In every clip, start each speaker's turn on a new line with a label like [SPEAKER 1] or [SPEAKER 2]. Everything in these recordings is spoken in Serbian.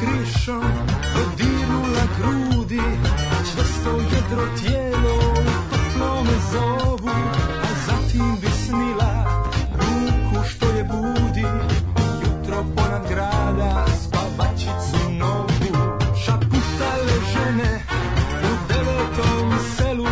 [SPEAKER 1] krišom dodirnula grudi Čvrsto jedro tijelo toplo me zovu A zatim bi snila ruku što je budi Jutro ponad grada spavačicu novu Šaputale žene u devetom selu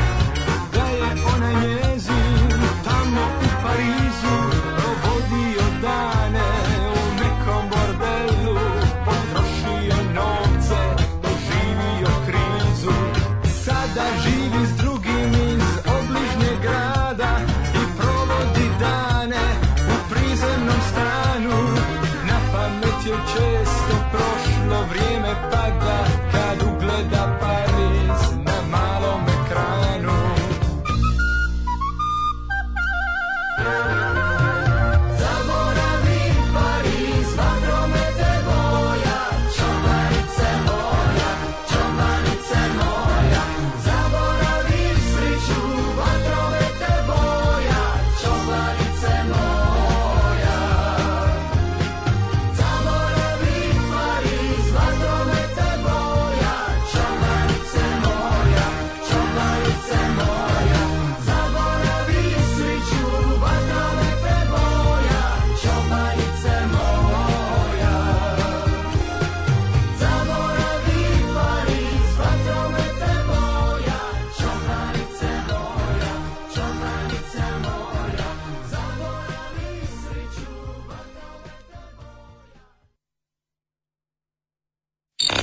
[SPEAKER 1] Da je ona njezin tamo u Parizu Provodio dane u nekom bordelu Potrošio novce, doživio krizu Sada živi s drugim iz obližnjeg grada I provodi dane u prizemnom stanu Na pamet je često prošlo vrijeme pada Kad ugleda Pariz na malom ekranu Zaboravi Pariz, vatromete moja, čobanice moja, čobanice moja. Zaboravi sreću, vatromete moja, čobanice moja. Zaboravi Pariz, vatromete moja, čobanice moja, čobanice moja. Zaboravi sreću, vatromete moja, čobanice moja. Zaboravi Pariz, vatromete moja, čobanice moja, čobanice moja. Zaboravi sreću, vatromete moja.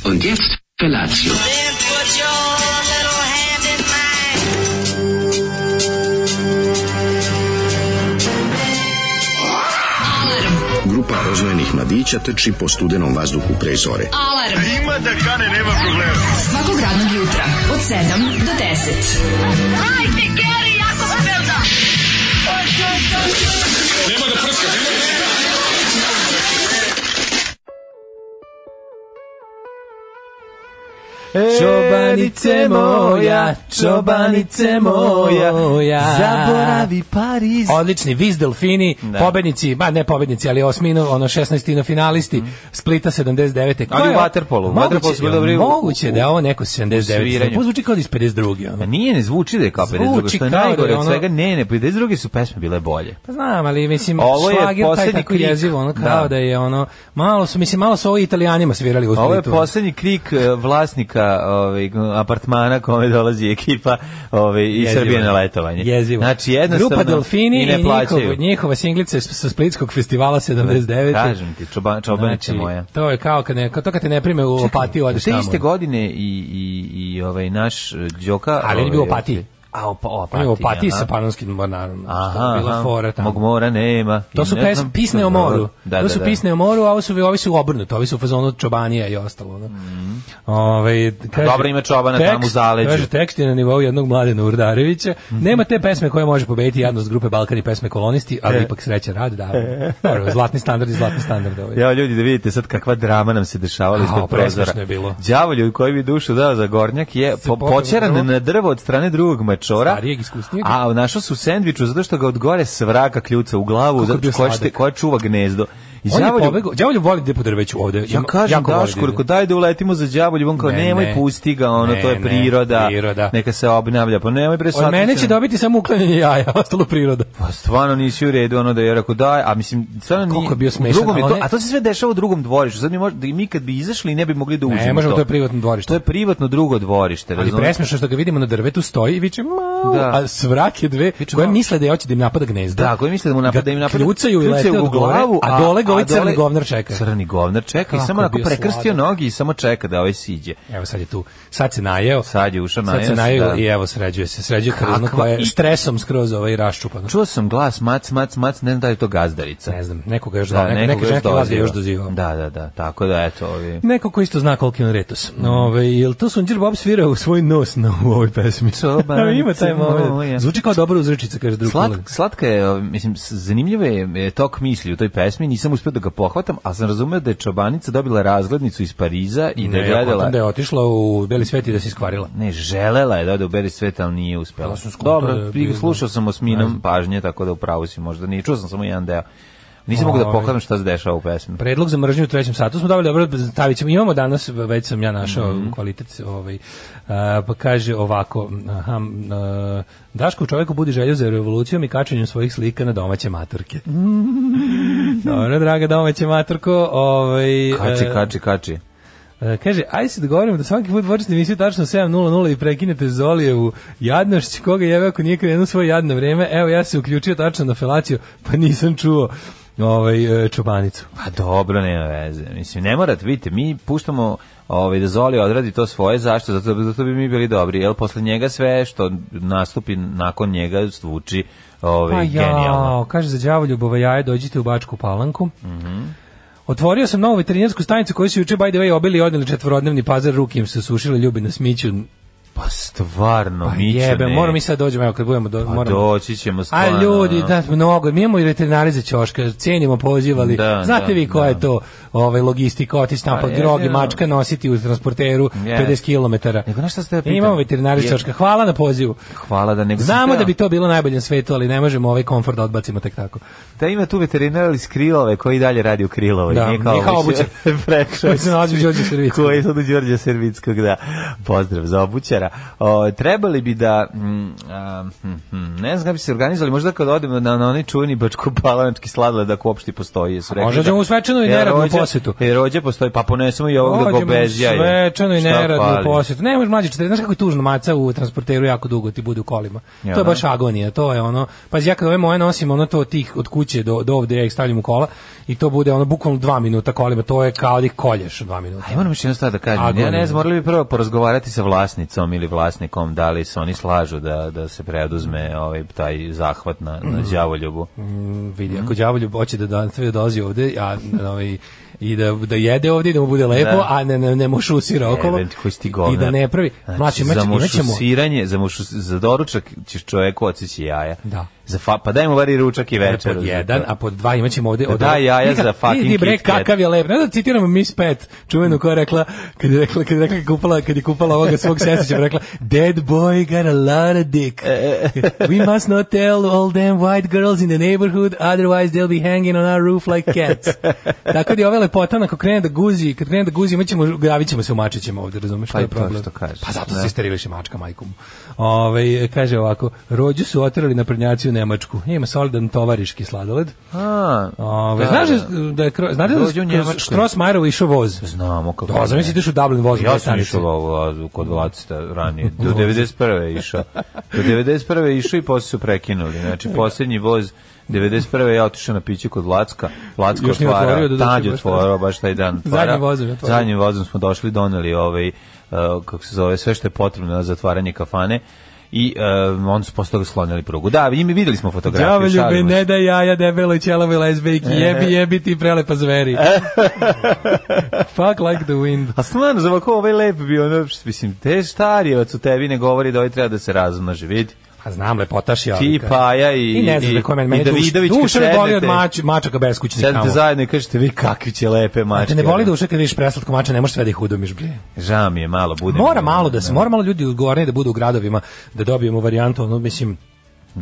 [SPEAKER 2] Und jetzt Felatio.
[SPEAKER 3] Then put your little hand in mine.
[SPEAKER 4] Grupa rozvojenih mladića trči po studenom vazduhu pre zore.
[SPEAKER 5] Alarm. A ima da kane, nema problema. Svakog radnog jutra, od 7 do 10.
[SPEAKER 6] Čobanice moja, čobanice moja, zaboravi
[SPEAKER 7] Pariz.
[SPEAKER 6] Odlični, Viz Delfini, pobednici, ba ne pobednici, ali osmino, ono 16 finalisti, Splita 79. Ko
[SPEAKER 7] Mhm. Ali
[SPEAKER 6] je-
[SPEAKER 7] u waterpolu, u
[SPEAKER 6] Moguće,
[SPEAKER 7] waterpolu su bili dobri u-
[SPEAKER 6] Moguće da je ovo neko
[SPEAKER 7] u
[SPEAKER 6] 79.
[SPEAKER 7] sviranju.
[SPEAKER 6] Pa zvuči kao da iz 52.
[SPEAKER 7] Pa
[SPEAKER 6] Ono.
[SPEAKER 7] nije, ne zvuči da je kao 52,
[SPEAKER 6] Zvuči
[SPEAKER 7] što je
[SPEAKER 6] kao da je
[SPEAKER 7] najgore od
[SPEAKER 6] ono-
[SPEAKER 7] svega. Ne, ne, 52 su pesme bile bolje.
[SPEAKER 6] Pa znam, ali mislim,
[SPEAKER 7] Ovo je
[SPEAKER 6] šlager taj
[SPEAKER 7] poslednji
[SPEAKER 6] tako
[SPEAKER 7] krik.
[SPEAKER 6] jezivo, ono kao da.
[SPEAKER 7] Da.
[SPEAKER 6] je ono, malo su, mislim, malo su ovo italijanima svirali u Splitu.
[SPEAKER 7] Ovo je poslednji krik eh, vlasnika ovaj, apartmana kome dolazi ekipa ovaj, iz
[SPEAKER 6] Jezivo.
[SPEAKER 7] Srbije na letovanje.
[SPEAKER 6] Jezivo.
[SPEAKER 7] Znači, jednostavno
[SPEAKER 6] Grupa Delfini
[SPEAKER 7] i ne plaćaju.
[SPEAKER 6] njihova, njihova singlica sa Splitskog festivala 79.
[SPEAKER 7] Kažem ti, čoba, čobanice
[SPEAKER 6] Znači,
[SPEAKER 7] moja.
[SPEAKER 6] To je kao kad, ne, kao to kad te ne prime u opatiju, odeš
[SPEAKER 7] Te
[SPEAKER 6] tamo.
[SPEAKER 7] iste godine i, i, i ovaj, naš eh, Đoka...
[SPEAKER 6] Ali on je bio u
[SPEAKER 7] ovaj,
[SPEAKER 6] Opatiji.
[SPEAKER 7] A, opa,
[SPEAKER 6] On je Pa
[SPEAKER 7] opatiji, pa-
[SPEAKER 6] u opatiji
[SPEAKER 7] aha.
[SPEAKER 6] sa panonskim mornarom. Aha,
[SPEAKER 7] Aha,
[SPEAKER 6] bila
[SPEAKER 7] aha.
[SPEAKER 6] fora tamo.
[SPEAKER 7] Mog mora nema.
[SPEAKER 6] To su
[SPEAKER 7] Ne
[SPEAKER 6] pes,
[SPEAKER 7] znam.
[SPEAKER 6] pisne o moru.
[SPEAKER 7] Da,
[SPEAKER 6] to su
[SPEAKER 7] da, da.
[SPEAKER 6] pisne o moru, a ovi su, ovi su obrnuto. Ovi su u fazonu čobanija i ostalo. No? Mm. Ove, kaže,
[SPEAKER 7] Mhm. Pa dobro ima čobana tamo u zaleđu. Mhm.
[SPEAKER 6] Kaže, tekst je na nivou jednog Mladena Urdarevića. Nema te pesme koje može pobediti jadnost grupe Balkan i pesme kolonisti,
[SPEAKER 7] E.
[SPEAKER 6] ali ipak sreća rad, da. Dobro, zlatni standard i zlatni standard. Ovaj.
[SPEAKER 7] Ja ljudi da vidite sad kakva drama nam se dešavala
[SPEAKER 6] Au,
[SPEAKER 7] ispred
[SPEAKER 6] presmešno
[SPEAKER 7] prozora.
[SPEAKER 6] je bilo.
[SPEAKER 7] Đavolju koji bi dušu dao za gornjak je
[SPEAKER 6] popeo
[SPEAKER 7] po,
[SPEAKER 6] na drvo.
[SPEAKER 7] počeran na drvo od strane drugog mačora.
[SPEAKER 6] Starijeg, iskusnijeg.
[SPEAKER 7] A našao su u sendviču zato što ga od gore svraka kljuca u glavu,
[SPEAKER 6] Kako je
[SPEAKER 7] zato
[SPEAKER 6] bio
[SPEAKER 7] koja, šte,
[SPEAKER 6] sladak.
[SPEAKER 7] koja čuva gnezdo. I
[SPEAKER 6] On je
[SPEAKER 7] đavolju-
[SPEAKER 6] pobegao. Đavolju voli da je po drveću ovde.
[SPEAKER 7] Ja
[SPEAKER 6] Ima-
[SPEAKER 7] kažem
[SPEAKER 6] jako voli da
[SPEAKER 7] Dašku,
[SPEAKER 6] ide.
[SPEAKER 7] reko daj da uletimo za đavolju, on kao
[SPEAKER 6] Ne,
[SPEAKER 7] nemoj
[SPEAKER 6] ne.
[SPEAKER 7] pusti ga, ono
[SPEAKER 6] Ne,
[SPEAKER 7] to je
[SPEAKER 6] ne,
[SPEAKER 7] priroda.
[SPEAKER 6] priroda.
[SPEAKER 7] Neka se obnavlja. Pa nemoj bre
[SPEAKER 6] Od
[SPEAKER 7] sad
[SPEAKER 6] mene
[SPEAKER 7] se-
[SPEAKER 6] će dobiti samo uklanjanje jaja, ostalo priroda.
[SPEAKER 7] Pa stvarno nisi u redu ono da je rekao daj, a mislim stvarno nije.
[SPEAKER 6] Koliko je bio
[SPEAKER 7] u
[SPEAKER 6] smešan,
[SPEAKER 7] drugom je
[SPEAKER 6] ali
[SPEAKER 7] to,
[SPEAKER 6] ne-
[SPEAKER 7] a to se sve dešava u drugom dvorištu. Sad mi mož, da mi kad bi izašli ne bi mogli da uđemo.
[SPEAKER 6] Ne, možemo,
[SPEAKER 7] u
[SPEAKER 6] to je privatno dvorište.
[SPEAKER 7] To je privatno drugo dvorište,
[SPEAKER 6] Ali
[SPEAKER 7] razumeš?
[SPEAKER 6] presmešno što ga vidimo na drvetu stoji i viče mao,
[SPEAKER 7] Da.
[SPEAKER 6] a svrake dve koje
[SPEAKER 7] "Mau."
[SPEAKER 6] misle da je hoće da im napada gnezdo.
[SPEAKER 7] Da, koji misle da mu napada,
[SPEAKER 6] Ga
[SPEAKER 7] da im napada.
[SPEAKER 6] Kljucaju i lete
[SPEAKER 7] kljucaju
[SPEAKER 6] u
[SPEAKER 7] u
[SPEAKER 6] glavu, a, dole ga ovaj crni govnar čeka.
[SPEAKER 7] Crni govnar čeka i
[SPEAKER 6] Kako
[SPEAKER 7] samo
[SPEAKER 6] je
[SPEAKER 7] onako
[SPEAKER 6] bio
[SPEAKER 7] prekrstio
[SPEAKER 6] sladak.
[SPEAKER 7] noge i samo čeka da ovaj siđe.
[SPEAKER 6] Evo sad je tu. Sad se najeo.
[SPEAKER 7] Sad je ušao
[SPEAKER 6] Sad se
[SPEAKER 7] najeo se,
[SPEAKER 6] najeo
[SPEAKER 7] da.
[SPEAKER 6] i evo sređuje se. Sređuje krzno
[SPEAKER 7] Kakva
[SPEAKER 6] koje je
[SPEAKER 7] i-
[SPEAKER 6] stresom skroz ovaj raščupano.
[SPEAKER 7] Čuo sam glas mac, mac, mac, ne znam da li je to gazdarica.
[SPEAKER 6] Ne znam, nekoga još da,
[SPEAKER 7] da,
[SPEAKER 6] neka,
[SPEAKER 7] nekog
[SPEAKER 6] neka
[SPEAKER 7] još
[SPEAKER 6] ženka vas ga
[SPEAKER 7] doziva.
[SPEAKER 6] još dozivao.
[SPEAKER 7] Da, da, da, tako da, eto, ovi...
[SPEAKER 6] Neko ko isto zna koliki je on retus. Ove, jel to Sunđer Bob svirao u svoj nos na, u ovoj pesmi?
[SPEAKER 7] Čobanice
[SPEAKER 6] Ima taj
[SPEAKER 7] moje.
[SPEAKER 6] moment. Zvuči kao dobra uzrečica, kaže drug.
[SPEAKER 7] Slat,
[SPEAKER 6] kolega.
[SPEAKER 7] slatka je, ovaj, mislim, s- zanimljivo je e, tok misli u toj pesmi, nisam uspio da ga pohvatam, ali sam razumeo da je Čobanica dobila razglednicu iz Pariza i da
[SPEAKER 6] Ne,
[SPEAKER 7] je
[SPEAKER 6] ja kontam
[SPEAKER 7] gledala...
[SPEAKER 6] da je otišla u beli svet i da se iskvarila.
[SPEAKER 7] Ne, želela je da ode u Beri svet, ali nije
[SPEAKER 6] Ja
[SPEAKER 7] uspela.
[SPEAKER 6] Pa sam skontao da
[SPEAKER 7] Dobro,
[SPEAKER 6] je bilo-
[SPEAKER 7] slušao sam
[SPEAKER 6] Ne
[SPEAKER 7] osminom
[SPEAKER 6] znam.
[SPEAKER 7] pažnje, tako da upravo si možda nije. Čuo sam samo jedan deo. Nisam mogao da
[SPEAKER 6] Ovaj. Pa,
[SPEAKER 7] pohvalim šta se dešava u pesmi.
[SPEAKER 6] Predlog za mržnju u trećem satu smo dobili, dobro, stavit ćemo. Imamo danas, već sam ja našao
[SPEAKER 7] Mhm.
[SPEAKER 6] kvalitet, ovaj, a, pa kaže ovako, aha, m, a, Daško u čoveku budi želju za revolucijom i kačenjem svojih slika na domaće matorke. Dobro, draga domaće matorko, ovaj,
[SPEAKER 7] Kači,
[SPEAKER 6] e,
[SPEAKER 7] kači, kači.
[SPEAKER 6] E, kaže, aj se dogovorimo da svaki put počnete emisiju tačno 7.00 i prekinete Zolijevu jadnošć, koga jebe ako nije krenuo svoje jadno vreme, evo ja se uključio tačno na felaciju, pa nisam čuo ovaj, e, čobanicu.
[SPEAKER 7] Pa dobro, nema veze. Mislim, ne morate, vidite, mi puštamo ovaj, da Zoli odradi to svoje, zašto? Zato, zato bi mi bili dobri, jer posle njega sve što nastupi nakon njega zvuči ovaj,
[SPEAKER 6] Pa
[SPEAKER 7] genijalno. Mhm.
[SPEAKER 6] jao, kaže za đavo ljubova jaje, dođite u Bačku palanku. Otvorio sam novu veterinarsku stanicu koju su juče by the way obili i odneli četvorodnevni pazar, ruke im se sušile ljubi na smiću.
[SPEAKER 7] Pa stvarno,
[SPEAKER 6] Pa
[SPEAKER 7] mi
[SPEAKER 6] jebe, moram i sad dođemo, evo kad budemo, do,
[SPEAKER 7] Pa
[SPEAKER 6] moramo.
[SPEAKER 7] doći ćemo stvarno. ono.
[SPEAKER 6] A ljudi, da, mnogo, mi imamo i veterinari za ćoška, cijenimo poziv, ali
[SPEAKER 7] Da,
[SPEAKER 6] znate
[SPEAKER 7] da,
[SPEAKER 6] vi koja
[SPEAKER 7] da.
[SPEAKER 6] je to ovaj, logistika, otići tamo
[SPEAKER 7] Pa
[SPEAKER 6] pa
[SPEAKER 7] je,
[SPEAKER 6] grogi,
[SPEAKER 7] je, da.
[SPEAKER 6] mačka nositi u transporteru
[SPEAKER 7] Jeste.
[SPEAKER 6] 50 km.
[SPEAKER 7] Nego, znaš šta ste ja pitam?
[SPEAKER 6] Imamo veterinari za
[SPEAKER 7] Je-
[SPEAKER 6] ćoška, hvala na pozivu.
[SPEAKER 7] Hvala da nego sam
[SPEAKER 6] Znamo
[SPEAKER 7] teo-
[SPEAKER 6] da bi to bilo najbolje na svetu, ali ne možemo ovaj komfort da odbacimo tek tako.
[SPEAKER 7] Da ima tu veterinar iz Krilove koji dalje radi u Krilovoj.
[SPEAKER 6] Da, nije kao
[SPEAKER 7] obućar. Prešao
[SPEAKER 6] Koji se nalazi u Đorđe Servickog.
[SPEAKER 7] Koji je sad u Đorđe Servickog, da. Pozdrav za obućara. O, trebali bi da, mm, a, hm, hm, ne znam kako bi se organizovali, možda kad odemo na, na onaj čuveni bačko-palanački sladled, ako uopšte i postoji. Su rekli
[SPEAKER 6] možda ćemo u svečanu i
[SPEAKER 7] E,
[SPEAKER 6] neradnu
[SPEAKER 7] rođe-
[SPEAKER 6] posetu.
[SPEAKER 7] E, rođe postoji, pa ponesemo i ovog da ga
[SPEAKER 6] Ođemo
[SPEAKER 7] obezjaju.
[SPEAKER 6] svečano i
[SPEAKER 7] Šta
[SPEAKER 6] neradno
[SPEAKER 7] fali?
[SPEAKER 6] posjet. Ne možeš mlađe 40, znaš kako je tužno maca u transporteru jako dugo ti bude u kolima.
[SPEAKER 7] Ja,
[SPEAKER 6] to je
[SPEAKER 7] da.
[SPEAKER 6] baš agonija, to je ono. Pa ja kad ove moje nosim, ono to od tih od kuće do, do ovde ja ih stavljam u kola i to bude ono bukvalno dva minuta kolima, to je kao da ih kolješ dva minuta.
[SPEAKER 7] Ajmo nam još jedno stvar da kažem.
[SPEAKER 6] Agonija.
[SPEAKER 7] Ja ne znam, morali bi prvo porazgovarati sa vlasnicom ili vlasnikom, da li se oni slažu da, da se preoduzme ovaj, taj zahvat na, na
[SPEAKER 6] Mhm.
[SPEAKER 7] đavoljubu.
[SPEAKER 6] Mm, vidi, ako đavolju hoće da dan sve dolazi ovde, a ovaj i da da jede ovde i da mu bude lepo,
[SPEAKER 7] Da.
[SPEAKER 6] a ne ne, ne mu šusira okolo.
[SPEAKER 7] Jebem ti, koji si ti govnar.
[SPEAKER 6] I da ne pravi. Mlači,
[SPEAKER 7] za
[SPEAKER 6] znači, imaćemo
[SPEAKER 7] mušusiranje, za, mušus, za doručak ćeš čoveku odsjeći jaja.
[SPEAKER 6] Da.
[SPEAKER 7] Za fa, pa daj mu vari ručak i večer.
[SPEAKER 6] Pod jedan, a pod dva imaćemo ovde...
[SPEAKER 7] Da, jaja za fucking
[SPEAKER 6] Vidi bre,
[SPEAKER 7] Kit Kat.
[SPEAKER 6] kakav je lep. Ne da citiramo Miss Pet, čuvenu koja je rekla, kad je rekla, kad je rekla, kupala, kad je kupala ovoga svog sestića, rekla, dead boy got a lot of dick. We must not tell all them white girls in the neighborhood, otherwise they'll be hanging on our roof like cats. Tako da je ova lepota, ako krene da guzi, kad krene da guzi, mi ćemo, gravit ćemo se u mačićima ovde, razumeš?
[SPEAKER 7] Pa
[SPEAKER 6] to
[SPEAKER 7] i
[SPEAKER 6] je
[SPEAKER 7] to
[SPEAKER 6] problem.
[SPEAKER 7] što kažeš.
[SPEAKER 6] Pa zato
[SPEAKER 7] Da.
[SPEAKER 6] se steriliše mačka majkom. Ove, kaže ovako, rođu su oterali na prednjaci u Nemačku. Ima solidan tovariški sladoled.
[SPEAKER 7] A,
[SPEAKER 6] Ove,
[SPEAKER 7] da,
[SPEAKER 6] znaš
[SPEAKER 7] da.
[SPEAKER 6] da, da je, kro- znate da
[SPEAKER 7] Rođu u
[SPEAKER 6] kroz
[SPEAKER 7] Njemačkoj.
[SPEAKER 6] Strossmayerovo išao voz?
[SPEAKER 7] Znamo kako.
[SPEAKER 6] Da, zamisli ideš u Dublin voz.
[SPEAKER 7] Ja sam išao ovo, kod Vlacita ranije. Do 91. išao. Do 91. išao i posle su prekinuli. Znači, posljednji voz 91. ja otišao na piće kod Vlacka. Vlacka
[SPEAKER 6] Još nije otvorio,
[SPEAKER 7] otvara,
[SPEAKER 6] doduše,
[SPEAKER 7] Tanđ
[SPEAKER 6] baš
[SPEAKER 7] otvorao baš taj dan. otvara.
[SPEAKER 6] Zadnjim vozom je otvorio.
[SPEAKER 7] Zadnjim vozom smo došli, doneli ovaj, eh, kako se zove, sve što je potrebno za otvaranje kafane i uh, onda su posle toga sklonili prugu. Da, i mi videli smo fotografiju.
[SPEAKER 6] Djavolju
[SPEAKER 7] šalimo
[SPEAKER 6] me
[SPEAKER 7] se.
[SPEAKER 6] ne da jaja debeloj ćelavoj lesbijki, jebi jebi ti prelepa zveri. Fuck like the wind.
[SPEAKER 7] A stvarno, za ovako ovaj lep bi ono, mislim, te starijevac u tebi ne govori da ovaj treba da se razmnoži, vidi.
[SPEAKER 6] A Pa znam, lepotaš je.
[SPEAKER 7] Ti,
[SPEAKER 6] ali-
[SPEAKER 7] Paja i,
[SPEAKER 6] I ne znam da ko je meni, meni
[SPEAKER 7] i Davidović
[SPEAKER 6] duš, duša
[SPEAKER 7] kad
[SPEAKER 6] me boli od
[SPEAKER 7] sednete-
[SPEAKER 6] mač, mačaka beskućnika.
[SPEAKER 7] Sedite
[SPEAKER 6] tamo. Znači,
[SPEAKER 7] zajedno i kažete vi kakvi će lepe
[SPEAKER 6] A te
[SPEAKER 7] mačke.
[SPEAKER 6] ne boli
[SPEAKER 7] ono.
[SPEAKER 6] duša kad vidiš preslatko mača, ne možeš sve da ih udomiš, blije.
[SPEAKER 7] Žao mi je malo, ono, bude.
[SPEAKER 6] Mora
[SPEAKER 7] mi-
[SPEAKER 6] malo da se,
[SPEAKER 7] ne.
[SPEAKER 6] mora malo ljudi odgovorni da budu u gradovima, da dobijemo varijantu, ono, mislim,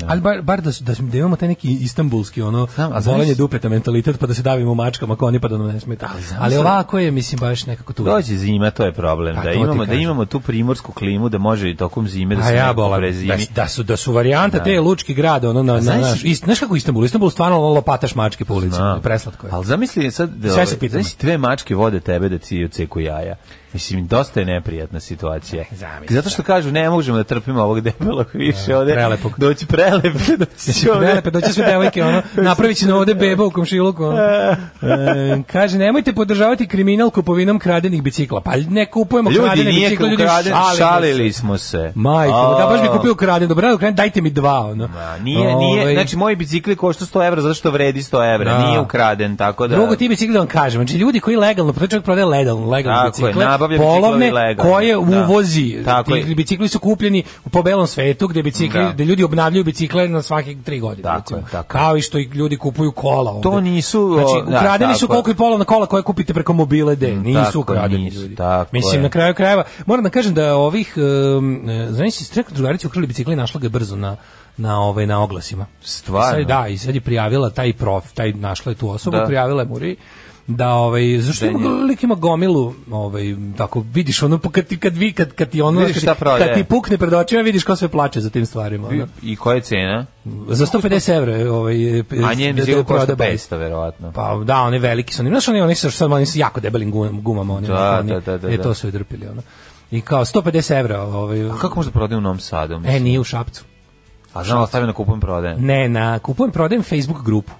[SPEAKER 6] Ali bar, bar da, su- da, da imamo taj neki istambulski ono
[SPEAKER 7] Znam, a znaš-
[SPEAKER 6] volanje dupeta mentalitet pa da se davimo mačkama ako oni pa da nam ne smeta. Ali, ovako je mislim baš nekako tu.
[SPEAKER 7] Dođe zima, to je problem.
[SPEAKER 6] Pa,
[SPEAKER 7] da
[SPEAKER 6] to ti
[SPEAKER 7] imamo da
[SPEAKER 6] kažem.
[SPEAKER 7] imamo tu primorsku klimu da može i tokom zime da
[SPEAKER 6] A
[SPEAKER 7] se
[SPEAKER 6] ja
[SPEAKER 7] neko
[SPEAKER 6] bolam, da,
[SPEAKER 7] prezimi.
[SPEAKER 6] da su da su varijanta te lučki grad ono na, na
[SPEAKER 7] znaš-
[SPEAKER 6] naš, ist, znaš kako Istanbul, Istanbul stvarno lopataš mačke po ulici,
[SPEAKER 7] Da.
[SPEAKER 6] preslatko je.
[SPEAKER 7] Pa, Ali zamisli sad, da, ovaj,
[SPEAKER 6] Sve se pitamo.
[SPEAKER 7] zamisli dve mačke vode tebe da ti oceku jaja. Mislim, dosta je neprijatna situacija.
[SPEAKER 6] zamisli,
[SPEAKER 7] Zato što kažu, ne možemo da trpimo ovog debelog više ovde.
[SPEAKER 6] prelepog.
[SPEAKER 7] Doći prelep, doći će ovde.
[SPEAKER 6] Prelepe, doće sve devojke, ono, napravit će na ovde beba u komšiluku. Ono. E, kaže, nemojte podržavati kriminal kupovinom kradenih bicikla. Pa ne kupujemo
[SPEAKER 7] Ljudi,
[SPEAKER 6] kradene
[SPEAKER 7] nije
[SPEAKER 6] bicikle, ljudi
[SPEAKER 7] ukraden,
[SPEAKER 6] šalimo se.
[SPEAKER 7] šalili smo se.
[SPEAKER 6] Majko,
[SPEAKER 7] A.
[SPEAKER 6] da baš bi kupio kraden, dobro, da kraden, dajte mi dva, ono.
[SPEAKER 7] Ma, Nije, nije,
[SPEAKER 6] Ovaj,
[SPEAKER 7] znači moji bicikli košta 100 evra zato što vredi 100 evra,
[SPEAKER 6] Da.
[SPEAKER 7] nije ukraden, tako da...
[SPEAKER 6] Drugo ti bicikli da vam kažem, znači ljudi koji legalno, pa to čovjek prodaje legalno, legalno
[SPEAKER 7] Tako je,
[SPEAKER 6] bicikle,
[SPEAKER 7] nabavlja nabavljam
[SPEAKER 6] polovne
[SPEAKER 7] biciklovi legalno.
[SPEAKER 6] koje
[SPEAKER 7] Da.
[SPEAKER 6] uvozi.
[SPEAKER 7] Tako je.
[SPEAKER 6] Ti bicikli su kupljeni po belom svetu gde bicikli
[SPEAKER 7] Da.
[SPEAKER 6] da. ljudi obnavljaju bicikle na svake tri godine.
[SPEAKER 7] Tako
[SPEAKER 6] recimo.
[SPEAKER 7] je, tako je.
[SPEAKER 6] Kao i što i ljudi kupuju kola ovde.
[SPEAKER 7] To nisu, o,
[SPEAKER 6] znači
[SPEAKER 7] da,
[SPEAKER 6] ukradeni su
[SPEAKER 7] tako je. Mm,
[SPEAKER 6] koliko i polovna kola koje kupite preko mobile D,
[SPEAKER 7] tako
[SPEAKER 6] nisu
[SPEAKER 7] je,
[SPEAKER 6] ukradeni
[SPEAKER 7] nisu,
[SPEAKER 6] ljudi.
[SPEAKER 7] tako
[SPEAKER 6] Mislim
[SPEAKER 7] je.
[SPEAKER 6] na kraju krajeva moram da kažem da ovih um, e, znači si strek drugarica ukrali bicikli i našla ga brzo na na ovaj na oglasima.
[SPEAKER 7] Stvarno?
[SPEAKER 6] Sad, da, i sad je prijavila taj prof, taj našla je tu osobu,
[SPEAKER 7] Da.
[SPEAKER 6] prijavila je muri da ovaj zašto
[SPEAKER 7] Da
[SPEAKER 6] ima
[SPEAKER 7] nje-
[SPEAKER 6] lik ima gomilu ovaj tako vidiš ono pa kad ti kad vi kad kad ti ono
[SPEAKER 7] Vidiš
[SPEAKER 6] kad,
[SPEAKER 7] šta
[SPEAKER 6] ti-
[SPEAKER 7] prodaje.
[SPEAKER 6] kad ti pukne pred očima vidiš ko sve plače za tim stvarima ono.
[SPEAKER 7] I koja je cena?
[SPEAKER 6] za 150 evra ovaj e,
[SPEAKER 7] A njen
[SPEAKER 6] da- da
[SPEAKER 7] bicikl košta
[SPEAKER 6] proda bajs.
[SPEAKER 7] 500, verovatno.
[SPEAKER 6] Pa da, oni veliki su. oni. Znaš, oni, oni su, sad, oni su jako debelim gumama. gumama oni,
[SPEAKER 7] Da,
[SPEAKER 6] onako, oni,
[SPEAKER 7] da, da, da,
[SPEAKER 6] E,
[SPEAKER 7] da.
[SPEAKER 6] to su i drpili. Ono. I kao 150 evra. Ovaj,
[SPEAKER 7] A kako možda prodajem u Novom Sadu?
[SPEAKER 6] E,
[SPEAKER 7] mislim?
[SPEAKER 6] nije u Šapcu.
[SPEAKER 7] A znam da stavim na kupujem prodajem.
[SPEAKER 6] Ne, na kupujem, prodajem Facebook grupu.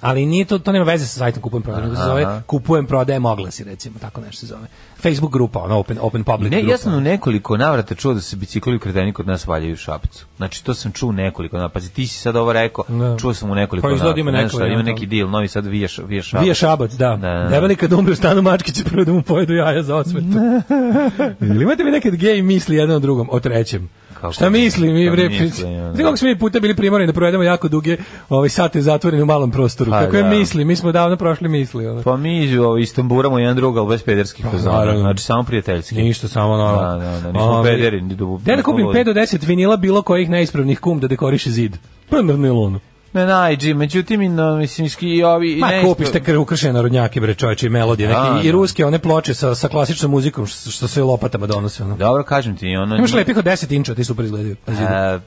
[SPEAKER 6] Ali nije to, to nema veze sa sajtom kupujem prodajem, nego se
[SPEAKER 7] Aha.
[SPEAKER 6] zove kupujem prodajem oglasi, recimo, tako nešto se zove. Facebook grupa, ono, open, open public
[SPEAKER 7] Ne,
[SPEAKER 6] grupa.
[SPEAKER 7] ja sam u nekoliko navrata čuo da se bicikli ukradeni kod nas valjaju u Šapcu. Znači, to sam čuo u nekoliko navrata. Pazi, ti si sad ovo rekao,
[SPEAKER 6] Da.
[SPEAKER 7] čuo sam u nekoliko
[SPEAKER 6] Pa izgleda ima
[SPEAKER 7] Ne znam
[SPEAKER 6] neko,
[SPEAKER 7] šta,
[SPEAKER 6] ja,
[SPEAKER 7] ima
[SPEAKER 6] da.
[SPEAKER 7] neki deal, novi sad vije, š- vije Šabac.
[SPEAKER 6] Vije šabac, da.
[SPEAKER 7] Da.
[SPEAKER 6] Debeli kad umre u stanu mačke će prvo da mu pojedu jaja za osvetu. Ili imate vi nekad gej misli jedan o drugom, o trećem?
[SPEAKER 7] Kako
[SPEAKER 6] Šta misli mi
[SPEAKER 7] Šta
[SPEAKER 6] bre?
[SPEAKER 7] misli,
[SPEAKER 6] Misli,
[SPEAKER 7] ono.
[SPEAKER 6] Znaš kako smo mi puta bili primorani da provedemo jako duge ovaj sate zatvoreni u malom prostoru.
[SPEAKER 7] Pa,
[SPEAKER 6] Kako je
[SPEAKER 7] da.
[SPEAKER 6] misli? Mi smo davno prošli misli. Ono.
[SPEAKER 7] Pa mi ovo, istamburamo jedan drugog, ali bez pederskih fazona.
[SPEAKER 6] Pa naravno.
[SPEAKER 7] Znači, samo prijateljski.
[SPEAKER 6] Ništa, samo ono.
[SPEAKER 7] Da, da, da, nismo
[SPEAKER 6] Ovaj,
[SPEAKER 7] pederi, ni do-
[SPEAKER 6] Gde da kupim
[SPEAKER 7] ludi.
[SPEAKER 6] 5 do 10 vinila bilo kojih neispravnih kum da dekoriše zid? Pa na nilonu.
[SPEAKER 7] Ne, najđi, međutim, i na, mislim, iski i ovi... i
[SPEAKER 6] Ma
[SPEAKER 7] ne-
[SPEAKER 6] kupiš te kr- ukršene narodnjake bre čoveče i melodije neke
[SPEAKER 7] Da,
[SPEAKER 6] i- i
[SPEAKER 7] da.
[SPEAKER 6] ruske one ploče sa sa klasičnom muzikom što, što se lopatama donose ono.
[SPEAKER 7] Dobro, kažem ti, ono...
[SPEAKER 6] Imaš lepih od 10 inča, ti super izgledaju. na zidu.
[SPEAKER 7] E,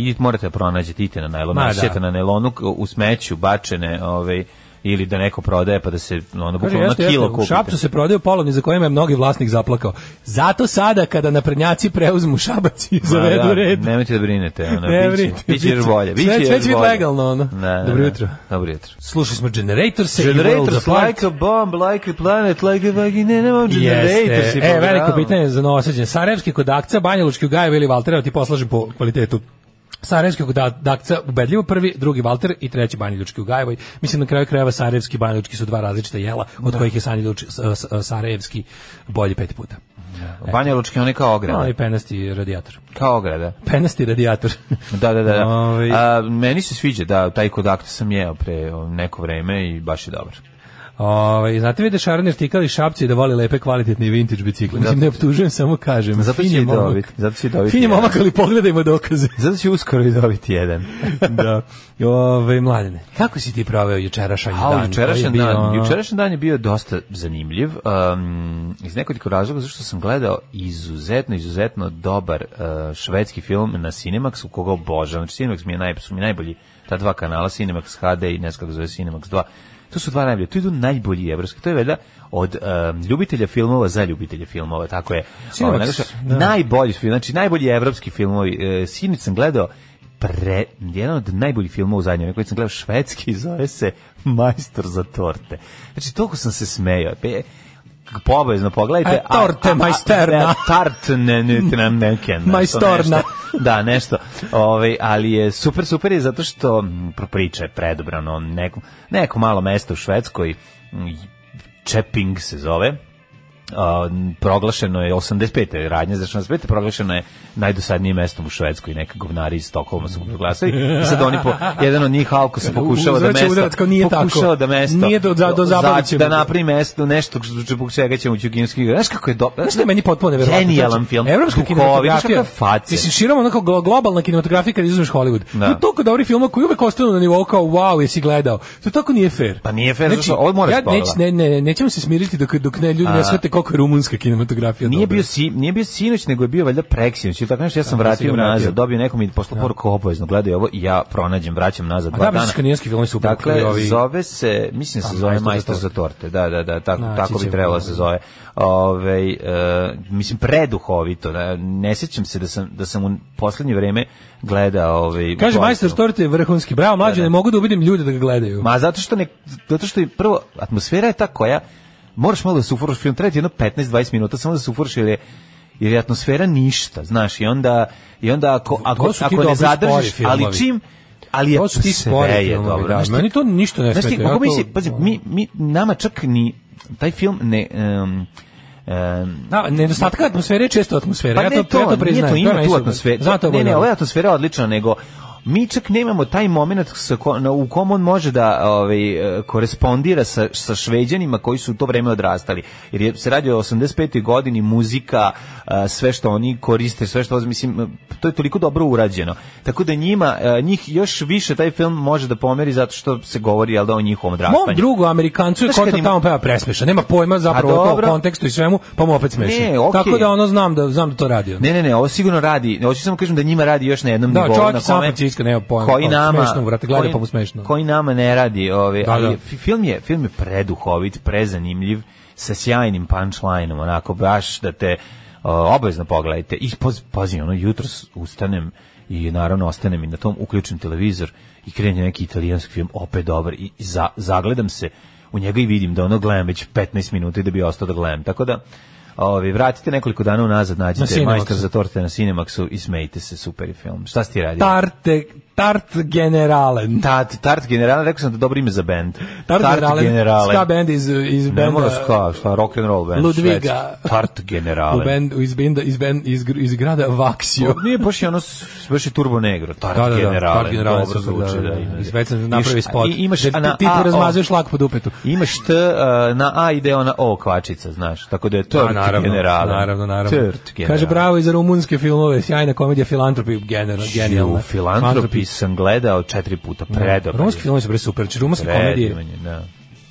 [SPEAKER 7] idite, morate da pronađete, idite na najlon,
[SPEAKER 6] Ma, da.
[SPEAKER 7] nađete na najlonu k- u smeću, bačene, ovaj, ili da neko prodaje pa da se ono
[SPEAKER 6] Kaže,
[SPEAKER 7] bukvalno
[SPEAKER 6] jeste,
[SPEAKER 7] na
[SPEAKER 6] jeste,
[SPEAKER 7] kilo
[SPEAKER 6] u
[SPEAKER 7] kupite.
[SPEAKER 6] Šapcu se prodaju polovni za kojima je mnogi vlasnik zaplakao. Zato sada kada naprednjaci preuzmu šabac i zavedu
[SPEAKER 7] Ma, da,
[SPEAKER 6] red.
[SPEAKER 7] Nemojte da brinete, ono,
[SPEAKER 6] Ne
[SPEAKER 7] ne
[SPEAKER 6] brinite,
[SPEAKER 7] biće, biće
[SPEAKER 6] biće.
[SPEAKER 7] još bolje. Biće
[SPEAKER 6] Sve- sve
[SPEAKER 7] još
[SPEAKER 6] će biti
[SPEAKER 7] bolje.
[SPEAKER 6] legalno, ono.
[SPEAKER 7] Da, da,
[SPEAKER 6] Dobro
[SPEAKER 7] da.
[SPEAKER 6] jutro.
[SPEAKER 7] Dobro jutro.
[SPEAKER 6] Slušali smo Generator se i
[SPEAKER 7] Generators
[SPEAKER 6] Worlds Apart.
[SPEAKER 7] like a bomb, like a planet, like a vagina, nemam generators.
[SPEAKER 6] Jeste. E, veliko pitanje za novosađenje. Sarajevski kod akca, Banja Lučki u Gajevi ili Valtereva, ti poslažem po kvalitetu. Sarajevski kod akca ubedljivo prvi, drugi Valter i treći Banja Lučki u Gajevoj. Mislim na kraju krajeva Sarajevski i Banja Lučki su dva različita jela, od kojih je Sanja Luč, s- s- Sarajevski bolji pet puta.
[SPEAKER 7] Banja Lučka, on je kao
[SPEAKER 6] Onaj
[SPEAKER 7] ograda.
[SPEAKER 6] penasti radijator.
[SPEAKER 7] Kao ograda.
[SPEAKER 6] Penasti radijator.
[SPEAKER 7] Da, da, da. da.
[SPEAKER 6] Ovaj.
[SPEAKER 7] A, meni se sviđa, da, taj kod akta sam jeo pre o, neko vreme i baš je dobar.
[SPEAKER 6] Ove, Ovaj, znate vi da Šarner tikali šapci i da voli lepe kvalitetne i vintage bicikle. Mislim, ne optužujem, samo kažem.
[SPEAKER 7] Zato
[SPEAKER 6] Fin
[SPEAKER 7] će
[SPEAKER 6] je
[SPEAKER 7] i
[SPEAKER 6] momak.
[SPEAKER 7] dobiti, zato će i dobiti
[SPEAKER 6] Fin je
[SPEAKER 7] jedan.
[SPEAKER 6] momak, ali pogledajmo dokaze.
[SPEAKER 7] Zato će uskoro i dobiti jedan.
[SPEAKER 6] da. Ove, mladene, kako si ti proveo jučerašanj dan?
[SPEAKER 7] A, jučerašnji
[SPEAKER 6] Koji je bio,
[SPEAKER 7] dan,
[SPEAKER 6] ono,
[SPEAKER 7] jučerašnji dan je bio dosta zanimljiv. Um, iz nekoliko razloga zašto sam gledao izuzetno, izuzetno dobar uh, švedski film na Cinemax, u koga obožavam. Znači, Cinemax mi je naj, su mi najbolji, ta dva kanala, Cinemax HD i ne znam kako se zove Cinemax 2. To su dva najbolje, tu idu najbolji evropski. To je valjda od um, ljubitelja filmova za ljubitelje filmova, tako je.
[SPEAKER 6] Cinemax,
[SPEAKER 7] Ono, Nataša,
[SPEAKER 6] da.
[SPEAKER 7] Najbolji film, znači najbolji evropski filmovi. E, Sinoć sam gledao pre, jedan od najboljih filmova u zadnje vreme koji sam gledao švedski, zove se Majstor za torte. Znači, toliko sam se smejao. Pe, povezno pogledajte.
[SPEAKER 6] E, torte, majsterna.
[SPEAKER 7] da, Tartne, ne, ne, ne, ne,
[SPEAKER 6] Majstorna.
[SPEAKER 7] da, nešto. Ovaj, ali je super, super je zato što m, priča je predobrano. Neko, neko malo mesto u Švedskoj, m, Čeping se zove, a, proglašeno je 85. radnje za 85. proglašeno je najdosadnijim mestom u Švedskoj neka govnari iz Stokholma su ga proglasili i sad oni po, jedan od njih Alko se pokušava da
[SPEAKER 6] Uzvraća
[SPEAKER 7] mesto
[SPEAKER 6] udarac kao nije tako.
[SPEAKER 7] pokušava da mesto
[SPEAKER 6] Nije do- za- do zabavit ćemo
[SPEAKER 7] da
[SPEAKER 6] to.
[SPEAKER 7] napravi mesto nešto zbog čega ćemo ući u kineski igre znaš kako je dobro
[SPEAKER 6] Znaš što je meni potpuno neverovatno?
[SPEAKER 7] genijalan
[SPEAKER 6] Znači,
[SPEAKER 7] film
[SPEAKER 6] Evropska
[SPEAKER 7] Duhovi, znaš
[SPEAKER 6] kinematografija.
[SPEAKER 7] kakve face
[SPEAKER 6] Mislim, širom onako glo- globalna kinematografija kad izuzmeš Hollywood.
[SPEAKER 7] Da.
[SPEAKER 6] Da. To toliko dobri filma koji uvek ostanu na nivou kao wow, jesi gledao. To tako nije fair. Znači,
[SPEAKER 7] Pa nije fair, zato što ovo moraš
[SPEAKER 6] ja neć,
[SPEAKER 7] pogledati.
[SPEAKER 6] ne, ne, nećemo se smiriti dok, dok ne ljudi
[SPEAKER 7] A.
[SPEAKER 6] ne shvate koliko je rumunska kinematografija
[SPEAKER 7] Nije
[SPEAKER 6] dobra.
[SPEAKER 7] bio si, nije bio sinoć, nego je bio valjda preksinoć. Ili tako nešto ja sam
[SPEAKER 6] Da, si
[SPEAKER 7] vratio
[SPEAKER 6] ga vratio.
[SPEAKER 7] nazad, dobio nekom i poslao poruku obavezno gledaj ovo i ja pronađem, vraćam nazad
[SPEAKER 6] A
[SPEAKER 7] dva
[SPEAKER 6] da,
[SPEAKER 7] dana.
[SPEAKER 6] mislim, kanadski filmovi su upravo
[SPEAKER 7] Dakle,
[SPEAKER 6] ovi-
[SPEAKER 7] zove se, mislim se
[SPEAKER 6] A, Majstor za
[SPEAKER 7] zove
[SPEAKER 6] Znači,
[SPEAKER 7] Majstor za
[SPEAKER 6] torte.
[SPEAKER 7] torte. Da, da, da, tako,
[SPEAKER 6] Naći
[SPEAKER 7] tako bi
[SPEAKER 6] ćemo.
[SPEAKER 7] trebalo se zove. Ove, mislim, preduhovito. Da, ne sjećam se da sam, da sam u poslednje vreme gledao... Ovaj,
[SPEAKER 6] Kaže,
[SPEAKER 7] Gospu.
[SPEAKER 6] majstor Storte je vrhunski. Bravo, mlađe,
[SPEAKER 7] Da, da.
[SPEAKER 6] ne mogu da ubedim ljude da ga gledaju.
[SPEAKER 7] Ma zato što ne, zato što je prvo atmosfera je ta koja moraš malo da se ufuraš film traje ti jedno 15-20 minuta samo da se ufuraš jer je jer je atmosfera ništa, znaš, i onda i onda ako ako
[SPEAKER 6] To su ti
[SPEAKER 7] ako ne
[SPEAKER 6] dobri
[SPEAKER 7] zadržiš,
[SPEAKER 6] spori
[SPEAKER 7] ali
[SPEAKER 6] filmovi.
[SPEAKER 7] čim ali je
[SPEAKER 6] To su ti
[SPEAKER 7] sve
[SPEAKER 6] spori
[SPEAKER 7] je
[SPEAKER 6] filmovi,
[SPEAKER 7] dobro,
[SPEAKER 6] da.
[SPEAKER 7] znaš ti-
[SPEAKER 6] Meni to ništa ne
[SPEAKER 7] znaš ti,
[SPEAKER 6] smeta, ja
[SPEAKER 7] kako
[SPEAKER 6] to-
[SPEAKER 7] misli, pazi, mi mi nama čak ni taj film ne em, em,
[SPEAKER 6] Da, nedostatka atmosfere je često atmosfera. ja
[SPEAKER 7] Pa ne
[SPEAKER 6] to, ja to priznajem.
[SPEAKER 7] nije to, ima
[SPEAKER 6] meni
[SPEAKER 7] tu
[SPEAKER 6] super.
[SPEAKER 7] atmosfera.
[SPEAKER 6] Zato
[SPEAKER 7] ne,
[SPEAKER 6] ovo
[SPEAKER 7] ne,
[SPEAKER 6] je
[SPEAKER 7] ova
[SPEAKER 6] dobro.
[SPEAKER 7] je atmosfera odlična, nego mi čak nemamo taj moment sa ko, na, u kom on može da ovaj, e, korespondira sa, sa šveđanima koji su u to vreme odrastali. Jer je, se radi o 85. godini, muzika, e, sve što oni koriste, sve što, mislim, e, to je toliko dobro urađeno. Tako da njima, e, njih još više taj film može da pomeri zato što se govori, jel da, o njihovom odrastanju.
[SPEAKER 6] Mom drugu Amerikancu je
[SPEAKER 7] Znaš kad
[SPEAKER 6] Kota
[SPEAKER 7] ima-
[SPEAKER 6] tamo peva presmeša. Nema pojma zapravo
[SPEAKER 7] A,
[SPEAKER 6] o tom
[SPEAKER 7] dobro.
[SPEAKER 6] kontekstu i svemu, pa mu opet smeša.
[SPEAKER 7] Ne, okej.
[SPEAKER 6] Tako da ono znam da znam da to radi. on.
[SPEAKER 7] Ne, ne, ne, ovo sigurno radi. Hoću samo kažem da njima radi još na jednom
[SPEAKER 6] Da,
[SPEAKER 7] nivou
[SPEAKER 6] čovjek
[SPEAKER 7] na
[SPEAKER 6] iz San
[SPEAKER 7] kome-
[SPEAKER 6] Francisco, nema pojma,
[SPEAKER 7] Koji
[SPEAKER 6] pa
[SPEAKER 7] nama,
[SPEAKER 6] smešno mu, brate, gleda
[SPEAKER 7] koji-
[SPEAKER 6] pa mu smešno.
[SPEAKER 7] Koji nama ne radi, ovaj,
[SPEAKER 6] Da,
[SPEAKER 7] ali
[SPEAKER 6] da.
[SPEAKER 7] fi- film je film je preduhovit, prezanimljiv sa sjajnim punchlineom, onako baš da te o, obavezno pogledajte. I poz, pazi, ono jutros ustanem i naravno ostanem i na tom uključim televizor i krenem neki italijanski film, opet dobar i za, zagledam se u njega i vidim da ono gledam već 15 minuta i da bi ostao da gledam. Tako da Ovi, vratite nekoliko dana unazad, nađite
[SPEAKER 6] Cinemaxu.
[SPEAKER 7] majstor za torte na Cinemaxu i smejte se, super je film. Šta si ti radio?
[SPEAKER 6] Tarte, tart generale.
[SPEAKER 7] Tart, Tart Generale, rekao sam da je dobro ime za band.
[SPEAKER 6] Tart, generale.
[SPEAKER 7] Generale.
[SPEAKER 6] Ska band iz, iz
[SPEAKER 7] Ne mora
[SPEAKER 6] benda-
[SPEAKER 7] ska, šta, rock and roll band.
[SPEAKER 6] Ludviga.
[SPEAKER 7] švedski. Tart
[SPEAKER 6] u
[SPEAKER 7] Generale.
[SPEAKER 6] bend, iz, benda, iz, bend, iz, gr- iz grada Vaksio.
[SPEAKER 7] O, Nije baš je ono, s- baš je Turbo Negro, Tart da, Generale.
[SPEAKER 6] Tart generale
[SPEAKER 7] dobro
[SPEAKER 6] su-
[SPEAKER 7] zvuči, da, da,
[SPEAKER 6] Iz Vecna napravi spot.
[SPEAKER 7] I, imaš,
[SPEAKER 6] Da
[SPEAKER 7] a na
[SPEAKER 6] ti, ti
[SPEAKER 7] A,
[SPEAKER 6] razmazuješ lak po dupetu.
[SPEAKER 7] o, Imaš T, a, na A ide ona O kvačica, znaš, tako da je
[SPEAKER 6] Pa,
[SPEAKER 7] Tart
[SPEAKER 6] naravno,
[SPEAKER 7] Generale.
[SPEAKER 6] naravno, naravno.
[SPEAKER 7] Tart Generale.
[SPEAKER 6] Kaže bravo i za rumunske filmove, sjajna komedija Filantropi, generalno, genijalna.
[SPEAKER 7] U Filantropi sam gledao četiri puta, predobar.
[SPEAKER 6] Rumunski filmovi su bre super, znači rumunske komedije
[SPEAKER 7] Predivan je, da.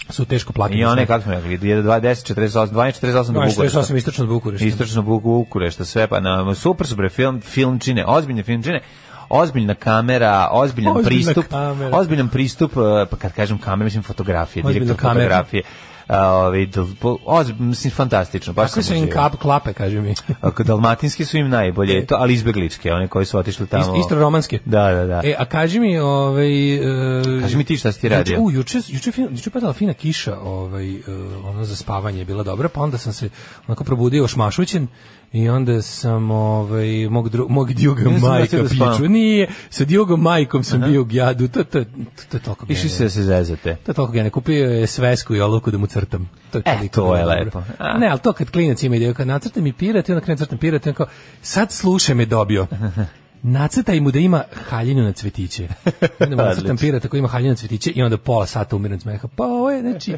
[SPEAKER 6] su teško platiti.
[SPEAKER 7] I one, kako smo rekli, 1, 2, 10, 48, 12, 48 do Bukurešta.
[SPEAKER 6] 48 istočno od Bukurešta.
[SPEAKER 7] Istočno Buk- Bukurešta, sve, pa na, super su bre film, film čine, ozbiljne film čine, ozbiljna kamera, ozbiljan
[SPEAKER 6] Ozbiljna
[SPEAKER 7] pristup,
[SPEAKER 6] kamera.
[SPEAKER 7] ozbiljan pristup, eh, pa kad kažem kamera, mislim fotografije,
[SPEAKER 6] Ozbiljna
[SPEAKER 7] direktor
[SPEAKER 6] kamera.
[SPEAKER 7] fotografije. A, ovaj, dal- po- ozb- mislim, fantastično, baš
[SPEAKER 6] Kakve
[SPEAKER 7] sam
[SPEAKER 6] su im
[SPEAKER 7] uživao.
[SPEAKER 6] kap, klape, kaže mi.
[SPEAKER 7] Ako Dalmatinski su im najbolje, to, ali izbegličke, one koji su otišli tamo.
[SPEAKER 6] E. Ist- Istro romanske.
[SPEAKER 7] Da, da, da.
[SPEAKER 6] E, a kaži mi, ovaj... e,
[SPEAKER 7] Kaži mi ti šta si ti radio.
[SPEAKER 6] Juče, u, juče, juče, je fin- juče je padala fina kiša, ovaj, e, ono za spavanje je bila dobra, pa onda sam se onako probudio ošmašućen i onda sam ovaj, mog, dru, mog Djuga
[SPEAKER 7] Nisam
[SPEAKER 6] majka
[SPEAKER 7] nastavio da spavam.
[SPEAKER 6] piču. Nije, sa Djugom majkom sam bio u gjadu, to, to, to, to je toliko
[SPEAKER 7] Išli se
[SPEAKER 6] genijalno.
[SPEAKER 7] da se zezate.
[SPEAKER 6] To je toliko genijalno. Kupio je svesku i olovku da mu crtam. To je,
[SPEAKER 7] E,
[SPEAKER 6] toliko
[SPEAKER 7] to je
[SPEAKER 6] dobro.
[SPEAKER 7] lepo. A.
[SPEAKER 6] Ne, ali to kad klinac ima ideju, kad nacrta mi pirat i onda krenem crtam pirat i onda kao, sad slušaj me dobio. Nacrtaj mu da ima haljinu na cvetiće. Onda mu nacrtam pirat tako ima haljinu na cvetiće i onda pola sata umiram od smeha. Pa ovo je, znači,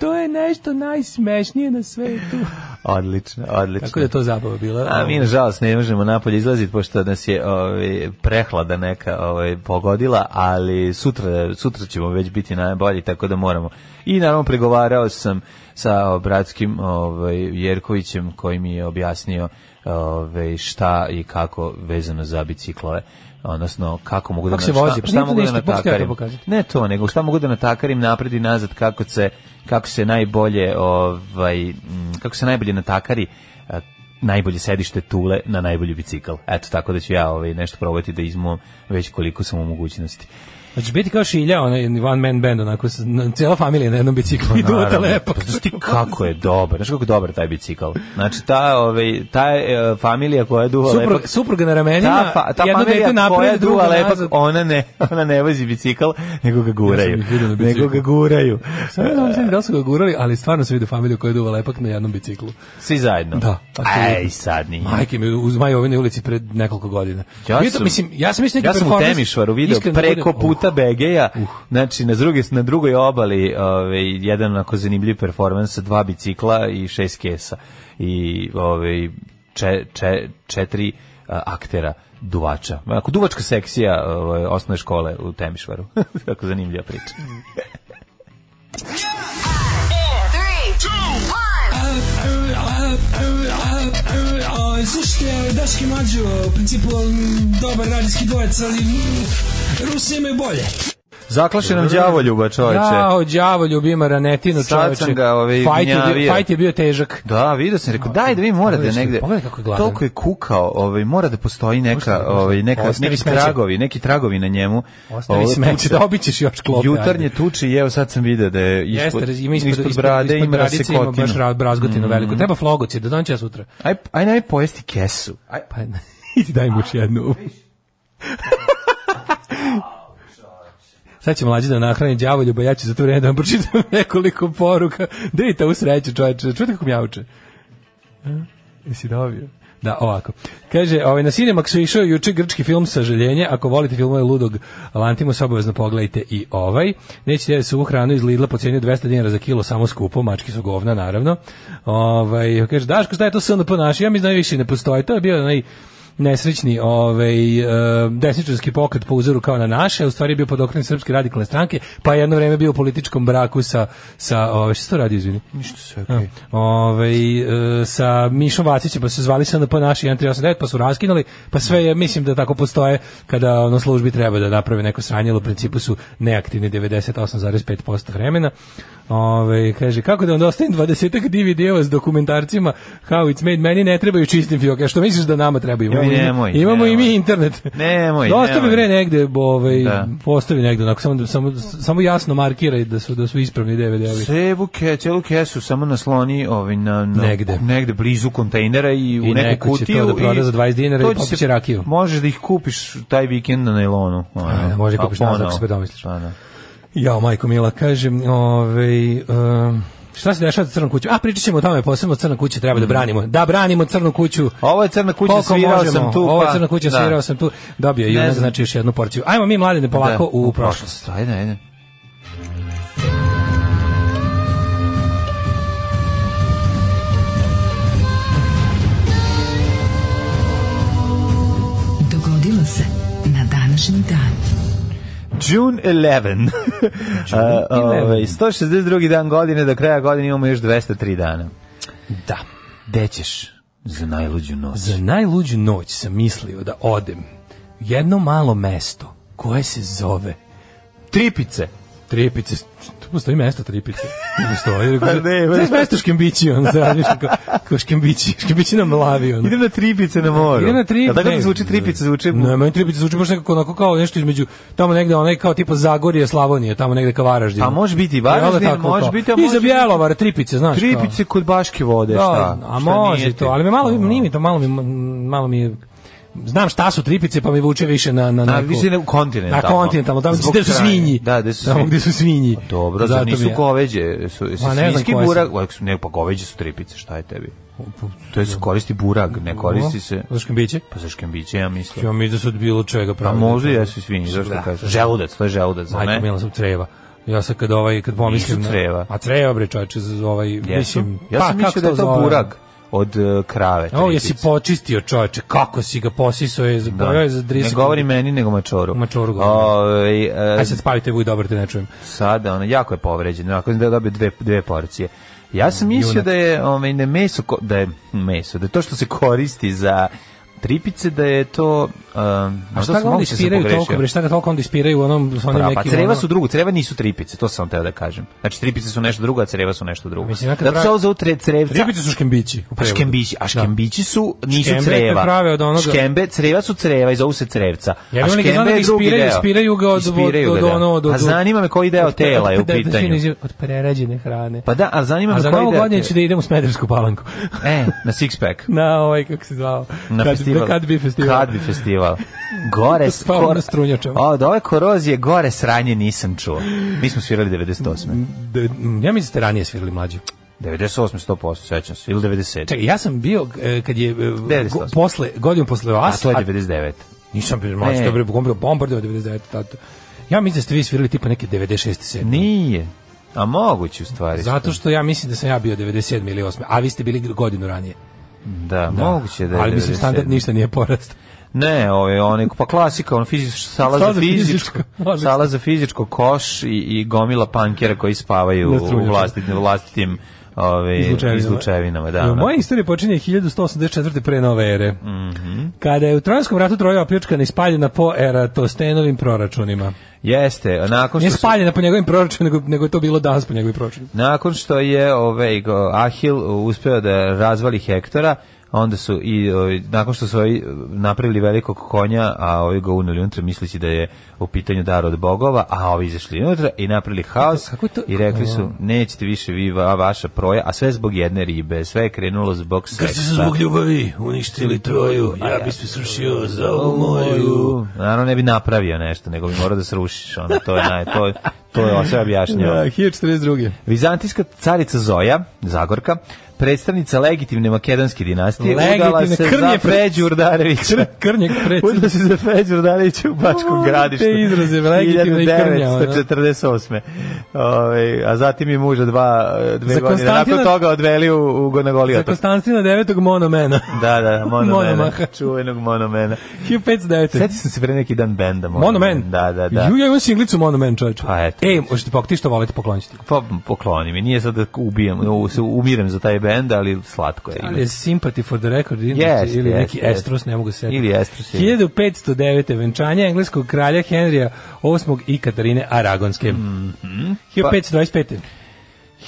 [SPEAKER 6] to je nešto najsmešnije na svetu.
[SPEAKER 7] Odlično, odlično.
[SPEAKER 6] Tako da je to zabava bila.
[SPEAKER 7] A mi nažalost ne možemo napolje izlaziti pošto nas je ovaj prehlada neka ovaj pogodila, ali sutra sutra ćemo već biti najbolji tako da moramo. I naravno pregovarao sam sa bratskim ovaj Jerkovićem koji mi je objasnio ovaj šta i kako vezano za biciklove odnosno kako mogu da
[SPEAKER 6] Kako se
[SPEAKER 7] na- šta-
[SPEAKER 6] vozi? Pa
[SPEAKER 7] šta
[SPEAKER 6] nije to
[SPEAKER 7] mogu da
[SPEAKER 6] ništa, pustite ja to
[SPEAKER 7] natakarim
[SPEAKER 6] pokazati.
[SPEAKER 7] ne to nego šta mogu da natakarim napred i nazad kako se kako se najbolje ovaj mm, kako se najbolje natakari eh, najbolje sedište tule na najbolji bicikl. Eto, tako da ću ja ovaj, nešto probati da izmom već koliko sam u mogućnosti.
[SPEAKER 6] Znači, biti kao šilja, onaj one man band, onako, s- na- cijela familija na jednom biciklu i duta
[SPEAKER 7] Naravno.
[SPEAKER 6] lepo.
[SPEAKER 7] Pa znaš ti kako je dobar, znaš kako je dobar taj bicikl. Znači, ta, ovaj, ta eh, familija koja je duva
[SPEAKER 6] Suprug,
[SPEAKER 7] lepak,
[SPEAKER 6] supruga na ramenima,
[SPEAKER 7] ta, fa, ta
[SPEAKER 6] jedno
[SPEAKER 7] familija
[SPEAKER 6] dete
[SPEAKER 7] koja
[SPEAKER 6] napred, drugo
[SPEAKER 7] duva lepak,
[SPEAKER 6] nazad.
[SPEAKER 7] ona ne, ona ne vozi bicikl, nego ga
[SPEAKER 6] Ja
[SPEAKER 7] guraju.
[SPEAKER 6] sam ih vidio na biciklu.
[SPEAKER 7] nego ga guraju.
[SPEAKER 6] Sve znam sve ono, da su ga gurali, ali stvarno se vidi familiju koja je duvala lepak na jednom biciklu.
[SPEAKER 7] Svi zajedno.
[SPEAKER 6] Da, apsolutno.
[SPEAKER 7] Ej, sad nije.
[SPEAKER 6] Majke mi uz Majovinoj ulici pred nekoliko godina.
[SPEAKER 7] Ja
[SPEAKER 6] Bio to-
[SPEAKER 7] sam-
[SPEAKER 6] mislim, ja sam mislio neki
[SPEAKER 7] Ja sam u
[SPEAKER 6] performans-
[SPEAKER 7] Temišvaru video
[SPEAKER 6] Iskreno, Uh. oh,
[SPEAKER 7] preko
[SPEAKER 6] budem-
[SPEAKER 7] puta Begeja, znači na, druge, na drugoj obali ovaj, jedan onako zanimljiv performans sa dva bicikla i šest kesa i ovaj, če, če, četiri a, aktera duvača. Ako duvačka seksija ovaj, osnovne škole u Temišvaru. Tako zanimljiva priča.
[SPEAKER 8] Slušajte, Daški Mađo, u principu m, dobar radijski dvojec, ali m, Rusi imaju bolje.
[SPEAKER 7] Zaklaše nam đavo ljuba, čoveče.
[SPEAKER 6] Jao, đavo ljubima ranetino
[SPEAKER 7] Sad
[SPEAKER 6] čoveče.
[SPEAKER 7] sam ga, ovaj,
[SPEAKER 6] Fajt je, bio-
[SPEAKER 7] gnjavio.
[SPEAKER 6] fajt je bio težak.
[SPEAKER 7] Da, vidio sam, rekao, daj da vi morate
[SPEAKER 6] Pogledaj,
[SPEAKER 7] negde.
[SPEAKER 6] pogledaj kako je gladan.
[SPEAKER 7] Toliko je kukao, ovaj, mora da postoji neka,
[SPEAKER 6] Ostavi,
[SPEAKER 7] ovaj, neka,
[SPEAKER 6] ostavi
[SPEAKER 7] neki
[SPEAKER 6] smeće.
[SPEAKER 7] tragovi, neki tragovi na njemu.
[SPEAKER 6] Ostavi
[SPEAKER 7] Ovo,
[SPEAKER 6] smeće,
[SPEAKER 7] tuča.
[SPEAKER 6] da obićeš još klope.
[SPEAKER 7] Jutarnje
[SPEAKER 6] ajde.
[SPEAKER 7] tuči i evo sad sam vidio da je ispod,
[SPEAKER 6] Jeste, ima ispod,
[SPEAKER 7] ispod brade, ima
[SPEAKER 6] bradice, ima baš
[SPEAKER 7] rasekotinu.
[SPEAKER 6] ra-
[SPEAKER 7] Mhm.
[SPEAKER 6] brazgotinu veliku. Treba flogoci, da donće ja sutra.
[SPEAKER 7] Aj, aj naj pojesti kesu. Aj,
[SPEAKER 6] Pa, idi daj mu još jednu. Sad će mlađi da nahrani đavolju, ja ću za to vreme da vam pročitam nekoliko poruka. Da vidite u sreću, čoveče. Čujete kako mjauče? Jesi dobio? Da, ovako. Kaže, ovaj, na Cinemax su išao juče grčki film Sažaljenje. Ako volite filmove Ludog Lantimos, obavezno pogledajte i ovaj. Nećete da se u hranu iz Lidla po cijeni od 200 dinara za kilo, samo skupo, mački su govna, naravno. Ovaj, kaže, Daško, šta je to SNP naši? Ja mi znam više ne postoji. To je bio onaj nesrećni ovaj, e, desničarski pokret po uzoru kao na naše, u stvari je bio pod okrenjem Srpske radikalne stranke, pa je jedno vreme bio u političkom braku sa, sa ovaj, šta se to radi, izvini?
[SPEAKER 7] Ništa sve,
[SPEAKER 6] Okay. Ove, e, sa Mišom Vacićem pa su se zvali SNP naši 1389 pa su raskinuli, pa sve je, mislim da tako postoje kada ono službi treba da naprave neko sranje, ali u principu su neaktivni 98,5% vremena. Ove, kaže, kako da onda ostavim 20 DVD-eva s dokumentarcima How It's Made, meni ne trebaju čistim fioke, što misliš da nama trebaju? Imamo,
[SPEAKER 7] Joj,
[SPEAKER 6] i-
[SPEAKER 7] nemoj,
[SPEAKER 6] imamo i mi
[SPEAKER 7] nemoj.
[SPEAKER 6] internet.
[SPEAKER 7] Nemoj,
[SPEAKER 6] Dostavi
[SPEAKER 7] nemoj.
[SPEAKER 6] bre negde, ovaj,
[SPEAKER 7] Da.
[SPEAKER 6] postavi negde, onako, samo, da- samo, samo jasno markiraj da su, da su ispravni DVD-evi.
[SPEAKER 7] Cebu ke, celu kesu samo nasloni ovaj, na, na,
[SPEAKER 6] Negde.
[SPEAKER 7] negde blizu kontejnera i u
[SPEAKER 6] I
[SPEAKER 7] neku
[SPEAKER 6] neko će
[SPEAKER 7] kutiju.
[SPEAKER 6] to da proda
[SPEAKER 7] i
[SPEAKER 6] za 20 dinara
[SPEAKER 7] to
[SPEAKER 6] i
[SPEAKER 7] će
[SPEAKER 6] popit
[SPEAKER 7] se-
[SPEAKER 6] će rakiju.
[SPEAKER 7] Možeš da ih kupiš taj vikend na nailonu. ono.
[SPEAKER 6] A, da, može
[SPEAKER 7] Pa
[SPEAKER 6] kupiš nazad ako
[SPEAKER 7] ponovo.
[SPEAKER 6] se predomisliš.
[SPEAKER 7] Pa da.
[SPEAKER 6] Ja, majko Mila, kažem, ovaj, um, šta se dešava sa crnom kućom? A, pričat ćemo o tome, posebno crna kuća treba da branimo. Da, branimo crnu kuću.
[SPEAKER 7] Ovo je crna kuća,
[SPEAKER 6] Koliko
[SPEAKER 7] Mm. svirao
[SPEAKER 6] možemo?
[SPEAKER 7] sam tu,
[SPEAKER 6] Ovo je
[SPEAKER 7] pa-
[SPEAKER 6] crna kuća,
[SPEAKER 7] da.
[SPEAKER 6] svirao sam tu. Dobio je
[SPEAKER 7] Ne
[SPEAKER 6] junak,
[SPEAKER 7] znam.
[SPEAKER 6] znači još jednu porciju. Ajmo mi, mladine, polako
[SPEAKER 7] Da,
[SPEAKER 6] u prošlost.
[SPEAKER 7] Ajde, ajde.
[SPEAKER 5] Dogodilo se na današnji dan.
[SPEAKER 7] June 11. A, ovaj, 162. dan godine, do kraja godine imamo još 203 dana.
[SPEAKER 6] Da.
[SPEAKER 7] Gde ćeš za najluđu noć?
[SPEAKER 6] Za najluđu noć sam mislio da odem u jedno malo mesto koje se zove
[SPEAKER 7] Tripice.
[SPEAKER 6] Tripice, tu postoji mesto Tripice. Tu postoji.
[SPEAKER 7] Pa ne,
[SPEAKER 6] Znaš
[SPEAKER 7] pa-
[SPEAKER 6] mesto Škembići, ono, on zradiš kao, kao Škembići, Škembići na Mlavi. Ono.
[SPEAKER 7] Idem na tripice na moru.
[SPEAKER 6] Idem na tri.
[SPEAKER 7] A tako
[SPEAKER 6] ne,
[SPEAKER 7] ti zvuči tripice, zvuči...
[SPEAKER 6] Ne, meni tripice zvuči baš nekako onako kao nešto između tamo negde onaj kao tipa Zagorje, Slavonije, tamo negde ka Varaždinu.
[SPEAKER 7] A Pa može biti i
[SPEAKER 6] Jel da
[SPEAKER 7] Varaždin,
[SPEAKER 6] tako
[SPEAKER 7] može
[SPEAKER 6] kao?
[SPEAKER 7] biti, a
[SPEAKER 6] I za
[SPEAKER 7] može biti-
[SPEAKER 6] Bjelovar tripice, znaš. kao.
[SPEAKER 7] Tripice kod Baške vode,
[SPEAKER 6] Da,
[SPEAKER 7] šta?
[SPEAKER 6] a
[SPEAKER 7] Šta
[SPEAKER 6] može
[SPEAKER 7] nije
[SPEAKER 6] to,
[SPEAKER 7] ti? Ono-
[SPEAKER 6] ali me malo nije mi to malo mi malo mi je- znam šta su tripice, pa mi vuče više na na
[SPEAKER 7] Na,
[SPEAKER 6] neku-
[SPEAKER 7] više na kontinentalno.
[SPEAKER 6] Na kontinentalno, tamo
[SPEAKER 7] Zbog
[SPEAKER 6] gde su
[SPEAKER 7] hrane.
[SPEAKER 6] svinji.
[SPEAKER 7] Da, gde su
[SPEAKER 6] Tamo
[SPEAKER 7] svinji. Pa
[SPEAKER 6] gde su svinji.
[SPEAKER 7] Dobro,
[SPEAKER 6] Zato
[SPEAKER 7] zar
[SPEAKER 6] mi
[SPEAKER 7] nisu
[SPEAKER 6] je-
[SPEAKER 7] goveđe? Su, su
[SPEAKER 6] Ma, ne znam
[SPEAKER 7] svinjski
[SPEAKER 6] koje su. Pa-
[SPEAKER 7] burag? Su. Ne, pa goveđe su tripice, šta je tebi? To je se koristi burag, ne koristi se...
[SPEAKER 6] Za škambiće?
[SPEAKER 7] Pa za škembiće, ja
[SPEAKER 6] Ja
[SPEAKER 7] mislim.
[SPEAKER 6] mi da su od bilo čega
[SPEAKER 7] A
[SPEAKER 6] pravi.
[SPEAKER 7] Pa možda i jesu i svinji, zašto da. kažeš? Želudac, to je želudac, za
[SPEAKER 6] Majko
[SPEAKER 7] ne?
[SPEAKER 6] Mila sam creva. Ja sad kad ovaj kad pomislim
[SPEAKER 7] Nisu creva.
[SPEAKER 6] A creva bre čoveče za ovaj
[SPEAKER 7] Jesu.
[SPEAKER 6] mislim.
[SPEAKER 7] Ja sam
[SPEAKER 6] kako
[SPEAKER 7] mislio da je to
[SPEAKER 6] zovem?
[SPEAKER 7] burag od e, krave.
[SPEAKER 6] O,
[SPEAKER 7] tripice.
[SPEAKER 6] jesi počistio čoveče, kako si ga posisao je za
[SPEAKER 7] Da.
[SPEAKER 6] da. za
[SPEAKER 7] Ne
[SPEAKER 6] dris.
[SPEAKER 7] govori meni, nego mačoru.
[SPEAKER 6] Mačoru govori.
[SPEAKER 7] Ovaj, e,
[SPEAKER 6] Aj sad spavite vi dobro te ne čujem.
[SPEAKER 7] sada, ono, jako je povređen, onako da je dobio dve, dve porcije. Ja sam mislio da je ovaj, ne meso, ko- da je meso, da je to što se koristi za tripice, da je to... Um,
[SPEAKER 6] A šta ga onda ispiraju toliko bre, šta ga toliko onda ispiraju u onom sa onim
[SPEAKER 7] Pa,
[SPEAKER 6] nekim.
[SPEAKER 7] pa creva
[SPEAKER 6] ono-
[SPEAKER 7] su drugo, creva nisu tripice, to sam teo da kažem. Znači tripice su nešto drugo, a creva su nešto drugo.
[SPEAKER 6] Mislim, ja kad
[SPEAKER 7] Zato se
[SPEAKER 6] pravi-
[SPEAKER 7] ovo zovu tre, crevca.
[SPEAKER 6] Tripice su škembići. u
[SPEAKER 7] Pa
[SPEAKER 6] prevodu.
[SPEAKER 7] škembići, a
[SPEAKER 6] Da.
[SPEAKER 7] škembići su, nisu
[SPEAKER 6] Škembe
[SPEAKER 7] creva.
[SPEAKER 6] koje prave od onoga-
[SPEAKER 7] Škembe, creva su creva i zovu se crevca.
[SPEAKER 6] Ja
[SPEAKER 7] a
[SPEAKER 6] bih
[SPEAKER 7] škembe
[SPEAKER 6] da
[SPEAKER 7] je drugi
[SPEAKER 6] ispiraju,
[SPEAKER 7] deo.
[SPEAKER 6] ispiraju ga od, od,
[SPEAKER 7] Ispiraju
[SPEAKER 6] od,
[SPEAKER 7] ga, da.
[SPEAKER 6] ono, od, od,
[SPEAKER 7] A zanima me koji deo
[SPEAKER 6] od-
[SPEAKER 7] tela je u
[SPEAKER 6] da, da,
[SPEAKER 7] pitanju.
[SPEAKER 6] da, Od prerađene hrane.
[SPEAKER 7] Pa da, ali zanima
[SPEAKER 6] A
[SPEAKER 7] me
[SPEAKER 6] za
[SPEAKER 7] koji
[SPEAKER 6] novu
[SPEAKER 7] deo
[SPEAKER 6] godinu
[SPEAKER 7] ti-
[SPEAKER 6] ću da idem u Smedersku palanku.
[SPEAKER 7] E, na six pack.
[SPEAKER 6] na ovaj, kako se zvao.
[SPEAKER 7] Na
[SPEAKER 6] kad,
[SPEAKER 7] festival.
[SPEAKER 6] Kad bi festival.
[SPEAKER 7] Kad bi festival. Gore s-
[SPEAKER 6] Spavam na strunjačama.
[SPEAKER 7] Od ove korozije gore sranje nisam čuo. Mi smo svirali 98.
[SPEAKER 6] Da, mm, ja mislim da ste ranije svirali mlađi.
[SPEAKER 7] 98 100%, sećam se, ili 97.
[SPEAKER 6] Čekaj, ja sam bio e, kad je e, go,
[SPEAKER 7] 98.
[SPEAKER 6] posle godinu posle
[SPEAKER 7] a
[SPEAKER 6] vas,
[SPEAKER 7] to je 99.
[SPEAKER 6] nisam bio mlađi,
[SPEAKER 7] Ne.
[SPEAKER 6] to je bio bombardovao 99 tad. Ja mislim da ste vi svirali tipa neke 96 7.
[SPEAKER 7] Nije. A moguće u stvari.
[SPEAKER 6] Zato što ja mislim da sam ja bio 97 ili 8, a vi ste bili godinu ranije.
[SPEAKER 7] Da, moguće da je
[SPEAKER 6] Ali mislim
[SPEAKER 7] 97.
[SPEAKER 6] standard ništa nije porastao.
[SPEAKER 7] Ne, ovaj oni pa klasika, on fizička sala
[SPEAKER 6] Sala za
[SPEAKER 7] za fizičko,
[SPEAKER 6] fizičko, ono odlično.
[SPEAKER 7] sala za fizičko koš i, i gomila pankera koji spavaju
[SPEAKER 6] Na
[SPEAKER 7] u
[SPEAKER 6] strunjaču.
[SPEAKER 7] vlastitim vlastitim ovaj
[SPEAKER 6] Izlučevinama.
[SPEAKER 7] izlučevinama, da. ono. onako.
[SPEAKER 6] Moja istorija počinje 1184. pre nove ere. Kada je u Trojanskom ratu Troja opljačkana i spaljena po Eratostenovim proračunima.
[SPEAKER 7] Jeste, nakon
[SPEAKER 6] Nije
[SPEAKER 7] što su,
[SPEAKER 6] spaljena po njegovim proračunima, nego, nego je to bilo danas po njegovim proračunima.
[SPEAKER 7] nakon što je ovaj go- Ahil uspeo da razvali Hektora, onda su i ovaj, nakon što su ovaj, napravili velikog konja, a ovi ga uneli unutra misleći da je u pitanju dar od bogova, a ovi izašli unutra i napravili haos
[SPEAKER 6] Kako je to-
[SPEAKER 7] i rekli su nećete više vi va- vaša proja, a sve zbog jedne ribe, sve je krenulo zbog seksa.
[SPEAKER 6] ljubavi uništili Troju, ja bi se srušio za ovu
[SPEAKER 7] Naravno ne bi napravio nešto, nego bi morao da srušiš, ono, to je, naj, to, to je sve objašnjava.
[SPEAKER 6] 1042.
[SPEAKER 7] Vizantijska carica Zoja, Zagorka, predstavnica legitimne makedonske dinastije
[SPEAKER 6] Legitimne,
[SPEAKER 7] udala se za
[SPEAKER 6] krnje pre-
[SPEAKER 7] Feđu Urdarevića.
[SPEAKER 6] Krnjeg predsjednika.
[SPEAKER 7] Udala se za Feđu Urdarevića u Bačkom
[SPEAKER 6] O,
[SPEAKER 7] gradištu.
[SPEAKER 6] te izraze, legitimne i ono. krnjava, da.
[SPEAKER 7] 1948. Ove, Ovaj, a zatim je muža dva, dve
[SPEAKER 6] Za
[SPEAKER 7] godine.
[SPEAKER 6] Konstantina-
[SPEAKER 7] Nakon toga odveli u, u Gonagolija.
[SPEAKER 6] Za Konstantina devetog monomena.
[SPEAKER 7] Da, da, monomena.
[SPEAKER 6] Monomaha.
[SPEAKER 7] Čuvenog monomena.
[SPEAKER 6] 1509.
[SPEAKER 7] Sjetio sam se pre neki dan benda.
[SPEAKER 6] Monomen.
[SPEAKER 7] Da, da, da.
[SPEAKER 6] Ju, ja imam singlicu Monomen, čovječe.
[SPEAKER 7] Pa eto.
[SPEAKER 6] Ej, možete pa, ti što volite pokloniti.
[SPEAKER 7] Pa pokloni mi, nije sad da ubijam, u- se umirem za taj bend, ali slatko je.
[SPEAKER 6] Ali je Sympathy for the Record ili-
[SPEAKER 7] Jeste,
[SPEAKER 6] ili neki
[SPEAKER 7] jeste, jeste.
[SPEAKER 6] Estros, ne mogu se setiti.
[SPEAKER 7] Ili Estros, je.
[SPEAKER 6] 1509. venčanje engleskog kralja Henrija VIII i Katarine Aragonske.
[SPEAKER 7] Mhm.
[SPEAKER 6] 1525.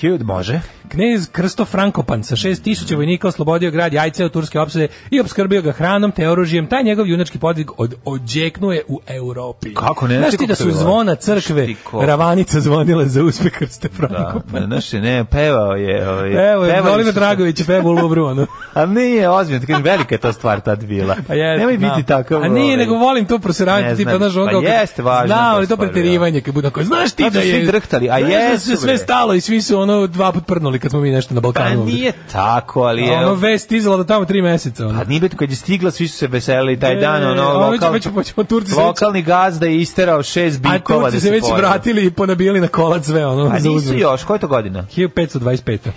[SPEAKER 7] Hugh može.
[SPEAKER 6] Knez Krsto Frankopan sa 6000 vojnika oslobodio grad Jajce od turske opsade i obskrbio ga hranom te oružjem. Taj njegov junački podvig od, odjeknuje u Europi.
[SPEAKER 7] Kako ne?
[SPEAKER 6] Znaš
[SPEAKER 7] Znaš
[SPEAKER 6] ti da
[SPEAKER 7] kako
[SPEAKER 6] su
[SPEAKER 7] to je bilo?
[SPEAKER 6] zvona crkve,
[SPEAKER 7] Šti ko?
[SPEAKER 6] ravanica zvonile za uspeh Krste
[SPEAKER 7] Da,
[SPEAKER 6] Frankopana.
[SPEAKER 7] znaš, ne, pevao je. Ovaj,
[SPEAKER 6] pa- Evo je,
[SPEAKER 7] pevali
[SPEAKER 6] Oliver
[SPEAKER 7] su-
[SPEAKER 6] Dragović je pevao u Lovronu.
[SPEAKER 7] A nije, ozbiljno, tako velika je to stvar tad bila.
[SPEAKER 6] Pa jeste,
[SPEAKER 7] Nemoj
[SPEAKER 6] znam.
[SPEAKER 7] biti takav.
[SPEAKER 6] A nije,
[SPEAKER 7] ovaj,
[SPEAKER 6] nego volim to proseravanje,
[SPEAKER 7] Ne
[SPEAKER 6] tipa,
[SPEAKER 7] znam.
[SPEAKER 6] znaš, ono
[SPEAKER 7] Pa
[SPEAKER 6] kao kad-
[SPEAKER 7] jeste važno
[SPEAKER 6] Znao,
[SPEAKER 7] to
[SPEAKER 6] ali to
[SPEAKER 7] stvar,
[SPEAKER 6] preterivanje, kad budu onako, znaš ti
[SPEAKER 7] Tad su
[SPEAKER 6] da je...
[SPEAKER 7] svi drhtali, a
[SPEAKER 6] znaš da
[SPEAKER 7] jesu,
[SPEAKER 6] se sve
[SPEAKER 7] bre.
[SPEAKER 6] stalo i svi su ono dva put prnuli kad smo mi nešto na
[SPEAKER 7] Pa
[SPEAKER 6] Balkanu. ovde.
[SPEAKER 7] nije tako, ali
[SPEAKER 6] A
[SPEAKER 7] je...
[SPEAKER 6] Ono vest izala da tamo tri meseca. Ono.
[SPEAKER 7] Pa nije biti, kad je stigla, svi su se veselili taj
[SPEAKER 6] E,
[SPEAKER 7] dan, ono,
[SPEAKER 6] a već-
[SPEAKER 7] lokal,
[SPEAKER 6] već- već- već- Turci se već-
[SPEAKER 7] lokalni gazda je isterao šest
[SPEAKER 6] A
[SPEAKER 7] bikova
[SPEAKER 6] Turci
[SPEAKER 7] da
[SPEAKER 6] se već
[SPEAKER 7] pojede.
[SPEAKER 6] vratili i ponabijali na kolac sve, ono,
[SPEAKER 7] A
[SPEAKER 6] za
[SPEAKER 7] Pa nisu
[SPEAKER 6] uzvrat.
[SPEAKER 7] još, koja je to godina?
[SPEAKER 6] 1525.
[SPEAKER 7] E,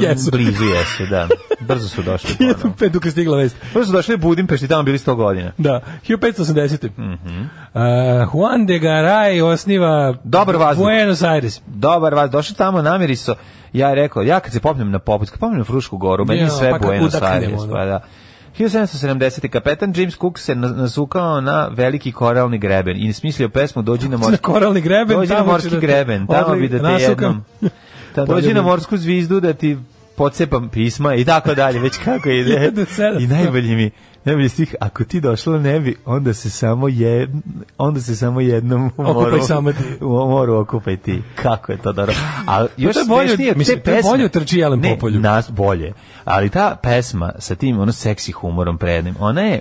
[SPEAKER 6] Jesu.
[SPEAKER 7] Blizu jesu, da. Brzo su došli. ponovo.
[SPEAKER 6] 1525, dok je stigla vest.
[SPEAKER 7] Prvo su došli u Budimpešti, tamo bili 100 godina.
[SPEAKER 6] Da, 1580.
[SPEAKER 7] Mhm.
[SPEAKER 6] Mm Eh, Juan de Garay osniva
[SPEAKER 7] Dobar vazduh.
[SPEAKER 6] Buenos Aires.
[SPEAKER 7] Dobar vas, došli tamo, namiriso. Ja je rekao, ja kad se popnem na poput, kad popnem na Frušku goru, meni
[SPEAKER 6] Ja,
[SPEAKER 7] je sve
[SPEAKER 6] pa kako
[SPEAKER 7] Buenos
[SPEAKER 6] udaknemo,
[SPEAKER 7] Aires.
[SPEAKER 6] ono.
[SPEAKER 7] Pa da. 1770. kapetan James Cook se na- nasukao na veliki koralni greben i smislio pesmu Dođi
[SPEAKER 6] Na
[SPEAKER 7] na morski,
[SPEAKER 6] koralni greben.
[SPEAKER 7] dođi na
[SPEAKER 6] tamo
[SPEAKER 7] morski
[SPEAKER 6] će da te-
[SPEAKER 7] greben, tamo
[SPEAKER 6] Odli-
[SPEAKER 7] bi da te
[SPEAKER 6] nasukam.
[SPEAKER 7] jednom... Ta, dođi
[SPEAKER 6] Poljubi.
[SPEAKER 7] na morsku zvizdu da ti pocepam pisma i tako dalje, već kako ide.
[SPEAKER 6] 1700.
[SPEAKER 7] I najbolji mi, najbolji stih, ako ti došla ne bi, onda se samo jed, onda se samo jednom u
[SPEAKER 6] Okupaj
[SPEAKER 7] moru,
[SPEAKER 6] sama ti. Pa
[SPEAKER 7] u moru okupaj ti. Kako je to dobro. A još
[SPEAKER 6] to je bolje od-
[SPEAKER 7] smešnije, te
[SPEAKER 6] mislim, to je
[SPEAKER 7] pesme-
[SPEAKER 6] bolje od Trči Jelen
[SPEAKER 7] Ne,
[SPEAKER 6] Popolju.
[SPEAKER 7] nas bolje. Ali ta pesma sa tim ono seksi humorom prednim, ona je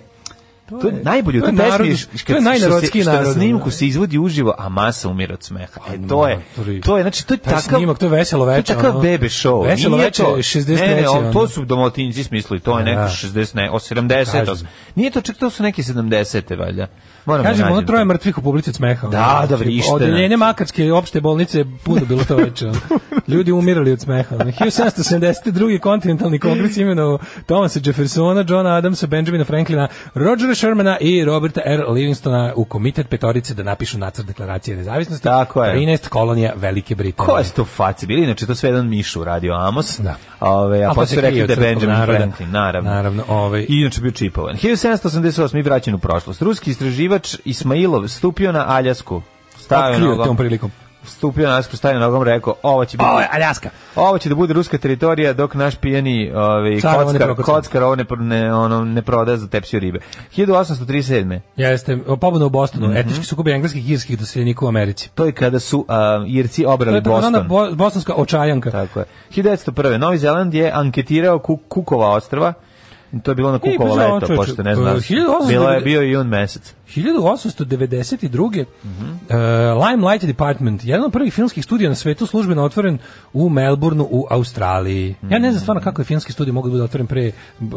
[SPEAKER 7] To je najbolje, u
[SPEAKER 6] to je
[SPEAKER 7] toj pesmi je
[SPEAKER 6] narod-
[SPEAKER 7] š-
[SPEAKER 6] to je
[SPEAKER 7] kad- što, se,
[SPEAKER 6] najnarodskiji
[SPEAKER 7] što na
[SPEAKER 6] narod, ono.
[SPEAKER 7] snimku
[SPEAKER 6] da.
[SPEAKER 7] se izvodi uživo, a masa umira od smeha. E, to je,
[SPEAKER 6] maturi.
[SPEAKER 7] to je, znači, to je
[SPEAKER 6] Taj
[SPEAKER 7] takav,
[SPEAKER 6] snimak, to je veselo veče,
[SPEAKER 7] To je takav
[SPEAKER 6] ono.
[SPEAKER 7] bebe show.
[SPEAKER 6] Veselo
[SPEAKER 7] Nije
[SPEAKER 6] veče
[SPEAKER 7] to-
[SPEAKER 6] 63,
[SPEAKER 7] Ne, ne, on,
[SPEAKER 6] ono.
[SPEAKER 7] to su domotinci smislili, to je neko
[SPEAKER 6] Da.
[SPEAKER 7] 60, ne, o 70.
[SPEAKER 6] Kažem.
[SPEAKER 7] Nije to čak, to su neke 70. valjda. Moram
[SPEAKER 6] Kažem,
[SPEAKER 7] da
[SPEAKER 6] ono
[SPEAKER 7] Pa nađem
[SPEAKER 6] troje
[SPEAKER 7] to.
[SPEAKER 6] mrtvih u publici od smeha. ono.
[SPEAKER 7] Da, da,
[SPEAKER 6] Znači,
[SPEAKER 7] vrištena.
[SPEAKER 6] Odeljenje Makarske opšte bolnice je puno bilo to veče. ono. Ljudi umirali od smeha. ono. 1770. drugi kontinentalni kongres imenovao Thomasa Jeffersona, Johna Adamsa, Benjamina Franklina, Rodgera Shermana i Roberta R. Livingstona u komitet petorice da napišu nacrt deklaracije nezavisnosti.
[SPEAKER 7] Tako je.
[SPEAKER 6] 13 kolonija Velike Britanije.
[SPEAKER 7] Ko je to faci bili? Inače, to sve jedan Mišu radio Amos.
[SPEAKER 6] Da.
[SPEAKER 7] Ove, a
[SPEAKER 6] pa
[SPEAKER 7] pa
[SPEAKER 6] se
[SPEAKER 7] su
[SPEAKER 6] krije
[SPEAKER 7] rekli
[SPEAKER 6] od
[SPEAKER 7] da je
[SPEAKER 6] srpskog
[SPEAKER 7] Benjamin
[SPEAKER 6] naroda.
[SPEAKER 7] Franklin, naravno.
[SPEAKER 6] Naravno, ovaj-
[SPEAKER 7] I inače bio čipovan. 1788. i vraćen u prošlost. Ruski istraživač Ismailov stupio na Aljasku. Stavio
[SPEAKER 6] Otkrio tom
[SPEAKER 7] nogom,
[SPEAKER 6] prilikom.
[SPEAKER 7] stupio na Aljasku, stavio nogom, rekao, ovo će biti...
[SPEAKER 6] Ovo je Aljaska.
[SPEAKER 7] Ovo će da bude ruska teritorija dok naš pijeni ovaj
[SPEAKER 6] Car ovo ne
[SPEAKER 7] kockar,
[SPEAKER 6] prokoca.
[SPEAKER 7] kockar ovo ne, pro- ne, ono, ne proda za tepsiju ribe. 1837.
[SPEAKER 6] Jeste, pobuna u Bostonu,
[SPEAKER 7] Mhm.
[SPEAKER 6] etnički sukob engleskih i irskih doseljenika u Americi.
[SPEAKER 7] To je kada su a, Irci
[SPEAKER 6] To
[SPEAKER 7] obrali
[SPEAKER 6] je takozvana
[SPEAKER 7] Boston.
[SPEAKER 6] bo, bosanska očajanka.
[SPEAKER 7] Tako je. 1901. Novi Zeland je anketirao Kuk- Kukova ostrva. To je bilo na Kukovo
[SPEAKER 6] pazi, ovo,
[SPEAKER 7] leto,
[SPEAKER 6] čoveče,
[SPEAKER 7] pošto ne znam.
[SPEAKER 6] e, 1890
[SPEAKER 7] Bilo je bio i jun mesec.
[SPEAKER 6] 1892. e, Limelight Department, jedan od prvih filmskih studija na svetu službeno otvoren u Melbourneu u Australiji. Ja ne
[SPEAKER 7] Mm.
[SPEAKER 6] znam stvarno kako je filmski studij mogao da bude otvoren pre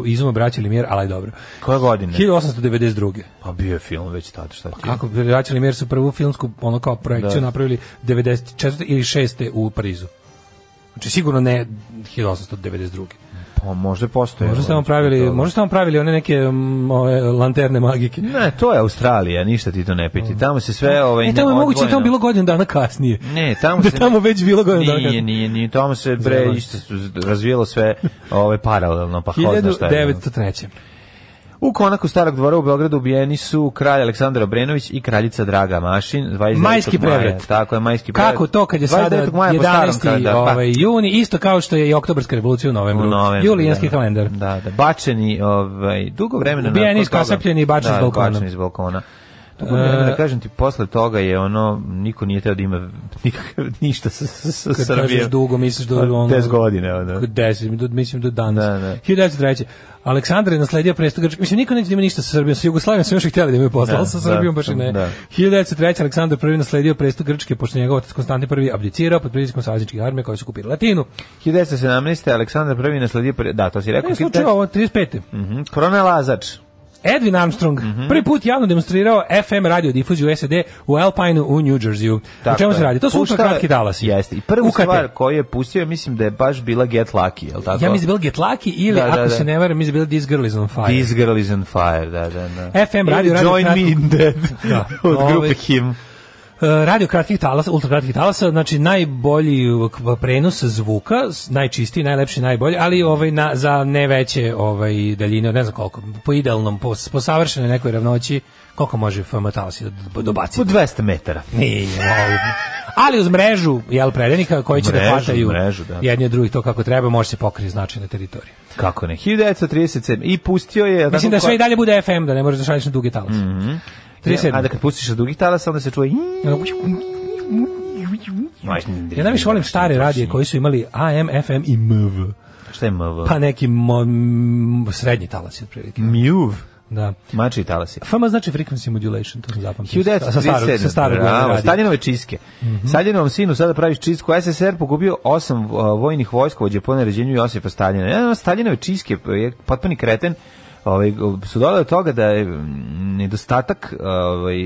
[SPEAKER 6] izuma braća Limir, ali dobro.
[SPEAKER 7] Koje godine?
[SPEAKER 6] 1892.
[SPEAKER 7] Pa bio je film već tada, šta ti?
[SPEAKER 6] Kako bi braća Limir su prvu filmsku ono kao projekciju
[SPEAKER 7] Da.
[SPEAKER 6] napravili 94. ili 6. u Parizu. Znači sigurno ne 1892.
[SPEAKER 7] Pa možda postoje.
[SPEAKER 6] Možda ste vam pravili, možda ste vam pravili one neke mm, ove, lanterne magike.
[SPEAKER 7] Ne, to je Australija, ništa ti to ne piti. Tamo se sve ovaj
[SPEAKER 6] E, tamo je
[SPEAKER 7] ne-
[SPEAKER 6] moguće da je tamo
[SPEAKER 7] odvojeno.
[SPEAKER 6] bilo godinu dana kasnije.
[SPEAKER 7] Ne, tamo
[SPEAKER 6] da
[SPEAKER 7] se...
[SPEAKER 6] tamo već bilo godinu dana
[SPEAKER 7] Nije,
[SPEAKER 6] kasnije.
[SPEAKER 7] nije, nije, tamo se bre
[SPEAKER 6] Zajebano.
[SPEAKER 7] isto su razvijelo sve ove paralelno, pa ko zna šta je.
[SPEAKER 6] 1903.
[SPEAKER 7] U konaku starog dvora u Beogradu ubijeni su kralj Aleksandar Obrenović i kraljica Draga Mašin 29.
[SPEAKER 6] Majski
[SPEAKER 7] maja.
[SPEAKER 6] prevrat.
[SPEAKER 7] Tako je, majski prevrat.
[SPEAKER 6] Kako to kad je sada
[SPEAKER 7] 29. maja po starom
[SPEAKER 6] 11.
[SPEAKER 7] kalendaru, pa,
[SPEAKER 6] ovaj, juni, isto kao što je i oktobarska revolucija u novembru.
[SPEAKER 7] u novembru,
[SPEAKER 6] Julijanski
[SPEAKER 7] da.
[SPEAKER 6] kalendar.
[SPEAKER 7] Da, da, bačeni, ovaj, dugo vremena
[SPEAKER 6] Ubijeni,
[SPEAKER 7] nakon toga.
[SPEAKER 6] iskasapljeni i bačeni
[SPEAKER 7] da,
[SPEAKER 6] s balkona. E,
[SPEAKER 7] bačeni s balkona. Tako da moram da kažem ti, posle toga je ono, niko nije teo da ima nikakav, ništa sa, sa, sa
[SPEAKER 6] Kad
[SPEAKER 7] Srbijom.
[SPEAKER 6] kažeš dugo, misliš da ono...
[SPEAKER 7] 10 godina, Pa, ono.
[SPEAKER 6] 10, do, mislim do danas.
[SPEAKER 7] Da, da.
[SPEAKER 6] 1903. Aleksandar je nasledio presto Grčke. Mislim, niko neće da ima ništa sa Srbijom. Sa Jugoslavijom su još i htjeli da imaju posla,
[SPEAKER 7] Da,
[SPEAKER 6] ali sa
[SPEAKER 7] da,
[SPEAKER 6] Srbijom baš i ne.
[SPEAKER 7] da.
[SPEAKER 6] 1903. Aleksandar I nasledio presto Grčke, pošto je njegov otac Konstantin I abdicirao pod pritiskom savezničkih armija koje su kupili Latinu.
[SPEAKER 7] 1917. Aleksandar I nasledio... Pre... Da, to si rekao.
[SPEAKER 6] Ne E, slučaj ovo, 35.
[SPEAKER 7] Mhm, Pronalazač.
[SPEAKER 6] Edwin Armstrong
[SPEAKER 7] Mhm.
[SPEAKER 6] prvi put javno demonstrirao FM radio difuziju u SAD u Alpineu u New Jerseyu. o čemu
[SPEAKER 7] je.
[SPEAKER 6] se radi? To su
[SPEAKER 7] Puštao je-
[SPEAKER 6] ultrakratki talasi.
[SPEAKER 7] Jeste. I prvu
[SPEAKER 6] Ukate.
[SPEAKER 7] stvar koju je pustio, ja mislim da je baš bila Get Lucky, je li tako?
[SPEAKER 6] Ja mislim da je Get Lucky ili,
[SPEAKER 7] Da, da,
[SPEAKER 6] ako
[SPEAKER 7] da.
[SPEAKER 6] se ne varam, mislim da Pa je bila This Girl is on fire.
[SPEAKER 7] This Girl is on Fire, da, da, da.
[SPEAKER 6] FM
[SPEAKER 7] Ili
[SPEAKER 6] radio, radio
[SPEAKER 7] Join
[SPEAKER 6] kratkog-
[SPEAKER 7] me in dead
[SPEAKER 6] Da.
[SPEAKER 7] od grupe
[SPEAKER 6] Ovaj-
[SPEAKER 7] Him.
[SPEAKER 6] E, radio kratkih talasa, ultrakratkih talasa, znači najbolji k- prenos zvuka, s- najčistiji, najlepši, najbolji, ali ovaj na, za ne veće ovaj daljine, od ne znam koliko, po idealnom, po, po savršenoj nekoj ravnoći, koliko može FM talasi do- dobaciti?
[SPEAKER 7] Po 200 metara.
[SPEAKER 6] Nije, wow. Ali uz mrežu, jel, predenika koji će da
[SPEAKER 7] Mrežu,
[SPEAKER 6] hvataju
[SPEAKER 7] mrežu, da.
[SPEAKER 6] jedni od drugih to kako treba, može se pokriti znači značajna teritorija.
[SPEAKER 7] Kako ne? 1937. I pustio je...
[SPEAKER 6] Mislim da
[SPEAKER 7] tako,
[SPEAKER 6] sve i dalje bude FM, da ne možeš da šalješ na duge talase.
[SPEAKER 7] Mhm. A
[SPEAKER 6] 37.
[SPEAKER 7] da kad pustiš od dugih talasa, onda se čuje...
[SPEAKER 6] Ja najviše volim stare radije koji su imali AM, FM i MV.
[SPEAKER 7] Šta je MV?
[SPEAKER 6] Pa neki mo, m, srednji talas je otprilike.
[SPEAKER 7] Mm. Mjuv.
[SPEAKER 6] Da.
[SPEAKER 7] Mači talasi.
[SPEAKER 6] FM znači frequency modulation, to sam zapamtio. Sa starog,
[SPEAKER 7] 1937.
[SPEAKER 6] sa starog Mhm.
[SPEAKER 7] Bravo,
[SPEAKER 6] radija.
[SPEAKER 7] Staljinove čiske. Mm Staljinovom sinu sada praviš čistku. SSR pokupio osam uh, vojnih vojskovođa po naređenju Josipa Staljina. Jedan od Staljinove čiske je potpuni kreten ovaj, su dole do toga da je mm, nedostatak ovaj,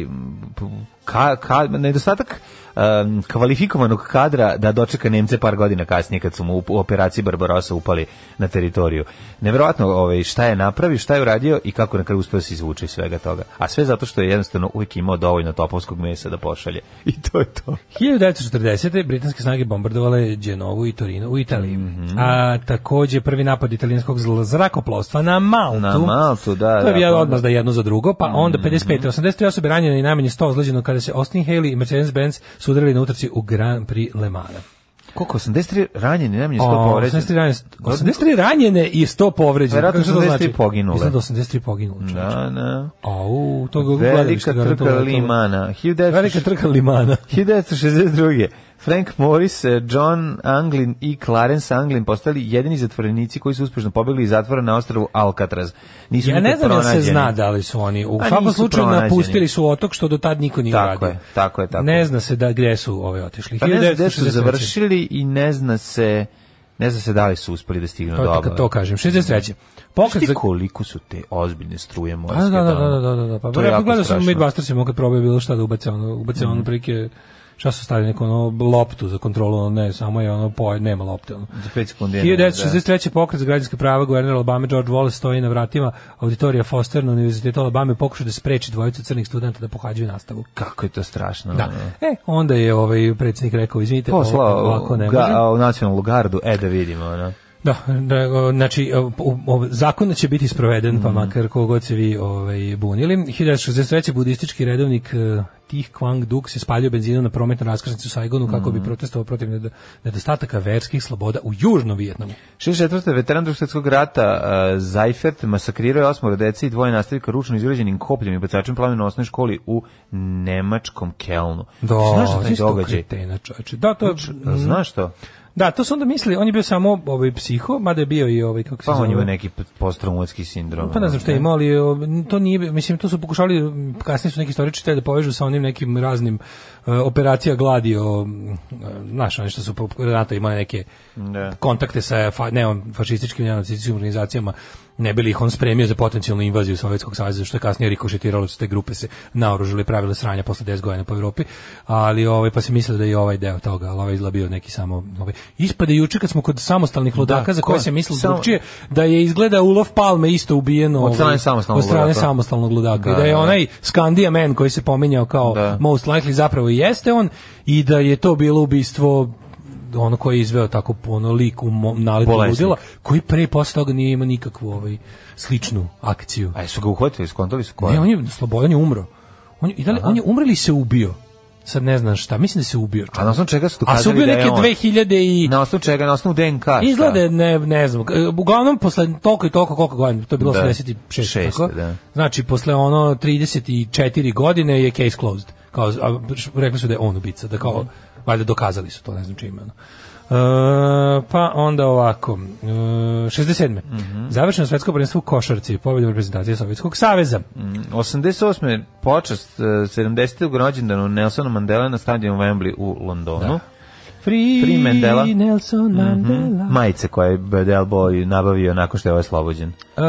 [SPEAKER 7] ka, ka, nedostatak um, kvalifikovanog kadra da dočeka Nemce par godina kasnije kad su mu u, u operaciji Barbarosa upali na teritoriju. Neverovatno ovaj, šta je napravio, šta je uradio i kako na kraju uspio da se izvuče iz svega toga. A sve zato što je jednostavno uvijek imao dovoljno topovskog mesa da pošalje. I to je to.
[SPEAKER 6] 1940. britanske snage bombardovale Genovu i Torino u Italiji.
[SPEAKER 7] Mhm.
[SPEAKER 6] A takođe prvi napad italijanskog zl- zrakoplovstva na Maltu.
[SPEAKER 7] Na Maltu, da,
[SPEAKER 6] To je
[SPEAKER 7] da,
[SPEAKER 6] bio
[SPEAKER 7] pa Mhm.
[SPEAKER 6] odmaz da jedno za drugo, pa onda 55. 83 osobe ranjene i najmanje 100 ozleđeno kada se Austin Haley i Mercedes-Benz sudarili na utrci u Grand Prix Le Mans.
[SPEAKER 7] Koliko? 83 ranjeni, najmanje 100
[SPEAKER 6] O,
[SPEAKER 7] povređeni.
[SPEAKER 6] 83 ranjene, 83 ranjene i 100 povređene.
[SPEAKER 7] Verovatno
[SPEAKER 6] Kako što to
[SPEAKER 7] 83
[SPEAKER 6] znači?
[SPEAKER 7] poginule.
[SPEAKER 6] Mislim da 83 poginule. čoveče.
[SPEAKER 7] Da, da.
[SPEAKER 6] Au, to ga
[SPEAKER 7] Velika trka Limana. 1960
[SPEAKER 6] Velika trka Limana.
[SPEAKER 7] 1962. Frank Morris, eh, John Anglin i Clarence Anglin postali jedini zatvorenici koji su uspješno pobjegli iz zatvora na ostrvu Alcatraz. Nisu
[SPEAKER 6] Ja ne
[SPEAKER 7] nikad
[SPEAKER 6] znam da se
[SPEAKER 7] pronađeni.
[SPEAKER 6] zna da li su oni. U
[SPEAKER 7] A
[SPEAKER 6] svakom
[SPEAKER 7] nisu
[SPEAKER 6] slučaju
[SPEAKER 7] pronađeni.
[SPEAKER 6] napustili su otok što do tad niko nije
[SPEAKER 7] Tako
[SPEAKER 6] uradio.
[SPEAKER 7] je, tako je, tako
[SPEAKER 6] Ne
[SPEAKER 7] je.
[SPEAKER 6] zna se da gdje su ove otišli.
[SPEAKER 7] Pa ne znam gde su
[SPEAKER 6] 1963.
[SPEAKER 7] završili i ne zna se ne zna se da li su uspeli da
[SPEAKER 6] To,
[SPEAKER 7] stignu do
[SPEAKER 6] je to,
[SPEAKER 7] obale.
[SPEAKER 6] to kažem. 63. Pokret za
[SPEAKER 7] Šti koliko su te ozbiljne struje morske.
[SPEAKER 6] A, da, da,
[SPEAKER 7] tamo?
[SPEAKER 6] da, da, da, da. Pa,
[SPEAKER 7] To
[SPEAKER 6] to
[SPEAKER 7] je jako
[SPEAKER 6] gledao sam
[SPEAKER 7] strašno. Mhm.
[SPEAKER 6] Midbusters mogu probaju bilo šta da ubace ono, ubace ono prike šta su stavili neku ono loptu za kontrolu, ono ne, samo je ono poje, nema lopte. Ono.
[SPEAKER 7] Za pet sekundi je nema, da.
[SPEAKER 6] 1963. pokret za građanske prava guverner Alabama George Wallace stoji na vratima auditorija Foster na Univerzitetu Alabama i pokuša da spreči dvojicu crnih studenta da pohađaju nastavu.
[SPEAKER 7] Kako je to strašno.
[SPEAKER 6] Da.
[SPEAKER 7] ono.
[SPEAKER 6] E, onda je ovaj predsjednik rekao, izvinite,
[SPEAKER 7] Poslao
[SPEAKER 6] ovo- ovako ne
[SPEAKER 7] ga
[SPEAKER 6] može.
[SPEAKER 7] a, u nacionalnu gardu, e da vidimo. Ono.
[SPEAKER 6] Da, da, znači, o- o- zakon će biti sproveden,
[SPEAKER 7] Mhm.
[SPEAKER 6] pa makar kogod se vi ovaj, bunili. 1963. budistički redovnik eh, Tih Kwang Duk se spalio benzinom na prometnu raskrsnicu u Saigonu kako
[SPEAKER 7] Mhm.
[SPEAKER 6] bi protestovao protiv ned- nedostataka verskih sloboda u Južnom Vijetnamu.
[SPEAKER 7] 64. veteran drugog svjetskog rata uh, Zajfert masakrirao je osmoro dece i dvoje nastavnika ručno izgrađenim kopljem i bacačem plamena u osnovnoj školi u nemačkom Kelnu. Ti znaš za taj
[SPEAKER 6] isto
[SPEAKER 7] ovaj događaj? Znači-
[SPEAKER 6] kretena, čoveče. Da, to,
[SPEAKER 7] A Znaš to?
[SPEAKER 6] da, to su onda mislili, on je bio samo ovaj, psiho, mada je bio i ovaj, kako se
[SPEAKER 7] Pa on ima
[SPEAKER 6] zove,
[SPEAKER 7] neki postraumatski sindrom.
[SPEAKER 6] Pa ne znam šta je imao, ali o, to nije, bi- mislim, to su pokušali, m, kasnije su neki istoričari da povežu sa onim nekim raznim e, operacija gladi, o, m, e, znaš, oni što su po- NATO imali neke
[SPEAKER 7] Da.
[SPEAKER 6] kontakte sa fa, neofašističkim i neonacističkim organizacijama, ne bi li ih on spremio za potencijalnu invaziju Sovjetskog saveza, što je kasnije rikošetiralo, da su te grupe se naoružile i pravile sranja posle 10 godina po Evropi, ali ovaj, pa se mislili da je i ovaj deo toga, ali ovaj izgleda bio neki samo... Ovaj. Ispade juče kad smo kod samostalnih ludaka za koje
[SPEAKER 7] ko-
[SPEAKER 6] se mislilo
[SPEAKER 7] samo-
[SPEAKER 6] drugčije, da je izgleda Ulof Palme isto ubijen
[SPEAKER 7] Od strane
[SPEAKER 6] ovaj,
[SPEAKER 7] samostalnog
[SPEAKER 6] od strane
[SPEAKER 7] ludaka.
[SPEAKER 6] samostalnog ludaka.
[SPEAKER 7] Da,
[SPEAKER 6] I da je
[SPEAKER 7] da.
[SPEAKER 6] onaj Skandia man koji se pominjao kao
[SPEAKER 7] Da.
[SPEAKER 6] most likely zapravo i jeste on i da je to bilo ubistvo ono koji je izveo tako ono lik u mo- naletu
[SPEAKER 7] Bolesnik.
[SPEAKER 6] ludila, koji pre i posle toga nije imao nikakvu ovaj, sličnu akciju.
[SPEAKER 7] Pa A jesu ga uhvatili, skontali su koja?
[SPEAKER 6] Ne, on je slobodan je umro. On je, i da li- on je umrli se ubio. sad ne znam šta, mislim da se ubio čovjek.
[SPEAKER 7] A na osnovu čega su
[SPEAKER 6] A se
[SPEAKER 7] dokazali
[SPEAKER 6] ubio
[SPEAKER 7] da je
[SPEAKER 6] neke
[SPEAKER 7] on?
[SPEAKER 6] 2000 i...
[SPEAKER 7] Na osnovu čega? Na osnovu DNK? šta?
[SPEAKER 6] Izgleda, ne, ne znam, e, uglavnom posle toliko i toliko, koliko godina, to je bilo
[SPEAKER 7] Da.
[SPEAKER 6] 86, tako?
[SPEAKER 7] Šeste, da.
[SPEAKER 6] Znači, posle ono 34 godine je case closed. Kao, a, š- rekli su da je on ubica, da kao, valjda dokazali su to, ne znam čime. Ono. E, pa onda ovako, e, 67.
[SPEAKER 7] Mhm.
[SPEAKER 6] Završeno svetsko prvenstvo u košarci, pobedom reprezentacije Sovjetskog saveza.
[SPEAKER 7] Mhm. 88. Mm, počast eh, 70. rođendanu Nelsona Mandela na stadionu Wembley u Londonu.
[SPEAKER 6] Free,
[SPEAKER 7] Free Mandela. Mhm.
[SPEAKER 6] Nelson Mandela.
[SPEAKER 7] Majice koje je Del Boy nabavio nakon što je ovaj slobođen.
[SPEAKER 6] Uh,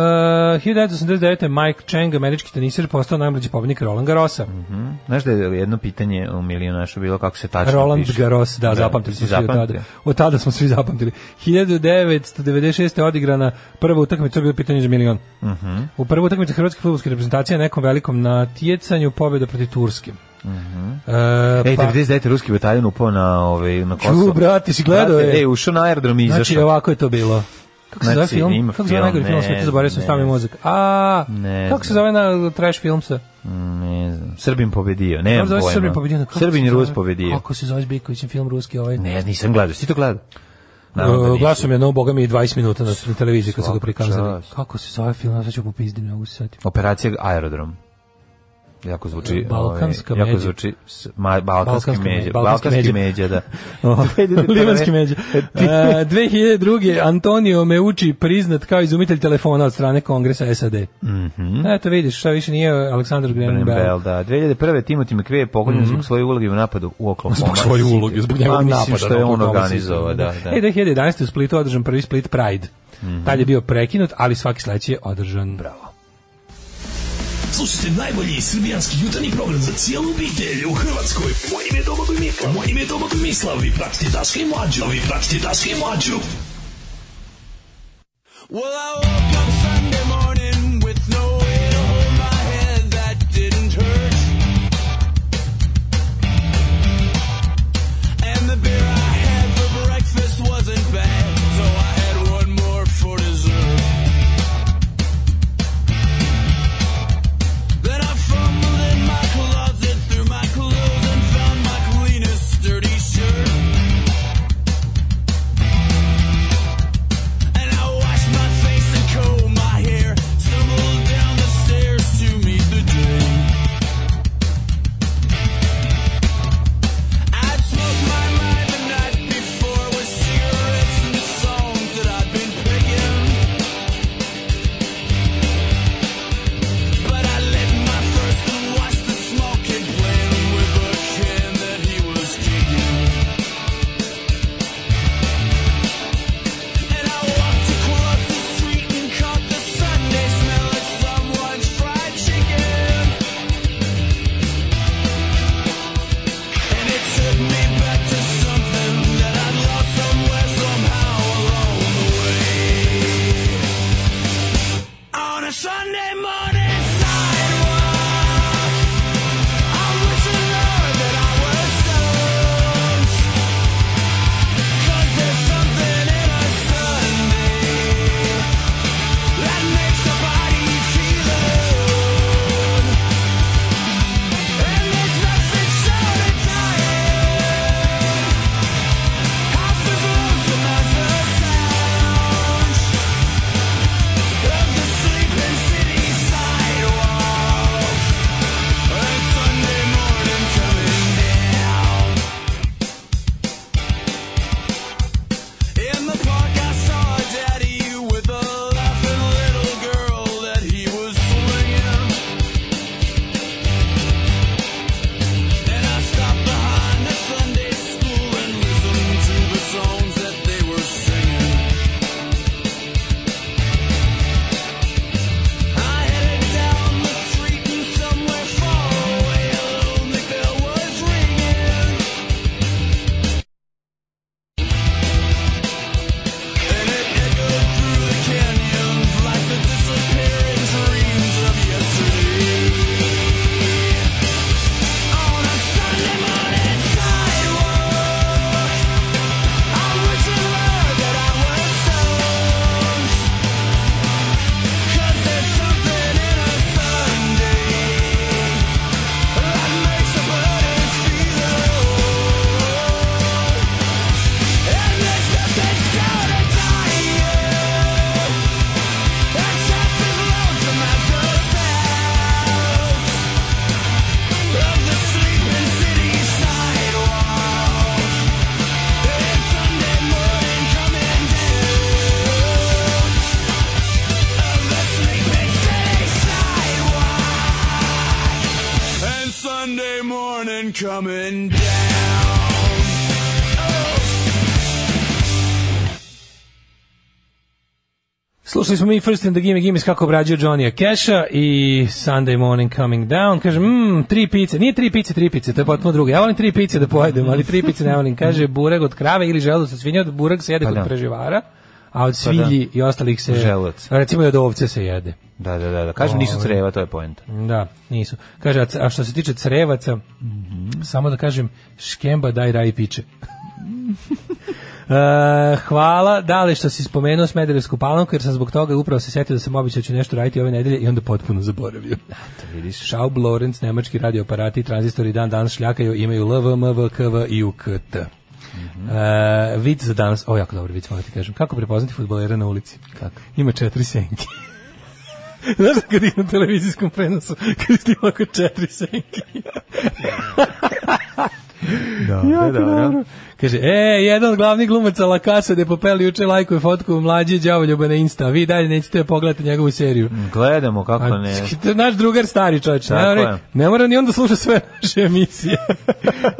[SPEAKER 6] 1989. Mike Chang, američki tenisir, postao najmlađi pobednik Roland Garrosa.
[SPEAKER 7] Mhm. Znaš da je jedno pitanje u milionašu bilo kako se tačno
[SPEAKER 6] Roland
[SPEAKER 7] piše?
[SPEAKER 6] Garros, da, zapamtili
[SPEAKER 7] si
[SPEAKER 6] smo svi od tada.
[SPEAKER 7] zapamtio.
[SPEAKER 6] Od tada smo svi zapamtili. 1996. je odigrana prva utakmica, to je bilo pitanje za milion.
[SPEAKER 7] Mhm.
[SPEAKER 6] U prvoj utakmici hrvatske futbolske reprezentacije na nekom velikom natjecanju pobjeda protiv Turske. E,
[SPEAKER 7] Mhm. Ej,
[SPEAKER 6] pa,
[SPEAKER 7] 99. ruski bataljon upao na, ovaj, na Kosovo.
[SPEAKER 6] Ču, brate, si gledao
[SPEAKER 7] Brate,
[SPEAKER 6] je.
[SPEAKER 7] Ej, ušao na aerodrom i izašao.
[SPEAKER 6] znači, ovako je to bilo. Kako se zove
[SPEAKER 7] Znači,
[SPEAKER 6] film?
[SPEAKER 7] ima
[SPEAKER 6] Kako se zove
[SPEAKER 7] film,
[SPEAKER 6] najgori film?
[SPEAKER 7] ne
[SPEAKER 6] Sveti zaboravio sam
[SPEAKER 7] znam,
[SPEAKER 6] stavio
[SPEAKER 7] ne
[SPEAKER 6] mozak. A,
[SPEAKER 7] Ne
[SPEAKER 6] kako se
[SPEAKER 7] znam.
[SPEAKER 6] zove na trash film sa?
[SPEAKER 7] Mm, Ne znam. Srbin pobedio,
[SPEAKER 6] Kako
[SPEAKER 7] nemam
[SPEAKER 6] se
[SPEAKER 7] pojma.
[SPEAKER 6] zove Srbin pobedio? Kako
[SPEAKER 7] Srbin
[SPEAKER 6] se
[SPEAKER 7] i
[SPEAKER 6] zove?
[SPEAKER 7] Rus pobedio.
[SPEAKER 6] Kako se zove s Bikovićem film ruski ovaj?
[SPEAKER 7] Ne, nisam gledao. Si ti to gledao? Naravno da
[SPEAKER 6] Uh,
[SPEAKER 7] nisi.
[SPEAKER 6] glasom je, no, boga mi, 20 minuta na, na televiziji kad su ga
[SPEAKER 7] Svaka
[SPEAKER 6] prikazali.
[SPEAKER 7] čast.
[SPEAKER 6] Kako se zove film, sad ću popizdim, ne mogu se setiti.
[SPEAKER 7] Operacija Aerodrom. Jako zvuči...
[SPEAKER 6] Balkanska
[SPEAKER 7] ovaj, Jako
[SPEAKER 6] međa.
[SPEAKER 7] zvuči s- ma, balkanski,
[SPEAKER 6] Balkanska
[SPEAKER 7] međa.
[SPEAKER 6] međa, balkanski
[SPEAKER 7] Balkanski
[SPEAKER 6] međa.
[SPEAKER 7] međa, da. Ovaj,
[SPEAKER 6] Livanski međa.
[SPEAKER 7] E,
[SPEAKER 6] Uh, 2002. Antonio Meucci priznat kao izumitelj telefona od strane Kongresa SAD. Eto vidiš, šta više nije Aleksandar Graham Bell.
[SPEAKER 7] Mhm. Bell, da. 2001. Timothy McVeigh je pokoljen zbog svoje uloge u napadu u Oklahoma
[SPEAKER 6] Mhm. Zbog svoje
[SPEAKER 7] City.
[SPEAKER 6] uloge, zbog njegovog
[SPEAKER 7] Pa,
[SPEAKER 6] napada.
[SPEAKER 7] Mislim što je
[SPEAKER 6] na
[SPEAKER 7] on
[SPEAKER 6] Oklahoma City.
[SPEAKER 7] organizovao, da. da. Mhm.
[SPEAKER 6] E, 2011. u Splitu održan prvi Split Pride. Tad je bio prekinut, ali svaki sledeći je održan. Bravo.
[SPEAKER 8] Slušajte najbolji srbijanski jutarnji program za cijelu obitelj u Hrvatskoj. Moje ime je Domagoj Mislav. Moje ime je Domagoj Mislav. Vi pratite Daška i Mlađu. Vi pratite Daška i Mlađu.
[SPEAKER 1] Well, I woke up Sunday morning with no way to hold my head that didn't hurt. And the beer I had for breakfast wasn't bad, so I had one more for dessert. Then I fumbled in my closet, through my clothes, and found my cleanest dirty shirt. And I washed my face and coming down.
[SPEAKER 6] Slušali smo mi First in the Gimme Gimme kako obrađuje Johnny Cash-a i Sunday Morning Coming Down. Kaže, mmm, tri pice. Nije tri pice, tri pice, to je potpuno drugo. Ja volim tri pice da pojedem, ali tri pice ne volim. Kaže, burek od krave ili želudac od svinja, od burek se jede
[SPEAKER 7] Pa
[SPEAKER 6] kod
[SPEAKER 7] da. Pa
[SPEAKER 6] preživara, a od svilji i ostalih se...
[SPEAKER 7] Želudac.
[SPEAKER 6] Recimo i od ovce se jede.
[SPEAKER 7] Da, da, da, da. Kažem, nisu
[SPEAKER 6] Ovaj.
[SPEAKER 7] creva, to je poenta.
[SPEAKER 6] Da, nisu. Kaže, a c- a što se tiče crevaca, samo da kažem, škemba daj raj piče. E, hvala, dale što si spomenuo Smederevsku palanku, jer sam zbog toga upravo se setio da sam običao da ću nešto raditi ove nedelje i onda potpuno zaboravio.
[SPEAKER 7] Vidiš?
[SPEAKER 6] Schaub Lorenz, nemački radioaparati i tranzistori dan danas šljakaju, imaju LVM, VKV i UKT.
[SPEAKER 7] Mhm.
[SPEAKER 6] E, vic za danas, o jako dobar vic, moram ti kažem. Kako prepoznati futbolera na ulici?
[SPEAKER 7] Kako?
[SPEAKER 6] Ima četiri senke. Znaš kad ih na televizijskom prenosu, kad ti ovako četiri senke.
[SPEAKER 7] Da, da, da.
[SPEAKER 6] Kaže, e, jedan od glavnih glumaca La Casa de Popel juče lajkuje fotku mlađe đavoljuba na Insta, a vi dalje nećete pogledati njegovu seriju.
[SPEAKER 7] Gledamo kako
[SPEAKER 6] A,
[SPEAKER 7] ne.
[SPEAKER 6] to je naš drugar stari čovječ. Ne,
[SPEAKER 7] Pa Tako
[SPEAKER 6] mora,
[SPEAKER 7] je.
[SPEAKER 6] ne mora ni onda sluša sve naše emisije.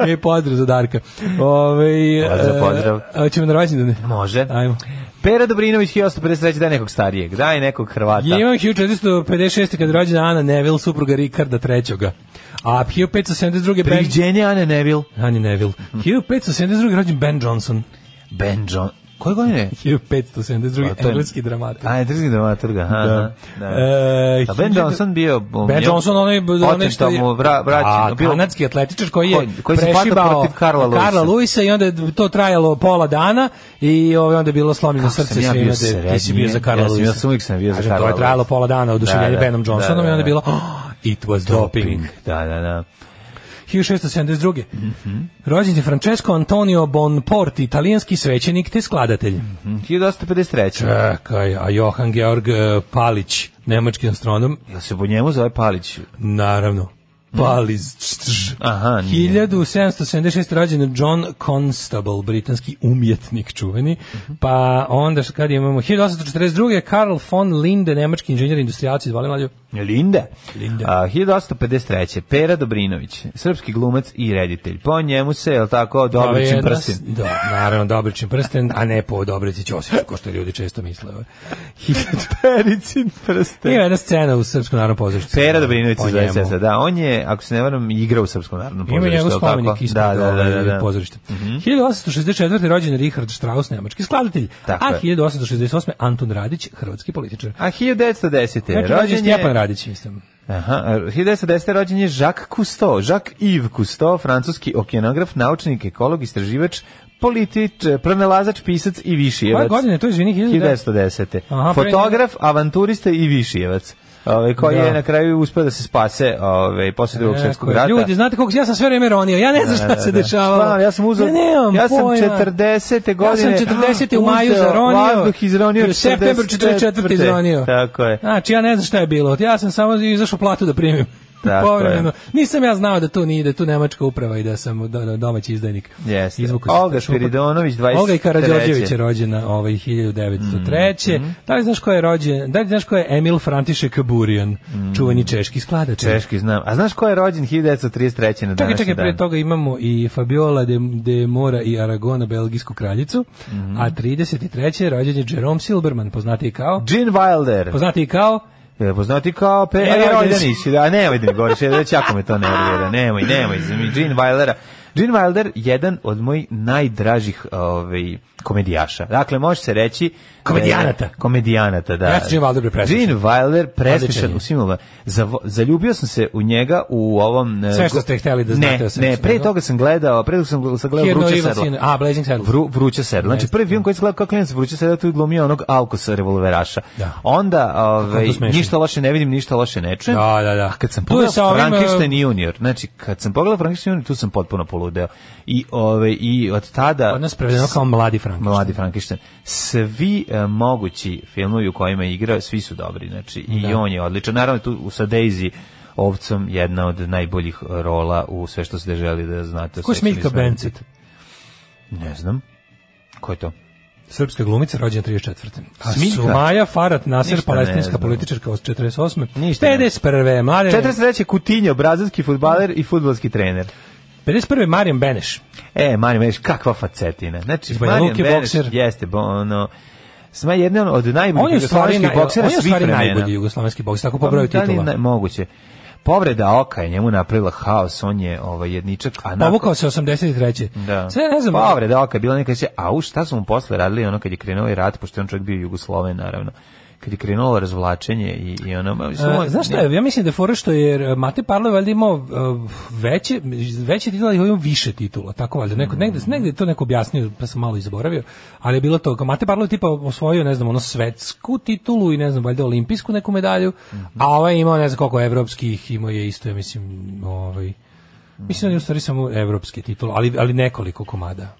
[SPEAKER 6] e, pozdrav za Darka. Ove,
[SPEAKER 7] Pozdrav, pozdrav.
[SPEAKER 6] A, ćemo na rođendane?
[SPEAKER 7] Može.
[SPEAKER 6] Ajmo.
[SPEAKER 7] Pera Dobrinović 1853, daj nekog starijeg, daj nekog Hrvata.
[SPEAKER 6] Ja imam 1456. kada je rođena Ana Neville, supruga Rikarda III. A 1572. Ben...
[SPEAKER 7] Priđenje Ane Neville,
[SPEAKER 6] Ani Neville.
[SPEAKER 7] Mhm.
[SPEAKER 6] 1572. rođen Ben Johnson.
[SPEAKER 7] Ben John. Koje godine?
[SPEAKER 6] 1572.
[SPEAKER 7] Pa, to je-
[SPEAKER 6] engleski dramaturg.
[SPEAKER 7] A, drži dramaturga. aha,
[SPEAKER 6] Da.
[SPEAKER 7] Da.
[SPEAKER 6] E,
[SPEAKER 7] A Ben
[SPEAKER 6] hiljadu-
[SPEAKER 7] Johnson bio... um,
[SPEAKER 6] Ben
[SPEAKER 7] je-
[SPEAKER 6] Johnson, onaj, onaj što
[SPEAKER 7] Oteta
[SPEAKER 6] je...
[SPEAKER 7] mu vra,
[SPEAKER 6] A,
[SPEAKER 7] vraćeno. Bio
[SPEAKER 6] kanadski atletičar koji je
[SPEAKER 7] Koji- koji se hvatao
[SPEAKER 6] prešibao
[SPEAKER 7] protiv Karla Luisa.
[SPEAKER 6] Karla Luisa i onda je to trajalo pola dana i ovaj, onda je bilo slomljeno
[SPEAKER 7] Kako sam
[SPEAKER 6] srce
[SPEAKER 7] ja
[SPEAKER 6] svima.
[SPEAKER 7] bio
[SPEAKER 6] da je- Ti si
[SPEAKER 7] srednji,
[SPEAKER 6] bio za Karla
[SPEAKER 7] ja sam- ja
[SPEAKER 6] Luisa.
[SPEAKER 7] sam uvijek sam bio za
[SPEAKER 6] Kažem,
[SPEAKER 7] Karla
[SPEAKER 6] To je trajalo
[SPEAKER 7] Luisa.
[SPEAKER 6] pola dana oduševljenje
[SPEAKER 7] Da, da,
[SPEAKER 6] Benom Johnsonom
[SPEAKER 7] da, da,
[SPEAKER 6] i onda je
[SPEAKER 7] da.
[SPEAKER 6] bilo "Oh, it was doping.
[SPEAKER 7] Da, da, da.
[SPEAKER 6] 1672. Rođen je Francesco Antonio Bonporti, italijanski svećenik te skladatelj.
[SPEAKER 7] Mm, 1853.
[SPEAKER 6] Čekaj, a Johan Georg e, Palić, nemački astronom,
[SPEAKER 7] Jel se po njemu zove Palić?
[SPEAKER 6] Naravno. Paliz.
[SPEAKER 7] Aha, nije.
[SPEAKER 6] 1776. rođen John Constable, britanski umjetnik čuveni. Pa onda š- kad imamo 1842. Karl von Linde, nemački inženjer industrijalac, izvali mlađo.
[SPEAKER 7] Linda.
[SPEAKER 6] Linda.
[SPEAKER 7] A, 1853. Pera Dobrinović, srpski glumac i reditelj. Po njemu se, jel tako, Dobrićin
[SPEAKER 6] Jedna s-
[SPEAKER 7] prstin.
[SPEAKER 6] Da, naravno, Dobričin prsten, a ne po Dobrici Ćosiću, ko što ljudi često misle. ovaj.
[SPEAKER 7] Pericin prsten.
[SPEAKER 6] Ima jedna scena u Srpskom narodnom pozorištu.
[SPEAKER 7] Pera Dobrinović
[SPEAKER 6] Po
[SPEAKER 7] iz zove
[SPEAKER 6] njemu.
[SPEAKER 7] sestra, da. On je, ako se ne varam, igrao u Srpskom narodnom
[SPEAKER 6] Ima
[SPEAKER 7] pozorištu.
[SPEAKER 6] njegov
[SPEAKER 7] jel
[SPEAKER 6] spomenik ovaj
[SPEAKER 7] tako?
[SPEAKER 6] ispred
[SPEAKER 7] da, da, da, Mhm. da, da.
[SPEAKER 6] pozorišta. 1864. rođen je Richard Strauss, nemački skladatelj,
[SPEAKER 7] Tako
[SPEAKER 6] a
[SPEAKER 7] je.
[SPEAKER 6] 1868. Anton Radić, hrvatski političar.
[SPEAKER 7] A 1910.
[SPEAKER 6] Znači, rođen je Stjepan Radić, mislim.
[SPEAKER 7] Aha, a 1910. rođen je Jacques Cousteau, Jacques-Yves Cousteau, francuski okeanograf, naučnik, ekolog, istraživač, politič, e, pronalazač, pisac i višijevac.
[SPEAKER 6] Koje godine je to, izvini, 1910?
[SPEAKER 7] 1910.
[SPEAKER 6] Aha, pre-
[SPEAKER 7] Fotograf, avanturista i višijevac. Ove, koji
[SPEAKER 6] Da.
[SPEAKER 7] je na kraju uspeo da se spase ove, posle drugog svjetskog rata.
[SPEAKER 6] E, Ljudi, znate koliko ja sam sve vreme ronio, ja ne znam šta se dešavalo.
[SPEAKER 7] Stvarno, ja sam uzeo,
[SPEAKER 6] ja, nemam
[SPEAKER 7] ja sam
[SPEAKER 6] pojma.
[SPEAKER 7] 40. godine.
[SPEAKER 6] Ja sam 40. u maju
[SPEAKER 7] uzeo
[SPEAKER 6] zaronio.
[SPEAKER 7] Vazduh izronio
[SPEAKER 6] i U septembru 44. izronio.
[SPEAKER 7] Tako je.
[SPEAKER 6] Znači, ja ne znam šta je bilo. Ja sam samo izašao platu da primim.
[SPEAKER 7] Tako
[SPEAKER 6] Povremeno.
[SPEAKER 7] je.
[SPEAKER 6] Nisam ja znao da to nije, da je tu nemačka uprava i da sam do- do- domaći izdajnik.
[SPEAKER 7] Jeste.
[SPEAKER 6] Izvukao sam
[SPEAKER 7] Olga
[SPEAKER 6] iz šupa.
[SPEAKER 7] Spiridonović, 23.
[SPEAKER 6] Olga i Karadžorđević je rođena ovaj 1903.
[SPEAKER 7] Mhm.
[SPEAKER 6] Da li znaš ko je rođen? Da li znaš ko je Emil František Burian, čuveni češki skladač?
[SPEAKER 7] Mhm. Češki znam. A znaš ko je rođen 1933. na
[SPEAKER 6] Čekaj,
[SPEAKER 7] današnji
[SPEAKER 6] čekaj,
[SPEAKER 7] dan?
[SPEAKER 6] prije toga imamo i Fabiola de, de Mora i Aragona, belgijsku kraljicu,
[SPEAKER 7] Mhm.
[SPEAKER 6] a 33. rođen je Jerome Silberman, poznati kao...
[SPEAKER 7] Gene Wilder.
[SPEAKER 6] Poznati kao
[SPEAKER 7] Je poznati kao Pe...
[SPEAKER 6] E,
[SPEAKER 7] E,
[SPEAKER 6] rođen
[SPEAKER 7] rođen nisi. Da, nemoj da mi govoriš, ja već jako me to nervira. Nemoj, nemoj, za mi Gene Wildera. Gene Wilder, jedan od mojih najdražih ovaj, komedijaša. Dakle, može se reći...
[SPEAKER 6] Komedijanata.
[SPEAKER 7] E, komedijanata, da.
[SPEAKER 6] Ja sam Gene Wilder prepresmišan.
[SPEAKER 7] Gene Wilder
[SPEAKER 6] Odličan
[SPEAKER 7] presmišan
[SPEAKER 6] je.
[SPEAKER 7] u svim ulovima. Zavo- Zaljubio sam se u njega u ovom... e,
[SPEAKER 6] Sve što ste hteli da znate
[SPEAKER 7] ne,
[SPEAKER 6] o sebi,
[SPEAKER 7] Ne, pre
[SPEAKER 6] nego?
[SPEAKER 7] toga sam gledao, pre toga sam gl- sam gledao
[SPEAKER 6] Here No
[SPEAKER 7] Vruće
[SPEAKER 6] Evil
[SPEAKER 7] sedlo.
[SPEAKER 6] Sin- A, Blazing Saddles.
[SPEAKER 7] Vru, vruće sedlo. Znači,
[SPEAKER 6] Jeste.
[SPEAKER 7] prvi film koji se gledao kao klinac vruće sedlo, tu je glumio onog Alkosa revolveraša.
[SPEAKER 6] Da.
[SPEAKER 7] Onda, ovaj,
[SPEAKER 6] to smešno.
[SPEAKER 7] ništa loše ne vidim, ništa loše ne čujem.
[SPEAKER 6] Da, da, da.
[SPEAKER 7] A kad sam
[SPEAKER 6] Tu je sa
[SPEAKER 7] pogledao
[SPEAKER 6] ovim, e,
[SPEAKER 7] Frankenstein Junior, znači, kad sam pogledao Frankenstein Junior, tu sam potpuno poludeo. I, ovaj, i od tada...
[SPEAKER 6] Od nas prevedeno kao mladi Frankenstein.
[SPEAKER 7] Mladi Frankenstein. Svi e, mogući filmovi u kojima je igrao, svi su dobri, znači, i on je odličan. Naravno, tu sa Daisy ovcom jedna od najboljih rola u sve što ste želi da znate. o
[SPEAKER 6] Ko je
[SPEAKER 7] seksualnim
[SPEAKER 6] Smiljka
[SPEAKER 7] smernicama.
[SPEAKER 6] Bencet?
[SPEAKER 7] Ne znam. Ko je to?
[SPEAKER 6] Srpska glumica rođena 34. A
[SPEAKER 7] Smiljka?
[SPEAKER 6] Sumaja Farat Nasir,
[SPEAKER 7] Ništa ne
[SPEAKER 6] palestinska
[SPEAKER 7] znam.
[SPEAKER 6] političarka od 48.
[SPEAKER 7] Ništa ne.
[SPEAKER 6] 51. Mlade
[SPEAKER 7] 43. Kutinjo, brazilski futbaler i futbolski trener.
[SPEAKER 6] 51. Marijan Beneš.
[SPEAKER 7] E, Marijan Beneš, kakva facetina. Znači,
[SPEAKER 6] Iz Banja
[SPEAKER 7] Marijan
[SPEAKER 6] Luke
[SPEAKER 7] Beneš
[SPEAKER 6] bokser.
[SPEAKER 7] jeste, bo, ono, sma jedan od
[SPEAKER 6] On je u
[SPEAKER 7] najboljih
[SPEAKER 6] stvari,
[SPEAKER 7] jugoslovenskih
[SPEAKER 6] naj,
[SPEAKER 7] boksera
[SPEAKER 6] on je u
[SPEAKER 7] svih
[SPEAKER 6] stvari
[SPEAKER 7] vremena. Pa,
[SPEAKER 6] najbolji jugoslovenski bokser, tako po broju
[SPEAKER 7] Da li
[SPEAKER 6] titula.
[SPEAKER 7] na- moguće. Povreda oka je njemu napravila haos, on je ovaj jedničak, a nakon-
[SPEAKER 6] Povukao se 83.
[SPEAKER 7] Da. Pa,
[SPEAKER 6] Sve ne znam.
[SPEAKER 7] Povreda oka je bila neka se, a u šta su mu posle radili ono kad je krenuo ovaj rat, pošto je on čovjek bio Jugosloven naravno. Kad je krenulo razvlačenje i, i ono... ma, mislim,
[SPEAKER 6] E,
[SPEAKER 7] on-
[SPEAKER 6] znaš šta je, ja mislim da je fora što je e, Mate Parlov valjda imao e, veće, veće titula i imao više titula, tako valjda, neko, negde, negde je to neko objasnio, pa sam malo i zaboravio, ali je bilo to, kao Mate Parlov je tipa osvojio, ne znam, ono svetsku titulu i ne znam, valjda olimpijsku neku medalju, a ovaj je imao ne znam koliko evropskih, imao je isto, ja mislim, ovaj, mislim da je u stvari samo evropske titule, ali, ali nekoliko komada.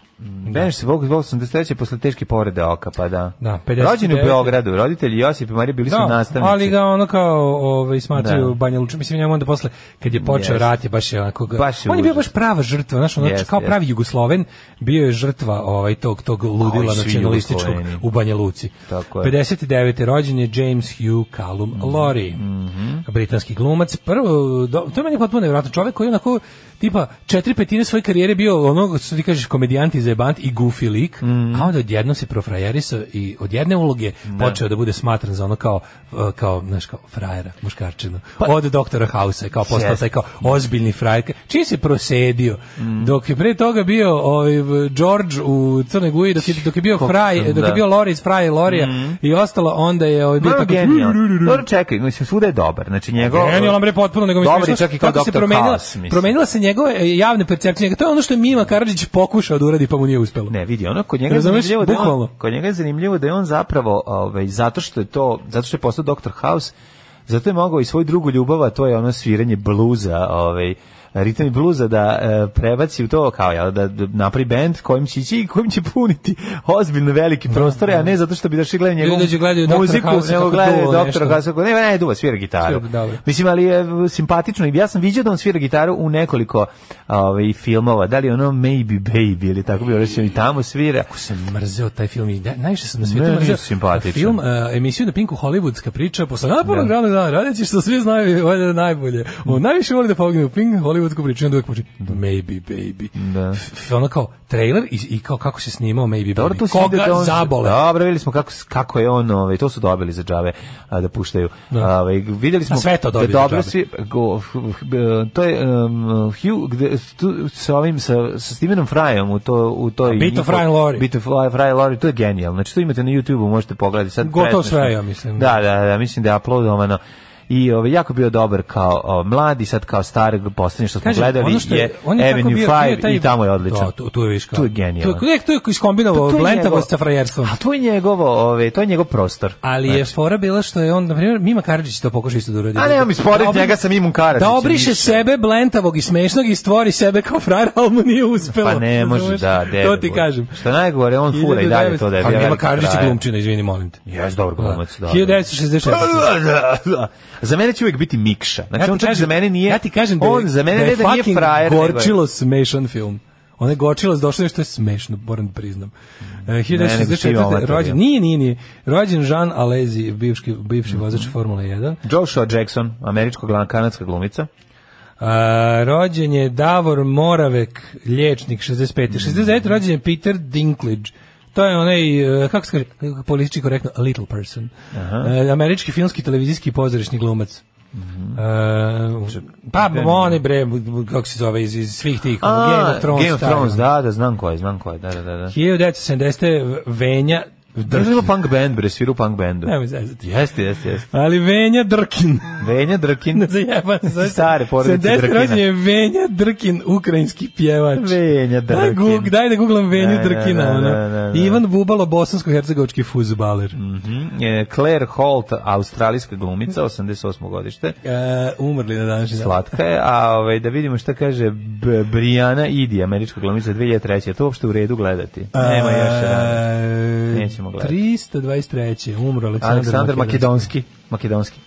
[SPEAKER 7] Beneš se Bog zbog 83. posle teške povrede oka, pa da.
[SPEAKER 6] Da, 59.
[SPEAKER 7] Rođen u Beogradu, roditelji Josip i Marija bili su nastavnici.
[SPEAKER 6] ali ga ono kao ovaj smatraju
[SPEAKER 7] Da.
[SPEAKER 6] Banja Luča, mislim njemu onda posle kad je počeo
[SPEAKER 7] Jeste.
[SPEAKER 6] rat je baš je onako ga-
[SPEAKER 7] Baš je
[SPEAKER 6] on je bio
[SPEAKER 7] užas.
[SPEAKER 6] baš prava žrtva, znaš, ono
[SPEAKER 7] Jeste,
[SPEAKER 6] kao
[SPEAKER 7] jeste.
[SPEAKER 6] pravi Jugosloven, bio je žrtva ovaj tog tog ludila
[SPEAKER 7] Kao i svi
[SPEAKER 6] nacionalističkog
[SPEAKER 7] Jugosloveni.
[SPEAKER 6] u Banja Luci.
[SPEAKER 7] Tako je.
[SPEAKER 6] 59. rođen je James Hugh Callum Laurie, britanski glumac. Prvo, do, to je meni potpuno nevjerojatno. Čovjek koji je onako, tipa, četiri petine svoje karijere bio ono, što ti kažeš, komedijant i zajebant i goofy lik, a onda odjednom se profrajerisao i od jedne uloge počeo da bude smatran za ono kao, e, kao, znaš, kao frajera, muškarčinu. od doktora Hausa je kao postao
[SPEAKER 7] Jeste.
[SPEAKER 6] taj kao ozbiljni frajer. Čiji se prosedio? Dok je pre toga bio ovaj, George u Crnoj Guji, dok je, dok je bio fraj, E, dok je
[SPEAKER 7] da.
[SPEAKER 6] bio Lori iz Fraje Lorija i ostalo, onda je ovaj bio
[SPEAKER 7] Malo
[SPEAKER 6] tako...
[SPEAKER 7] genijal. Dobro, čekaj, mislim, svuda je dobar. Znači, njegov...
[SPEAKER 6] Genijalan bre potpuno nego mislim
[SPEAKER 7] Dobar je čak i kao
[SPEAKER 6] kako se
[SPEAKER 7] doktor
[SPEAKER 6] promenila,
[SPEAKER 7] Kaos, mislim.
[SPEAKER 6] promenila se njegove e, javne percepcije. njega- To je ono što je Mima Karadžić pokušao da uradi pa mu nije uspelo.
[SPEAKER 7] Ne, vidi, ono kod njega je
[SPEAKER 6] Razumeš?
[SPEAKER 7] zanimljivo da je on,
[SPEAKER 6] Bukvalno.
[SPEAKER 7] kod njega je zanimljivo da je on zapravo ovaj zato što je to zato što je postao Dr. House, zato je mogao i svoju drugu ljubav, a to je ono sviranje bluza, ovaj ritam i bluza da e, prebaci u to kao jel, da, da napravi bend kojim će ići i kojim će puniti ozbiljno veliki prostore, a ne zato što bi došli gledali njegovu
[SPEAKER 6] Ljudi dođu gledaju Dr.
[SPEAKER 7] muziku,
[SPEAKER 6] House-a
[SPEAKER 7] nego
[SPEAKER 6] kako
[SPEAKER 7] gledaju
[SPEAKER 6] duva
[SPEAKER 7] Dr.
[SPEAKER 6] nešto.
[SPEAKER 7] House kako ne, ne, duva, svira gitaru.
[SPEAKER 6] Svira, dobro.
[SPEAKER 7] Mislim, ali je e, simpatično i ja sam viđao da on svira gitaru u nekoliko ovaj, filmova, da li je ono Maybe Baby ili tako bilo rečeno i tamo svira.
[SPEAKER 6] Kako sam mrzeo taj film i da, najviše sam na svijetu
[SPEAKER 7] Meni je
[SPEAKER 6] mrzeo
[SPEAKER 7] simpatičan.
[SPEAKER 6] film, e, emisiju na Pinku Hollywoodska priča, posle napornog da. radnog dana radeći što svi znaju valjda da je najbolje. On najviše voli da pogne u Pink Hollywoodsku priču i onda uvek počne Maybe Baby.
[SPEAKER 7] Da.
[SPEAKER 6] F- ono kao trailer i, i kao kako se snimao Maybe
[SPEAKER 7] Dobro, tu
[SPEAKER 6] Baby.
[SPEAKER 7] se vidi
[SPEAKER 6] Koga
[SPEAKER 7] da on,
[SPEAKER 6] zabole.
[SPEAKER 7] Dobro, videli smo kako, s- kako je on, ovaj, to su dobili za džabe a, da puštaju. Da. Ovaj, videli smo
[SPEAKER 6] A sve to
[SPEAKER 7] da
[SPEAKER 6] dobili za
[SPEAKER 7] dobro
[SPEAKER 6] džabe.
[SPEAKER 7] svi, go, f- f- b- to je um, Hugh gde, tu, sa ovim sa, sa Stevenom Fryom u to u toj
[SPEAKER 6] Beat of
[SPEAKER 7] njihov-
[SPEAKER 6] Fry and Laurie.
[SPEAKER 7] Beat of Fry Fry and Laurie, to je genijalno. Znači to imate na YouTubeu, možete pogledati sad.
[SPEAKER 6] Gotovo
[SPEAKER 7] presmešno.
[SPEAKER 6] sve, ja mislim.
[SPEAKER 7] Da, da, da, mislim da je uploadovano. I ovaj jako bio dobar kao o, mladi, sad kao stari, poslednji što smo
[SPEAKER 6] Kažem,
[SPEAKER 7] gledali
[SPEAKER 6] ono što
[SPEAKER 7] je,
[SPEAKER 6] on tako
[SPEAKER 7] Avenue
[SPEAKER 6] bio-
[SPEAKER 7] 5
[SPEAKER 6] bio taj-
[SPEAKER 7] i tamo je odličan.
[SPEAKER 6] Da, tu, tu je viška.
[SPEAKER 7] Tu je genijalan.
[SPEAKER 6] Tu je, tu je iskombinovao
[SPEAKER 7] To je
[SPEAKER 6] blentavost sa
[SPEAKER 7] njegov-
[SPEAKER 6] frajerstvom.
[SPEAKER 7] A to je njegovo, ove, to je njegov prostor. Znači,
[SPEAKER 6] Ali je fora bila što je on, na primjer, Mima Karadžić to pokušao isto da uradi.
[SPEAKER 7] A nemam isporediti
[SPEAKER 6] Da obri-
[SPEAKER 7] njega sa Mimom Karadžićem,
[SPEAKER 6] Da obriše
[SPEAKER 7] ništa.
[SPEAKER 6] sebe blentavog i smešnog i stvori sebe kao frajer, ali mu nije uspelo.
[SPEAKER 7] Pa ne može,
[SPEAKER 6] Razumeš? To
[SPEAKER 7] da, debel.
[SPEAKER 6] ti kažem.
[SPEAKER 7] Što najgore, on fura i dalje to da je.
[SPEAKER 6] A Mima
[SPEAKER 7] veliki
[SPEAKER 6] Karadžić je
[SPEAKER 7] frajer.
[SPEAKER 6] glumčina, izvini, molim te.
[SPEAKER 7] Jes, dobar glumac, da. Pa,
[SPEAKER 6] 1966.
[SPEAKER 7] Da, da, da. Za mene će uvijek biti Mikša. Znači, on čak za mene nije...
[SPEAKER 6] ja ti kažem da je,
[SPEAKER 7] on za mene
[SPEAKER 6] da
[SPEAKER 7] ne
[SPEAKER 6] je
[SPEAKER 7] da nije
[SPEAKER 6] fucking
[SPEAKER 7] frajer. nego je-
[SPEAKER 6] gorčilo smešan film. Onaj gorčilo došlo je što je smešno, moram da priznam. E,
[SPEAKER 7] Ne, nego si ti
[SPEAKER 6] 1964.
[SPEAKER 7] amator, ja.
[SPEAKER 6] rođen, nije, nije, nije. Rođen Jean Alesi, bivši, bivši vozač Formule 1.
[SPEAKER 7] Joshua Jackson, američko-kanadska glumica.
[SPEAKER 6] A, rođen je Davor Moravek, liječnik 65.
[SPEAKER 7] Mm.
[SPEAKER 6] 69. rođen je Peter Dinklage. To je onaj, e, kako se kaže, politički korektno, a little person. E, američki filmski, televizijski i pozorišni glumac.
[SPEAKER 7] Mhm.
[SPEAKER 6] E, pa oni bre, kako se zove, iz, iz svih tih, ono, Game of Thrones.
[SPEAKER 7] Game of
[SPEAKER 6] stari,
[SPEAKER 7] Thrones,
[SPEAKER 6] ono.
[SPEAKER 7] da, da, znam ko je, znam ko je, da, da, da. da.
[SPEAKER 6] 1970. Venja
[SPEAKER 7] Da
[SPEAKER 6] Drkin.
[SPEAKER 7] je punk band, bre, sviru punk bandu.
[SPEAKER 6] Nemoj zezati.
[SPEAKER 7] Jeste, jeste, jeste.
[SPEAKER 6] Ali Venja Drkin.
[SPEAKER 7] Venja Drkin.
[SPEAKER 6] Ne zajeban se.
[SPEAKER 7] Stare porodice
[SPEAKER 6] 70
[SPEAKER 7] Drkina.
[SPEAKER 6] rođen je Venja Drkin, ukrajinski pjevač.
[SPEAKER 7] Venja Drkin.
[SPEAKER 6] Daj, gug, daj da googlam Venju
[SPEAKER 7] Da, da,
[SPEAKER 6] Drkina.
[SPEAKER 7] da,
[SPEAKER 6] ono.
[SPEAKER 7] da, da, da.
[SPEAKER 6] Ivan Bubalo, bosansko-hercegovački fuzbaler.
[SPEAKER 7] Mhm. E, Claire Holt, australijska glumica, 88. godište.
[SPEAKER 6] E, umrli na današnji dan.
[SPEAKER 7] Slatka je, a ovaj, da vidimo šta kaže B Briana Idi, američka glumica 2003. Je to uopšte u redu gledati? Nema još rana.
[SPEAKER 6] E,
[SPEAKER 7] Nećemo gledati.
[SPEAKER 6] 323. Umro Aleksandar,
[SPEAKER 7] Aleksandar Makedonski. Makedonski.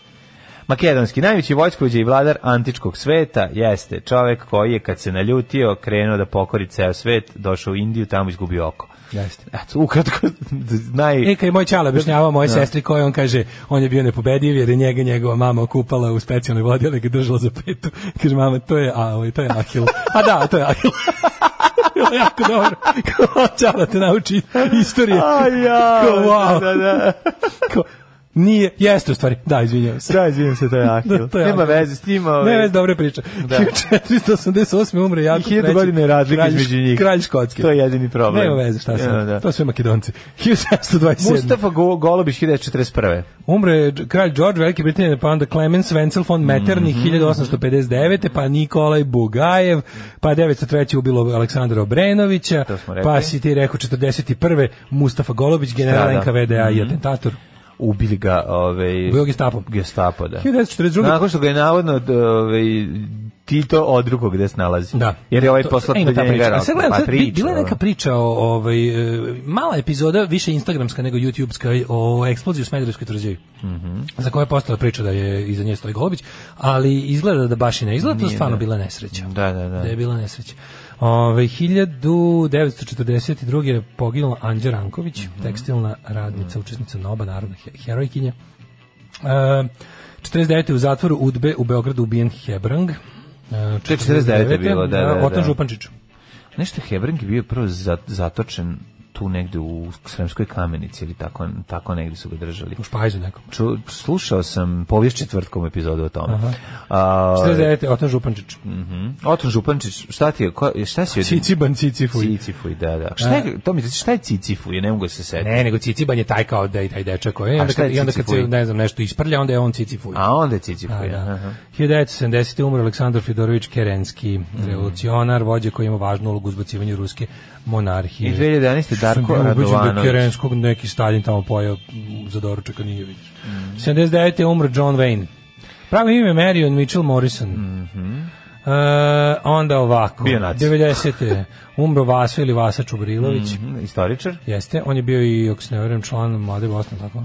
[SPEAKER 7] Makedonski, najveći vojskovođa i vladar antičkog sveta, jeste čovek koji je kad se naljutio krenuo da pokori ceo svet, došao u Indiju, tamo izgubio oko.
[SPEAKER 6] Jeste.
[SPEAKER 7] Eto, ukratko, naj...
[SPEAKER 6] E, kad je moj čale objašnjavao moje sestri koje on kaže, on je bio nepobediv jer je njega njegova mama okupala u specijalnoj vodi, ali ga držala za petu. Kaže, mama, to je Aoj, to je Ahil. A da, to je Ahil. Bilo je jako dobro. Kao čala te nauči istorije.
[SPEAKER 7] A ja,
[SPEAKER 6] Kao, wow.
[SPEAKER 7] da, da.
[SPEAKER 6] Kao, nije, jeste u stvari. Da, izvinjavam se.
[SPEAKER 7] Da, izvinim se, to je Ahil.
[SPEAKER 6] Da, to je
[SPEAKER 7] Nema
[SPEAKER 6] Ahil.
[SPEAKER 7] veze s njima.
[SPEAKER 6] Ne,
[SPEAKER 7] Ovaj.
[SPEAKER 6] vez dobra je priča.
[SPEAKER 7] Da.
[SPEAKER 6] 1488. umre Jakub
[SPEAKER 7] I hiljadu
[SPEAKER 6] III,
[SPEAKER 7] godina je razlika
[SPEAKER 6] kralj-
[SPEAKER 7] između njih.
[SPEAKER 6] Kralj Škotske.
[SPEAKER 7] To je jedini problem.
[SPEAKER 6] Nema veze šta se.
[SPEAKER 7] Ja, da.
[SPEAKER 6] To su sve Makedonci. 1727.
[SPEAKER 7] Mustafa Go- Golobić 1941.
[SPEAKER 6] Umre Đ- kralj George Velike Britanije, pa onda Clemens Wenzel von
[SPEAKER 7] Mhm.
[SPEAKER 6] Metternich 1859. pa Nikolaj Bugajev, pa 903. ubilo Aleksandra Obrenovića,
[SPEAKER 7] To smo rekli.
[SPEAKER 6] pa si ti rekao 41. Mustafa Golobić, general
[SPEAKER 7] Strada.
[SPEAKER 6] NKVDA
[SPEAKER 7] Mhm.
[SPEAKER 6] i atentator.
[SPEAKER 7] Ubili ga, ovaj...
[SPEAKER 6] Bio gestapom.
[SPEAKER 7] Gestapo, da.
[SPEAKER 6] 1942.
[SPEAKER 7] Nakon što ga je navodno d- ovaj, Tito od drugog gde se nalazi.
[SPEAKER 6] Da.
[SPEAKER 7] Jer je ovaj
[SPEAKER 6] To-
[SPEAKER 7] poslat
[SPEAKER 6] e, ima ta
[SPEAKER 7] kod njega
[SPEAKER 6] priča. A
[SPEAKER 7] rako.
[SPEAKER 6] sad gledam,
[SPEAKER 7] Pa
[SPEAKER 6] sad, bi-
[SPEAKER 7] priča,
[SPEAKER 6] bila je
[SPEAKER 7] ono.
[SPEAKER 6] neka priča o, ovaj, e, mala epizoda, više instagramska nego YouTubeska, o eksploziji u Smederevskoj tvrđavi.
[SPEAKER 7] Mhm.
[SPEAKER 6] Za koju je postala priča da je iza nje stoji Golubić, ali izgleda da baš i ne izgleda, to je stvarno bila nesreća.
[SPEAKER 7] Da, da, da.
[SPEAKER 6] Da je bila nesreća. Ovaj, Ove, 1942. je poginula Anđa Ranković,
[SPEAKER 7] Mhm.
[SPEAKER 6] tekstilna radnica, učesnica Noba, narodna he- herojkinja. E, 49. u zatvoru Udbe u Beogradu ubijen Hebrang. E,
[SPEAKER 7] 49. je bilo, da, da, da.
[SPEAKER 6] Otan Župančić.
[SPEAKER 7] Nešto je Hebrang je bio prvo za- zatočen tu negde u Sremskoj kamenici ili tako, tako negde su ga držali.
[SPEAKER 6] U Špajzu nekom.
[SPEAKER 7] Ču, slušao sam povijest četvrtkom epizodu o tome. A,
[SPEAKER 6] 49. Otan Župančić.
[SPEAKER 7] mhm. Oton Župančić, šta ti je, ko, šta si od...
[SPEAKER 6] Ciciban, cicifuj.
[SPEAKER 7] Cicifuj, da, da. Šta je, to mi, znači, šta je Cicifuj, ne mogu da se setiti.
[SPEAKER 6] Ne, nego Ciciban je taj kao dej, taj dečak koji je. I onda
[SPEAKER 7] šta je
[SPEAKER 6] kad, i onda kad se,
[SPEAKER 7] cicifuj?
[SPEAKER 6] ne znam, nešto isprlja, onda je on cicifuj.
[SPEAKER 7] A onda je Cicifuj,
[SPEAKER 6] Da, da.
[SPEAKER 7] aha.
[SPEAKER 6] 1970. umro Aleksandar Fedorović Kerenski,
[SPEAKER 7] Mm.
[SPEAKER 6] revolucionar, vođa koji ima važnu ulogu u zbacivanju ruske monarhije.
[SPEAKER 7] I 2011.
[SPEAKER 6] Što sam
[SPEAKER 7] Darko
[SPEAKER 6] bio ubeđen Da je
[SPEAKER 7] Radovanović.
[SPEAKER 6] Kerenskog neki Stalin tamo pojao mm, za doručak, a nije vidiš. 79. je umro John Wayne. Pravo ime je Marion Mitchell Morrison. E, onda ovako.
[SPEAKER 7] Mhm. Bio naci.
[SPEAKER 6] 90. umro Vasa ili Vasa Čubrilović.
[SPEAKER 7] Mhm, Istoričar?
[SPEAKER 6] Jeste, on je bio i, ako se ne verujem, član Mlade Bosne, tako?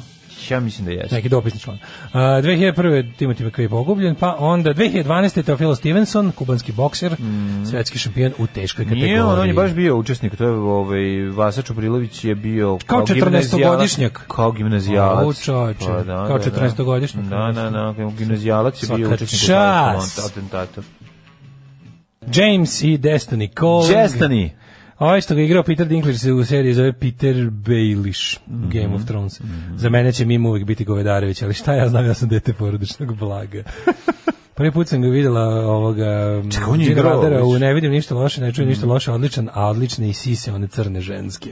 [SPEAKER 7] Ja mislim da jeste.
[SPEAKER 6] neki dopisni član. E, A, 2001. Timothy McVeigh pogubljen, pa onda 2012. Teofilo Stevenson, kubanski bokser, svetski šampion u teškoj kategoriji.
[SPEAKER 7] Mhm. Nije, on, on je baš bio učesnik, to je ovaj Vasa Čubrilović je bio
[SPEAKER 6] Kao 14-godišnjak.
[SPEAKER 7] Kao gimnazijalac. Pa,
[SPEAKER 6] Au, čoveče, kao 14-godišnjak.
[SPEAKER 7] Da, da, da, kao gimnazijalac je bio
[SPEAKER 6] Svaka
[SPEAKER 7] učesnik u
[SPEAKER 6] čast.
[SPEAKER 7] Tajskom atentatu.
[SPEAKER 6] James i Destiny Cole.
[SPEAKER 7] Čestani.
[SPEAKER 6] Ovaj što ga je igrao Peter Dinklage se u seriji zove Peter Baelish,
[SPEAKER 7] Mhm.
[SPEAKER 6] Game of Thrones. Za mene će mimo uvijek biti Govedarević, ali šta ja znam, ja sam dete porodičnog blaga. Prvi put sam ga videla ovoga
[SPEAKER 7] Čekaj, on je
[SPEAKER 6] Gina
[SPEAKER 7] igrao,
[SPEAKER 6] Radara u
[SPEAKER 7] već. Mhm.
[SPEAKER 6] Ne vidim ništa loše, ne čujem ništa loše, odličan, a odlične i sise, one crne ženske.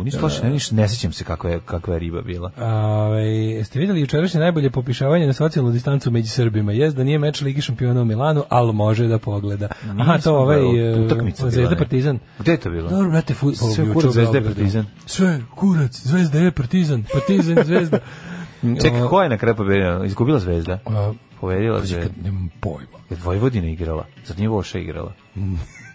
[SPEAKER 7] U, ništa loše, ne, ništa, ne sećam se kakva je, kakva je riba bila.
[SPEAKER 6] Ove, ste Ovaj, vidjeli jučerašnje najbolje popišavanje na socijalnu distancu među Srbima? Jest da nije meč Ligi šampiona u Milanu, ali može da pogleda. Aha,
[SPEAKER 7] Nisam
[SPEAKER 6] to ovaj
[SPEAKER 7] gledao, utakmica
[SPEAKER 6] e,
[SPEAKER 7] bila,
[SPEAKER 6] Zvezda
[SPEAKER 7] ne.
[SPEAKER 6] Partizan.
[SPEAKER 7] Gde je to bilo?
[SPEAKER 6] Dobro, brate, futbol.
[SPEAKER 7] Sve
[SPEAKER 6] juče
[SPEAKER 7] kurac,
[SPEAKER 6] u
[SPEAKER 7] Zvezda je
[SPEAKER 6] Beogradu.
[SPEAKER 7] Partizan.
[SPEAKER 6] Sve, kurac, Zvezda je Partizan, Partizan, Zvezda.
[SPEAKER 7] Čekaj, ko je na kraju pobedila? Izgubila zvezda?
[SPEAKER 6] A,
[SPEAKER 7] Pobedila
[SPEAKER 6] pazi,
[SPEAKER 7] zvezda.
[SPEAKER 6] kad nemam pojma.
[SPEAKER 7] Kad Vojvodina igrala, zar nije Voša igrala?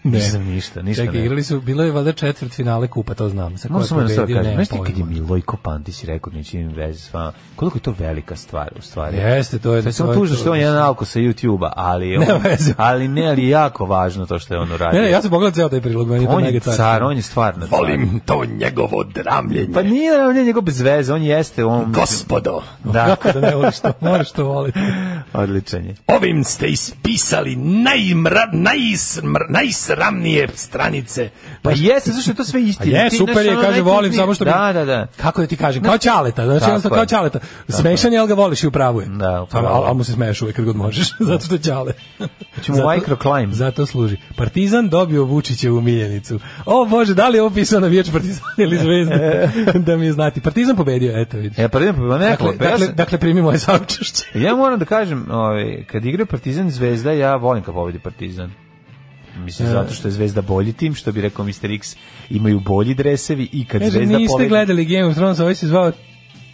[SPEAKER 7] Nisam ništa, ništa
[SPEAKER 6] Čekaj,
[SPEAKER 7] ne.
[SPEAKER 6] igrali su, bilo je valjda četvrt finale kupa, to znam. Sa
[SPEAKER 7] Moram
[SPEAKER 6] koje
[SPEAKER 7] samo jedno stvar
[SPEAKER 6] pobedio,
[SPEAKER 7] kažem,
[SPEAKER 6] nemam
[SPEAKER 7] znaš ti kad je
[SPEAKER 6] pojma.
[SPEAKER 7] Milojko Pantić rekao da neće imati veze s vama, koliko je to velika stvar u stvari.
[SPEAKER 6] Jeste, to je...
[SPEAKER 7] Sve
[SPEAKER 6] to
[SPEAKER 7] sam
[SPEAKER 6] je-
[SPEAKER 7] tužno što je on jedan alko sa YouTube-a, ali, je on,
[SPEAKER 6] Nema veze.
[SPEAKER 7] ali ne, ali je jako važno to što je on uradio.
[SPEAKER 6] Ne, ne, ja sam pogledao ceo taj prilog, meni je to
[SPEAKER 7] on
[SPEAKER 6] mega
[SPEAKER 7] je
[SPEAKER 6] car.
[SPEAKER 7] car, on je stvarno car.
[SPEAKER 8] Volim to njegovo dramljenje.
[SPEAKER 7] Pa nije on je njegov bez veze, on jeste, on...
[SPEAKER 8] Gospodo,
[SPEAKER 7] Da,
[SPEAKER 6] Kako da ne voliš to, moraš to voliti.
[SPEAKER 7] odličan je.
[SPEAKER 8] ovim ste ispisali najmra, najsmr- najsramnije stranice.
[SPEAKER 7] Pa jeste, zašto je to sve istina.
[SPEAKER 6] Je,
[SPEAKER 7] Ti,
[SPEAKER 6] super
[SPEAKER 7] znaš,
[SPEAKER 6] je,
[SPEAKER 7] ono,
[SPEAKER 6] kaže,
[SPEAKER 7] najtužnije-
[SPEAKER 6] volim, samo što... mi-
[SPEAKER 7] Da, da, da.
[SPEAKER 6] Kako da ti kažem, kao Ćaleta, znači
[SPEAKER 7] Tako
[SPEAKER 6] jednostavno kao
[SPEAKER 7] je.
[SPEAKER 6] Ćaleta. Smešan je, ali ga voliš i upravu je.
[SPEAKER 7] Da, upravo.
[SPEAKER 6] ali, ali mu se smeješ uvijek kad god možeš, zato što je Ćale.
[SPEAKER 7] Ćemo
[SPEAKER 6] Zato-
[SPEAKER 7] microclimb.
[SPEAKER 6] Zato služi. Partizan dobio Vučićevu miljenicu. O Bože, da li je ovo pisao na viječ Partizan ili Zvezda? da mi je znati. Partizan pobedio, eto vidi.
[SPEAKER 7] E, pa idem, pa ne,
[SPEAKER 6] Dakle,
[SPEAKER 7] pa ja
[SPEAKER 6] dakle,
[SPEAKER 7] sam-
[SPEAKER 6] dakle primi moje saučešće.
[SPEAKER 7] Ja moram da kažem, ovaj, kad igra Partizan i Zvezda, ja volim kad pobedi Partizan.
[SPEAKER 6] E.
[SPEAKER 7] Mislim, zato što je Zvezda bolji tim, što bi rekao Mr. X, imaju bolji dresevi i kad
[SPEAKER 6] Kaže,
[SPEAKER 7] Zvezda
[SPEAKER 6] niste
[SPEAKER 7] pobedi...
[SPEAKER 6] gledali Game of Thrones, ovaj se zvao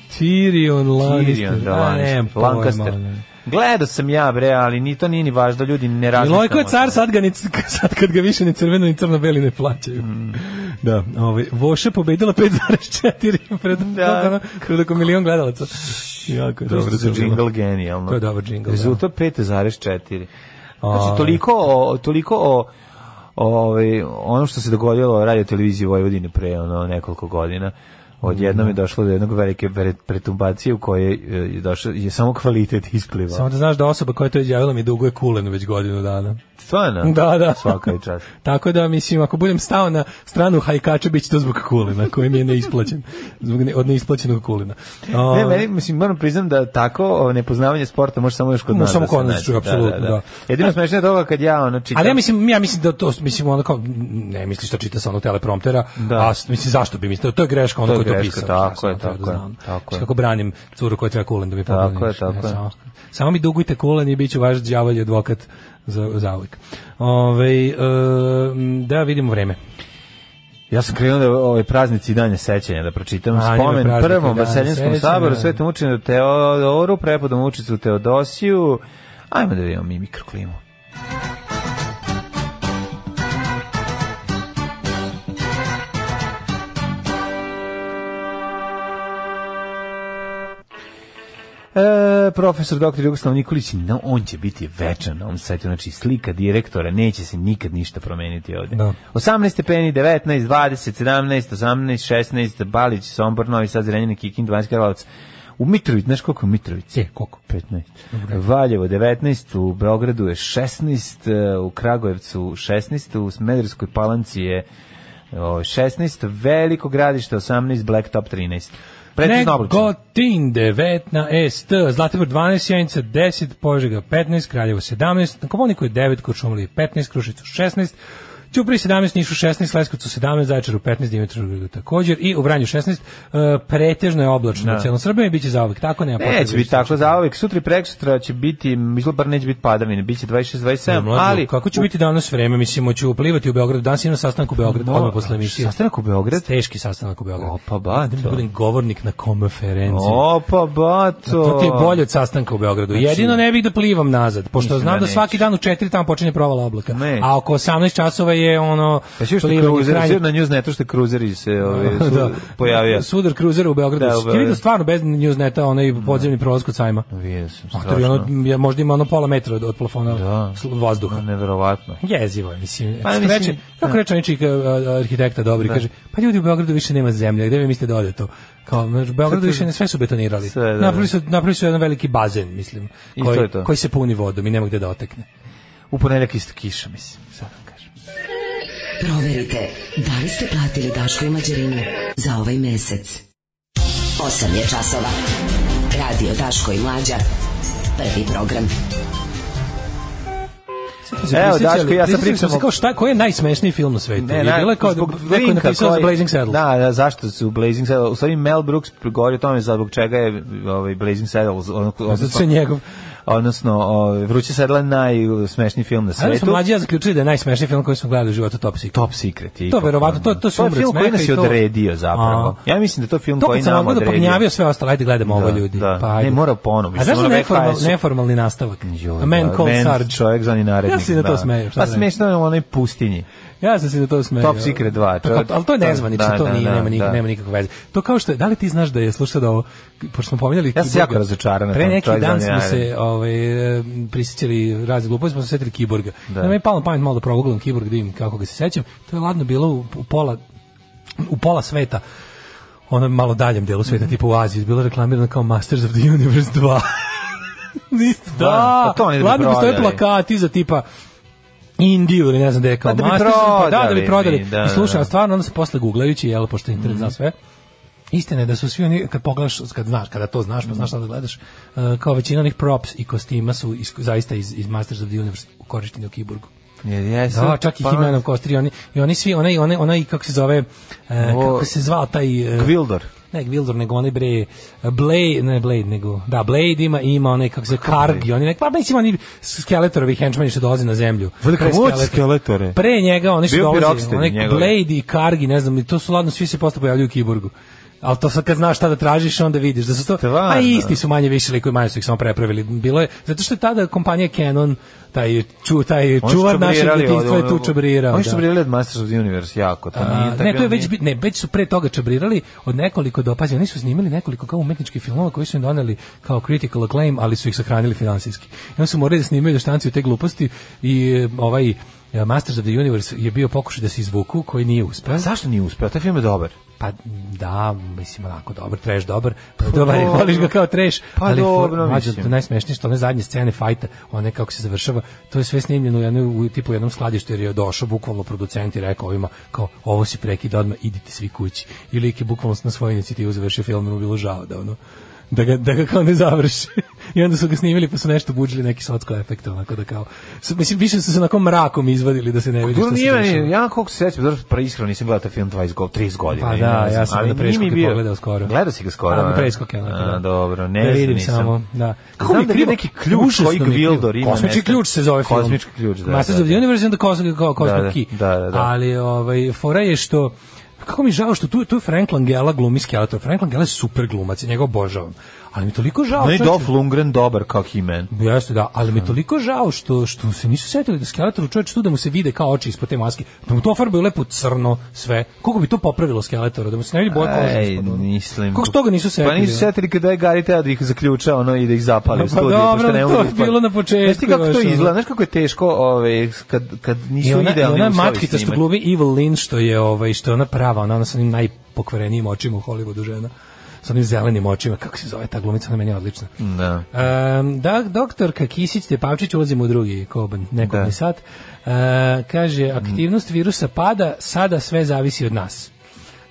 [SPEAKER 6] Tyrion Lannister.
[SPEAKER 7] Tyrion, da,
[SPEAKER 6] A, nemam
[SPEAKER 7] Lannister,
[SPEAKER 6] pojma,
[SPEAKER 7] Lancaster.
[SPEAKER 6] ono.
[SPEAKER 7] Gledao sam ja, bre, ali ni to nije ni važno, ljudi ne razlikamo.
[SPEAKER 6] Milojko ovaj je car, sad, ga ni, sad kad ga više ni crveno ni crno-beli ne plaćaju.
[SPEAKER 7] Mm.
[SPEAKER 6] Da, ovaj, Voša pobedila 5,4 pred,
[SPEAKER 7] Da.
[SPEAKER 6] da. pred oko milion gledalaca. Jako je
[SPEAKER 7] Dobro,
[SPEAKER 6] to
[SPEAKER 7] za
[SPEAKER 6] bilo.
[SPEAKER 7] džingl genijalno.
[SPEAKER 6] To je dobar džingl, da.
[SPEAKER 7] Rezultat 5,4. Znači, toliko o, toliko o, ovaj, ono što se dogodilo radio televiziji Vojvodini pre ono, nekoliko godina, odjednom
[SPEAKER 6] Mhm.
[SPEAKER 7] je došlo do jednog velike pre- pretumbacije u kojoj e, je, došao, je samo kvalitet isplivao.
[SPEAKER 6] Samo da znaš da osoba koja je to izjavila mi duguje kulen već godinu dana.
[SPEAKER 7] Stvarno?
[SPEAKER 6] Da, da.
[SPEAKER 7] Svaka je čast.
[SPEAKER 6] Tako da, mislim, ako budem stao na stranu hajkača, bit će to zbog kulina, koji mi je neisplaćen. Zbog ne, od neisplaćenog kulina. O,
[SPEAKER 7] Ne, meni, mislim, moram priznam da tako o, nepoznavanje sporta može samo još kod
[SPEAKER 6] Može
[SPEAKER 7] nas.
[SPEAKER 6] samo
[SPEAKER 7] da se
[SPEAKER 6] kod nas,
[SPEAKER 7] nađe.
[SPEAKER 6] čuj, apsolutno, da.
[SPEAKER 7] Jedino smešno je toga kad ja, ono, čitam.
[SPEAKER 6] Ali ja mislim, ja mislim da to, mislim, ono kao, ne misliš da čita sa onog telepromptera,
[SPEAKER 7] Da.
[SPEAKER 6] a s- mislim, zašto bi mislim, to je greška ono
[SPEAKER 7] To je
[SPEAKER 6] koji to
[SPEAKER 7] greška,
[SPEAKER 6] pisao.
[SPEAKER 7] tako
[SPEAKER 6] Ja sam
[SPEAKER 7] je,
[SPEAKER 6] to da
[SPEAKER 7] tako je,
[SPEAKER 6] znam. Znači,
[SPEAKER 7] tako je.
[SPEAKER 6] Kako branim curu koja treba kulen da mi
[SPEAKER 7] Tako
[SPEAKER 6] pokloni.
[SPEAKER 7] je,
[SPEAKER 6] nešto, ne,
[SPEAKER 7] tako je.
[SPEAKER 6] Samo, samo mi dugujte kulen i bit ću vaš djavolji advokat za, za uvijek. Ove, e, da vidimo vreme.
[SPEAKER 7] Ja sam krenuo da ovaj praznici i danje sećanja da pročitam
[SPEAKER 6] A, ima
[SPEAKER 7] spomen
[SPEAKER 6] praznik i
[SPEAKER 7] prvom
[SPEAKER 6] dan
[SPEAKER 7] Vaseljinskom
[SPEAKER 6] sećanja.
[SPEAKER 7] saboru Svetom učinu Teodoru, prepodom učicu Teodosiju. Ajmo da vidimo mi mikroklimu. E, profesor dr. Jugoslav Nikolić, no, on će biti večan na ovom sajtu, znači slika direktora, neće se nikad ništa promeniti ovde.
[SPEAKER 6] Da.
[SPEAKER 7] 18 stepeni, 19, 20, 17, 18, 16, Balić, Sombor, Novi Sad, Zrenjanin, Kikin, 12 Karlovac. U Mitrovic, znaš koliko je Mitrovic?
[SPEAKER 6] E, koliko?
[SPEAKER 7] 15. Valjevo 19, u Beogradu je 16, e, u Kragujevcu 16, u Smederskoj palanci je o, 16, Veliko gradište 18, Blacktop 13. Precizno oblačno.
[SPEAKER 6] Negotin 19, Zlatibor 12, Janica 10, Požega 15, Kraljevo 17, na Komuniku je 9, Kuršumlije 15, Krušicu 16, Ćupri 17, Nišu 16, Leskovcu 17, Zaječaru 15, Dimitrovgradu također i u Vranju 16, e, pretežno je oblačno u celom Srbiji, bit će zauvek tako, nema potrebe.
[SPEAKER 7] Neće biti tako zaovek. Sutra i prekosutra će biti, izgleda bar neće biti padavine, bit će 26-27,
[SPEAKER 6] Mlađo,
[SPEAKER 7] ali...
[SPEAKER 6] kako će biti danas vreme? Mislim, hoću uplivati u Beogradu. Danas imam sastanak u Beogradu, odmah posle emisije.
[SPEAKER 7] Sastanak u Beograd?
[SPEAKER 6] Teški sastanak u Beogradu.
[SPEAKER 7] Opa, bato.
[SPEAKER 6] Da budem govornik na konferenciji.
[SPEAKER 7] Opa, pa, bato!
[SPEAKER 6] To ti je bolje od sastanka u Beogradu.
[SPEAKER 7] Znači-
[SPEAKER 6] Jedino ne bih da plivam nazad, pošto
[SPEAKER 7] Mislim da
[SPEAKER 6] znam da
[SPEAKER 7] nećeš.
[SPEAKER 6] svaki dan u 4 tamo počinje provala oblaka.
[SPEAKER 7] Nećeš.
[SPEAKER 6] A oko 18 časova je ono
[SPEAKER 7] Pa što što
[SPEAKER 6] plivanje
[SPEAKER 7] kruzer,
[SPEAKER 6] krajnje-
[SPEAKER 7] na newsnetu što kruzeri se ovaj, su,
[SPEAKER 6] Da.
[SPEAKER 7] pojavio.
[SPEAKER 6] Sudar kruzera u Beogradu.
[SPEAKER 7] Da, u
[SPEAKER 6] Da,
[SPEAKER 7] Beogradu.
[SPEAKER 6] Ti vidio stvarno bez newsneta onaj podzemni prolaz kod sajma.
[SPEAKER 7] Vidio sam,
[SPEAKER 6] Mater,
[SPEAKER 7] strašno.
[SPEAKER 6] ono, je- možda ima ono pola metra od, od plafona
[SPEAKER 7] Da.
[SPEAKER 6] sl- vazduha.
[SPEAKER 7] Pa, Neverovatno.
[SPEAKER 6] Jezivo je, mislim.
[SPEAKER 7] Pa,
[SPEAKER 6] Pa, mislim
[SPEAKER 7] mislim,
[SPEAKER 6] reče,
[SPEAKER 7] da.
[SPEAKER 6] kako reče onaj čik, a, a, arhitekta dobri, kaže, pa ljudi u Beogradu više nema zemlje, gde vi mislite da ode to? Kao, znači, u Beogradu više ne, sve su betonirali.
[SPEAKER 7] Sve, da, da.
[SPEAKER 6] napravili, su, napravili su jedan veliki bazen, mislim,
[SPEAKER 7] I
[SPEAKER 6] koji,
[SPEAKER 7] to je to.
[SPEAKER 6] koji se puni vodom i nema gde da otekne.
[SPEAKER 7] U ponedeljak isto kiša, mislim. Sad vam kažem.
[SPEAKER 5] Proverite da li ste platili Daško i Mađarinu za ovaj mesec. 8 je časova. Radio Daško i Mlađa. Prvi program.
[SPEAKER 7] Evo,
[SPEAKER 6] Prisjećali-
[SPEAKER 7] Daško, ja sad
[SPEAKER 6] prisjećali smo
[SPEAKER 7] pričam
[SPEAKER 6] se
[SPEAKER 7] o-
[SPEAKER 6] Kao šta, koji je najsmešniji film na svetu? Ne, ne, bilo je kao da
[SPEAKER 7] zbog
[SPEAKER 6] neko je
[SPEAKER 7] linka
[SPEAKER 6] napisao za
[SPEAKER 7] koji-
[SPEAKER 6] Blazing Saddles.
[SPEAKER 7] Da, da, zašto su Blazing Saddles? U stvari Mel Brooks govori o tome zbog čega je ovaj, Blazing Saddles, ono,
[SPEAKER 6] Zato što je
[SPEAKER 7] odnosno,
[SPEAKER 6] njegov.
[SPEAKER 7] odnosno ovaj, Vruće sedla je najsmešniji film na
[SPEAKER 6] Ali
[SPEAKER 7] svetu.
[SPEAKER 6] smo mlađi ja zaključili da je najsmešniji film koji smo gledali u životu Top Secret.
[SPEAKER 7] Top Secret. je
[SPEAKER 6] To
[SPEAKER 7] ipak,
[SPEAKER 6] verovatno, to-
[SPEAKER 7] ono.
[SPEAKER 6] to su
[SPEAKER 7] je
[SPEAKER 6] umre od
[SPEAKER 7] film koji
[SPEAKER 6] smeha
[SPEAKER 7] nas
[SPEAKER 6] i
[SPEAKER 7] je
[SPEAKER 6] to-
[SPEAKER 7] odredio zapravo.
[SPEAKER 6] A.
[SPEAKER 7] Ja mislim da je to film
[SPEAKER 6] To
[SPEAKER 7] koji
[SPEAKER 6] kad sam
[SPEAKER 7] nam
[SPEAKER 6] odgledao
[SPEAKER 7] odredio.
[SPEAKER 6] pognjavio sve ostalo, ajde gledamo ovo
[SPEAKER 7] Da,
[SPEAKER 6] ljudi.
[SPEAKER 7] da.
[SPEAKER 6] pa ajde.
[SPEAKER 7] Ne, mora ponovo,
[SPEAKER 6] A
[SPEAKER 7] mislim,
[SPEAKER 6] znaš
[SPEAKER 7] ono
[SPEAKER 6] neformal,
[SPEAKER 7] backfire su-
[SPEAKER 6] neformalni nastavak?
[SPEAKER 7] Joj,
[SPEAKER 6] A man
[SPEAKER 7] da,
[SPEAKER 6] called
[SPEAKER 7] man,
[SPEAKER 6] Sarge.
[SPEAKER 7] Čovjek zvani
[SPEAKER 6] Ja
[SPEAKER 7] narednik.
[SPEAKER 6] se na to
[SPEAKER 7] da.
[SPEAKER 6] smejem, šta
[SPEAKER 7] Pa
[SPEAKER 6] da
[SPEAKER 7] smešno je u onoj pustinji.
[SPEAKER 6] Ja sam se na to smeo.
[SPEAKER 7] Top Secret 2,
[SPEAKER 6] Tako, ali to je
[SPEAKER 7] to-
[SPEAKER 6] nezvanično,
[SPEAKER 7] da,
[SPEAKER 6] to
[SPEAKER 7] da,
[SPEAKER 6] nije,
[SPEAKER 7] da,
[SPEAKER 6] nema, nik,
[SPEAKER 7] da.
[SPEAKER 6] nema nikakve veze. To kao što je, da li ti znaš da je, slušaj da ovo, pošto smo pominjali...
[SPEAKER 7] Ja sam
[SPEAKER 6] Kiborga,
[SPEAKER 7] jako razočaran na
[SPEAKER 6] Pre
[SPEAKER 7] tom
[SPEAKER 6] neki
[SPEAKER 7] čovjek
[SPEAKER 6] dan smo
[SPEAKER 7] zvani
[SPEAKER 6] se ovaj, e, prisjećali razne gluposti, smo se sjetili Kiborga.
[SPEAKER 7] Da.
[SPEAKER 6] Da. Nama je palo na pamet malo da progledam Kiborg, da vidim kako ga se sećam. To je ladno bilo u, u pola, u pola sveta ono malo daljem delu sveta,
[SPEAKER 7] Mhm.
[SPEAKER 6] tipa u Aziji, bilo reklamirano kao Masters of the Universe 2. Niste, da,
[SPEAKER 7] Pa to oni da bi
[SPEAKER 6] ladno postoje
[SPEAKER 7] prodali.
[SPEAKER 6] plakati za tipa Indiju ili ne znam gde je kao
[SPEAKER 7] Pa da bi
[SPEAKER 6] Masters, pa da, da
[SPEAKER 7] prodali
[SPEAKER 6] bi prodali.
[SPEAKER 7] mi, da,
[SPEAKER 6] I
[SPEAKER 7] da, Mhm.
[SPEAKER 6] slušaj,
[SPEAKER 7] da.
[SPEAKER 6] a stvarno onda se posle guglajući, jel, pošto je internet zna sve, Istina je da su svi oni, kad pogledaš, kad znaš, kada to znaš,
[SPEAKER 7] Mhm.
[SPEAKER 6] pa znaš šta da gledaš, e, kao većina onih props i kostima su iz, zaista iz, iz Masters of the Universe korišteni u Kiburgu.
[SPEAKER 7] Jer jesu.
[SPEAKER 6] Da, čak i
[SPEAKER 7] pa-
[SPEAKER 6] Himenom Kostri, oni, i oni svi, onaj, onaj, onaj, kako se zove, e, kako se zvao taj... e,
[SPEAKER 7] Gvildor.
[SPEAKER 6] ne Gvildor, nego onaj bre Blade, ne Blade, nego da, Blade ima, ima onaj kako se zove, Kargi, oni nek, pa mislim oni Skeletorovi henchmeni što dolaze na zemlju.
[SPEAKER 7] Velika
[SPEAKER 6] Pre
[SPEAKER 7] moć
[SPEAKER 6] Skeletor-
[SPEAKER 7] Skeletore.
[SPEAKER 6] Pre njega oni što
[SPEAKER 7] Bio bi
[SPEAKER 6] dolaze,
[SPEAKER 7] Rocksteady
[SPEAKER 6] onaj
[SPEAKER 7] njegov.
[SPEAKER 6] Blade i Kargi, ne znam, i to su ladno, svi se posle pojavljuju u Kiborgu. Ali to sad kad znaš šta da tražiš, onda vidiš da su to...
[SPEAKER 7] Stvarno.
[SPEAKER 6] A isti su manje više likovi, manje su ih samo prepravili. Bilo je, zato što je tada kompanija Canon, taj, ču, taj
[SPEAKER 7] Oni su
[SPEAKER 6] čuvar našeg
[SPEAKER 7] čabrirali
[SPEAKER 6] detinjstva je
[SPEAKER 7] od-
[SPEAKER 6] tu čabrirao.
[SPEAKER 7] Oni su
[SPEAKER 6] da.
[SPEAKER 7] čabrirali od Masters of the Universe, jako. To
[SPEAKER 6] A,
[SPEAKER 7] nije,
[SPEAKER 6] ne, to je
[SPEAKER 7] bilo
[SPEAKER 6] već,
[SPEAKER 7] nije-
[SPEAKER 6] bi- ne, već su pre toga čabrirali od nekoliko dopazi. Oni su snimili nekoliko kao umetničkih filmova koji su im doneli kao critical acclaim, ali su ih sahranili finansijski. I onda su morali da snimaju da štanciju te gluposti i e, ovaj e, Masters of the Universe je bio pokušaj da se izvuku koji nije uspeo.
[SPEAKER 7] Zašto nije uspeo? Taj film je dobar.
[SPEAKER 6] Pa da, mislim onako dobar, trash dobar. Dobar je, voliš ga kao trash.
[SPEAKER 7] Pa
[SPEAKER 6] ali for-
[SPEAKER 7] dobro,
[SPEAKER 6] mlađe,
[SPEAKER 7] mislim.
[SPEAKER 6] to najsmešnije što one zadnje scene fajta, one kako se završava, to je sve snimljeno u jednoj u, tipu u jednom skladištu jer je došao bukvalno producent i rekao ovima kao ovo si prekida odmah, idite svi kući. I lik je bukvalno na svoju inicijativu završio film, jer mu je bilo žao da ono da ga, da ga kao ne završi. I onda su ga snimili pa su nešto budžili neki socko efekt onako da kao. s- Mislim više su se onako mrakom izvadili da se ne vidi
[SPEAKER 7] Dobro,
[SPEAKER 6] šta se
[SPEAKER 7] nije
[SPEAKER 6] dešava.
[SPEAKER 7] meni, ja koliko se sećam, dobro, pre iskreno nisam gledao taj film 20 godina, 30 godina.
[SPEAKER 6] Pa
[SPEAKER 7] ne
[SPEAKER 6] da,
[SPEAKER 7] znam,
[SPEAKER 6] ja sam
[SPEAKER 7] ali
[SPEAKER 6] na
[SPEAKER 7] nije mi
[SPEAKER 6] preskoke
[SPEAKER 7] bio-
[SPEAKER 6] pogledao skoro.
[SPEAKER 7] Gledao si ga skoro?
[SPEAKER 6] A,
[SPEAKER 7] a?
[SPEAKER 6] na preskoke, onako, ono, da.
[SPEAKER 7] A, dobro, ne
[SPEAKER 6] Da
[SPEAKER 7] znam,
[SPEAKER 6] vidim
[SPEAKER 7] nisam.
[SPEAKER 6] samo, da.
[SPEAKER 7] Kako mi je krivo, neki ključ koji Gvildor ima.
[SPEAKER 6] Kosmički
[SPEAKER 7] nešto.
[SPEAKER 6] ključ se zove film.
[SPEAKER 7] Kosmički ključ, da.
[SPEAKER 6] Masters
[SPEAKER 7] da,
[SPEAKER 6] of
[SPEAKER 7] da.
[SPEAKER 6] the Universe and the Cosmic, kao Cosmic
[SPEAKER 7] Da, da,
[SPEAKER 6] Key.
[SPEAKER 7] da, da, da.
[SPEAKER 6] Ali, ovaj, fora je što kako mi je žao što tu, tu je Frank Langella glumi Skeletor. Frank Langella je super glumac, ja njega obožavam. Ali mi je toliko žao.
[SPEAKER 7] Meni je
[SPEAKER 6] čovječe.
[SPEAKER 7] Dolph Lundgren dobar kao He-Man.
[SPEAKER 6] Jeste, da, ali mi je toliko žao što, što se nisu setili da Skeletoru čovječ tu da mu se vide kao oči ispod te maske, da mu to farbaju lepo crno sve. Koliko bi to popravilo Skeletora, da mu se ne vidi boja kože
[SPEAKER 7] Ej,
[SPEAKER 6] ispod ono?
[SPEAKER 7] mislim.
[SPEAKER 6] Kako se toga nisu setili?
[SPEAKER 7] Pa nisu
[SPEAKER 6] ono?
[SPEAKER 7] setili kada je Gary teo da ih zaključa ono i da ih zapali
[SPEAKER 6] Pa
[SPEAKER 7] u studiju.
[SPEAKER 6] dobro,
[SPEAKER 7] pošto ne
[SPEAKER 6] to
[SPEAKER 7] mogu
[SPEAKER 6] je
[SPEAKER 7] da ispadne.
[SPEAKER 6] bilo na početku,
[SPEAKER 7] Znaš ti kako
[SPEAKER 6] baš,
[SPEAKER 7] to
[SPEAKER 6] ono.
[SPEAKER 7] izgleda? Znaš kako je teško ovaj, kad, kad
[SPEAKER 6] I
[SPEAKER 7] nisu
[SPEAKER 6] ona, i
[SPEAKER 7] idealni
[SPEAKER 6] ona
[SPEAKER 7] uslovi
[SPEAKER 6] mačkica što
[SPEAKER 7] snimanja.
[SPEAKER 6] glumi Evil Lynn što je ovaj što je ona prava, ona, ona sa onim najpokvarenijim očima u Hollywoodu žena sa onim zelenim očima, kako se zove ta glumica, ona meni je odlična.
[SPEAKER 7] Da.
[SPEAKER 6] Um, da, doktorka Kisić Tepavčić, ulazimo u drugi koban, nekog
[SPEAKER 7] Da.
[SPEAKER 6] da. sat, uh, kaže, aktivnost virusa pada, sada sve zavisi od nas.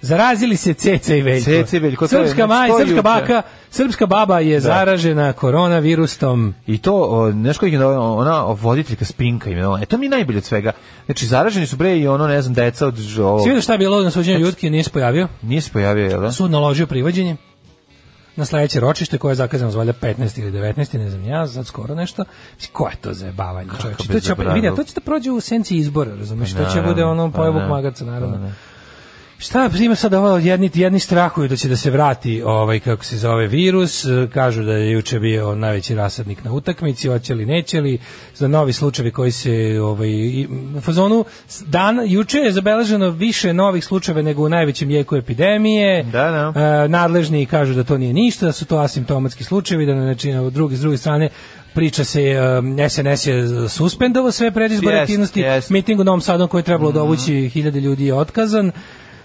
[SPEAKER 6] Zarazili se Ceca i Veljko.
[SPEAKER 7] Ceca i Veljko, to je- znači
[SPEAKER 6] srpska, maj,
[SPEAKER 7] to je
[SPEAKER 6] srpska
[SPEAKER 7] juče.
[SPEAKER 6] baka, srpska baba je zaražena koronavirusom.
[SPEAKER 7] I to, o, znaš koji je ona, ona voditeljka spinka imenovala. E to mi je najbolje od svega. Znači, zaraženi su bre i ono, ne znam, deca od ž- ovo.
[SPEAKER 6] Svi vidio šta je bilo na suđenju Jutke, nije se pojavio?
[SPEAKER 7] Nije se pojavio, jel da?
[SPEAKER 6] Sud naložio privođenje na sledeće ročište koje je zakazano zvalja 15. ili 19. ne znam ja, sad skoro nešto. Mislim, Ko je to zajebavanje, čoveče? To će opet,
[SPEAKER 7] bezobrazluk.
[SPEAKER 6] vidi, a to će da prođe u senci izbora, razumeš? To će
[SPEAKER 7] naravno,
[SPEAKER 6] bude ono
[SPEAKER 7] pa
[SPEAKER 6] pojebog
[SPEAKER 7] ne,
[SPEAKER 6] magarca, naravno. Šta ima sad ovo, jedni, jedni strahuju da će da se vrati ovaj, kako se zove, virus, e, kažu da je juče bio najveći rasadnik na utakmici, hoće li, neće li, za novi slučajevi koji se ovaj, i- u fazonu, s- dan, juče je zabeleženo više novih slučajeva nego u najvećem jeku epidemije,
[SPEAKER 7] Da, da.
[SPEAKER 6] E, nadležni kažu da to nije ništa, da su to asimptomatski slučajevi, da znači na drugi s druge strane priča se e, SNS je suspendovao sve predizborne
[SPEAKER 7] Jest,
[SPEAKER 6] aktivnosti,
[SPEAKER 7] jest.
[SPEAKER 6] miting u Novom Sadu koji je trebalo
[SPEAKER 7] Mhm.
[SPEAKER 6] dovući hiljade ljudi je otkazan.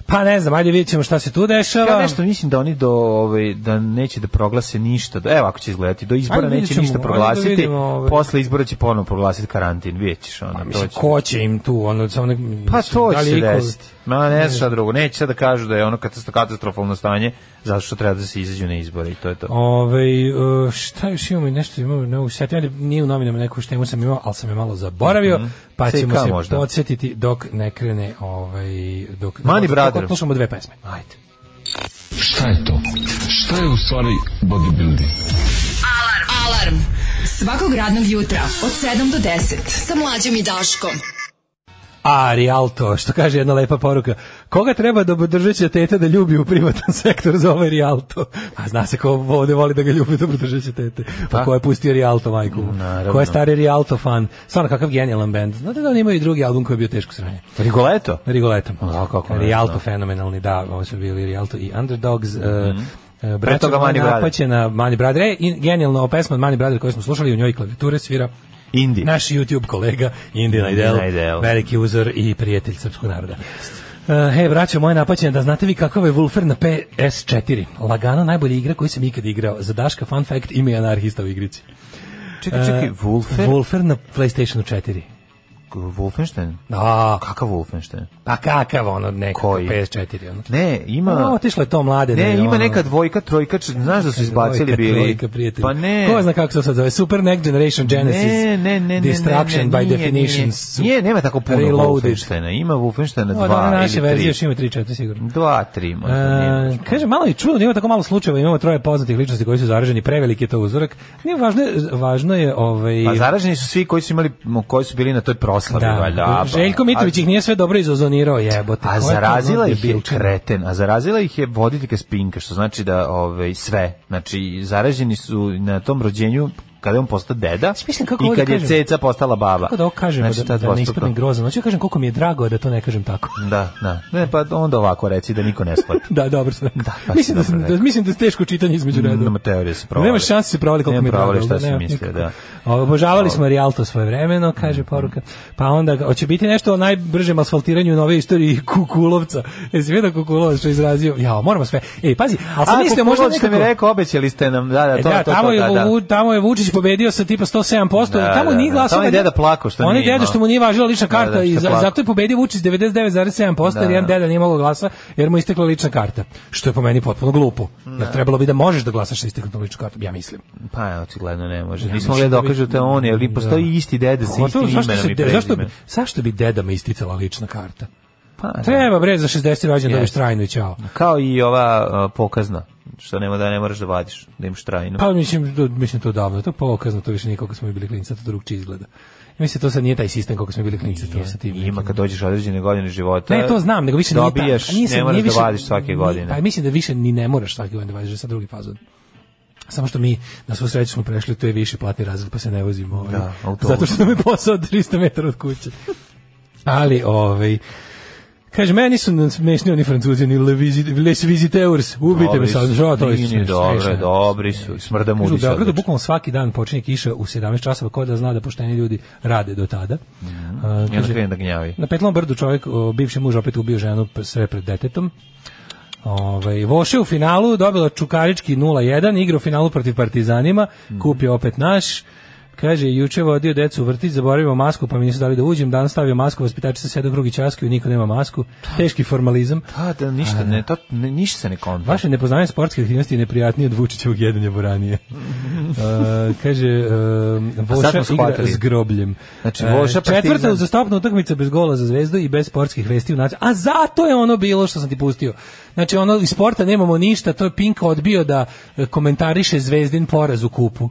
[SPEAKER 6] Pa ne znam, ajde vidjet ćemo šta se tu dešava.
[SPEAKER 7] Ja nešto mislim da oni do ovaj da neće da proglase ništa. Do, evo ako će izgledati do izbora
[SPEAKER 6] Ajde, vidjet
[SPEAKER 7] neće
[SPEAKER 6] ćemo,
[SPEAKER 7] ništa
[SPEAKER 6] ajde da
[SPEAKER 7] proglasiti.
[SPEAKER 6] vidimo, ovaj.
[SPEAKER 7] Posle izbora će ponovo proglasiti karantin, videćeš ono.
[SPEAKER 6] Pa,
[SPEAKER 7] to
[SPEAKER 6] mislim,
[SPEAKER 7] će-
[SPEAKER 6] ko će im tu, ono, samo nek,
[SPEAKER 7] Pa
[SPEAKER 6] mislim,
[SPEAKER 7] to
[SPEAKER 6] da
[SPEAKER 7] će
[SPEAKER 6] li
[SPEAKER 7] se
[SPEAKER 6] iko-
[SPEAKER 7] desiti. Ma ne znam šta drugo. Neće sad da kažu da je ono katastrof- katastrofalno stanje zato što treba da se izađu na izbore i to je to.
[SPEAKER 6] Ovaj e, šta još imamo i nešto imamo ne mogu se setiti. Ajde, nije u novinama neku temu sam imao, ali sam je malo zaboravio, pa
[SPEAKER 7] CK
[SPEAKER 6] ćemo se
[SPEAKER 7] Mhm. možda.
[SPEAKER 6] podsjetiti dok ne krene ovaj dok
[SPEAKER 7] Mani
[SPEAKER 6] dok-
[SPEAKER 7] Brother.
[SPEAKER 6] dok Slušamo dve pesme. Ajde.
[SPEAKER 9] Šta je to? Šta je u stvari bodybuilding?
[SPEAKER 10] Alarm. Alarm. Svakog radnog jutra od 7 do 10 sa mlađom i Daškom.
[SPEAKER 6] A, Rialto, što kaže jedna lepa poruka. Koga treba da obdržeća tete da ljubi u privatnom sektoru za ovaj Rialto? A zna se ko ovde voli da ga ljubi da obdržeća tete. Pa ko je pustio Rialto, majku?
[SPEAKER 7] Naravno.
[SPEAKER 6] Ko je stari Rialto fan? Stvarno, kakav genijalan bend. Znate da oni imaju i drugi album koji je bio teško sranje?
[SPEAKER 7] Rigoleto?
[SPEAKER 6] Rigoletom.
[SPEAKER 7] A, kako ne,
[SPEAKER 6] Rialto
[SPEAKER 7] da.
[SPEAKER 6] fenomenalni, da, ovo su bili Rialto i Underdogs. Mm -hmm.
[SPEAKER 7] Mhm. Pre toga Mani Brother.
[SPEAKER 6] Napaćena Mani Brother. E, i genijalno, ova pesma od Mani Brother koju smo slušali, u njoj klavijature svira
[SPEAKER 7] Indi.
[SPEAKER 6] naš YouTube kolega Indina Idel,
[SPEAKER 7] Idel.
[SPEAKER 6] veliki uzor i prijatelj srpskog naroda. Uh, hej, braćo, moje napaćenje, da znate vi kakav je Wolfer na PS4. Lagano najbolja igra koju sam ikad igrao. Za Daška, fun fact, ime je anarhista u igrici.
[SPEAKER 7] Čekaj, čekaj,
[SPEAKER 6] Uh,
[SPEAKER 7] Wolfer?
[SPEAKER 6] Wolfer na PlayStation 4.
[SPEAKER 7] Wolfenstein?
[SPEAKER 6] Da,
[SPEAKER 7] Kakav Wolfenstein?
[SPEAKER 6] pa kakav ono neko
[SPEAKER 7] Koji?
[SPEAKER 6] PS4. Ono.
[SPEAKER 7] Ne, ima...
[SPEAKER 6] A, otišlo je to mlade. da
[SPEAKER 7] Ne,
[SPEAKER 6] je
[SPEAKER 7] ima
[SPEAKER 6] ono-
[SPEAKER 7] neka dvojka, trojka, č- znaš da su izbacili
[SPEAKER 6] Dvojka,
[SPEAKER 7] bili.
[SPEAKER 6] trojka, prijatelji.
[SPEAKER 7] Pa ne.
[SPEAKER 6] Ko zna kako se sad zove? Super Next Generation Genesis.
[SPEAKER 7] Ne, ne, ne, ne,
[SPEAKER 6] Destruction
[SPEAKER 7] ne, ne,
[SPEAKER 6] by
[SPEAKER 7] nije,
[SPEAKER 6] definition.
[SPEAKER 7] Nije, nije, nema tako puno
[SPEAKER 6] Reloaded. да,
[SPEAKER 7] Wolfensteina. Ima Wolfensteina
[SPEAKER 6] Od one
[SPEAKER 7] 2
[SPEAKER 6] naše
[SPEAKER 7] ili
[SPEAKER 6] verzije
[SPEAKER 7] 3.
[SPEAKER 6] još ima 3-4 sigurno.
[SPEAKER 7] Dva, tri, možda.
[SPEAKER 6] E,
[SPEAKER 7] nije.
[SPEAKER 6] kaže, malo je čudno, da ima tako malo slučajeva, imamo troje poznatih ličnosti koji su zaraženi, preveliki je to uzorak. Nije važno, je- važno je ovaj...
[SPEAKER 7] Pa zaraženi su svi koji su imali koji su bili na toj oslabi, valjda. a-
[SPEAKER 6] Željko Mitrović Да. ih nije sve dobro izozonirao, jebote. Ko
[SPEAKER 7] A
[SPEAKER 6] je to
[SPEAKER 7] zarazila ih je
[SPEAKER 6] debilčina?
[SPEAKER 7] kreten, a zarazila ih je voditeljka spinka, što znači da ovaj, sve, znači zaraženi su na tom rođenju kada je on postao deda
[SPEAKER 6] Znaš, mislim kako
[SPEAKER 7] i
[SPEAKER 6] ovo da
[SPEAKER 7] kad je
[SPEAKER 6] kažem?
[SPEAKER 7] ceca postala baba.
[SPEAKER 6] Kako da ovo kažemo da,
[SPEAKER 7] Znači, ta
[SPEAKER 6] da ne
[SPEAKER 7] dvostruko.
[SPEAKER 6] ispadne grozno. Znači kažem koliko mi je drago da to ne kažem tako.
[SPEAKER 7] Da, da. Ne, pa onda ovako reci da niko ne shvati.
[SPEAKER 6] Da, dobro sam rekao.
[SPEAKER 7] Da, pa si
[SPEAKER 6] mislim, da,
[SPEAKER 7] dobro
[SPEAKER 6] da,
[SPEAKER 7] rekao. Mm,
[SPEAKER 6] mislim da je teško čitanje između redova.
[SPEAKER 7] Nema teorije se provali.
[SPEAKER 6] Nema šanse se provali koliko
[SPEAKER 7] Nema
[SPEAKER 6] mi je drago.
[SPEAKER 7] provali šta
[SPEAKER 6] da,
[SPEAKER 7] si
[SPEAKER 6] nema
[SPEAKER 7] mislio,
[SPEAKER 6] nikako.
[SPEAKER 7] da. Mhm.
[SPEAKER 6] A, Obožavali smo Rialto svoje vremeno, kaže poruka. Pa onda, hoće biti nešto o najbržem asfaltiranju nove istoriji Kukulovca. Jesi vidio Kukulovac što je izrazio? Ja, moramo sve. Ej, pazi, ali sam
[SPEAKER 7] A,
[SPEAKER 6] mislio
[SPEAKER 7] mislite,
[SPEAKER 6] možda
[SPEAKER 7] možda ste mi
[SPEAKER 6] nekako...
[SPEAKER 7] rekao, obećali ste nam, da, da,
[SPEAKER 6] E,
[SPEAKER 7] to,
[SPEAKER 6] da,
[SPEAKER 7] to,
[SPEAKER 6] tamo,
[SPEAKER 7] to,
[SPEAKER 6] je,
[SPEAKER 7] da, da.
[SPEAKER 6] Vu- tamo je Vučić pobedio sa tipa 107%,
[SPEAKER 7] Da,
[SPEAKER 6] tamo
[SPEAKER 7] da,
[SPEAKER 6] nije
[SPEAKER 7] da.
[SPEAKER 6] glasao.
[SPEAKER 7] Tamo je
[SPEAKER 6] kad-
[SPEAKER 7] deda plakao što
[SPEAKER 6] On je
[SPEAKER 7] nije
[SPEAKER 6] deda
[SPEAKER 7] imao.
[SPEAKER 6] što mu nije važila lična
[SPEAKER 7] Da, da,
[SPEAKER 6] karta
[SPEAKER 7] što
[SPEAKER 6] i
[SPEAKER 7] je
[SPEAKER 6] za,
[SPEAKER 7] plakao.
[SPEAKER 6] zato je pobedio Vučić 99,7% jer
[SPEAKER 7] Da,
[SPEAKER 6] jedan
[SPEAKER 7] da.
[SPEAKER 6] deda nije mogao glasa jer mu je istekla lična karta. Što je po meni potpuno glupo. Jer trebalo bi da možeš da glasaš sa isteknutom ličnom kartom, ja mislim.
[SPEAKER 7] Pa, ja, očigledno ne može.
[SPEAKER 6] Ja
[SPEAKER 7] Nismo
[SPEAKER 6] mislim
[SPEAKER 7] gledali
[SPEAKER 6] da
[SPEAKER 7] da
[SPEAKER 6] bi-
[SPEAKER 7] okažu te on, jer i postoji
[SPEAKER 6] Da.
[SPEAKER 7] isti dede sa istim
[SPEAKER 6] Pogotovo zašto, se
[SPEAKER 7] imenom i
[SPEAKER 6] de- zašto, bi-
[SPEAKER 7] prezimenom.
[SPEAKER 6] zašto bi dedama isticala lična karta?
[SPEAKER 7] Pa, da.
[SPEAKER 6] Treba bre za 60 rođendan dobiš
[SPEAKER 7] Jeste.
[SPEAKER 6] trajnu i ćao.
[SPEAKER 7] Kao i ova a, pokazna, što nema da ne moraš da vadiš, da imaš trajnu.
[SPEAKER 6] Pa mislim, to, mislim to davno, to je pokazno, to više nije koliko smo mi bili klinci, to drugčije izgleda. Ja mislim, to sad nije taj sistem koliko smo bili klinci, to sa tim.
[SPEAKER 7] Ima
[SPEAKER 6] nekim-
[SPEAKER 7] kad dođeš određene godine života.
[SPEAKER 6] Ne, to znam, nego više nije tako.
[SPEAKER 7] Dobijaš,
[SPEAKER 6] A nije sad-
[SPEAKER 7] ne moraš
[SPEAKER 6] nije više-
[SPEAKER 7] da vadiš svake
[SPEAKER 6] ni-
[SPEAKER 7] godine.
[SPEAKER 6] Pa mislim da više ni ne moraš svake godine da vadiš, da je sad drugi fazon. Samo što mi na svu sreću smo prešli, to je više platni razred, pa se ne vozimo. Ovaj,
[SPEAKER 7] Da, autobus.
[SPEAKER 6] zato što nam je posao 300 metara od kuće. Ali, ovaj, Kaže, meni su nam smešni oni francuzi, oni le, vizit, les visiteurs, ubite me
[SPEAKER 7] Dobri
[SPEAKER 6] sad,
[SPEAKER 7] su.
[SPEAKER 6] što to je
[SPEAKER 7] Nije,
[SPEAKER 6] smešno,
[SPEAKER 7] Dobre,
[SPEAKER 6] smešno.
[SPEAKER 7] dobri su, smrda
[SPEAKER 6] Kažu, u
[SPEAKER 7] mudi se
[SPEAKER 6] Beogradu
[SPEAKER 7] odlično.
[SPEAKER 6] bukvalno svaki dan počinje kiša u 17 časova, ko da zna da pošteni ljudi rade do tada. A,
[SPEAKER 7] Mhm. I onda krene da gnjavi.
[SPEAKER 6] na Petlom brdu čovjek, o, bivši muž opet ubio ženu p- sve pred detetom. Ovaj Voše u finalu dobila Čukarički 0-1, igra u finalu protiv Partizanima, kupio opet naš. Kaže, juče vodio decu u vrtić, zaboravio masku, pa mi nisu dali da uđem. Danas stavio masku, vaspitačica sede u drugi časki, niko nema masku. Teški formalizam.
[SPEAKER 7] Pa, da, ništa, ne, to, ne, ništa se ne konta.
[SPEAKER 6] Vaše nepoznanje sportske aktivnosti je neprijatnije od Vučićevog jedanja buranije. E, kaže, e,
[SPEAKER 7] sad
[SPEAKER 6] Voša
[SPEAKER 7] smo
[SPEAKER 6] igra
[SPEAKER 7] shvatili.
[SPEAKER 6] s grobljem.
[SPEAKER 7] Znači,
[SPEAKER 6] E,
[SPEAKER 7] Voša
[SPEAKER 6] Četvrta
[SPEAKER 7] Partizan.
[SPEAKER 6] uzastopna utakmica bez gola za zvezdu i bez sportskih vesti u naciju. A zato je ono bilo što sam ti pustio. Znači, ono, iz sporta nemamo ništa, to je Pinka odbio da e, komentariše zvezdin poraz u kupu.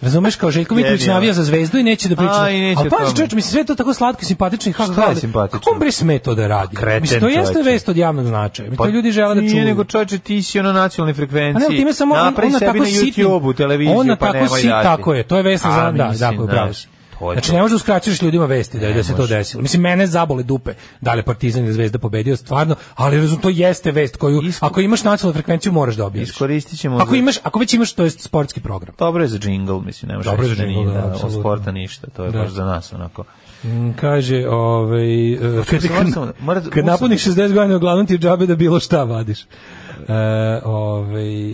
[SPEAKER 6] Razumeš kao Željko Mitrović
[SPEAKER 7] Genijalno.
[SPEAKER 6] navija za zvezdu i neće da priča.
[SPEAKER 7] A, i neće
[SPEAKER 6] Ali
[SPEAKER 7] o
[SPEAKER 6] pazi
[SPEAKER 7] tome.
[SPEAKER 6] čovječ, mislim sve je to tako slatko i simpatično i kako
[SPEAKER 7] Šta je
[SPEAKER 6] kao da-
[SPEAKER 7] simpatično?
[SPEAKER 6] Kako on bre sme to da radi?
[SPEAKER 7] Kreten
[SPEAKER 6] mislim, to jeste
[SPEAKER 7] čoveče.
[SPEAKER 6] vest od javnog značaja. Mislim, E, to ljudi žele da čuju.
[SPEAKER 7] Pa Nije nego čoveče, ti si ono nacionalne
[SPEAKER 6] Pa ne,
[SPEAKER 7] frekvencije.
[SPEAKER 6] ali time samo on, on
[SPEAKER 7] Napravi
[SPEAKER 6] na
[SPEAKER 7] sebi
[SPEAKER 6] tako
[SPEAKER 7] na
[SPEAKER 6] sitnim-
[SPEAKER 7] YouTube-u, televiziju,
[SPEAKER 6] on na
[SPEAKER 7] pa
[SPEAKER 6] tako
[SPEAKER 7] nemoj
[SPEAKER 6] sit,
[SPEAKER 7] dati.
[SPEAKER 6] tako je, to je vest
[SPEAKER 7] A,
[SPEAKER 6] za da,
[SPEAKER 7] mislim,
[SPEAKER 6] tako je, pravo
[SPEAKER 7] znaš,
[SPEAKER 6] si.
[SPEAKER 7] to je
[SPEAKER 6] Znači
[SPEAKER 7] to.
[SPEAKER 6] ne možeš da uskraćuješ ljudima vesti da, je- da se to
[SPEAKER 7] može.
[SPEAKER 6] desilo. Mislim mene zabole dupe da li je Partizan ili Zvezda pobedio stvarno, ali rezultat to jeste vest koju
[SPEAKER 7] Isko-
[SPEAKER 6] ako imaš nacionalnu frekvenciju moraš da objaviš.
[SPEAKER 7] Iskoristit ćemo
[SPEAKER 6] Ako
[SPEAKER 7] za-
[SPEAKER 6] imaš, ako već imaš to jest sportski program.
[SPEAKER 7] Dobro je za džingl, mislim, nemaš
[SPEAKER 6] Dobro je
[SPEAKER 7] reći
[SPEAKER 6] za
[SPEAKER 7] da
[SPEAKER 6] džingl,
[SPEAKER 7] nije,
[SPEAKER 6] da,
[SPEAKER 7] da, od
[SPEAKER 6] apsolutno.
[SPEAKER 7] sporta ništa, to je
[SPEAKER 6] Da.
[SPEAKER 7] baš za nas, onako.
[SPEAKER 6] Mm, Kaže, ovaj e, kad,
[SPEAKER 7] moram samo- moram-
[SPEAKER 6] kad napuniš 60 godina uglavnom ti je džabe da bilo šta vadiš. E, ovaj e,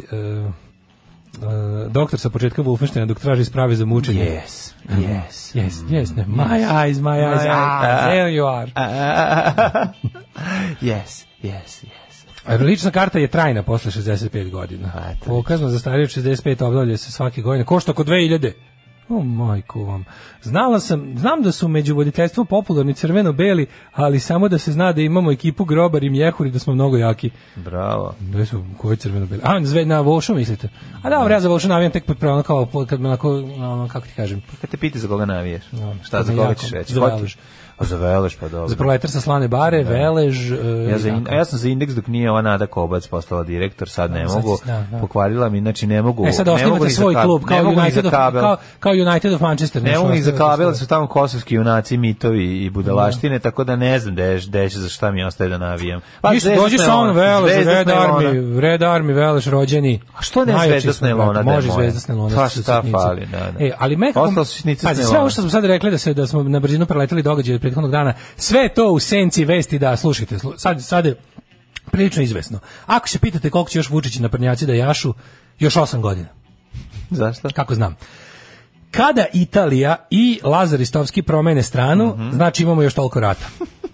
[SPEAKER 6] e, doktor sa početka Wolfensteina dok traži sprave za mučenje.
[SPEAKER 7] Yes, yes.
[SPEAKER 6] Yes, yes, ne. My eyes, my eyes,
[SPEAKER 7] My
[SPEAKER 6] ah,
[SPEAKER 7] eyes.
[SPEAKER 6] there you are.
[SPEAKER 7] yes, yes, yes.
[SPEAKER 6] A Lična karta je trajna posle 65 godina.
[SPEAKER 7] A, eto,
[SPEAKER 6] Pokazno za starije od 65 obdavlja se svake godine. Košta oko 2000. O majku vam. Znala sam, znam da su među voditeljstvom popularni crveno-beli, ali samo da se zna da imamo ekipu grobar i mjehuri, da smo mnogo jaki.
[SPEAKER 7] Bravo.
[SPEAKER 6] Da su, koji crveno-beli? A, zve, na Vošu mislite? A da, ja za Vošu navijam tek pod pravno kao, po- kad me onako, ono, kako ti kažem,
[SPEAKER 7] E, Kad te pita za koga navijaš? Šta
[SPEAKER 6] kad
[SPEAKER 7] za
[SPEAKER 6] me
[SPEAKER 7] koga
[SPEAKER 6] jako-
[SPEAKER 7] ćeš reći?
[SPEAKER 6] za
[SPEAKER 7] Hoćeš-
[SPEAKER 6] Velež.
[SPEAKER 7] A za Velež, pa dobro.
[SPEAKER 6] za proletar sa slane bare, velež, e,
[SPEAKER 7] Ja, za
[SPEAKER 6] i
[SPEAKER 7] in,
[SPEAKER 6] tako.
[SPEAKER 7] a ja sam za indeks dok nije ova Nada Kobac postala direktor, sad ne
[SPEAKER 6] Da, sad
[SPEAKER 7] mogu.
[SPEAKER 6] si- da, da.
[SPEAKER 7] Pokvarila mi, znači ne mogu.
[SPEAKER 6] E sad
[SPEAKER 7] ne mogu
[SPEAKER 6] osnivate
[SPEAKER 7] ni za
[SPEAKER 6] svoj
[SPEAKER 7] kab-
[SPEAKER 6] klub
[SPEAKER 7] ne
[SPEAKER 6] kao
[SPEAKER 7] mogu ni
[SPEAKER 6] United
[SPEAKER 7] za
[SPEAKER 6] of,
[SPEAKER 7] kabel.
[SPEAKER 6] kao, kao United of Manchester.
[SPEAKER 7] Ne
[SPEAKER 6] znaš,
[SPEAKER 7] mogu ni za
[SPEAKER 6] osnivate
[SPEAKER 7] kabel,
[SPEAKER 6] svoj-
[SPEAKER 7] su tamo kosovski junaci, mitovi i budalaštine, tako da ne znam gde gde će za šta mi ostaje da navijam. Pa
[SPEAKER 6] Ništa,
[SPEAKER 7] Zvezdasna
[SPEAKER 6] dođi
[SPEAKER 7] je
[SPEAKER 6] sa
[SPEAKER 7] ona,
[SPEAKER 6] on Velež,
[SPEAKER 7] Zvezdasna je
[SPEAKER 6] Red
[SPEAKER 7] ona.
[SPEAKER 6] Army, Red Army, Velež, rođeni.
[SPEAKER 7] A što ne
[SPEAKER 6] Najjači
[SPEAKER 7] Zvezda
[SPEAKER 6] smo,
[SPEAKER 7] Snelona,
[SPEAKER 6] brate,
[SPEAKER 7] da je
[SPEAKER 6] Može
[SPEAKER 7] moja?
[SPEAKER 6] Zvezda Snelona.
[SPEAKER 7] Pa
[SPEAKER 6] sa
[SPEAKER 7] šta
[SPEAKER 6] sitnicom.
[SPEAKER 7] fali, da, da.
[SPEAKER 6] E, ali mekako...
[SPEAKER 7] Ostalo su sitnice
[SPEAKER 6] Pazi, sve
[SPEAKER 7] Snelona.
[SPEAKER 6] ovo što smo sad rekli da, se, da smo na brzinu preleteli događaje od prethodnog dana, sve je to u senci vesti da, slušajte, slu- sad, sad je prilično izvesno. Ako se pitate koliko će još Vučić na prnjaci da jašu, još 8 godina.
[SPEAKER 7] Zašto?
[SPEAKER 6] Kako znam. Kada Italija i Lazar Istovski promene stranu,
[SPEAKER 7] Mhm.
[SPEAKER 6] znači imamo još toliko rata.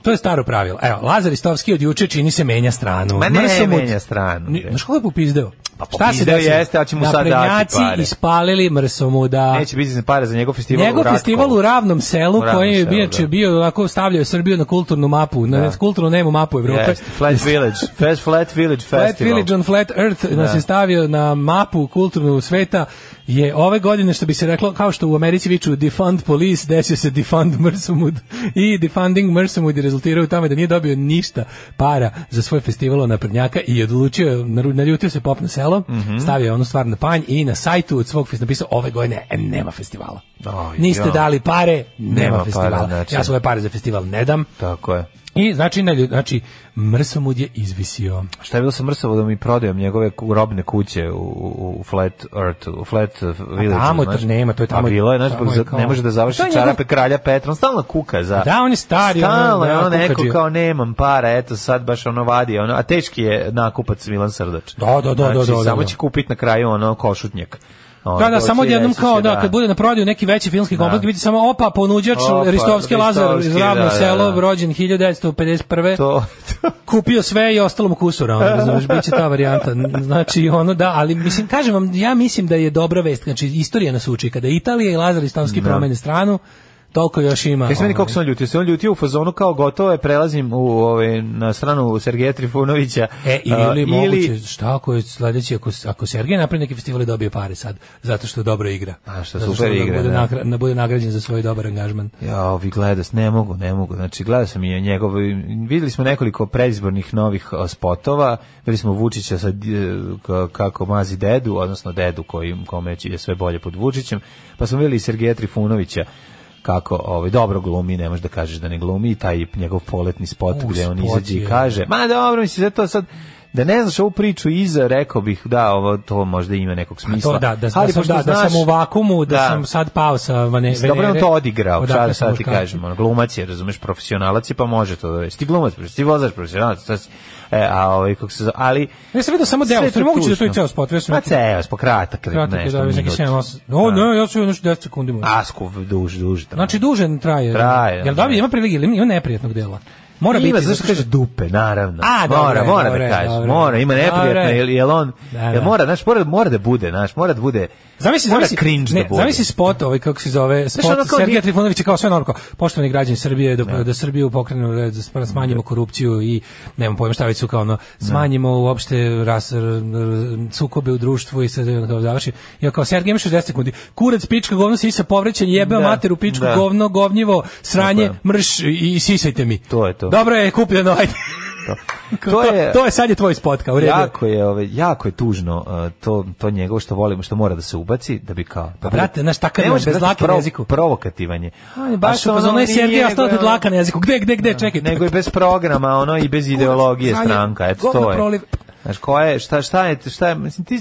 [SPEAKER 6] To je staro pravilo. Evo, Lazar Istovski od juče čini se menja stranu.
[SPEAKER 7] Ma ne,
[SPEAKER 6] Mrso mu-
[SPEAKER 7] menja stranu,
[SPEAKER 6] Ni-
[SPEAKER 7] bre.
[SPEAKER 6] Znaš kako je popizdeo?
[SPEAKER 7] Pa
[SPEAKER 6] Šta se
[SPEAKER 7] popizdeo
[SPEAKER 6] desilo?
[SPEAKER 7] jeste, ali će mu sad dati
[SPEAKER 6] Naprednjaci
[SPEAKER 7] pare.
[SPEAKER 6] ispalili mrsomu da...
[SPEAKER 7] Neće biti za pare za njegov festival u
[SPEAKER 6] Njegov
[SPEAKER 7] Ratkovu.
[SPEAKER 6] festival u Ravnom selu,
[SPEAKER 7] U Ravnom
[SPEAKER 6] koji je
[SPEAKER 7] selu,
[SPEAKER 6] bio,
[SPEAKER 7] da.
[SPEAKER 6] bio ovako stavljao Srbiju na kulturnu mapu, na
[SPEAKER 7] Da.
[SPEAKER 6] kulturnu nemu mapu Evrope.
[SPEAKER 7] Jeste, Flat Village, Fest Flat Village Festival.
[SPEAKER 6] Flat Village on Flat Earth nas
[SPEAKER 7] Da.
[SPEAKER 6] je stavio na mapu kulturnog sveta je ove godine što bi se reklo kao što u Americi viču defund police desio se defund Mersumud i defunding Mersumud je rezultirao u tome da nije dobio ništa para za svoj festival naprednjaka i odlučio je, naru- naljutio se pop na selo
[SPEAKER 7] Mhm.
[SPEAKER 6] stavio je onu stvar na panj i na sajtu od svog festivala napisao ove godine e, nema festivala
[SPEAKER 7] Aj,
[SPEAKER 6] niste
[SPEAKER 7] ja.
[SPEAKER 6] dali pare nema,
[SPEAKER 7] Nema para,
[SPEAKER 6] festivala
[SPEAKER 7] znači.
[SPEAKER 6] ja svoje pare za festival ne dam
[SPEAKER 7] Tako je.
[SPEAKER 6] i znači, nalju- znači Mrsumud je izvisio
[SPEAKER 7] Šta je bilo sa Mrsovodom i prodajom njegove ku- robne kuće u, u, u Flat Earth, u Flat uh, Village.
[SPEAKER 6] tamo to nema, to je tamo-
[SPEAKER 7] A bilo je, znaš,
[SPEAKER 6] tamo je
[SPEAKER 7] za-
[SPEAKER 6] kao-
[SPEAKER 7] ne može da završi
[SPEAKER 6] To je njegov-
[SPEAKER 7] čarape kralja Petra, on stalno kuka za...
[SPEAKER 6] Da, on je stari, ono,
[SPEAKER 7] Stalno je
[SPEAKER 6] da,
[SPEAKER 7] ono neko
[SPEAKER 6] kukađija.
[SPEAKER 7] kao nemam para, eto sad baš ono vadi, ono, a teški je nakupac Milan Srdač.
[SPEAKER 6] Da, da, da, da,
[SPEAKER 7] Znači,
[SPEAKER 6] da, da,
[SPEAKER 7] samo
[SPEAKER 6] da.
[SPEAKER 7] će kupiti na kraju ono košutnjak. Ono,
[SPEAKER 6] Da, da,
[SPEAKER 7] doći
[SPEAKER 6] samo
[SPEAKER 7] i
[SPEAKER 6] odjednom
[SPEAKER 7] reći
[SPEAKER 6] kao
[SPEAKER 7] će,
[SPEAKER 6] da, kad bude na prodaju neki veći filmski kompleks,
[SPEAKER 7] Da.
[SPEAKER 6] biti samo opa, ponuđač
[SPEAKER 7] Opa,
[SPEAKER 6] Ristovski Lazar iz
[SPEAKER 7] Ristovski,
[SPEAKER 6] Ravno
[SPEAKER 7] da, da,
[SPEAKER 6] selo,
[SPEAKER 7] da.
[SPEAKER 6] rođen 1951.
[SPEAKER 7] To, to,
[SPEAKER 6] Kupio sve i ostalo mu kusura, ono, razumeš, bit će ta varijanta. Znači, ono, da, ali mislim, kažem vam, ja mislim da je dobra vest, znači, istorija nas uči, kada Italija i Lazar Ristovski promene stranu, toliko još ima.
[SPEAKER 7] Kaj se meni
[SPEAKER 6] ono,
[SPEAKER 7] kako se on ljutio? Se on ljutio u fazonu kao gotovo je, prelazim u, ove, na stranu Sergeja Trifunovića.
[SPEAKER 6] E, ili,
[SPEAKER 7] a,
[SPEAKER 6] moguće, šta ako je sledeći, ako, ako Sergej napravi neki festival i dobije pare sad, zato što dobro igra.
[SPEAKER 7] A, što
[SPEAKER 6] Zato
[SPEAKER 7] super
[SPEAKER 6] ono
[SPEAKER 7] igra,
[SPEAKER 6] bude,
[SPEAKER 7] da.
[SPEAKER 6] nakra- ne bude nagrađen za svoj dobar angažman.
[SPEAKER 7] Ja, vi gledao, s- ne mogu, ne mogu. Znači, gledao sam i njegov, videli smo nekoliko predizbornih novih a, spotova, videli smo Vučića sa, d- ka- kako mazi dedu, odnosno dedu koji, kome je sve bolje pod Vučićem, pa smo videli i Sergeja Trifunovića kako ovaj dobro glumi, ne možeš da kažeš da ne glumi, i taj njegov poletni spot
[SPEAKER 6] U,
[SPEAKER 7] gde on
[SPEAKER 6] spot
[SPEAKER 7] izađe i
[SPEAKER 6] je.
[SPEAKER 7] kaže, ma dobro, mislim, zato sad, da ne znaš ovu priču iza, rekao bih, da, ovo, to možda ima nekog smisla.
[SPEAKER 6] To da, da,
[SPEAKER 7] Ali
[SPEAKER 6] da, sam,
[SPEAKER 7] pošto
[SPEAKER 6] da, da
[SPEAKER 7] znaš-
[SPEAKER 6] sam u vakumu, da,
[SPEAKER 7] Da.
[SPEAKER 6] sam sad pao sa vane,
[SPEAKER 7] Mislim, Dobro je on
[SPEAKER 6] Venere.
[SPEAKER 7] to odigrao, šta
[SPEAKER 6] Odakle
[SPEAKER 7] da
[SPEAKER 6] sam
[SPEAKER 7] sad ti
[SPEAKER 6] muškarac?
[SPEAKER 7] kažem, ono, glumac je, razumeš, profesionalac je, pa može to da već. Ti glumac, ti vozač profesionalac, sad si- e, a ovaj, kako se zove, ali...
[SPEAKER 6] Ja sam vidio samo deo,
[SPEAKER 7] sve je
[SPEAKER 6] stvarno moguće da je to i
[SPEAKER 7] tužno.
[SPEAKER 6] ceo spot, ja sam
[SPEAKER 7] Ma
[SPEAKER 6] neki-
[SPEAKER 7] ceo, spot, kratak,
[SPEAKER 6] Kratak je
[SPEAKER 7] nešto,
[SPEAKER 6] da već neki
[SPEAKER 7] minut.
[SPEAKER 6] 7-8. O, ne, ja sam još 10 sekundi možda.
[SPEAKER 7] Asku, duž, duž. tamo.
[SPEAKER 6] Znači, duže traje.
[SPEAKER 7] Traje,
[SPEAKER 6] Jel
[SPEAKER 7] da.
[SPEAKER 6] dobije, ima prilike, ili ima neprijatnog dela? Mora
[SPEAKER 7] ima,
[SPEAKER 6] biti,
[SPEAKER 7] zašto kaže dupe, naravno.
[SPEAKER 6] A, dobro
[SPEAKER 7] mora,
[SPEAKER 6] je,
[SPEAKER 7] mora
[SPEAKER 6] dobro je,
[SPEAKER 7] da kaže,
[SPEAKER 6] dobro je.
[SPEAKER 7] mora, ima
[SPEAKER 6] Dobro
[SPEAKER 7] neprijatno,
[SPEAKER 6] je.
[SPEAKER 7] jel, jel on,
[SPEAKER 6] Da, da.
[SPEAKER 7] jel mora, znaš, mora, mora da bude, znaš, mora da bude,
[SPEAKER 6] Zamisli,
[SPEAKER 7] mora
[SPEAKER 6] zamisli,
[SPEAKER 7] cringe
[SPEAKER 6] ne,
[SPEAKER 7] da bude.
[SPEAKER 6] zamisli spot, ovaj kako se zove, spot
[SPEAKER 7] ono kao
[SPEAKER 6] Sergeja
[SPEAKER 7] nije-
[SPEAKER 6] Trifunovića kao sve normalno. kao, Poštovani građani Srbije, da, da Srbiju pokrenu red, da spra- smanjimo korupciju i nemam pojma šta već su kao ono, smanjimo uopšte ras, r- r- sukobe u društvu i sad ono kao završi. Ja kao Sergej ima 60 sekundi. Kurac pička govno sisa povrećen, jebeo
[SPEAKER 7] Da,
[SPEAKER 6] materu pičku
[SPEAKER 7] da.
[SPEAKER 6] govno, govnjivo, sranje,
[SPEAKER 7] Tako je.
[SPEAKER 6] mrš i, i sisajte mi.
[SPEAKER 7] To je to.
[SPEAKER 6] Dobro je kupljeno, ajde.
[SPEAKER 7] To
[SPEAKER 6] To, to, je,
[SPEAKER 7] je-
[SPEAKER 6] sad je tvoj spot kao u redu.
[SPEAKER 7] Jako je, ovaj, jako je tužno uh, to, to njegovo što volimo, što mora da se ubaci, da bi kao...
[SPEAKER 6] Pa, brate, znaš, takav je, bez lake na jeziku.
[SPEAKER 7] Provokativanje.
[SPEAKER 6] Aj, baš
[SPEAKER 7] Pa
[SPEAKER 6] ono, u fazonu je Sergej ostao kod laka na jeziku. Gde, gde, gde, čekaj.
[SPEAKER 7] ono Nego je bez programa, ono, i bez ideologije
[SPEAKER 6] sranje,
[SPEAKER 7] stranka, eto
[SPEAKER 6] govno
[SPEAKER 7] to je.
[SPEAKER 6] proliv.
[SPEAKER 7] Znaš, ko je, šta, šta je, šta je, mislim, ti,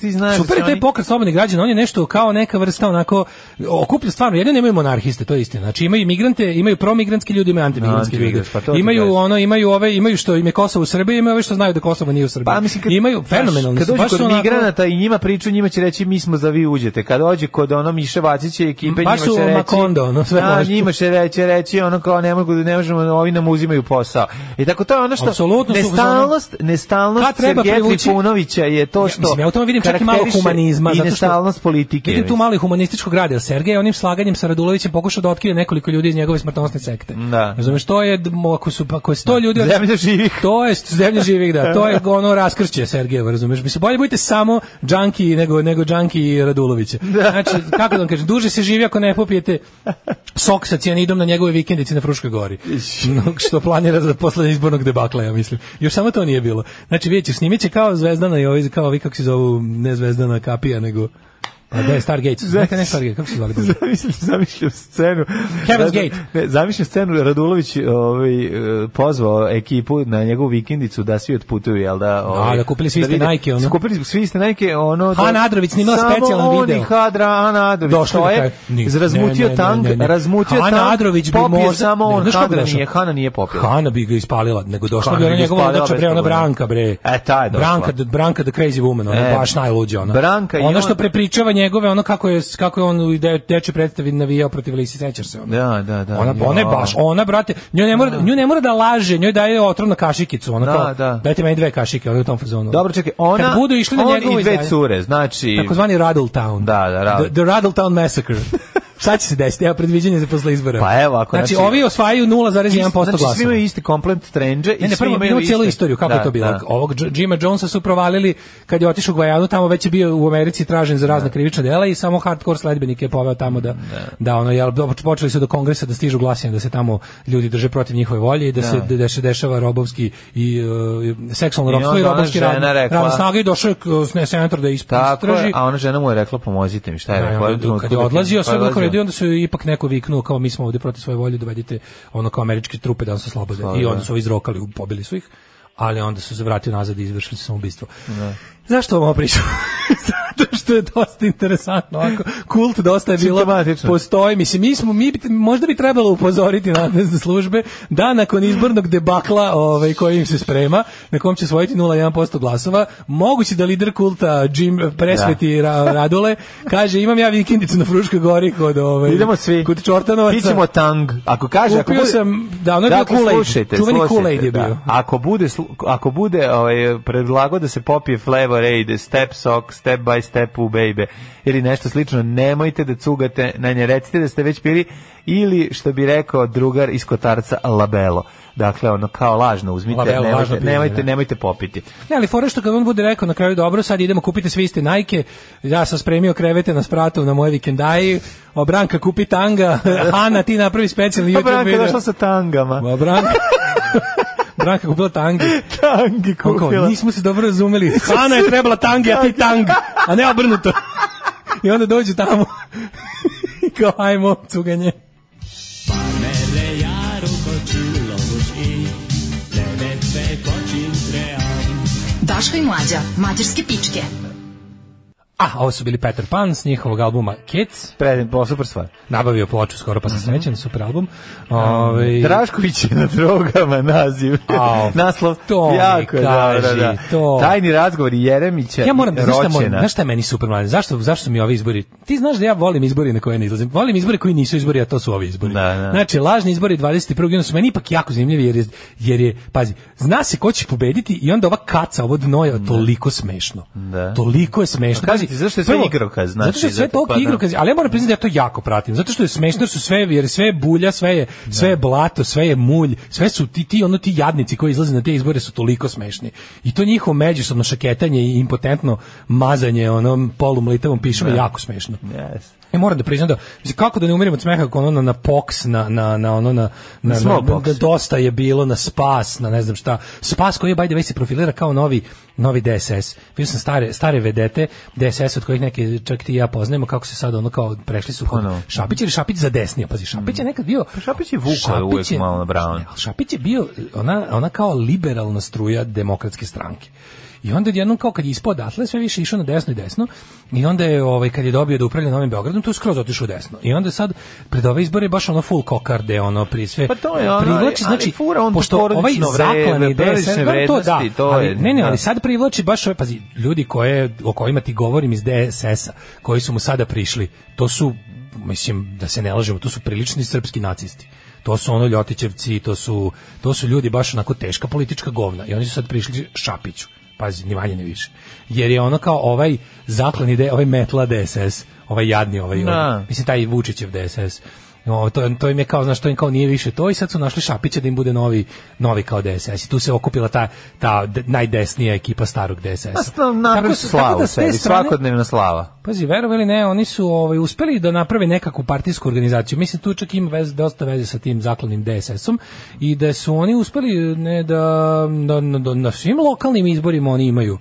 [SPEAKER 7] ti znaš...
[SPEAKER 6] Super je
[SPEAKER 7] da se
[SPEAKER 6] taj
[SPEAKER 7] Znači, oni-
[SPEAKER 6] pokret slobodnih građana, on je nešto kao neka vrsta onako okuplja stvarno, jedino nemaju monarhiste, to je istina. Znači imaju migrante, imaju promigrantske ljude, imaju antimigrantske
[SPEAKER 7] Antimigrant,
[SPEAKER 6] ljude.
[SPEAKER 7] pa to ti
[SPEAKER 6] imaju
[SPEAKER 7] kažem.
[SPEAKER 6] ono, imaju ove, imaju što im je Kosovo u Srbiji, imaju ove što znaju da Kosovo nije u Srbiji.
[SPEAKER 7] Pa mislim kad
[SPEAKER 6] imaju
[SPEAKER 7] znaš,
[SPEAKER 6] fenomenalni
[SPEAKER 7] Kad
[SPEAKER 6] su,
[SPEAKER 7] dođe
[SPEAKER 6] baš su
[SPEAKER 7] kod
[SPEAKER 6] onako-
[SPEAKER 7] migranata i njima priču, njima će reći mi smo za vi uđete. Kad dođe kod ono Miše Vacića i ekipe,
[SPEAKER 6] Baš
[SPEAKER 7] njima
[SPEAKER 6] su
[SPEAKER 7] će reći
[SPEAKER 6] Makondo, ono, sve
[SPEAKER 7] da,
[SPEAKER 6] može.
[SPEAKER 7] njima će reći, reći ono kao ne mogu da ne možemo, ovi nam uzimaju posao. I tako to je ono što
[SPEAKER 6] Apsolutno su u fazonu-
[SPEAKER 7] nestalnost,
[SPEAKER 6] Kad
[SPEAKER 7] nestalnost
[SPEAKER 6] treba
[SPEAKER 7] Sergeja
[SPEAKER 6] privući-
[SPEAKER 7] Trifunovića je to što
[SPEAKER 6] mislim, ja u tome vidim čak i malo
[SPEAKER 7] karakteriše
[SPEAKER 6] humanizma,
[SPEAKER 7] i
[SPEAKER 6] zato što-
[SPEAKER 7] nestalnost politike.
[SPEAKER 6] Vidim tu
[SPEAKER 7] mislim.
[SPEAKER 6] malo i humanističkog rada, jer Sergej je onim slaganjem sa Radulovićem pokušao da otkrije nekoliko ljudi iz njegove smrtonosne sekte.
[SPEAKER 7] Da.
[SPEAKER 6] Razumeš, to je, mo- ako su, pa ako je sto ljudi... od-
[SPEAKER 7] Zemlja živih.
[SPEAKER 6] To je zemlja živih, da. To je ono raskršće Sergejevo, razumeš? Mislim, bolje budite samo džanki nego, nego džanki i Radulovića. Znači, kako da vam kažem, duže se živi ako ne popijete sok sa cijanidom na njegove vikendici na Fruškoj gori. No, što planira za posle izbornog debakla, ja mislim. Još samo to nije bilo. Znači, vidjet ćeš, snimit će kao Zvezdana i ovi, kao ovi, kako se zovu, ne Zvezdana Kapija, nego... A da je Stargate. Znate, ne Stargate, kako se zvali?
[SPEAKER 7] Zamišljam, zamišljam scenu.
[SPEAKER 6] Heaven's
[SPEAKER 7] Radu-
[SPEAKER 6] Gate.
[SPEAKER 7] Ne, zamišljam scenu, Radulović ovaj, e, pozvao ekipu na njegovu vikendicu da svi otputuju, jel da? Ovaj,
[SPEAKER 6] da kupili svi iste
[SPEAKER 7] vide-
[SPEAKER 6] Nike, ono.
[SPEAKER 7] Kupili svi iste Nike, ono... da-
[SPEAKER 6] Hana Adrović snimila
[SPEAKER 7] Samo
[SPEAKER 6] specijalan
[SPEAKER 7] on
[SPEAKER 6] video.
[SPEAKER 7] i Hadra, Ana Adrović.
[SPEAKER 6] Došli
[SPEAKER 7] to
[SPEAKER 6] na
[SPEAKER 7] je,
[SPEAKER 6] kraju. Ni-
[SPEAKER 7] Razmutio
[SPEAKER 6] ne, ne,
[SPEAKER 7] tank,
[SPEAKER 6] ne, ne, ne.
[SPEAKER 7] razmutio
[SPEAKER 6] Hana
[SPEAKER 7] tank,
[SPEAKER 6] Adrović bi
[SPEAKER 7] popio
[SPEAKER 6] možda-
[SPEAKER 7] samo
[SPEAKER 6] ne,
[SPEAKER 7] on,
[SPEAKER 6] znaš kako bi
[SPEAKER 7] Hadra
[SPEAKER 6] došao?
[SPEAKER 7] nije, Hana nije popila.
[SPEAKER 6] Hana bi ga ispalila, nego došla
[SPEAKER 7] Hana
[SPEAKER 6] bi ona
[SPEAKER 7] bi ga
[SPEAKER 6] njegova
[SPEAKER 7] ispalila
[SPEAKER 6] odlača,
[SPEAKER 7] bez
[SPEAKER 6] bre, ona
[SPEAKER 7] problema.
[SPEAKER 6] Branka, bre.
[SPEAKER 7] E, ta je došla.
[SPEAKER 6] Branka, the- Branka the crazy woman, ona
[SPEAKER 7] E,
[SPEAKER 6] baš najluđa, ona.
[SPEAKER 7] Branka i
[SPEAKER 6] ona
[SPEAKER 7] on-
[SPEAKER 6] što prepričava njegove, ono kako je, kako je on u de, deče predstavi navijao protiv Lisi, sećaš se ono?
[SPEAKER 7] Da, da, da.
[SPEAKER 6] Ona, ona je
[SPEAKER 7] Jo.
[SPEAKER 6] baš, ona, brate, nju ne mora, da. nju ne mora da laže, njoj daje otrovnu kašikicu, ona
[SPEAKER 7] Da,
[SPEAKER 6] kao,
[SPEAKER 7] da.
[SPEAKER 6] dajte meni dve kašike, ona je u tom fazonu.
[SPEAKER 7] Dobro, čekaj, ona,
[SPEAKER 6] Kad budu išli na
[SPEAKER 7] on
[SPEAKER 6] njegovo
[SPEAKER 7] i dve
[SPEAKER 6] izdanje-
[SPEAKER 7] cure, znači...
[SPEAKER 6] Takozvani Radle Town.
[SPEAKER 7] Da, da, Radle.
[SPEAKER 6] The, the Radle Town Massacre. Šta će se desiti? Evo predviđanje za posle izbora.
[SPEAKER 7] Pa evo, ako,
[SPEAKER 6] znači,
[SPEAKER 7] znači-
[SPEAKER 6] ovi osvajaju 0,1%
[SPEAKER 7] Znači,
[SPEAKER 6] glasova.
[SPEAKER 7] svi imaju isti komplet trenđe. i
[SPEAKER 6] Ne, ne,
[SPEAKER 7] svi
[SPEAKER 6] prvo
[SPEAKER 7] imaju
[SPEAKER 6] imamo cijelu
[SPEAKER 7] iste-
[SPEAKER 6] istoriju kako
[SPEAKER 7] da,
[SPEAKER 6] je to bilo.
[SPEAKER 7] Da.
[SPEAKER 6] Ovog Dž- Jima Jonesa su provalili kad je otišao u Gvajanu, tamo već je bio u Americi tražen za razna krivična dela i samo hardcore sledbenik je poveo tamo da da ono jel do- počeli su do kongresa da stižu glasine da se tamo ljudi drže protiv njihove volje i da, se de- deš- dešava robovski i uh, seksualno
[SPEAKER 7] I
[SPEAKER 6] robstvo i
[SPEAKER 7] onda ona
[SPEAKER 6] robovski
[SPEAKER 7] žena
[SPEAKER 6] rad.
[SPEAKER 7] rekla-
[SPEAKER 6] radna snaga i došao je k- ne, senator da isp-
[SPEAKER 7] Tako je,
[SPEAKER 6] istraži.
[SPEAKER 7] a ona žena mu je rekla, pomozite mi, šta E, pa je
[SPEAKER 6] Da,
[SPEAKER 7] rekla?
[SPEAKER 6] i onda,
[SPEAKER 7] Otkud
[SPEAKER 6] kad je
[SPEAKER 7] dok
[SPEAKER 6] odlazio sve
[SPEAKER 7] odlazio?
[SPEAKER 6] dok redi, onda su ipak neko viknuo kao mi smo ovdje protiv svoje volje, dovedite ono kao američke trupe da nas oslobode. I onda su ovi izrokali, pobili su ih, ali onda su se vratili nazad i izvršili su samoubistvo. Zašto vam ovo pričam? Zato što je dosta interesantno. Ovako, kult dosta je bilo.
[SPEAKER 7] Simptomatično.
[SPEAKER 6] Postoji. Mislim, mi smo, mi, bi- možda bi trebalo upozoriti nadležne službe da nakon izbornog debakla ovaj, koji im se sprema, na kom će osvojiti 0,1% glasova, moguće da lider kulta Jim presveti Ra- Radule kaže imam ja vikendicu na Fruškoj gori kod, ovaj,
[SPEAKER 7] Idemo svi.
[SPEAKER 6] kod Čortanovaca.
[SPEAKER 7] Pićemo tang. Ako kaže, ako
[SPEAKER 6] Kupio
[SPEAKER 7] bude...
[SPEAKER 6] sam- da, ono je bio
[SPEAKER 7] Dakle,
[SPEAKER 6] Kool-Aid.
[SPEAKER 7] slušajte,
[SPEAKER 6] Čuveni
[SPEAKER 7] slušajte,
[SPEAKER 6] Kool-Aid je
[SPEAKER 7] da.
[SPEAKER 6] bio.
[SPEAKER 7] Ako bude, slu- ako bude ovaj, predlago da se popije Flavor Aid, Step Sock, Step by Step u Baby, ili nešto slično, nemojte da cugate na nje. Recite da ste već pili ili, što bi rekao drugar iz kotarca, labelo. Dakle, ono kao lažno uzmite,
[SPEAKER 6] Labelo,
[SPEAKER 7] nemojte,
[SPEAKER 6] lažno pijenje,
[SPEAKER 7] nemojte,
[SPEAKER 6] da.
[SPEAKER 7] nemojte popiti.
[SPEAKER 6] Ne, ali fora je što kad on bude rekao na kraju dobro, sad idemo kupite svi iste Nike. Ja sam spremio krevete na spratu na moje vikendaji. O Branka kupi tanga. Ana ti napravi specijalni
[SPEAKER 7] Pa
[SPEAKER 6] YouTube
[SPEAKER 7] Branka je
[SPEAKER 6] video.
[SPEAKER 7] došla sa tangama.
[SPEAKER 6] Ma, Branka. Branka kupila tangi.
[SPEAKER 7] Tangi
[SPEAKER 6] On kao,
[SPEAKER 7] kupila.
[SPEAKER 6] nismo se dobro razumeli. Ana je trebala tangi, a ti tang. A ne obrnuto. I onda dođu tamo. I kao, ajmo, cuganje.
[SPEAKER 10] Daško i Mlađa, mađarske pičke.
[SPEAKER 6] A, ovo su bili Peter Pan s njihovog albuma Kids.
[SPEAKER 7] Predin, bo, super stvar.
[SPEAKER 6] Nabavio ploču skoro, pa sam srećen, super album. Ovaj- Ove,
[SPEAKER 7] Drašković je na drogama naziv.
[SPEAKER 6] Au,
[SPEAKER 7] Naslov.
[SPEAKER 6] to mi
[SPEAKER 7] jako je
[SPEAKER 6] kaži,
[SPEAKER 7] dobro, da.
[SPEAKER 6] to.
[SPEAKER 7] Tajni razgovor Jeremića.
[SPEAKER 6] Ja moram da znaš šta, moram,
[SPEAKER 7] Roćena.
[SPEAKER 6] znaš šta je meni super mladen? Zašto zašto su mi ovi izbori? Ti znaš da ja volim izbori na koje ne izlazim. Volim izbori koji nisu izbori, a to su ovi izbori.
[SPEAKER 7] Da, da.
[SPEAKER 6] Znači lažni izbori 21. juna su meni ipak jako zanimljivi jer je, jer je pazi, zna se ko će pobediti i onda ova kaca, ovo dno je toliko smešno.
[SPEAKER 7] Da.
[SPEAKER 6] Toliko je smešno.
[SPEAKER 7] A kažem ti, zašto je sve
[SPEAKER 6] prvo,
[SPEAKER 7] igrokaz, znači,
[SPEAKER 6] zato što je sve
[SPEAKER 7] zato-
[SPEAKER 6] toliko
[SPEAKER 7] pa da.
[SPEAKER 6] igrokaz, ali ja moram priznati da ja to jako pratim. Zato što je smešno jer su sve jer sve je bulja, sve je sve je blato, sve je mulj, sve su ti ti ono ti jadnici koji izlaze na te izbore su toliko smešni. I to njihovo međusobno šaketanje i impotentno mazanje onom polumlitavom pišom je jako smešno.
[SPEAKER 7] Yes.
[SPEAKER 6] Ja moram da priznam da mislim, kako da ne umirem od smeha kako ono na, na pox na na na ono na na, na, na,
[SPEAKER 7] smallpox.
[SPEAKER 6] na dosta je bilo na spas na ne znam šta spas koji je by the way se profilira kao novi novi DSS. Vidio sam stare stare vedete DSS od kojih neke čak ti i ja poznajemo kako se sad ono kao prešli su kod
[SPEAKER 7] Ono.
[SPEAKER 6] Šapić ili Šapić za desnije pazi Šapić je nekad bio
[SPEAKER 7] Šapić je vukao uvek malo na Brown.
[SPEAKER 6] Ne, ali Šapić je bio ona ona kao liberalna struja demokratske stranke. I onda je jednom kao kad je ispod odatle sve više išao na desno i desno i onda je ovaj kad je dobio da upravlja Novim Beogradom tu je skroz otišao u desno. I onda je sad pred ove izbore baš ono full kokarde ono pri sve
[SPEAKER 7] Pa to je ono,
[SPEAKER 6] privlači
[SPEAKER 7] ali- ali
[SPEAKER 6] znači
[SPEAKER 7] fura on tu
[SPEAKER 6] pošto
[SPEAKER 7] porodično
[SPEAKER 6] ovaj
[SPEAKER 7] vreme,
[SPEAKER 6] zaklani
[SPEAKER 7] porodične
[SPEAKER 6] DSS dobro, to da,
[SPEAKER 7] vrednosti, to
[SPEAKER 6] ali,
[SPEAKER 7] je,
[SPEAKER 6] ne ne,
[SPEAKER 7] da.
[SPEAKER 6] ali sad privlači baš ove pazi ljudi koje o kojima ti govorim iz DSS-a koji su mu sada prišli. To su mislim da se ne lažemo, to su prilični srpski nacisti. To su ono Ljotićevci, to su, to su ljudi baš onako teška politička govna. I oni su sad prišli Šapiću. Pazi, ni manje ni više. Jer je ono kao ovaj zaklan ide, ovaj metla DSS, ovaj jadni, ovaj,
[SPEAKER 7] Da.
[SPEAKER 6] ovaj mislim taj Vučićev DSS. No, to, to im je kao, znaš, to im kao nije više to i sad su našli Šapića da im bude novi, novi kao DSS. I tu se okupila ta, ta d- najdesnija ekipa starog
[SPEAKER 7] Pa
[SPEAKER 6] DSS.
[SPEAKER 7] stavno napravi su slavu sebi, svakodnevna slava.
[SPEAKER 6] Pazi, verovali ili ne, oni su ovaj, uspeli da naprave nekakvu partijsku organizaciju. Mislim, tu čak ima vez, dosta veze sa tim zaklonim DSS-om i da su oni uspeli ne, da, da, da- da na svim lokalnim izborima oni imaju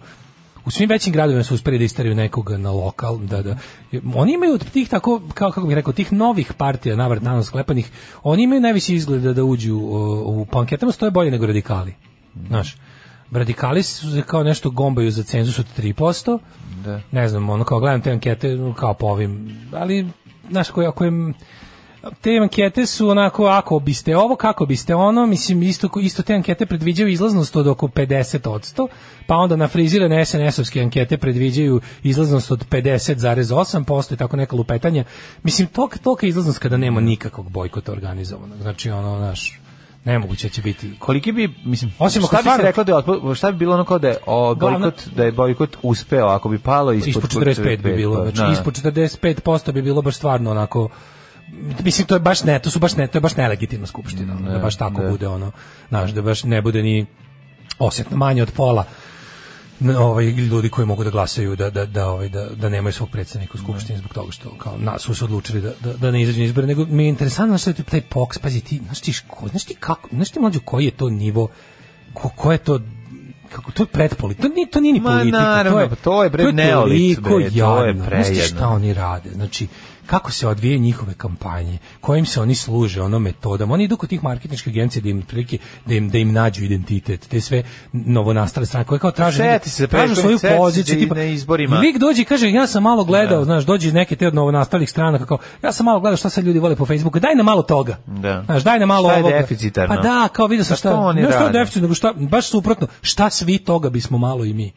[SPEAKER 6] U svim većim gradovima su uspeli da isteraju nekoga na lokal, da, da. Oni imaju od tih tako, kao, kako bih rekao, tih novih partija, navrat nanos sklepanih, oni imaju najviše izgleda da uđu u, u panketama, stoje bolje nego radikali. Znaš, radikali su se kao nešto gombaju za cenzus od 3%, ono, ne znam, ono kao gledam te ankete, kao po ovim, ali, znaš, ako, je- ako je te ankete su onako, ako biste ovo, kako biste ono, mislim, isto, isto te ankete predviđaju izlaznost od oko 50%, pa onda na frizirane SNS-ovske ankete predviđaju izlaznost od 50,8%, i tako neka lupetanja. Mislim, tolika, tolika izlaznost kada nema nikakvog bojkota organizovanog. Znači, ono, naš, nemoguće će biti.
[SPEAKER 7] Koliki bi, mislim,
[SPEAKER 6] Osim
[SPEAKER 7] Osim
[SPEAKER 6] ako
[SPEAKER 7] šta bi se
[SPEAKER 6] stvarno-
[SPEAKER 7] reklo da je, otpo- šta bi bilo ono kao da je o,
[SPEAKER 6] Glavna-
[SPEAKER 7] bojkot, da je bojkot uspeo, ako bi palo ispod,
[SPEAKER 6] ispod 45 bi bilo,
[SPEAKER 7] pa,
[SPEAKER 6] znači
[SPEAKER 7] da.
[SPEAKER 6] ispod 45% bi bilo baš stvarno onako mislim to je baš ne, to su baš ne, to je baš nelegitimna skupština, ono, da baš tako bude ono, znaš, da baš ne bude ni osjetno manje od pola n- ovaj ljudi koji mogu da glasaju da da da ovaj da da nemaju svog predstavnika u skupštini zbog toga što kao nas su se odlučili da da, da ne izađu na izbore nego mi je interesantno što je to taj poks pazi ti znaš ti ško, znaš ti kako znaš ti mlađu koji je to nivo ko, ko je to kako to je pretpolitika to nije to nije ni
[SPEAKER 7] Ma,
[SPEAKER 6] politika
[SPEAKER 7] naravno, pa to je, bre, neolic, bre,
[SPEAKER 6] toliko
[SPEAKER 7] to je
[SPEAKER 6] jadno. Znaš ti šta
[SPEAKER 7] prejedno.
[SPEAKER 6] oni rade. Znači, kako se odvije njihove kampanje, kojim se oni služe, ono metodom. Oni idu kod tih marketinških agencija da im prilike, da im, da im nađu identitet, te sve novonastale strane koje kao traže,
[SPEAKER 7] Seti se, pre,
[SPEAKER 6] traže svoju
[SPEAKER 7] seti se
[SPEAKER 6] poziciju.
[SPEAKER 7] i
[SPEAKER 6] tipa,
[SPEAKER 7] na izborima.
[SPEAKER 6] Lik dođe i kaže, ja sam malo gledao, znaš, dođe iz neke te od novonastalih strana, kao, ja sam malo gledao šta se ljudi vole po Facebooku, daj nam malo toga.
[SPEAKER 7] Da.
[SPEAKER 6] Znaš, daj nam malo
[SPEAKER 7] Šta je
[SPEAKER 6] ovoga.
[SPEAKER 7] deficitarno?
[SPEAKER 6] Pa da, kao vidio sam
[SPEAKER 7] Pa
[SPEAKER 6] šta,
[SPEAKER 7] što oni
[SPEAKER 6] ne šta je
[SPEAKER 7] rade?
[SPEAKER 6] deficit, nego šta, baš suprotno, šta svi toga bismo malo i mi.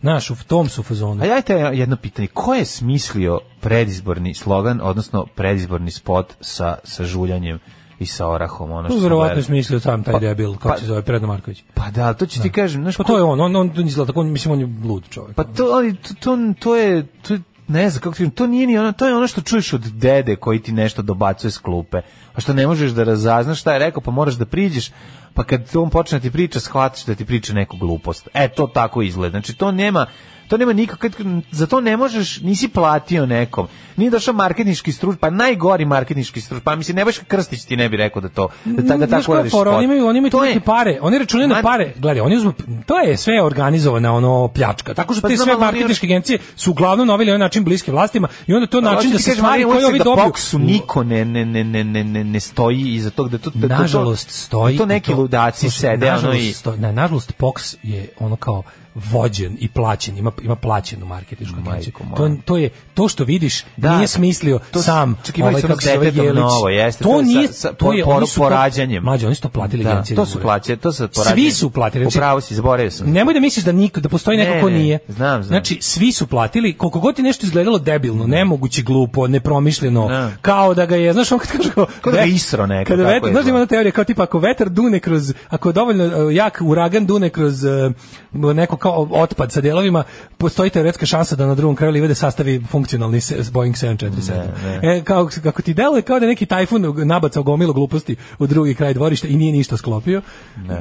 [SPEAKER 6] Znaš, u tom su fazonu.
[SPEAKER 7] A Pa ja te jedno pitanje, ko je smislio predizborni slogan, odnosno predizborni spot sa, sa žuljanjem i sa orahom? Ono što
[SPEAKER 6] To
[SPEAKER 7] sam
[SPEAKER 6] Pa verovatno je
[SPEAKER 7] gledao?
[SPEAKER 6] smislio sam taj
[SPEAKER 7] Pa-
[SPEAKER 6] debil, kako
[SPEAKER 7] pa-
[SPEAKER 6] se zove, Predna Marković.
[SPEAKER 7] Pa da, ali to ću ti kažem. Znaš,
[SPEAKER 6] Pa
[SPEAKER 7] ko-
[SPEAKER 6] to je on, on, on izgleda tako, on, mislim, on je lud čovjek.
[SPEAKER 7] Pa to, ali to, to, to je, to je- ne znam kako ti kažem, to nije ni ono, to je ono što čuješ od dede koji ti nešto dobacuje s klupe, a što ne možeš da razaznaš šta je rekao, pa moraš da priđeš, pa kad on počne da ti priča, shvatiš da ti priča neku glupost. E, to tako izgleda. Znači, to nema, to nema nikakve, za to ne možeš, nisi platio nekom. Nije došao marketinški struč, pa najgori marketinški struč, pa mislim, Nebojša Krstić ti ne bi rekao da to, da, ta, da
[SPEAKER 6] Znaš
[SPEAKER 7] tako
[SPEAKER 6] koja
[SPEAKER 7] radiš.
[SPEAKER 6] je fora?
[SPEAKER 7] spot.
[SPEAKER 6] Oni imaju, oni imaju
[SPEAKER 7] To je-
[SPEAKER 6] tolike pare, oni računaju
[SPEAKER 7] Ma-
[SPEAKER 6] na pare. Gledaj, oni uzmu, to je sve organizovana ono pljačka. Tako što
[SPEAKER 7] Pa
[SPEAKER 6] te
[SPEAKER 7] znam,
[SPEAKER 6] sve
[SPEAKER 7] ali oni-
[SPEAKER 6] marketinške agencije su uglavnom na ovaj ili onaj način bliske vlastima i onda to
[SPEAKER 7] Pa,
[SPEAKER 6] način
[SPEAKER 7] hoću
[SPEAKER 6] da
[SPEAKER 7] ti
[SPEAKER 6] se
[SPEAKER 7] kažem,
[SPEAKER 6] stvari
[SPEAKER 7] ali
[SPEAKER 6] koje
[SPEAKER 7] hoću
[SPEAKER 6] ovi
[SPEAKER 7] da
[SPEAKER 6] dobiju.
[SPEAKER 7] boksu niko ne, ne, ne, ne, ne, ne, ne stoji iza tog da to, da to-
[SPEAKER 6] nažalost stoji
[SPEAKER 7] da to
[SPEAKER 6] i
[SPEAKER 7] neki ludaci
[SPEAKER 6] Slušaj,
[SPEAKER 7] sede ono
[SPEAKER 6] nažalost
[SPEAKER 7] i
[SPEAKER 6] stoji, ne, nažalost Pox je ono kao vođen i plaćen ima ima plaćenu marketinšku agenciju
[SPEAKER 7] Majko
[SPEAKER 6] to,
[SPEAKER 7] moja.
[SPEAKER 6] to je to što vidiš
[SPEAKER 7] Da.
[SPEAKER 6] nije smislio
[SPEAKER 7] To s-
[SPEAKER 6] sam ovaj,
[SPEAKER 7] čak imali su onog
[SPEAKER 6] kako se zove,
[SPEAKER 7] detetom
[SPEAKER 6] Jelić.
[SPEAKER 7] novo, jeste, to
[SPEAKER 6] to
[SPEAKER 7] je sa-
[SPEAKER 6] nije
[SPEAKER 7] sa
[SPEAKER 6] to je
[SPEAKER 7] por-
[SPEAKER 6] oni su to-
[SPEAKER 7] porađanjem.
[SPEAKER 6] mlađe oni su to platili
[SPEAKER 7] da,
[SPEAKER 6] agencije
[SPEAKER 7] to
[SPEAKER 6] za
[SPEAKER 7] su
[SPEAKER 6] ured.
[SPEAKER 7] plaće, to su porađanje.
[SPEAKER 6] svi su platili znači,
[SPEAKER 7] Upravo si, zaboravio sam.
[SPEAKER 6] Nemoj da misliš da niko da postoji
[SPEAKER 7] Ne,
[SPEAKER 6] neko ko
[SPEAKER 7] ne,
[SPEAKER 6] nije.
[SPEAKER 7] znam, znam.
[SPEAKER 6] Znači svi su platili, koliko god je nešto izgledalo debilno, nemoguće, glupo, nepromišljeno,
[SPEAKER 7] Da.
[SPEAKER 6] kao da ga je, znaš, on kad kaže kao
[SPEAKER 7] Kao da ga
[SPEAKER 6] ve-
[SPEAKER 7] isro neko,
[SPEAKER 6] Kada
[SPEAKER 7] tako
[SPEAKER 6] vetar,
[SPEAKER 7] je
[SPEAKER 6] znaš, da ima
[SPEAKER 7] izgleda.
[SPEAKER 6] ona teorija kao tipa ako vetar dune kroz ako je dovoljno e, jak uragan dune kroz e, neko kao otpad sa delovima, postoji teoretska šansa da na drugom kraju livade sastavi funkcionalni se, Boeing 747. E, kao kako ti deluje kao da je neki tajfun nabacao gomilo gluposti u drugi kraj dvorišta i nije ništa sklopio.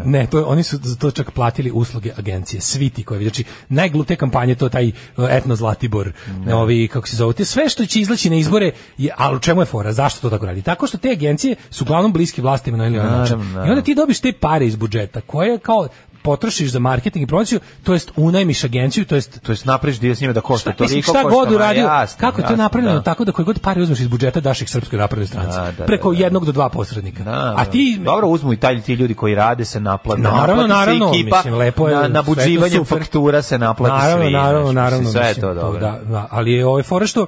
[SPEAKER 6] Ne, to je- oni su za to čak platili usluge agencije, svi ti koji znači najgluplje kampanje to taj e, etno Zlatibor, ovi kako se zove, te sve što će izlaći na izbore je ali u čemu je fora? Zašto to tako radi? Tako što te agencije su uglavnom bliski vlastima na ili onaj način.
[SPEAKER 7] Naravno,
[SPEAKER 6] I onda ti dobiš te pare iz budžeta koje kao potrošiš za marketing i promociju, to jest unajmiš agenciju, to jest
[SPEAKER 7] To je napraviš dio s njima da košta
[SPEAKER 6] Šta,
[SPEAKER 7] toliko,
[SPEAKER 6] mislim,
[SPEAKER 7] košta
[SPEAKER 6] šta god
[SPEAKER 7] manje,
[SPEAKER 6] uradio,
[SPEAKER 7] jasno,
[SPEAKER 6] kako je to
[SPEAKER 7] jasno,
[SPEAKER 6] napravljeno
[SPEAKER 7] da.
[SPEAKER 6] tako da koji god pare uzmeš iz budžeta daš ih srpskoj naprednoj stranci.
[SPEAKER 7] Da, da, da,
[SPEAKER 6] preko
[SPEAKER 7] da.
[SPEAKER 6] jednog do dva posrednika.
[SPEAKER 7] Da,
[SPEAKER 6] A ti
[SPEAKER 7] dobro uzmu i taj ti ljudi koji rade se naplate.
[SPEAKER 6] Naravno,
[SPEAKER 7] naplati se
[SPEAKER 6] naravno,
[SPEAKER 7] ekipa,
[SPEAKER 6] mislim, lepo je,
[SPEAKER 7] na
[SPEAKER 6] sve je to
[SPEAKER 7] nabuđivanjem
[SPEAKER 6] super.
[SPEAKER 7] faktura se naplati
[SPEAKER 6] naravno,
[SPEAKER 7] svi,
[SPEAKER 6] Naravno,
[SPEAKER 7] znaš,
[SPEAKER 6] naravno,
[SPEAKER 7] mislim, sve je
[SPEAKER 6] mislim,
[SPEAKER 7] to dobro.
[SPEAKER 6] Da, da, ali je ovaj fora što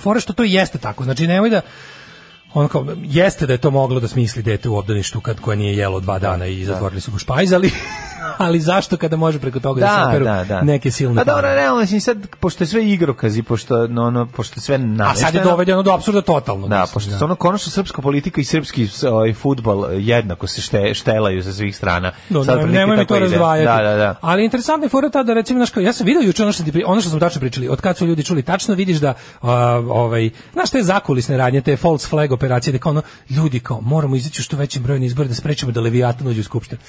[SPEAKER 6] fora što to jeste tako. Znači nemoj da on kao, jeste da je to moglo da smisli dete u obdaništu kad koja nije jelo dva dana i zatvorili su ga u špajz, ali, ali zašto kada može preko toga da, se naperu neke silne
[SPEAKER 7] A Pa dobro,
[SPEAKER 6] pare?
[SPEAKER 7] realno, mislim, sad, pošto je sve igrokaz i pošto, no, no, pošto je sve
[SPEAKER 6] A
[SPEAKER 7] namešteno...
[SPEAKER 6] sad je dovedeno do apsurda totalno.
[SPEAKER 7] Da,
[SPEAKER 6] mislim,
[SPEAKER 7] pošto su ono konačno srpska politika i srpski s- ovaj fudbal jednako se šte, štelaju sa svih strana.
[SPEAKER 6] No,
[SPEAKER 7] Sad
[SPEAKER 6] ne,
[SPEAKER 7] otprilike
[SPEAKER 6] nemoj mi
[SPEAKER 7] tako
[SPEAKER 6] to
[SPEAKER 7] ide.
[SPEAKER 6] razdvajati.
[SPEAKER 7] Da, da, da.
[SPEAKER 6] Ali interesantna je fora ta da recimo, znaš, kao, ja sam vidio juče ono što, ti, pri- ono što smo tačno pričali, od kad su ljudi čuli tačno, vidiš da, a, ovaj, znaš, te zakulisne radnje, te false flag operacije, da kao ono, ljudi kao, moramo izaći u što većem broju na izbore da sprečimo da Leviatan uđe u skupštinu.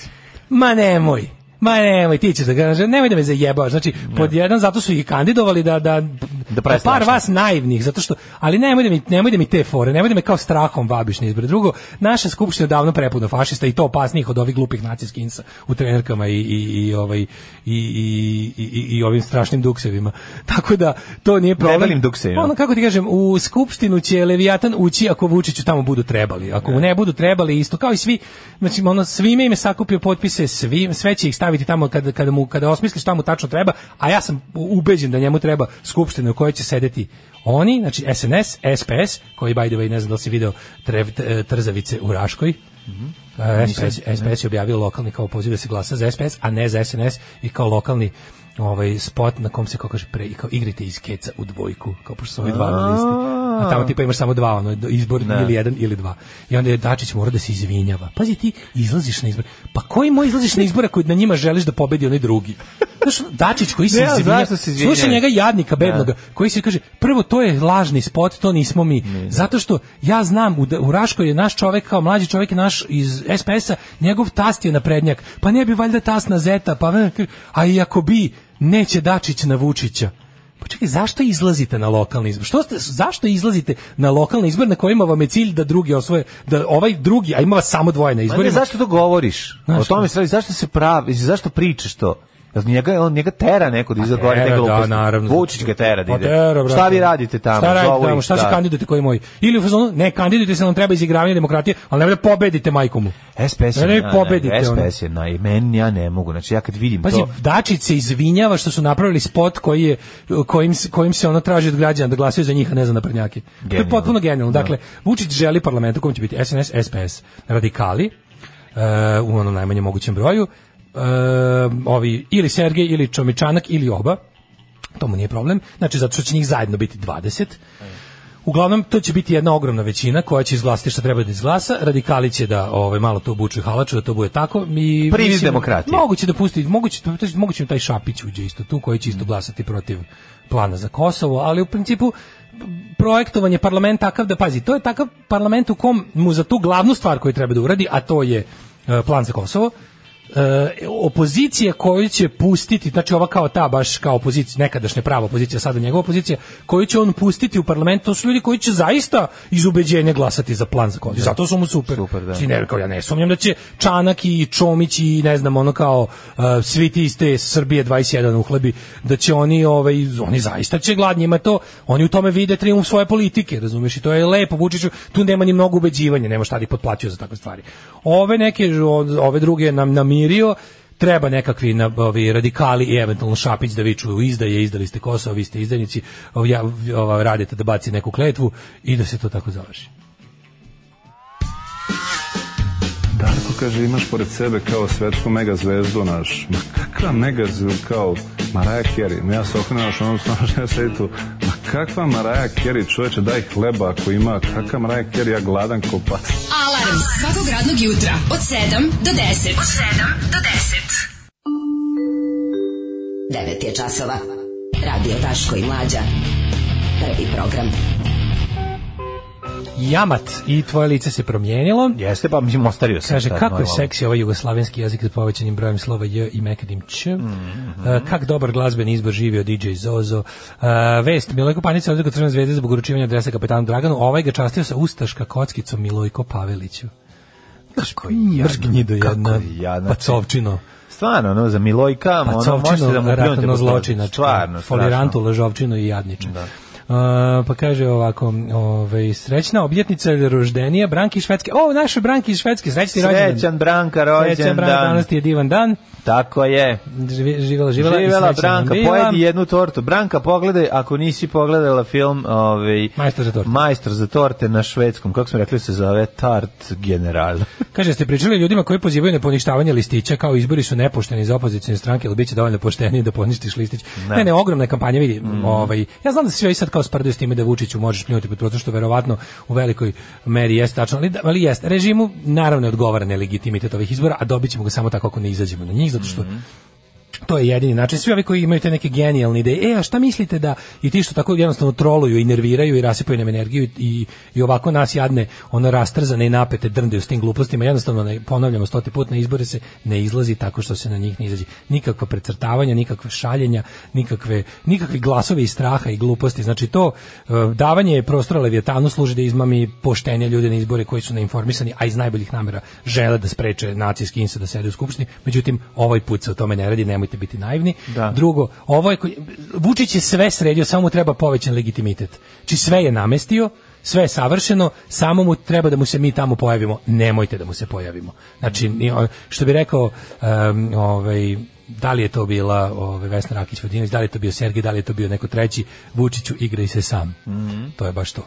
[SPEAKER 6] Ma nemoj, Ma nemoj, ti ćeš da ga, nemoj da me zajebavaš. Znači, pod jedan, zato su ih kandidovali da, da, da
[SPEAKER 7] prestane
[SPEAKER 6] par
[SPEAKER 7] šta.
[SPEAKER 6] vas naivnih, zato što, ali nemoj da mi, nemoj da mi te fore, nemoj da me kao strahom vabiš na izbore. Drugo, naša skupština je davno prepuna fašista i to opasnijih od ovih glupih nacijskih insa u trenerkama i, i, i, ovaj, i, i, i, i- i ovim strašnim duksevima. Tako da, to nije problem.
[SPEAKER 7] Debelim duksevima.
[SPEAKER 6] Ono, kako ti kažem, u skupštinu će Leviatan ući ako Vučiću tamo budu trebali. Ako mu ne budu trebali, isto kao i svi, znači ono, svime im je sakupio potpise, svi, sve će ih staviti tamo kada, kada, mu, kada osmisli šta mu tačno treba, a ja sam ubeđen da njemu treba skupština u kojoj će sedeti oni, znači SNS, SPS, koji by the way ne znam da li si video trev, t- e, trzavice u Raškoj, E, SPS, SPS je objavio lokalni kao poziv da se glasa za SPS, a ne za SNS i kao lokalni ovaj spot na kom se kako kaže pre i kao igrite iz keca u dvojku kao pošto su ovi dva na listi a tamo tipa imaš samo dva ono izbor ili jedan ili dva i onda je Dačić mora da se izvinjava pazi ti izlaziš na izbor pa koji moj izlaziš na izbor ako na njima želiš da pobedi onaj drugi znaš ono, Dačić koji se
[SPEAKER 7] Ne, ali
[SPEAKER 6] izvinjava
[SPEAKER 7] zašto se izvinjava?
[SPEAKER 6] slušaj njega jadnika bednoga koji se kaže prvo to je lažni spot to nismo mi zato što ja znam u, u Raškoj je naš čovek kao mlađi čovek je naš iz SPS-a njegov tast je naprednjak pa ne bi valjda tast na Zeta pa ne, a i ako bi neće Dačić na Vučića pa čekaj, zašto izlazite na lokalni izbor? Što ste, zašto izlazite na lokalni izbor na kojima vam je cilj da drugi osvoje, da ovaj drugi, a ima vas samo dvoje na
[SPEAKER 7] Ma ne,
[SPEAKER 6] izborima?
[SPEAKER 7] zašto to govoriš?
[SPEAKER 6] Znaš
[SPEAKER 7] o tome se radi, zašto se pravi, znači, zašto pričaš to? Jel njega, on njega tera neko da izgovori
[SPEAKER 6] Pa Tera,
[SPEAKER 7] neke gluposti.
[SPEAKER 6] Da, naravno.
[SPEAKER 7] Vučić ga tera da
[SPEAKER 6] Pa
[SPEAKER 7] ide.
[SPEAKER 6] tera, brate.
[SPEAKER 7] šta vi radite tamo?
[SPEAKER 6] Šta radite
[SPEAKER 7] Zovu
[SPEAKER 6] tamo?
[SPEAKER 7] ih,
[SPEAKER 6] Šta se
[SPEAKER 7] da.
[SPEAKER 6] kandidujete koji moji? Ili u fazonu, ne, kandidujte se, nam treba izigravanje demokratije, ali nemoj da pobedite majkomu.
[SPEAKER 7] SPS
[SPEAKER 6] Ne,
[SPEAKER 7] je,
[SPEAKER 6] ne,
[SPEAKER 7] na-
[SPEAKER 6] pobedite,
[SPEAKER 7] SPS
[SPEAKER 6] ono.
[SPEAKER 7] je naj, meni ja ne mogu. Znači ja kad vidim
[SPEAKER 6] Pazi,
[SPEAKER 7] to,
[SPEAKER 6] Dačić se izvinjava što su napravili spot koji je, kojim, se- kojim se ono traži od građana da glasaju za njih, a ne za naprednjake. To je
[SPEAKER 7] Genijalno.
[SPEAKER 6] potpuno genijalno. Dakle, Vučić želi parlament u kojem će biti SNS, SPS, radikali, e, u onom najmanjem mogućem broju, e, ovi, ili Sergej, ili Čomičanak, ili oba, to mu nije problem, znači zato što će njih zajedno biti 20, Uglavnom, to će biti jedna ogromna većina koja će izglasati što treba da izglasa. Radikali će da ovaj, malo to obuču i halaču, da to bude tako. Mi,
[SPEAKER 7] Privid
[SPEAKER 6] mislim,
[SPEAKER 7] demokratije.
[SPEAKER 6] Moguće da pusti, moguće, moguće im taj Šapić uđe isto tu, koji će isto glasati protiv plana za Kosovo, ali u principu projektovanje parlamenta takav da, pazi, to je takav parlament u kom mu za tu glavnu stvar koju treba da uradi, a to je e, plan za Kosovo, e, opozicija koju će pustiti, znači ova kao ta baš kao opozicija, nekadašnja prava opozicija, sada njegova opozicija, koju će on pustiti u parlamentu, to su ljudi koji će zaista iz ubeđenja glasati za plan za Kosovo. Zato su mu super.
[SPEAKER 7] Super, da.
[SPEAKER 6] Znači, ne, kao ja ne sumnjam da će Čanak i Čomić i ne znam ono kao uh, svi ti iz te Srbije 21 uhlebi da će oni ovaj oni zaista će gladnje ima to oni u tome vide trijumf svoje politike razumeš i to je lepo Vučiću tu nema ni mnogo ubeđivanja nema šta da ih potplaćuje za takve stvari ove neke ove druge nam namirio treba nekakvi na, ovi radikali i eventualno Šapić da viču izdaje, izdali ste Kosovo, vi ste izdajnici, ov- ja, ova, radite da baci neku kletvu i da se to tako završi.
[SPEAKER 9] Darko kaže, imaš pored sebe kao svetsku megazvezdu naš. Ma kakva megazvezdu kao Maraja Kerry? Ma ja se okrenuo što onom stanoš, ja sedi tu. Ma kakva Maraja Kerry, čoveče, daj hleba ako ima. Kakva Maraja Kerry, ja gladan ko pas.
[SPEAKER 10] Alarm svakog radnog jutra od 7 do 10. Od 7 do 10.
[SPEAKER 5] 9 je časova. Radio Daško i Mlađa. Prvi program.
[SPEAKER 6] Jamat i tvoje lice se promijenilo.
[SPEAKER 7] jeste pa mislim ostario sam.
[SPEAKER 6] Kaže,
[SPEAKER 7] sad,
[SPEAKER 6] kako je
[SPEAKER 7] normalno.
[SPEAKER 6] seksi ovaj jugoslavenski jezik s povećanim brojem slova J i mekanim Č.
[SPEAKER 7] Mhm.
[SPEAKER 6] E, kak dobar glazben izbor živio DJ Zozo. E, vest, Milojko Panica je odrekao Crvene zvezde zbog uručivanja adresa kapetanu Draganu. Ovaj ga častio sa ustaška kockicom Milojko Paveliću.
[SPEAKER 7] Kako je
[SPEAKER 6] Brž gnjido
[SPEAKER 7] jadno,
[SPEAKER 6] jedna,
[SPEAKER 7] kako je jadno.
[SPEAKER 6] pacovčino.
[SPEAKER 7] Stvarno, ono, za Milojka, ono, možete da mu
[SPEAKER 6] Pacovčino, Pa
[SPEAKER 7] pljunete
[SPEAKER 6] ratno
[SPEAKER 7] po stožu.
[SPEAKER 6] zločinac.
[SPEAKER 7] Stvarno,
[SPEAKER 6] Folirantu,
[SPEAKER 7] strašno.
[SPEAKER 6] lažovčinu i jadniče. Uh, pa kaže ovako, ovaj, srećna obljetnica roždenija Branki iz Švedske. O, naše Branki iz Švedske, srećni rođendan.
[SPEAKER 7] Srećan Branka
[SPEAKER 6] Srećan
[SPEAKER 7] rođen
[SPEAKER 6] Branka,
[SPEAKER 7] dan.
[SPEAKER 6] danas ti je divan dan.
[SPEAKER 7] Tako je.
[SPEAKER 6] Žive- Živela, živela, i
[SPEAKER 7] Živela
[SPEAKER 6] srećna
[SPEAKER 7] Branka,
[SPEAKER 6] nam bila.
[SPEAKER 7] pojedi jednu tortu. Branka, pogledaj, ako nisi pogledala film ovaj,
[SPEAKER 6] Majstor za torte.
[SPEAKER 7] Majstor za torte na švedskom, kako smo rekli se zove, Tart General.
[SPEAKER 6] Kaže, ste pričali ljudima koji pozivaju na poništavanje listića, kao izbori su nepošteni za opozicijne stranke, ali bit će dovoljno pošteniji da poništiš listić. Ne,
[SPEAKER 7] Ne. Mm.
[SPEAKER 6] ne, ogromna je kampanja, vidi, ovaj, ja znam da se svi ovi sad kao sprdaju s time da Vučiću možeš pljunuti pod prozor, što verovatno u velikoj meri jeste tačno, ali, da- ali jeste, režimu naravno je odgovara nelegitimitet ovih izbora, a dobit ćemo ga samo tako ako ne izađemo na njih, zato
[SPEAKER 7] Mhm.
[SPEAKER 6] što to je jedini način. Svi ovi koji imaju te neke genijalne ideje, e, a šta mislite da i ti što tako jednostavno troluju i nerviraju i rasipaju nam energiju i, i ovako nas jadne, ono rastrzane i napete drndaju s tim glupostima, jednostavno ne, ponavljamo stoti put na izbore se ne izlazi tako što se na njih ne izađe. Nikakva precrtavanja, nikakve šaljenja, nikakve, nikakvi glasovi iz straha i gluposti. Znači to e, davanje prostora Levijetanu služi da izmami poštenje ljude na izbore koji su neinformisani, a iz najboljih namera žele da spreče nacijski insa da sede u skupštini. Međutim, ovaj put se o tome ne radi, nemojte biti naivni.
[SPEAKER 7] Da.
[SPEAKER 6] Drugo, ovo je, koji- Vučić je sve sredio, samo mu treba povećan legitimitet. Či sve je namestio, sve je savršeno, samo mu treba da mu se mi tamo pojavimo. Nemojte da mu se pojavimo. Znači, ni- o- što bi rekao um, ovaj, da li je to bila ovaj Vesna Rakić Vodinović, da li je to bio Sergej, da li je to bio neko treći, Vučiću igraj se sam. To je baš to.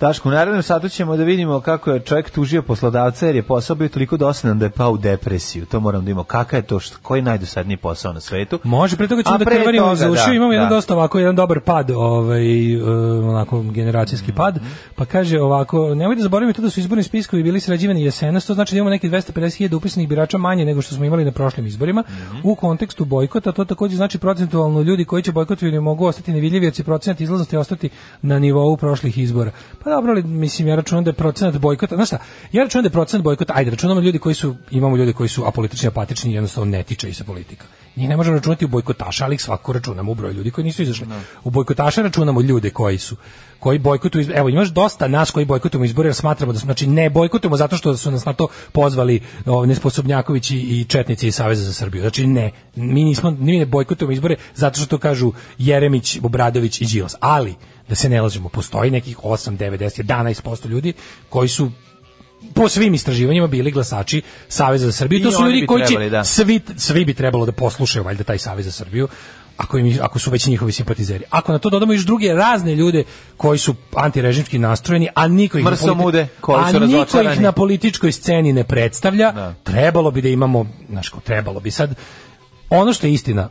[SPEAKER 7] Daško, u narednom satu ćemo da vidimo kako je čovjek tužio poslodavca jer je posao bio toliko dosadan da je pao u depresiju. To moram da imamo. Kaka je to? Što, koji je najdosadniji posao na svetu?
[SPEAKER 6] Može, pre toga ćemo
[SPEAKER 7] A
[SPEAKER 6] da
[SPEAKER 7] pre
[SPEAKER 6] krvarimo
[SPEAKER 7] toga,
[SPEAKER 6] za ušiju,
[SPEAKER 7] da,
[SPEAKER 6] imamo jedan
[SPEAKER 7] da.
[SPEAKER 6] dosta ovako, jedan dobar pad, ovaj, e, onako generacijski
[SPEAKER 7] Mhm.
[SPEAKER 6] pad, pa kaže ovako, nemojte zaboraviti to da su izborni spiskovi bili sređivani jesenas, to znači da imamo nekih 250.000 upisanih birača manje nego što smo imali na prošlim izborima,
[SPEAKER 7] Mhm.
[SPEAKER 6] u kontekstu bojkota, to takođe znači procentualno ljudi koji će bojkotovati ne mogu ostati nevidljivi, jer će procenat izlaznosti ostati na nivou prošlih izbora. Pa dobro, ali, mislim, ja računam da je procenat bojkota, znaš šta, ja računam da je procenat bojkota, ajde, računamo ljudi koji su, imamo ljudi koji su apolitični, apatični, i jednostavno ne tiče ih se politika. Njih ne možemo računati u bojkotaša, ali ih svako računamo u broj ljudi koji nisu izašli. U bojkotaše računamo ljude koji su koji bojkotuju izbore. Evo, imaš dosta nas koji bojkotujemo izbore jer smatramo da smo, znači ne bojkotujemo zato što su nas na to pozvali o, nesposobnjakovići i četnici iz Saveza za Srbiju. Znači ne, mi nismo, mi ne bojkotujemo izbore zato što to kažu Jeremić, Obradović i Đilas. Ali, da se ne lažemo, postoji nekih 8, 9, 10, 11% ljudi koji su po svim istraživanjima bili glasači Saveza za Srbiju.
[SPEAKER 7] I
[SPEAKER 6] to su
[SPEAKER 7] oni
[SPEAKER 6] ljudi
[SPEAKER 7] bi
[SPEAKER 6] koji će
[SPEAKER 7] trebali, da.
[SPEAKER 6] svi, svi bi trebalo da poslušaju valjda taj Savez za Srbiju ako, im, ako su već njihovi simpatizeri. Ako na to dodamo još druge razne ljude koji su antirežimski nastrojeni, a niko ih, na,
[SPEAKER 7] Mrsomude, koji
[SPEAKER 6] a
[SPEAKER 7] su
[SPEAKER 6] niko ih
[SPEAKER 7] razočarani.
[SPEAKER 6] na političkoj sceni ne predstavlja, trebalo bi da imamo, znaš ko, trebalo bi sad, ono što je istina,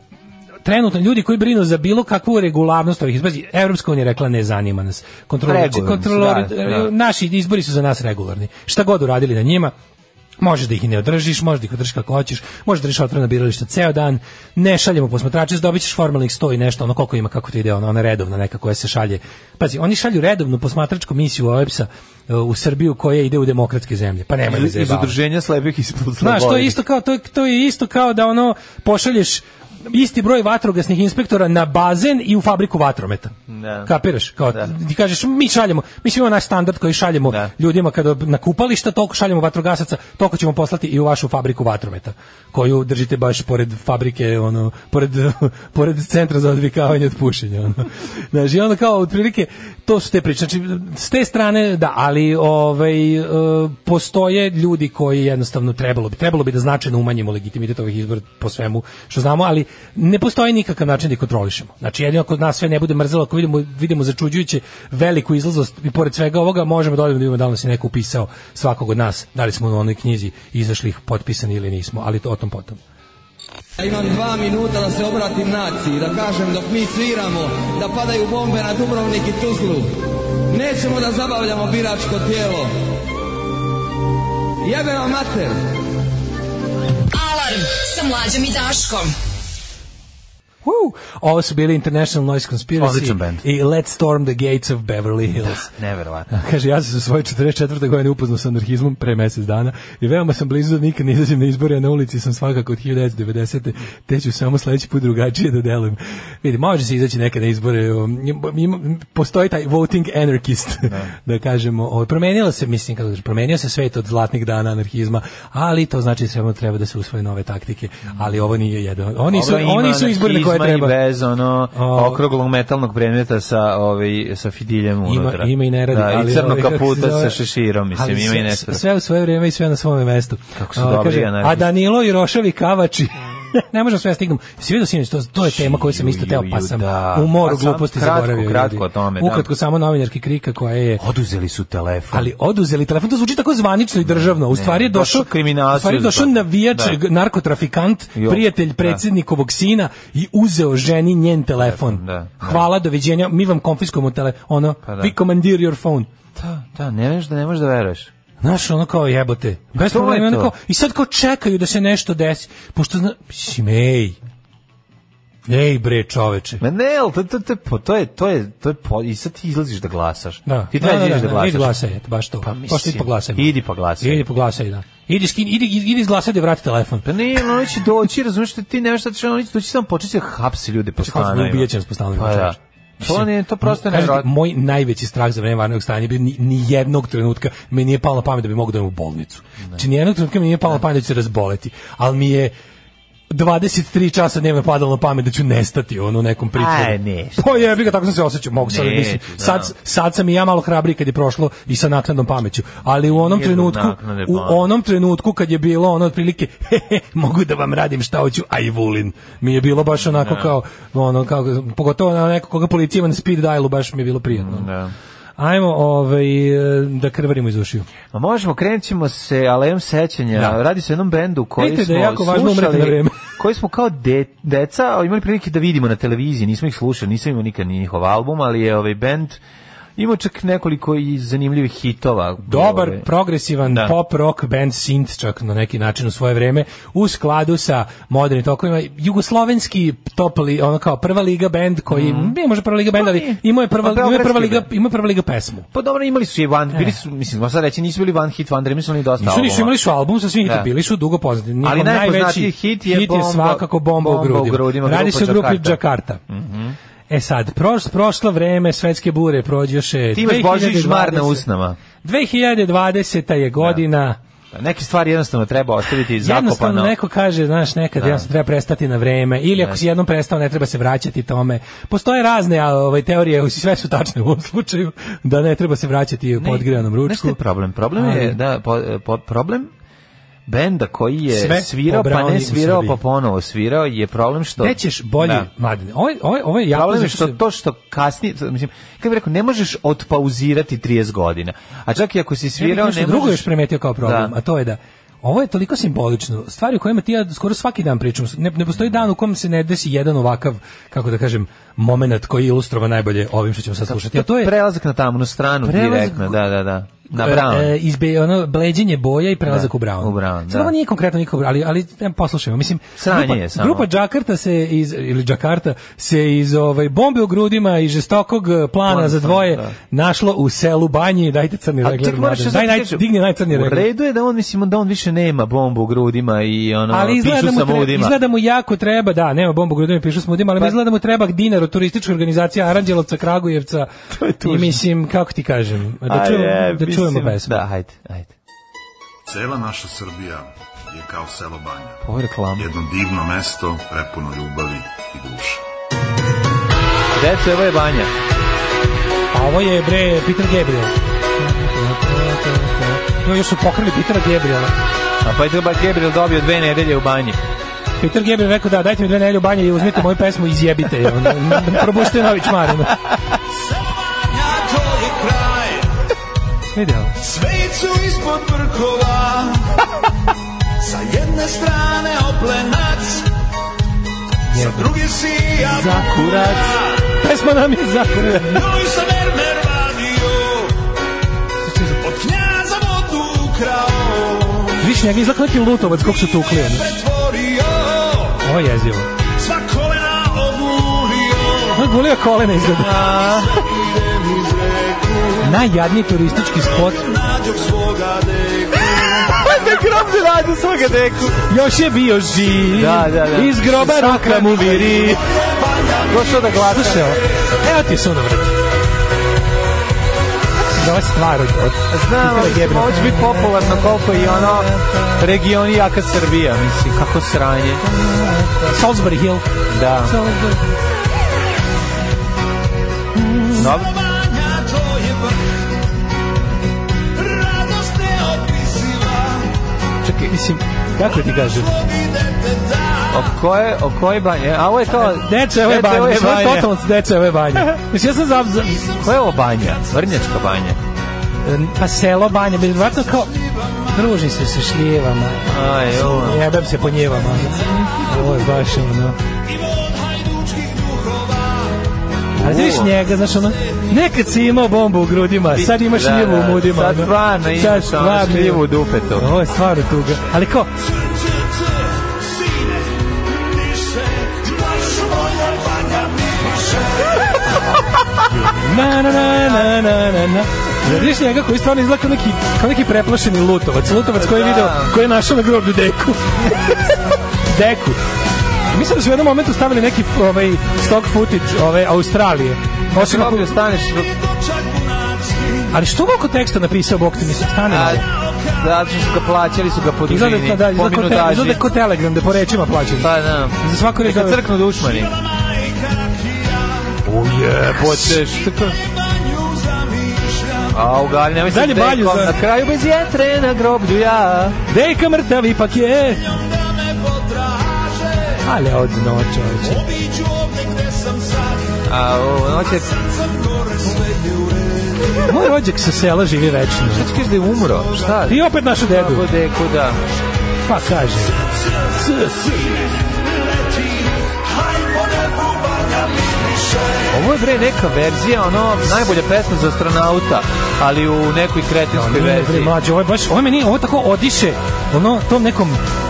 [SPEAKER 6] trenutno ljudi koji brinu za bilo kakvu regularnost ovih izbora, Evropska unija je rekla ne zanima nas. Kontrolori,
[SPEAKER 7] Regularnost,
[SPEAKER 6] kontrolori,
[SPEAKER 7] da, da.
[SPEAKER 6] naši izbori su za nas regularni. Šta god uradili na njima, Možeš da ih i ne održiš, možeš da ih održiš kako hoćeš, možeš da radiš otvorena birališta ceo dan, ne šaljemo posmatrače, dobit ćeš formalnih 100 i nešto, ono koliko ima, kako to ide, ona, ona redovna neka koja se šalje. Pazi, oni šalju redovnu posmatračku misiju OEPS-a e, u Srbiju koja ide u demokratske zemlje, pa nemoj da
[SPEAKER 7] Iz, iz
[SPEAKER 6] zajebavaš.
[SPEAKER 7] udruženja slepih i slobodnih.
[SPEAKER 6] Znaš, to je isto kao to je, to je isto kao da ono pošalješ isti broj vatrogasnih inspektora na bazen i u fabriku vatrometa.
[SPEAKER 7] Da.
[SPEAKER 6] Kapiraš? Kao,
[SPEAKER 7] Da.
[SPEAKER 6] Ti kažeš, mi šaljemo, mi smo imamo naš standard koji šaljemo
[SPEAKER 7] Da.
[SPEAKER 6] ljudima kada na kupališta, toliko šaljemo vatrogasaca, toliko ćemo poslati i u vašu fabriku vatrometa, koju držite baš pored fabrike, ono, pored, pored centra za odvikavanje od pušenja. Ono. Znaš, i onda kao, otprilike, to su te priče. Znači, s te strane, da, ali ovaj, e, postoje ljudi koji jednostavno trebalo bi, trebalo bi da značajno umanjimo legitimitet ovih izbora po svemu što znamo, ali ne postoji nikakav način da ih kontrolišemo. Znači, jedino ako nas sve ne bude mrzelo, ako vidimo, vidimo začuđujuće veliku izlaznost i pored svega ovoga, možemo da odemo da vidimo da li nas je neko upisao svakog od nas, da li smo u onoj knjizi izašli ih potpisani ili nismo, ali to o tom potom.
[SPEAKER 1] Ja imam dva minuta da se obratim naciji, da kažem dok mi sviramo, da padaju bombe na Dubrovnik i Tuzlu. Nećemo da zabavljamo biračko tijelo. Jebe vam mater!
[SPEAKER 10] Alarm sa mlađom i Daškom.
[SPEAKER 6] Woo! Ovo su bili International Noise Conspiracy
[SPEAKER 7] Odličan band.
[SPEAKER 6] i Let's Storm the Gates of Beverly Hills.
[SPEAKER 7] Neverovatno.
[SPEAKER 6] Kaže, ja sam se u svojoj 44. godine upoznao sa anarhizmom pre mesec dana i veoma sam blizu da nikad ne izađem na izbore, a na ulici sam svakako od 1990. te ću samo sledeći put drugačije da delujem. Vidi, može se izaći nekad na izbore, um, ima- postoji taj voting anarchist, da kažemo. Ovo, promenilo se, mislim, kako kažem, promenio se svet od zlatnih dana anarhizma, ali to znači da sve treba da se usvoje nove taktike, ali ovo nije jedan. Oni su,
[SPEAKER 7] Ovo Ovaj, ima
[SPEAKER 6] oni su izbori na koje
[SPEAKER 7] anarhizma
[SPEAKER 6] treba. ovaj.
[SPEAKER 7] I bez ono
[SPEAKER 6] O.
[SPEAKER 7] okruglog metalnog predmeta sa ovaj sa fidiljem unutra.
[SPEAKER 6] Ima, ima i neradi.
[SPEAKER 7] Da,
[SPEAKER 6] ali
[SPEAKER 7] i crnog
[SPEAKER 6] ovaj, kako se
[SPEAKER 7] kaputa
[SPEAKER 6] zove-
[SPEAKER 7] sa šeširom, mislim,
[SPEAKER 6] ali
[SPEAKER 7] ima
[SPEAKER 6] sve-
[SPEAKER 7] i nešto.
[SPEAKER 6] Sve u svoje vrijeme i sve na svome mestu.
[SPEAKER 7] Kako su
[SPEAKER 6] A,
[SPEAKER 7] dobri
[SPEAKER 6] kaže,
[SPEAKER 7] anarhisti.
[SPEAKER 6] A Danilo i Roševi kavači. ne možemo sve stignuti. Si vidio sinoć, to, to je tema koju sam isto
[SPEAKER 7] ju,
[SPEAKER 6] teo, pa
[SPEAKER 7] ju,
[SPEAKER 6] sam
[SPEAKER 7] da.
[SPEAKER 6] u moru
[SPEAKER 7] Pa sam
[SPEAKER 6] gluposti
[SPEAKER 7] kratko,
[SPEAKER 6] zaboravio. ljudi.
[SPEAKER 7] kratko o tome, da.
[SPEAKER 6] Ukratko samo novinarki krika koja je
[SPEAKER 7] Oduzeli su telefon.
[SPEAKER 6] ali oduzeli telefon, to zvuči tako zvanično i državno. U stvari je
[SPEAKER 7] došao
[SPEAKER 6] došao,
[SPEAKER 7] kriminalac
[SPEAKER 6] u stvari je
[SPEAKER 7] i
[SPEAKER 6] došao
[SPEAKER 7] uzba-
[SPEAKER 6] navijač,
[SPEAKER 7] Da.
[SPEAKER 6] g- narkotrafikant,
[SPEAKER 7] I on-
[SPEAKER 6] prijatelj
[SPEAKER 7] da.
[SPEAKER 6] predsjednikovog sina i uzeo ženi njen telefon.
[SPEAKER 7] Da, da.
[SPEAKER 6] Hvala, doviđenja, mi vam konfiskujemo telefon. Ono,
[SPEAKER 7] da.
[SPEAKER 6] we commandeer your phone.
[SPEAKER 7] Da, da, ne možeš da ne možeš da veruješ.
[SPEAKER 6] Znaš, ono kao jebote. Bez
[SPEAKER 7] Pa To je
[SPEAKER 6] problema, ono
[SPEAKER 7] to.
[SPEAKER 6] kao, i sad kao čekaju da se nešto desi. Pošto, zna, mislim, ej, ej bre čoveče.
[SPEAKER 7] Ma ne, ali to, to, to, je po- to je, to je, to je, po- i sad ti izlaziš da glasaš.
[SPEAKER 6] Da.
[SPEAKER 7] Ti treba da, ideš da, glasaš.
[SPEAKER 6] Idi glasaj, eto, baš to.
[SPEAKER 7] Pa
[SPEAKER 6] Pa
[SPEAKER 7] mislim,
[SPEAKER 6] idi poglasaj.
[SPEAKER 7] idi poglasaj.
[SPEAKER 6] Idi poglasaj, da. Idi, skin, idi, idi izglasaj da vrati telefon.
[SPEAKER 7] Pa ne, ono će doći, razumiješ da ti nemaš šta ćeš, ono će doći samo početi da hapsi ljude po
[SPEAKER 6] Kako
[SPEAKER 7] stanovima.
[SPEAKER 6] Znači, ubijeće nas po stanovima,
[SPEAKER 7] Pa da.
[SPEAKER 6] čoveče.
[SPEAKER 7] To, ne, to prosto je
[SPEAKER 6] Kažete,
[SPEAKER 7] nevjerojatno.
[SPEAKER 6] Moj najveći strah za vreme vanrednog stanja je bio ni, ni jednog trenutka mi nije palo na pamet da bi mogu da idem u bolnicu. Znači, ni jednog trenutka mi nije palo na pamet da ću se razboleti. Ali mi je 23 časa dnevno padalo na pamet da ću nestati ono u nekom pritvoru.
[SPEAKER 7] Aj, ne, šta
[SPEAKER 6] Pa jebi ga, tako sam se osjećao, mogu sad, da
[SPEAKER 7] Neću,
[SPEAKER 6] mislim. Sad,
[SPEAKER 7] da.
[SPEAKER 6] sad sam i ja malo hrabriji kad je prošlo i sa naknadnom pameću, ali u onom
[SPEAKER 7] Nije do
[SPEAKER 6] trenutku,
[SPEAKER 7] naknadne
[SPEAKER 6] u
[SPEAKER 7] pameti.
[SPEAKER 6] onom trenutku kad je bilo ono otprilike, he, he, mogu da vam radim šta hoću, a i vulin. Mi je bilo baš onako kao, ono, kao, pogotovo na neko koga policija ima na speed dialu, baš mi je bilo prijatno.
[SPEAKER 7] Da.
[SPEAKER 6] Ajmo ovaj, e, da krvarimo iz ušiju.
[SPEAKER 7] A možemo, krenut ćemo se alejom sećanja.
[SPEAKER 6] Da.
[SPEAKER 7] Radi se o jednom bendu koji
[SPEAKER 6] Vidite da
[SPEAKER 7] smo
[SPEAKER 6] je jako važno umreti na
[SPEAKER 7] slušali,
[SPEAKER 6] vreme.
[SPEAKER 7] koji smo kao de, deca imali prilike da vidimo na televiziji, nismo ih slušali, nisam imao nikad ni njihov album, ali je ovaj bend imao čak nekoliko i zanimljivih hitova.
[SPEAKER 6] Dobar,
[SPEAKER 7] Ovaj,
[SPEAKER 6] progresivan
[SPEAKER 7] Da.
[SPEAKER 6] pop rock band synth čak na neki način u svoje vreme u skladu sa modernim tokovima jugoslovenski top li, ono kao prva liga band koji ne može prva liga band ali
[SPEAKER 7] Mhm. nije.
[SPEAKER 6] imao je prva
[SPEAKER 7] Pa
[SPEAKER 6] imao je prva
[SPEAKER 7] beogradski
[SPEAKER 6] liga
[SPEAKER 7] band.
[SPEAKER 6] ima prva liga pesmu.
[SPEAKER 7] Pa dobro, imali su i van, bili su, mislim, možda reći, nisu bili van hit, van dream, su oni dosta
[SPEAKER 6] E. Nisu nisu
[SPEAKER 7] albuma.
[SPEAKER 6] imali su album sa svim hitom,
[SPEAKER 7] Da.
[SPEAKER 6] bili su dugo poznati. Njihov
[SPEAKER 7] Ali najpoznatiji
[SPEAKER 6] najveći
[SPEAKER 7] hit je Bomba-
[SPEAKER 6] svakako bomba,
[SPEAKER 7] Bomba u
[SPEAKER 6] u grudima.
[SPEAKER 7] grudima,
[SPEAKER 6] Radi
[SPEAKER 7] grupa
[SPEAKER 6] se o grupi
[SPEAKER 7] Jakarta. Mhm.
[SPEAKER 6] Jakarta. E sad, proš, prošlo vreme, svetske bure prođoše.
[SPEAKER 7] Ti imaš Božić žmar na
[SPEAKER 6] 2020.
[SPEAKER 7] usnama.
[SPEAKER 6] 2020. je godina.
[SPEAKER 7] Da, Neke stvari jednostavno treba ostaviti
[SPEAKER 6] Jednostavno
[SPEAKER 7] zakopano.
[SPEAKER 6] neko kaže, znaš, nekad jednostavno treba prestati na vreme ili ako si jednom prestao ne treba se vraćati tome. Postoje razne a, ovaj, teorije, u- sve su tačne u ovom slučaju, da ne treba se vraćati u podgrijanom
[SPEAKER 7] Znaš šta
[SPEAKER 6] ručku.
[SPEAKER 7] je problem? Problem je,
[SPEAKER 6] Ali-
[SPEAKER 7] da, po, po- problem benda koji je
[SPEAKER 6] Sve
[SPEAKER 7] svirao, pa
[SPEAKER 6] pobrali u
[SPEAKER 7] ne svirao,
[SPEAKER 6] Srbiji.
[SPEAKER 7] pa ponovo svirao, je problem što...
[SPEAKER 6] Gde ćeš bolje,
[SPEAKER 7] Da.
[SPEAKER 6] mladine? Ovo, je- ovo, je- ovo je jako...
[SPEAKER 7] Problem je
[SPEAKER 6] zato
[SPEAKER 7] što
[SPEAKER 6] se-
[SPEAKER 7] to što kasnije, mislim, kako bih rekao, ne možeš otpauzirati 30 godina. A čak i ako si
[SPEAKER 6] Ja bih
[SPEAKER 7] svirao,
[SPEAKER 6] nešto
[SPEAKER 7] ne
[SPEAKER 6] drugo
[SPEAKER 7] možeš...
[SPEAKER 6] još primetio kao problem,
[SPEAKER 7] Da.
[SPEAKER 6] a to je da Ovo je toliko simbolično. Stvari o kojima ti ja skoro svaki dan pričam. Ne, ne postoji dan u kom se ne desi jedan ovakav, kako da kažem, moment koji ilustrova najbolje ovim što ćemo sad slušati. A to je
[SPEAKER 7] Prelazak na tamnu stranu
[SPEAKER 6] Prelazak-
[SPEAKER 7] direktno, da, da, da. Na
[SPEAKER 6] E,
[SPEAKER 7] brown.
[SPEAKER 6] E, izbe, ono, bleđenje boja i prelazak
[SPEAKER 7] Da,
[SPEAKER 6] u Brown.
[SPEAKER 7] u Brown,
[SPEAKER 6] Sad
[SPEAKER 7] da.
[SPEAKER 6] ovo nije konkretno niko, ali, ali e, poslušajmo. Mislim,
[SPEAKER 7] Sranje
[SPEAKER 6] grupa,
[SPEAKER 7] je samo.
[SPEAKER 6] Grupa Jakarta se iz, ili Jakarta se iz ovaj, bombe u grudima i žestokog eh, plana
[SPEAKER 7] Plan,
[SPEAKER 6] za dvoje
[SPEAKER 7] da.
[SPEAKER 6] našlo u selu Banji. Dajte crni
[SPEAKER 7] A
[SPEAKER 6] regler.
[SPEAKER 7] ček, moraš
[SPEAKER 6] mladen.
[SPEAKER 7] sad
[SPEAKER 6] Daj,
[SPEAKER 7] ti
[SPEAKER 6] naj,
[SPEAKER 7] kažem,
[SPEAKER 6] digni najcrni
[SPEAKER 7] U
[SPEAKER 6] regler.
[SPEAKER 7] redu je da on, mislim, da on više nema bombu u grudima i ono,
[SPEAKER 6] Ali
[SPEAKER 7] pišu
[SPEAKER 6] izgleda mu,
[SPEAKER 7] sa
[SPEAKER 6] treba,
[SPEAKER 7] mudima.
[SPEAKER 6] izgleda mu jako treba, da, nema bombu u grudima, pišu s mudima, ali
[SPEAKER 7] Pa-
[SPEAKER 6] izgleda mu treba dinar od turističke organizacije Aranđelovca, Kragujevca. I mislim, kako ti kažem, da,
[SPEAKER 7] A
[SPEAKER 6] čujemo,
[SPEAKER 7] je,
[SPEAKER 6] da čujemo
[SPEAKER 7] mislim,
[SPEAKER 6] pesmu.
[SPEAKER 7] Da, hajde, hajde.
[SPEAKER 11] Cela naša Srbija je kao selo Banja.
[SPEAKER 7] Ovo je reklama.
[SPEAKER 11] Jedno divno mesto prepuno ljubavi i duše.
[SPEAKER 7] Deco, evo je banja.
[SPEAKER 6] A ovo je bre Peter Gabriel. No, još su pokrili Petera Gabriela.
[SPEAKER 7] A pa je treba Gabriel dobio dve nedelje u banji.
[SPEAKER 6] Peter Gabriel rekao da dajte mi dve nelje u banje i uzmite moju pesmu i izjebite je. Ono, Probušite novi čmar. ono. Vidi ovo.
[SPEAKER 8] Svejcu ispod brkova Sa jedne strane oplenac Sa druge si ja
[SPEAKER 6] Za kurac. Pesma nam je za kurac.
[SPEAKER 8] Njoj sam Ermer vadio Od knjaza vodu ukrao
[SPEAKER 6] Viš njega izlako neki lutovac kog su tukli. ono.
[SPEAKER 8] Pretvorio
[SPEAKER 6] Ovo je jezivo.
[SPEAKER 8] Sva kolena obulio
[SPEAKER 6] Ovo je gulio kolena izgleda.
[SPEAKER 8] Idem iz reku
[SPEAKER 6] Najjadniji turistički spot.
[SPEAKER 8] Nađog svoga deku
[SPEAKER 7] Ajde, grob da radi svoga deku.
[SPEAKER 6] Još je bio živ.
[SPEAKER 7] Da, da, da.
[SPEAKER 6] Iz groba ruka mu viri.
[SPEAKER 7] Došao da glasa.
[SPEAKER 6] Slušaj, ovo. evo ti je sunovrat. Kako se zove stvar od... od-
[SPEAKER 7] Znam, ali
[SPEAKER 6] Peter Gabriel.
[SPEAKER 7] ovo će biti popularno koliko i ono regioni jaka Srbija, mislim, kako sranje.
[SPEAKER 6] Salisbury Hill.
[SPEAKER 7] Da. Dobro.
[SPEAKER 8] Banja to je vrh Radost neopisiva
[SPEAKER 6] Čekaj, mislim, kako ti kažem?
[SPEAKER 7] O koje, o koje banje? A ovo je kao...
[SPEAKER 6] Deca, ovo je banja. Mislim, ovo je totalno deca, ovo je banja. Mislim, ja sam za... za
[SPEAKER 7] Koja je ovo banja? Vrnjačka banja.
[SPEAKER 6] pa selo banja, bi vratno kao... Druži se sa šljivama.
[SPEAKER 7] Aj, ovo.
[SPEAKER 6] Jebem se po njivama. Ovo je baš ono... Ali ti viš njega, znaš ono, nekad si imao bombu u grudima, sad imaš
[SPEAKER 7] Da,
[SPEAKER 6] njivu
[SPEAKER 7] da,
[SPEAKER 6] u mudima.
[SPEAKER 7] Sad
[SPEAKER 6] ono.
[SPEAKER 7] stvarno
[SPEAKER 6] Sad
[SPEAKER 7] imaš ono
[SPEAKER 6] stvarno
[SPEAKER 7] šljivu u dupetu.
[SPEAKER 6] Ovo je stvarno tuga. Ali kao, na na na na na na na. Jel vidiš njega koji stvarno ono izgleda kao neki, kao neki preplašeni lutovac. Lutovac koji je video, koji je našao na groblju deku. deku. Mislim da su u jednom momentu stavili neki ovaj, stock footage ove Australije. Osim ako
[SPEAKER 7] Dobro, staneš
[SPEAKER 8] Čak bunarski
[SPEAKER 6] Ali što je ovako teksta napisao, bok ti mi se stane?
[SPEAKER 7] A,
[SPEAKER 6] malo?
[SPEAKER 7] zato što su ga plaćali, su ga po dužini,
[SPEAKER 6] Izgleda, da,
[SPEAKER 7] po
[SPEAKER 6] izgleda, ko, te,
[SPEAKER 7] minutaži.
[SPEAKER 6] izgleda ko Telegram, da po rečima plaćaju.
[SPEAKER 7] Pa da.
[SPEAKER 6] Za svaku reč
[SPEAKER 7] Neka
[SPEAKER 6] da-
[SPEAKER 7] crknu dušmani. Uje, počeš. tako- Au, gali, nemoj se
[SPEAKER 6] Dalje balju
[SPEAKER 7] tekom,
[SPEAKER 6] za-
[SPEAKER 7] Na kraju bez jetre na groblju ja.
[SPEAKER 6] Dejka mrtav ipak je. E. Ale od noća, oče.
[SPEAKER 7] A ono u noć je...
[SPEAKER 6] Moj rođak sa sela živi večno.
[SPEAKER 7] Šta ću kaži da je umro? Šta?
[SPEAKER 6] I opet našu dedu.
[SPEAKER 7] Kako deku, da.
[SPEAKER 6] Pa kaže. C, c.
[SPEAKER 7] Ovo je bre neka verzija, ono, najbolja pesma za astronauta, ali u nekoj kretinskoj
[SPEAKER 6] Ne, bre,
[SPEAKER 7] verziji.
[SPEAKER 6] mlađe, ovo je baš, ovo meni, ovo tako odiše, ono, tom nekom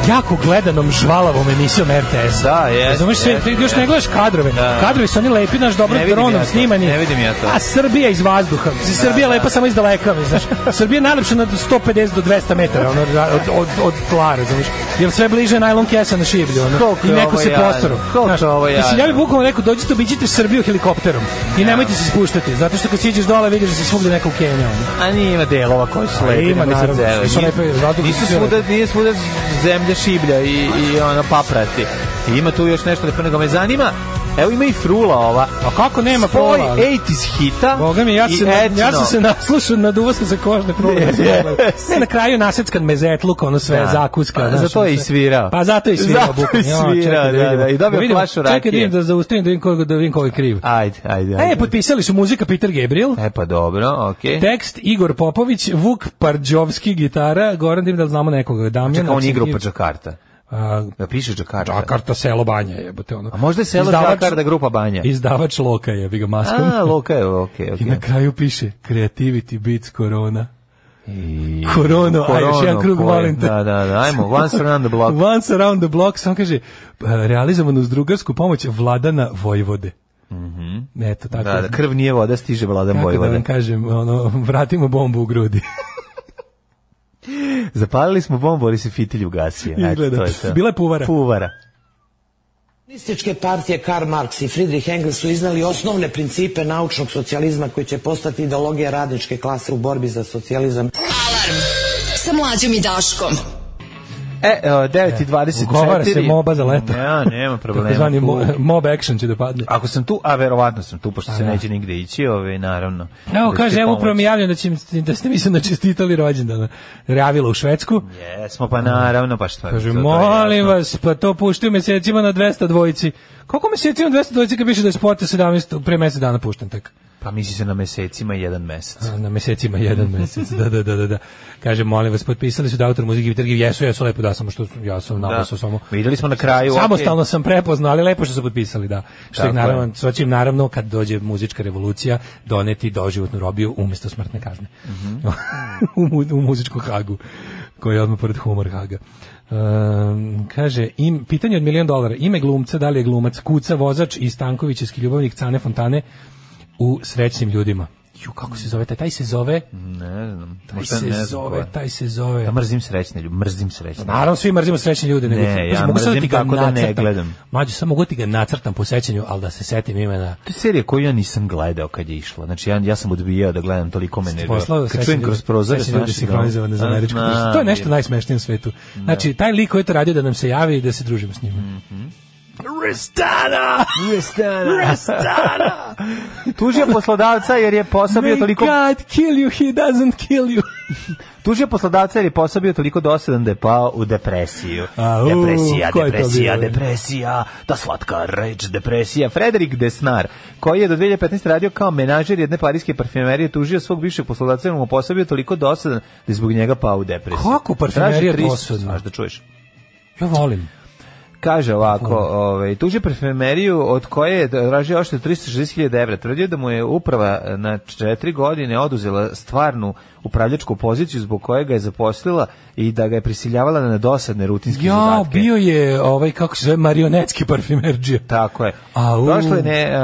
[SPEAKER 6] jako gledanom žvalavom emisijom RTS.
[SPEAKER 7] Da, jeste,
[SPEAKER 6] Razumeš sve,
[SPEAKER 7] jeste,
[SPEAKER 6] ti još
[SPEAKER 7] jeste.
[SPEAKER 6] ne gledaš kadrove.
[SPEAKER 7] Da.
[SPEAKER 6] Kadrovi su oni lepi, naš dobro
[SPEAKER 7] Ne vidim
[SPEAKER 6] dronom
[SPEAKER 7] ja to,
[SPEAKER 6] snimani.
[SPEAKER 7] ne vidim ja to.
[SPEAKER 6] A Srbija iz vazduha. Mislim, Srbija je lepa samo iz daleka, mi, znaš. Srbija je najlepša na 150 do 200 metara, ono, ra- od, od, od tla, razumeš. Jer sve bliže je najlon kesa na šiblju, ono.
[SPEAKER 7] Koliko
[SPEAKER 6] I
[SPEAKER 7] je
[SPEAKER 6] neko
[SPEAKER 7] ovo
[SPEAKER 6] se
[SPEAKER 7] jadno,
[SPEAKER 6] postaru.
[SPEAKER 7] koliko
[SPEAKER 6] Znaš,
[SPEAKER 7] je ovo
[SPEAKER 6] Mislim, ja bih
[SPEAKER 7] jadno.
[SPEAKER 6] bukvalno rekao, dođite, obiđite Srbiju helikopterom i nemojte se spuštati, zato što kad siđeš dole vidiš da se svugde neko ukenja, ono.
[SPEAKER 7] A nije ima delova koji su
[SPEAKER 6] A
[SPEAKER 7] lepi.
[SPEAKER 6] ima,
[SPEAKER 7] nego su
[SPEAKER 6] naravno,
[SPEAKER 7] cele.
[SPEAKER 6] nisu lepe, zato
[SPEAKER 7] Nisu
[SPEAKER 6] su sve
[SPEAKER 7] svuda, nije svuda zemlja šiblja i, i ono paprati. I ima tu još nešto lepo, nego me zanima. Evo ima i frula ova.
[SPEAKER 6] A kako nema
[SPEAKER 7] Spoj
[SPEAKER 6] prola?
[SPEAKER 7] 80s hita
[SPEAKER 6] Boga mi, ja,
[SPEAKER 7] i
[SPEAKER 6] se, na- ja
[SPEAKER 7] etno.
[SPEAKER 6] sam se naslušao na duvasa za kožne prole. Ne, na kraju naseckan mezetluk, ono sve,
[SPEAKER 7] Da.
[SPEAKER 6] zakuska.
[SPEAKER 7] Pa,
[SPEAKER 6] znaš,
[SPEAKER 7] zato je
[SPEAKER 6] ono
[SPEAKER 7] i
[SPEAKER 6] sve.
[SPEAKER 7] svirao.
[SPEAKER 6] Pa zato je i svirao.
[SPEAKER 7] Zato je
[SPEAKER 6] bukvalno. Ja,
[SPEAKER 7] svirao,
[SPEAKER 6] čekaj
[SPEAKER 7] da,
[SPEAKER 6] vidimo.
[SPEAKER 7] da, i dobio
[SPEAKER 6] vidimo.
[SPEAKER 7] flašu
[SPEAKER 6] Čekaj
[SPEAKER 7] rakije.
[SPEAKER 6] da vidim da zaustavim da vidim ko, da vidim ko je kriv.
[SPEAKER 7] Ajde, ajde, ajde.
[SPEAKER 6] E, potpisali su muzika Peter Gabriel.
[SPEAKER 7] E pa dobro, okej.
[SPEAKER 6] Tekst Igor Popović, Vuk Parđovski gitara, Goran Dim, da znamo nekoga, Damjan.
[SPEAKER 7] Čekaj, on
[SPEAKER 6] Marcin
[SPEAKER 7] igra u
[SPEAKER 6] Kiv-
[SPEAKER 7] pa Džakarta.
[SPEAKER 6] A,
[SPEAKER 7] Da piše Džakarta.
[SPEAKER 6] Znači, Džakarta, selo Banja, jebote ono.
[SPEAKER 7] A možda je selo Džakarta grupa Banja.
[SPEAKER 6] Izdavač Loka je, bi ga maskom.
[SPEAKER 7] A, Luka je, okej,
[SPEAKER 6] I
[SPEAKER 7] okej.
[SPEAKER 6] na kraju piše Creativity beats Corona. Korona, aj
[SPEAKER 7] Korono,
[SPEAKER 6] još jedan krug
[SPEAKER 7] koje-
[SPEAKER 6] molim te.
[SPEAKER 7] Da, da, da, ajmo, once around the block.
[SPEAKER 6] Once around the block, sam kaže, "Pa, realizovano uz drugarsku pomoć Vladana Vojvode. Mhm. Eto, tako.
[SPEAKER 7] Da, da, krv nije voda, stiže Vladan
[SPEAKER 6] kako da
[SPEAKER 7] Vojvoda.
[SPEAKER 6] vam kažem, ono, vratimo bombu u grudi.
[SPEAKER 7] Zapalili smo bombu, ali se fitilj ugasio. Eto,
[SPEAKER 6] Izgleda.
[SPEAKER 7] to je to.
[SPEAKER 6] Bila je puvara.
[SPEAKER 7] Puvara.
[SPEAKER 12] Komunističke partije Karl Marx i Friedrich Engels su iznali osnovne principe naučnog socijalizma koji će postati ideologija radničke klase u borbi za socijalizam.
[SPEAKER 10] Alarm sa mlađom i Daškom.
[SPEAKER 7] E, o, 9.24.
[SPEAKER 6] Ugovara se moba za leto.
[SPEAKER 7] Ja, nema problema.
[SPEAKER 6] Takozvani mo,
[SPEAKER 7] Puvara.
[SPEAKER 6] mob action će da padne.
[SPEAKER 7] Ako sam tu, a verovatno sam tu, pošto se neće nigde ići, ove, naravno.
[SPEAKER 6] Evo
[SPEAKER 7] Da
[SPEAKER 6] kaže,
[SPEAKER 7] ćete
[SPEAKER 6] evo upravo
[SPEAKER 7] pomoći.
[SPEAKER 6] mi javljam da, će, da ste mi se načestitali rođendana. Javila u Švedsku.
[SPEAKER 7] Jesmo, pa naravno, pa što je
[SPEAKER 6] Kaže,
[SPEAKER 7] to, to je
[SPEAKER 6] molim
[SPEAKER 7] jasno.
[SPEAKER 6] vas, pa to puštaju mesecima na 200 dvojici. Koliko mesecima na 200 dvojici kad piše da je sport 17, pre mesec dana pušten tek?
[SPEAKER 7] Pa misli se na mesecima i jedan mesec.
[SPEAKER 6] A, Na mesecima jedan mesec, da, da, da, da, da. Kaže, molim vas, potpisali su da autor muzike i Vitrgi, jesu, jesu, lepo da samo što su- ja sam napisao samo.
[SPEAKER 7] Videli smo na kraju. E, okej.
[SPEAKER 6] Samostalno sam prepoznao, ali lepo što su potpisali, da. Što
[SPEAKER 7] Tako
[SPEAKER 6] ih
[SPEAKER 7] je.
[SPEAKER 6] naravno, što će im naravno kad dođe muzička revolucija doneti doživotnu robiju umesto smrtne kazne.
[SPEAKER 7] Mhm.
[SPEAKER 6] u, mu- u muzičku hagu, koji je odmah pored humor haga. Um, kaže, im, pitanje od milion dolara, ime glumca, da li je glumac, kuca, vozač i Stankovićevski ljubavnik Cane Fontane u srećnim ljudima. Ju, kako se zove taj? Taj se zove...
[SPEAKER 7] Ne znam.
[SPEAKER 6] Taj
[SPEAKER 7] možda
[SPEAKER 6] se
[SPEAKER 7] ne znam ko
[SPEAKER 6] zove,
[SPEAKER 7] je.
[SPEAKER 6] taj se zove...
[SPEAKER 7] Ja mrzim srećne ljubi, mrzim srećne.
[SPEAKER 6] Naravno svi mrzimo srećne ljude, nego
[SPEAKER 7] Ne,
[SPEAKER 6] Pazi,
[SPEAKER 7] ja
[SPEAKER 6] mogu sad
[SPEAKER 7] mrzim
[SPEAKER 6] ti ga
[SPEAKER 7] tako da ne
[SPEAKER 6] nacrtam.
[SPEAKER 7] gledam.
[SPEAKER 6] Mlađe, samo mogu ti ga nacrtam po sećanju, ali da se setim imena.
[SPEAKER 7] To je serija koju ja nisam gledao kad je išla. Znači, ja, ja sam odbijao da gledam toliko mene.
[SPEAKER 6] Poslao
[SPEAKER 7] kad čujem kroz prozor.
[SPEAKER 6] srećni ljudi sinhronizovane za američku. kuću. To je nešto najsmešnije na svetu. Znači, taj lik koji je to radio da nam se javi i da se družimo s njima. Restana!
[SPEAKER 7] Restana! Tužio poslodavca jer je posabio
[SPEAKER 6] May
[SPEAKER 7] toliko...
[SPEAKER 6] God kill you, he doesn't kill you.
[SPEAKER 7] Tužio poslodavca jer je posabio toliko dosadan da je pao u depresiju.
[SPEAKER 6] A, u,
[SPEAKER 7] depresija,
[SPEAKER 6] ko je to
[SPEAKER 7] depresija,
[SPEAKER 6] bio?
[SPEAKER 7] depresija, ta slatka reč, depresija. Frederik Desnar, koji je do 2015. radio kao menažer jedne parijske parfumerije, tužio svog bivšeg poslodavca jer mu je posabio toliko dosadan da je zbog njega pao u depresiju.
[SPEAKER 6] Kako parfumerija
[SPEAKER 7] Traži 300,
[SPEAKER 6] dosadna?
[SPEAKER 7] znaš da čuješ.
[SPEAKER 6] Ja volim.
[SPEAKER 7] Kaže ovako, ovaj, tuži parfumeriju od koje je tražio ošte 360.000 evra. Tvrdio da mu je uprava na četiri godine oduzela stvarnu upravljačku poziciju zbog koje ga je zaposlila i da ga je prisiljavala na dosadne rutinske
[SPEAKER 6] Ja,
[SPEAKER 7] zadatke.
[SPEAKER 6] bio je ovaj, kako se zove, marionetski parfimerđija.
[SPEAKER 7] Tako je.
[SPEAKER 6] Au.
[SPEAKER 7] Prošle ne, e,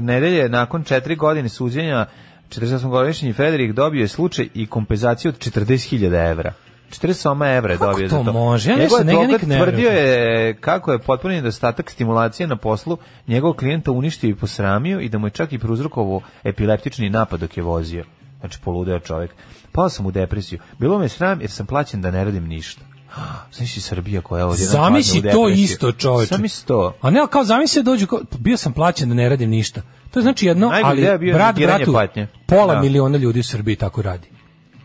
[SPEAKER 7] nedelje, nakon četiri godine suđenja, 48-godišnji Frederik dobio je slučaj i kompenzaciju od 40.000 evra. 48 evra je
[SPEAKER 6] Kako
[SPEAKER 7] dobio
[SPEAKER 6] to
[SPEAKER 7] za to.
[SPEAKER 6] može? Ja
[SPEAKER 7] Njegov
[SPEAKER 6] nešto- ne, ja
[SPEAKER 7] advokat
[SPEAKER 6] nikad ne
[SPEAKER 7] tvrdio
[SPEAKER 6] verujem.
[SPEAKER 7] je kako je potpuni nedostatak stimulacije na poslu njegovog klijenta uništio i posramio i da mu je čak i prouzrokovo epileptični napad dok je vozio. Znači, poludeo čovjek. Pao sam u depresiju. Bilo me sram jer sam plaćen da ne radim ništa. Znači, Srbija koja je ovdje...
[SPEAKER 6] Zamisli
[SPEAKER 7] napadne u
[SPEAKER 6] to
[SPEAKER 7] depresiju.
[SPEAKER 6] isto, čoveče.
[SPEAKER 7] Zamisli to.
[SPEAKER 6] A ne, ali kao zamisli da dođu, kao, bio sam plaćen da ne radim ništa. To je znači jedno,
[SPEAKER 7] Najbolji deo
[SPEAKER 6] ali
[SPEAKER 7] bio je
[SPEAKER 6] brat
[SPEAKER 7] negiranje
[SPEAKER 6] bratu,
[SPEAKER 7] patnje.
[SPEAKER 6] pola
[SPEAKER 7] Da.
[SPEAKER 6] miliona ljudi u Srbiji tako radi.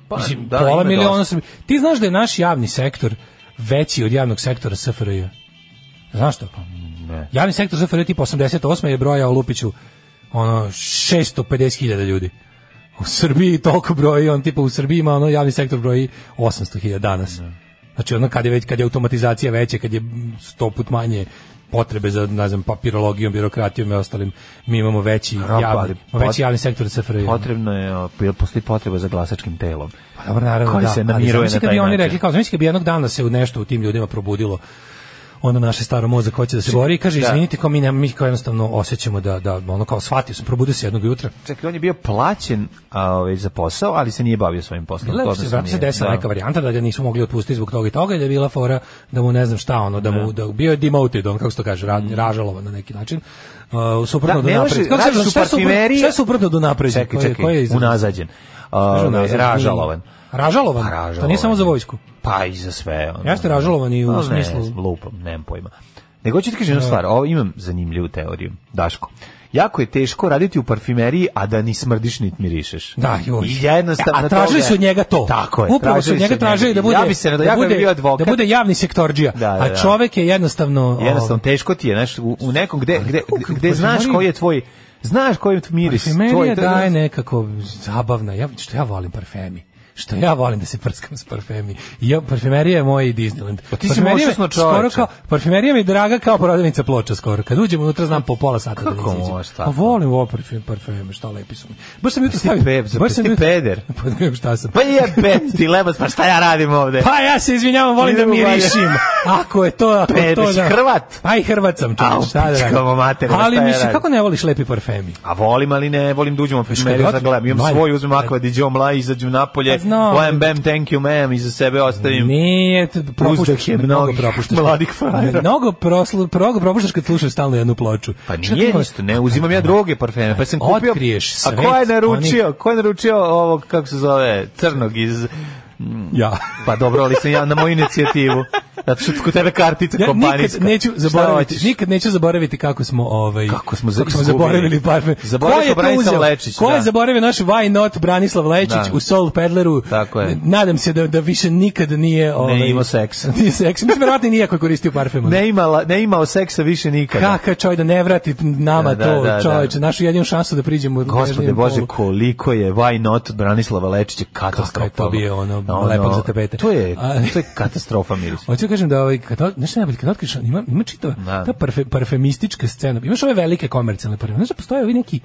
[SPEAKER 7] Pa,
[SPEAKER 6] Mislim,
[SPEAKER 7] da, ima
[SPEAKER 6] pola miliona
[SPEAKER 7] dosta.
[SPEAKER 6] Srbi. Ti znaš da je naš javni sektor veći od javnog sektora SFRJ. Znaš to? pa?
[SPEAKER 7] Ne.
[SPEAKER 6] Javni sektor SFRJ tipa 88 je brojao Lupiću ono 650.000 ljudi. U Srbiji toliko broji, on tipa u Srbiji ima ono javni sektor broji 800.000 danas. Znači ono kad je već kad je automatizacija veća, kad je mm, sto put manje potrebe za ne znam papirologijom, birokratijom i ostalim, mi imamo veći
[SPEAKER 7] ali
[SPEAKER 6] javni,
[SPEAKER 7] pot-
[SPEAKER 6] veći javni sektor od SFRJ.
[SPEAKER 7] Potrebno je, o, bil- postoji potreba za glasačkim telom.
[SPEAKER 6] Pa dobro, naravno,
[SPEAKER 7] Koji
[SPEAKER 6] da.
[SPEAKER 7] se
[SPEAKER 6] ali
[SPEAKER 7] namiruje
[SPEAKER 6] zamisli
[SPEAKER 7] na
[SPEAKER 6] kad
[SPEAKER 7] taj
[SPEAKER 6] bi oni
[SPEAKER 7] način.
[SPEAKER 6] rekli, kao, zamisli kad bi jednog dana se u nešto u tim ljudima probudilo ono naše staro mozak hoće da se bori i kaže,
[SPEAKER 7] Znači, Da.
[SPEAKER 6] izvinite, kao mi, ne, mi kao jednostavno osjećamo da, da ono kao shvatio sam, probudio se jednog jutra.
[SPEAKER 7] Čekaj, on je bio plaćen a, ovaj, za posao, ali se nije bavio svojim poslom.
[SPEAKER 6] Lepo
[SPEAKER 7] Odnosno
[SPEAKER 6] se, vratno se
[SPEAKER 7] nije.
[SPEAKER 6] desila
[SPEAKER 7] Da.
[SPEAKER 6] neka varijanta da ga nisu mogli otpustiti zbog toga i toga i da je bila fora da mu ne znam šta ono, da mu da bio je demoted, on kako se to kaže, ra, ražalovan na neki način. Uh, suprotno
[SPEAKER 7] Mm. Da,
[SPEAKER 6] do
[SPEAKER 7] ne može,
[SPEAKER 6] napred. Kako se
[SPEAKER 7] radiš
[SPEAKER 6] kaže,
[SPEAKER 7] u
[SPEAKER 6] šta je suprotno,
[SPEAKER 7] parfumeriji-
[SPEAKER 6] šta je suprotno do napred?
[SPEAKER 7] Čekaj, čekaj, unazađen.
[SPEAKER 6] Kaže,
[SPEAKER 7] Uh,
[SPEAKER 6] unazađen.
[SPEAKER 7] ražalovan.
[SPEAKER 6] Ražalovan?
[SPEAKER 7] Pa,
[SPEAKER 6] To nije samo za vojsku.
[SPEAKER 7] Pa i za sve. Ono.
[SPEAKER 6] Jeste ražalovan i u
[SPEAKER 7] Pa,
[SPEAKER 6] smislu-
[SPEAKER 7] Ne, lupam, nemam pojma. Nego ću ti kažem jednu stvar, ovo imam zanimljivu teoriju, Daško. Jako je teško raditi u parfimeriji, a da ni smrdiš nit mirišeš.
[SPEAKER 6] Da, joj.
[SPEAKER 7] I jednostavno
[SPEAKER 6] A tražili
[SPEAKER 7] toga-
[SPEAKER 6] su od njega to.
[SPEAKER 7] Tako je.
[SPEAKER 6] Upravo su od njega
[SPEAKER 7] od
[SPEAKER 6] tražili da bude,
[SPEAKER 7] Ja bi se
[SPEAKER 6] da,
[SPEAKER 7] ja bi
[SPEAKER 6] bude,
[SPEAKER 7] bio advokat.
[SPEAKER 6] da bude javni sektorđija.
[SPEAKER 7] Da, da, da.
[SPEAKER 6] A čovek je jednostavno... ovaj,
[SPEAKER 7] Jednostavno teško ti je, znaš, u, u nekom gde gde
[SPEAKER 6] kako pa
[SPEAKER 7] gde znaš
[SPEAKER 6] parfumerija-
[SPEAKER 7] koji je tvoj znaš koji je miris,
[SPEAKER 6] Parfumerija
[SPEAKER 7] tvoj
[SPEAKER 6] daje nekako zabavna, ja, što ja volim parfemi što ja volim da se prskam s parfemi. I Ja, parfumerija je moj Disneyland.
[SPEAKER 7] Pa ti si
[SPEAKER 6] Parfumerija me
[SPEAKER 7] moćno
[SPEAKER 6] skoro
[SPEAKER 7] čoveče.
[SPEAKER 6] kao, parfumerija mi je draga kao prodavnica ploča skoro. Kad uđem unutra znam po pola sata da ne
[SPEAKER 7] Kako
[SPEAKER 6] izađem.
[SPEAKER 7] možeš
[SPEAKER 6] A
[SPEAKER 7] tako? Pa
[SPEAKER 6] volim ovo parfem, parfeme, šta lepi su mi. Baš sam jutro
[SPEAKER 7] ti
[SPEAKER 6] stavio.
[SPEAKER 7] pe-
[SPEAKER 6] baš
[SPEAKER 7] ti
[SPEAKER 6] jutro-
[SPEAKER 7] peder.
[SPEAKER 6] Pa ne znam šta sam.
[SPEAKER 7] Pa jebe ti lebac, pa šta ja radim ovde?
[SPEAKER 6] Pa ja se izvinjavam, volim da
[SPEAKER 7] Idemo dalje.
[SPEAKER 6] mirišim. Ako je to, ako je to
[SPEAKER 7] Pebić,
[SPEAKER 6] da.
[SPEAKER 7] Hrvat.
[SPEAKER 6] Pa i Hrvat sam,
[SPEAKER 7] Au,
[SPEAKER 6] čovječ, šta da radim.
[SPEAKER 7] pičkamo materinu,
[SPEAKER 6] Ali
[SPEAKER 7] šta ja
[SPEAKER 6] mislim,
[SPEAKER 7] radim?
[SPEAKER 6] kako ne voliš lepi parfemi?
[SPEAKER 7] A volim, ali ne, volim da uđem u parfumeriju,
[SPEAKER 6] kad
[SPEAKER 7] sad gledam, imam
[SPEAKER 6] Maj.
[SPEAKER 7] svoj, uzmem akva di mla, izađem napolje,
[SPEAKER 6] Pa znam.
[SPEAKER 7] bam, bam, thank you, ma'am, iza sebe ostavim.
[SPEAKER 6] Nije, t- propuštaš,
[SPEAKER 7] Uzdah Pa je
[SPEAKER 6] mnogo
[SPEAKER 7] mnogih
[SPEAKER 6] propuštaš.
[SPEAKER 7] mladih frajera.
[SPEAKER 6] Mnogo, proslu, mnogo propuštaš kad slušaš stalno jednu ploču.
[SPEAKER 7] Pa
[SPEAKER 6] Čekaj,
[SPEAKER 7] nije
[SPEAKER 6] kako-
[SPEAKER 7] isto, ne, uzimam ja droge parfeme, pa sam kupio...
[SPEAKER 6] Otkriješ
[SPEAKER 7] A ko je
[SPEAKER 6] svet
[SPEAKER 7] naručio, ko je naručio ovog, kako se zove, crnog iz...
[SPEAKER 6] Ja.
[SPEAKER 7] Pa dobro, ali sam ja na moju inicijativu. Zato što kod tebe kartica
[SPEAKER 6] Ja
[SPEAKER 7] kompanijska.
[SPEAKER 6] nikad neću
[SPEAKER 7] Šta
[SPEAKER 6] zaboraviti,
[SPEAKER 7] hoćeš?
[SPEAKER 6] nikad neću zaboraviti kako smo ovaj
[SPEAKER 7] Kako smo za- izgubili.
[SPEAKER 6] zaboravili parfem.
[SPEAKER 7] Zaboravili smo
[SPEAKER 6] Ko je to
[SPEAKER 7] Branislava
[SPEAKER 6] uzeo?
[SPEAKER 7] Lečić,
[SPEAKER 6] Ko je
[SPEAKER 7] da.
[SPEAKER 6] zaboravio naš Why Not Branislav Lečić
[SPEAKER 7] Da.
[SPEAKER 6] u Soul Pedleru?
[SPEAKER 7] Tako je.
[SPEAKER 6] Nadam se da da više nikad nije ovaj
[SPEAKER 7] imao seks.
[SPEAKER 6] Nije seks. Mislim verovatno i nije ako je koristio parfem. ono.
[SPEAKER 7] Ne, imala, ne imao seksa više nikada.
[SPEAKER 6] Kaka čoj da ne vrati nama
[SPEAKER 7] Da, da,
[SPEAKER 6] to,
[SPEAKER 7] da, da.
[SPEAKER 6] čoveče, našu jedinu šansu da priđemo
[SPEAKER 7] Gospode
[SPEAKER 6] nežnijem
[SPEAKER 7] Bože,
[SPEAKER 6] polu.
[SPEAKER 7] koliko je Why Not od Branislava Lečića katastrofa.
[SPEAKER 6] Kako je to bio ono, lepak za tepete.
[SPEAKER 7] To je,
[SPEAKER 6] A-
[SPEAKER 7] to je katastrofa miris.
[SPEAKER 6] Hoću da kažem da ovaj kad od- znaš šta je najbolje kad otkriš ima ima čitava
[SPEAKER 7] Da.
[SPEAKER 6] ta parfe, parfemistička scena. Imaš ove velike komercijalne parfeme. Znaš da postoje ovi neki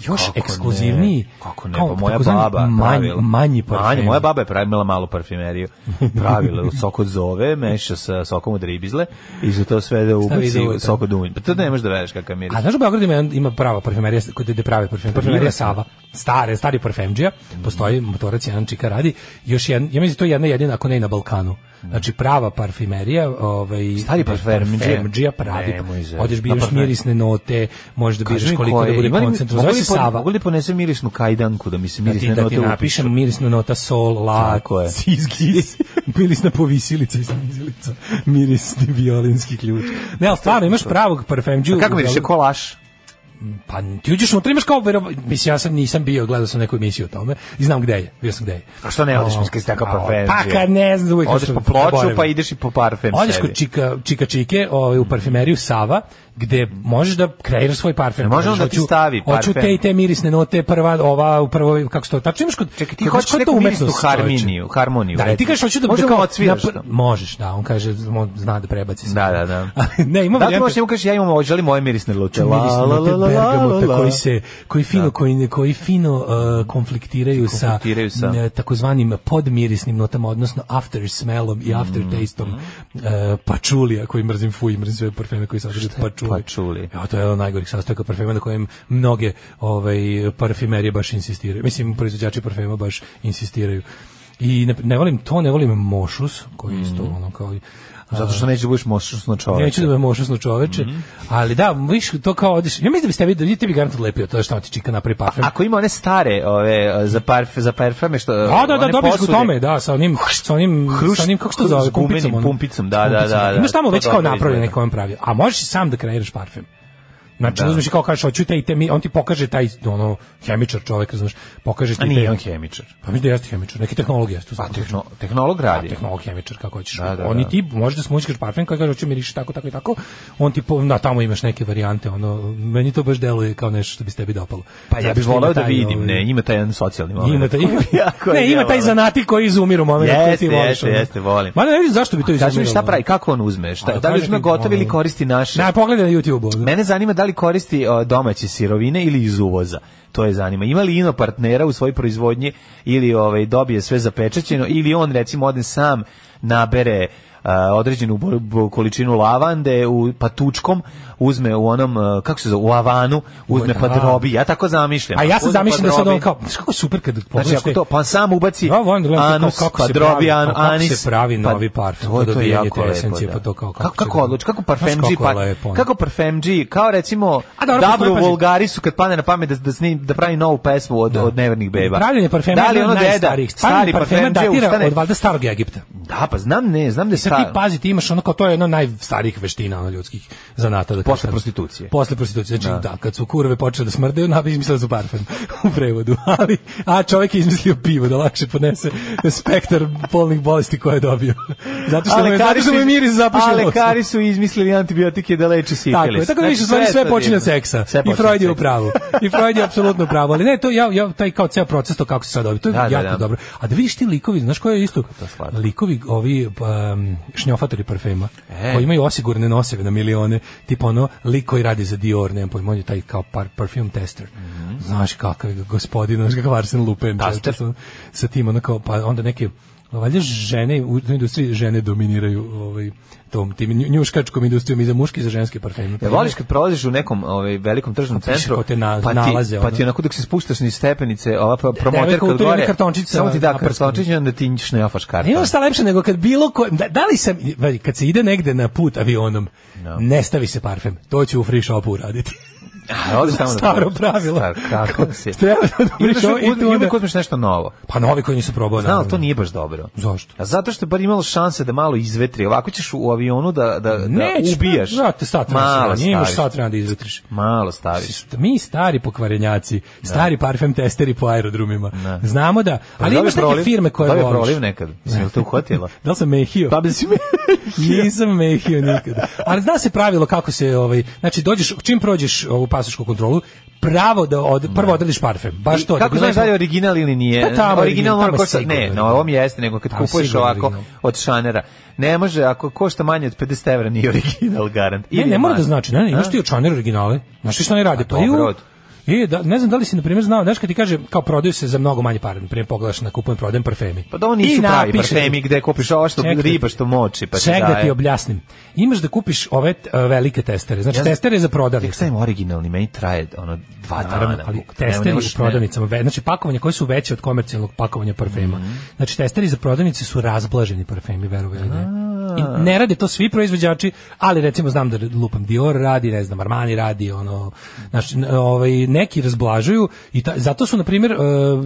[SPEAKER 6] još
[SPEAKER 7] Kako ne?
[SPEAKER 6] ekskluzivniji.
[SPEAKER 7] Kako ne,
[SPEAKER 6] kao
[SPEAKER 7] pa moja
[SPEAKER 6] takozvani
[SPEAKER 7] baba
[SPEAKER 6] manji,
[SPEAKER 7] pravila.
[SPEAKER 6] manji parfemi.
[SPEAKER 7] moja baba je pravila malu parfumeriju. Pravila u sok od zove, meša sa sokom od ribizle i za to sve da
[SPEAKER 6] Stavi
[SPEAKER 7] ubaci
[SPEAKER 6] za ujutro.
[SPEAKER 7] sok od unj. Pa to ne možeš da veriš kakav miris.
[SPEAKER 6] A znaš u Beogradu ima, jedan- ima prava parfumerija s- kod gde prave parfume. Parfumerija Sava. Stare, stari parfemdžija. Postoji motorac jedan čika radi. Još jedan, ja mislim da to je jedna jedina ako ne i na Balkanu. Znači prava parfumerija, ovaj
[SPEAKER 7] Stari parfemdžija?
[SPEAKER 6] parfemdžija pravi.
[SPEAKER 7] Nemoj zezati.
[SPEAKER 6] Odeš
[SPEAKER 7] Na
[SPEAKER 6] biraš
[SPEAKER 7] parfem-
[SPEAKER 6] mirisne note, možeš da biraš
[SPEAKER 7] mi
[SPEAKER 6] koliko
[SPEAKER 7] koje,
[SPEAKER 6] da bude
[SPEAKER 7] ima li-
[SPEAKER 6] koncentrat.
[SPEAKER 7] mogu
[SPEAKER 6] Zove
[SPEAKER 7] li
[SPEAKER 6] se
[SPEAKER 7] pon-
[SPEAKER 6] Sava.
[SPEAKER 7] Mogu li ponesem mirisnu kajdanku da mi se
[SPEAKER 6] da ti,
[SPEAKER 7] mirisne
[SPEAKER 6] da ti
[SPEAKER 7] note
[SPEAKER 6] napišem
[SPEAKER 7] upišu?
[SPEAKER 6] mirisna nota sol, la,
[SPEAKER 7] Tako je.
[SPEAKER 6] cizgis, mirisna povisilica i snizilica, mirisni violinski ključ. Ne, ali stvarno, imaš pravog parfemđu.
[SPEAKER 7] A Pa Kako miriše kolaš?
[SPEAKER 6] Pa ti uđeš unutra, imaš kao, verova- mislim, ja sam nisam bio, gledao sam neku emisiju o tome i znam gde je, bio sam gde je.
[SPEAKER 7] A što ne odeš,
[SPEAKER 6] O,
[SPEAKER 7] mislim, kad si takav
[SPEAKER 6] a,
[SPEAKER 7] parfemđija?
[SPEAKER 6] Pa kad ne znam, uvijek
[SPEAKER 7] Odeš
[SPEAKER 6] sam
[SPEAKER 7] po ploču
[SPEAKER 6] zaboravim.
[SPEAKER 7] pa ideš i po parfem
[SPEAKER 6] Odeš
[SPEAKER 7] sebi.
[SPEAKER 6] kod čika, čika čike ovaj, u parfumeriju Sava, gde možeš da kreiraš svoj parfem.
[SPEAKER 7] E, Može
[SPEAKER 6] Kažeš,
[SPEAKER 7] on da ti
[SPEAKER 6] hoću-
[SPEAKER 7] stavi
[SPEAKER 6] Hoću
[SPEAKER 7] parfem.
[SPEAKER 6] te i te mirisne note, prva, ova, u prvoj, kako se to, tačno imaš kod...
[SPEAKER 7] Čekaj, ti
[SPEAKER 6] kod-
[SPEAKER 7] hoćeš
[SPEAKER 6] kod
[SPEAKER 7] neku
[SPEAKER 6] to
[SPEAKER 7] mirisnu
[SPEAKER 6] umetnost, čoveče.
[SPEAKER 7] harmoniju, harmoniju.
[SPEAKER 6] Da, i ti kažeš hoću da
[SPEAKER 7] Može
[SPEAKER 6] da-
[SPEAKER 7] kao odsviraš
[SPEAKER 6] da pr-
[SPEAKER 7] to.
[SPEAKER 6] Možeš, da, on kaže, on zna da prebaci sve.
[SPEAKER 7] Da, da, da.
[SPEAKER 6] Ali ne, ima
[SPEAKER 7] Da, ti
[SPEAKER 6] varijante-
[SPEAKER 7] možeš njemu kažeš, ja imam, ovo, želim moje mirisne lute.
[SPEAKER 6] mirisne
[SPEAKER 7] La, la,
[SPEAKER 6] note
[SPEAKER 7] la, la, la,
[SPEAKER 6] bergamota
[SPEAKER 7] la, la.
[SPEAKER 6] koji se koji fino koji koji fino uh, konfliktiraju,
[SPEAKER 7] Konfliktiraju
[SPEAKER 6] sa,
[SPEAKER 7] sa-
[SPEAKER 6] m, takozvanim podmirisnim notama odnosno after smellom i after
[SPEAKER 7] Mhm.
[SPEAKER 6] tasteom uh, pačulija koji mrzim fuj mrzim sve parfeme koji sadrže pačuli.
[SPEAKER 7] pačuli?
[SPEAKER 6] Ja, to je jedan od najgorih sastojaka parfema na kojem mnoge ovaj parfumerije baš insistiraju. Mislim proizvođači parfema
[SPEAKER 7] Mhm.
[SPEAKER 6] baš insistiraju. I ne, ne volim to, ne volim mošus, koji je isto ono kao i-
[SPEAKER 7] Zato što nećeš da budeš moćno čovjek.
[SPEAKER 6] Neću da budem mošasno čoveče,
[SPEAKER 7] Mhm.
[SPEAKER 6] ali da, viš to kao odiš. Ja mislim da bi ste videli, ti bi garant odlepio to što ti čika na parfem.
[SPEAKER 7] Ako ima one stare ove za parf za parfeme što
[SPEAKER 6] Da, da, da,
[SPEAKER 7] one
[SPEAKER 6] dobiješ u
[SPEAKER 7] posude-
[SPEAKER 6] tome, da, sa onim, sa onim,
[SPEAKER 7] Hrušt-
[SPEAKER 6] sa onim, kako se to
[SPEAKER 7] hrušt-
[SPEAKER 6] zove,
[SPEAKER 7] s gumenim
[SPEAKER 6] pumpicom. ono.
[SPEAKER 7] pumpicom, da, da, da, da.
[SPEAKER 6] Imaš tamo
[SPEAKER 7] To
[SPEAKER 6] već kao
[SPEAKER 7] dobro
[SPEAKER 6] napravljen
[SPEAKER 7] izgleda.
[SPEAKER 6] neko on pravio, a možeš i sam da kreiraš parfem. Znači,
[SPEAKER 7] Da.
[SPEAKER 6] uzmeš i kao kažeš, hoću taj, te, mi- on ti pokaže taj, ono, hemičar čovjek, znaš, pokaže ti
[SPEAKER 7] A nije
[SPEAKER 6] te-
[SPEAKER 7] on hemičar.
[SPEAKER 6] Pa mislim da jeste hemičar, neki tehnolog jeste. u
[SPEAKER 7] Pa
[SPEAKER 6] svakom
[SPEAKER 7] tehno,
[SPEAKER 6] slučaju.
[SPEAKER 7] tehnolog radi.
[SPEAKER 6] A tehnolog hemičar kako hoćeš.
[SPEAKER 7] Da, da,
[SPEAKER 6] Oni
[SPEAKER 7] da.
[SPEAKER 6] ti možeš da smućkaš parfem koji kaže hoće miriši tako tako i tako. On ti po, na tamo imaš neke varijante, ono meni to baš deluje kao nešto što bi se tebi dopalo.
[SPEAKER 7] Pa ja
[SPEAKER 6] Zato
[SPEAKER 7] bih
[SPEAKER 6] što ima
[SPEAKER 7] voleo da
[SPEAKER 6] taj,
[SPEAKER 7] vidim,
[SPEAKER 6] ovaj,
[SPEAKER 7] ne, ima taj jedan socijalni moment.
[SPEAKER 6] Ima taj,
[SPEAKER 7] Jako je
[SPEAKER 6] ne, ima taj
[SPEAKER 7] djevalo.
[SPEAKER 6] zanati koji izumiru moment. koji
[SPEAKER 7] Jeste,
[SPEAKER 6] ti voliš,
[SPEAKER 7] jeste,
[SPEAKER 6] ono.
[SPEAKER 7] jeste, volim.
[SPEAKER 6] Ma ne vidim zašto bi to izumirilo.
[SPEAKER 7] Kaži mi šta pravi, kako on uzme? Šta,
[SPEAKER 6] A,
[SPEAKER 7] da li
[SPEAKER 6] kaže
[SPEAKER 7] uzme
[SPEAKER 6] ti,
[SPEAKER 7] gotovo ili
[SPEAKER 6] ono,
[SPEAKER 7] koristi naše?
[SPEAKER 6] Ne, pogledaj na YouTube-u. ono.
[SPEAKER 7] Mene zanima da li koristi o, domaće sirovine ili iz uvoza. To je zanima. Ima li ino partnera u svojoj proizvodnji ili ovaj dobije sve zapečaćeno ili on recimo ode sam nabere a, određenu bo- bo- količinu lavande u patučkom uzme u onom a, kako se zove u avanu uzme
[SPEAKER 6] U-
[SPEAKER 7] pa
[SPEAKER 6] da.
[SPEAKER 7] drobi ja tako zamišljam
[SPEAKER 6] A ja se
[SPEAKER 7] Uzme
[SPEAKER 6] zamišljam
[SPEAKER 7] pa
[SPEAKER 6] da sad
[SPEAKER 7] drobi.
[SPEAKER 6] on kao, znaš kako je super kad pogledaš
[SPEAKER 7] Znači, ako
[SPEAKER 6] te-
[SPEAKER 7] to, pa on sam ubaci
[SPEAKER 6] Ja volim da gledam to
[SPEAKER 7] anus,
[SPEAKER 6] kao kako
[SPEAKER 7] pa
[SPEAKER 6] se
[SPEAKER 7] drobi
[SPEAKER 6] pravi,
[SPEAKER 7] an,
[SPEAKER 6] kako
[SPEAKER 7] anis.
[SPEAKER 6] se pravi
[SPEAKER 7] pa
[SPEAKER 6] novi parfum,
[SPEAKER 7] to je-
[SPEAKER 6] pa
[SPEAKER 7] to je
[SPEAKER 6] dobijanje te
[SPEAKER 7] jako lepo,
[SPEAKER 6] esencije,
[SPEAKER 7] da.
[SPEAKER 6] pa to kao- kako
[SPEAKER 7] Kako,
[SPEAKER 6] će
[SPEAKER 7] kako
[SPEAKER 6] da-
[SPEAKER 7] odluči, kako
[SPEAKER 6] Znaš
[SPEAKER 7] parfemđi,
[SPEAKER 6] kako je
[SPEAKER 7] pa,
[SPEAKER 6] lepo, ono.
[SPEAKER 7] kako parfemđi, kao recimo
[SPEAKER 6] A dobro,
[SPEAKER 7] Dabru
[SPEAKER 6] postoji, pazi.
[SPEAKER 7] Vulgari su kad pane na pamet da, da, snim, da pravi novu pesmu od, od nevernih beba.
[SPEAKER 6] Pravljenje parfema
[SPEAKER 7] da li
[SPEAKER 6] je
[SPEAKER 7] ono
[SPEAKER 6] ono
[SPEAKER 7] deda,
[SPEAKER 6] najstarijih.
[SPEAKER 7] stari
[SPEAKER 6] Stari parfema
[SPEAKER 7] parfemđe
[SPEAKER 6] datira
[SPEAKER 7] ustane?
[SPEAKER 6] od valjda starog Egipta.
[SPEAKER 7] Da, pa znam ne, znam da je
[SPEAKER 6] I sad ti
[SPEAKER 7] stari.
[SPEAKER 6] pazi, ti imaš ono kao to je jedno od najstarijih veština ono ljudskih zanata. Da
[SPEAKER 7] Posle
[SPEAKER 6] kažem.
[SPEAKER 7] prostitucije.
[SPEAKER 6] Posle prostitucije. Znači, da. kad su kurve počele da smrdaju, nabi izmislili su parfem u prevodu. Ali, a čovjek je izmislio pivo da lakše podnese spektar polnih bolesti koje je dobio. Zato što, mu, je, zato što mu je miris zapušen.
[SPEAKER 7] A
[SPEAKER 6] nos.
[SPEAKER 7] lekari su izmislili antibiotike da
[SPEAKER 6] Tako
[SPEAKER 7] leče
[SPEAKER 6] je,
[SPEAKER 7] sifilis.
[SPEAKER 6] tako da više
[SPEAKER 7] Znači,
[SPEAKER 6] stvari sve
[SPEAKER 7] to
[SPEAKER 6] počinje
[SPEAKER 7] divno.
[SPEAKER 6] od seksa.
[SPEAKER 7] Sve
[SPEAKER 6] I
[SPEAKER 7] počinje od
[SPEAKER 6] Freud je u
[SPEAKER 7] seksa.
[SPEAKER 6] pravu. I Freud je apsolutno u pravu. Ali ne, to ja, ja taj kao ceo proces to kako se sad dobi, to je
[SPEAKER 7] Da, da,
[SPEAKER 6] jako
[SPEAKER 7] da.
[SPEAKER 6] dobro. A da vidiš ti likovi, znaš koje je isto?
[SPEAKER 7] slatko.
[SPEAKER 6] Likovi ovi um, šnjofatori parfema,
[SPEAKER 7] E.
[SPEAKER 6] koji imaju osigurne noseve na milione, tipa ono lik koji radi za Dior, nemam pojma, on je taj kao par, perfume tester. Znaš kakav je gospodin, znaš kakav Arsen Lupin.
[SPEAKER 7] Mhm. Taster.
[SPEAKER 6] čovječe, sa- sa tim ono kao, pa onda neke valjda žene u toj industriji žene dominiraju ovaj tom tim nju- njuškačkom industrijom i za muške i za ženske parfeme.
[SPEAKER 7] Ja voliš kad prolaziš u nekom ovaj velikom tržnom
[SPEAKER 6] Pa piše
[SPEAKER 7] centru,
[SPEAKER 6] ko te na-
[SPEAKER 7] pa ti,
[SPEAKER 6] nalaze,
[SPEAKER 7] pa
[SPEAKER 6] ono.
[SPEAKER 7] ti onako dok se spuštaš niz stepenice, ova pro- promoterka
[SPEAKER 6] u
[SPEAKER 7] od
[SPEAKER 6] toj
[SPEAKER 7] gore,
[SPEAKER 6] kartončica
[SPEAKER 7] samo ti da
[SPEAKER 6] naprskana.
[SPEAKER 7] kartončić i onda ti šnefaš
[SPEAKER 6] Ne
[SPEAKER 7] karton. Ono,
[SPEAKER 6] ima Pa šta lepše nego kad bilo ko, da, da li sam, vidi, kad se ide negde na put avionom, ne stavi se parfem, to ću u free shopu uraditi.
[SPEAKER 7] A, odi tamo da-
[SPEAKER 6] Staro pravilo.
[SPEAKER 7] Star, kako si.
[SPEAKER 6] Treba da
[SPEAKER 7] I
[SPEAKER 6] dobiš ovo i tu onda-
[SPEAKER 7] uvijek uzmeš nešto novo.
[SPEAKER 6] Pa novi koji nisu probao.
[SPEAKER 7] Znam, ali
[SPEAKER 6] naravno.
[SPEAKER 7] to nije baš dobro.
[SPEAKER 6] Zašto?
[SPEAKER 7] A zato što je bar imalo šanse da malo izvetri. Ovako ćeš u avionu da, da, da
[SPEAKER 6] Nećeš,
[SPEAKER 7] ubijaš.
[SPEAKER 6] pa, Brate, sat vremena,
[SPEAKER 7] malo
[SPEAKER 6] nije imaš
[SPEAKER 7] staviš.
[SPEAKER 6] sat vremena da izvetriš.
[SPEAKER 7] Malo staviš.
[SPEAKER 6] St- Mi stari pokvarenjaci, stari parfem testeri po aerodrumima. Znamo da, ali
[SPEAKER 7] Pa Da li
[SPEAKER 6] imaš neke
[SPEAKER 7] proliv?
[SPEAKER 6] firme koje
[SPEAKER 7] Da li je
[SPEAKER 6] voliš.
[SPEAKER 7] proliv nekad? Mislim, jel te uhvatila?
[SPEAKER 6] Da li sam mehio?
[SPEAKER 7] Pa bi si me...
[SPEAKER 6] Nisam mehio nikada. Ali zna se pravilo kako se ovaj, znači dođeš čim prođeš ovu pasošku kontrolu, pravo da od, prvo odradiš parfem. Baš to. da
[SPEAKER 7] Kako
[SPEAKER 6] bi
[SPEAKER 7] znaš
[SPEAKER 6] lepo-
[SPEAKER 7] da li je original ili nije?
[SPEAKER 6] Pa tamo
[SPEAKER 7] original
[SPEAKER 6] original,
[SPEAKER 7] mora
[SPEAKER 6] tamo
[SPEAKER 7] košta,
[SPEAKER 6] sigurno
[SPEAKER 7] ne,
[SPEAKER 6] je.
[SPEAKER 7] na ovom jeste, nego kad
[SPEAKER 6] Tamo
[SPEAKER 7] kupuješ
[SPEAKER 6] sigurno
[SPEAKER 7] ovako
[SPEAKER 6] original.
[SPEAKER 7] od šanera. Ne može, ako košta manje od 50 evra, nije original garant.
[SPEAKER 6] Ne,
[SPEAKER 7] Ili je
[SPEAKER 6] ne mora
[SPEAKER 7] manje.
[SPEAKER 6] da znači, ne, ne, imaš ti očanere originale. Znaš ti šta ne rade?
[SPEAKER 7] A
[SPEAKER 6] Pa i u-
[SPEAKER 7] dobro, od-
[SPEAKER 6] E, da, ne znam da li si, na primjer, znao, znaš kad ti kaže, kao prodaju se za mnogo manje pare, na primjer, pogledaš na kupujem, prodajem parfemi.
[SPEAKER 7] Pa da ovo
[SPEAKER 6] I
[SPEAKER 7] nisu pravi
[SPEAKER 6] napiše ti-
[SPEAKER 7] parfemi gde kupiš ovo što
[SPEAKER 6] Ček da-
[SPEAKER 7] riba što moči, pa ti
[SPEAKER 6] Ček da ti
[SPEAKER 7] daje.
[SPEAKER 6] objasnim. Imaš da kupiš ove e, velike testere, znači
[SPEAKER 7] Ja znam-
[SPEAKER 6] testere za
[SPEAKER 7] Tek
[SPEAKER 6] prodavnice.
[SPEAKER 7] sam originalni, meni traje ono dva
[SPEAKER 6] Naravno,
[SPEAKER 7] dana.
[SPEAKER 6] ali
[SPEAKER 7] Nema-
[SPEAKER 6] testeri
[SPEAKER 7] ne
[SPEAKER 6] u
[SPEAKER 7] možeš- ne.
[SPEAKER 6] prodavnicama, ve- znači pakovanja koje su veće od komercijalnog pakovanja parfema.
[SPEAKER 7] Mhm.
[SPEAKER 6] Znači testeri za prodavnice su razblaženi parfemi, verovali ili ne. I ne rade to svi proizvođači, ali recimo znam da lupam Dior radi, ne znam Armani radi, ono znači n- ovaj neki razblažuju i ta- zato su na primjer e,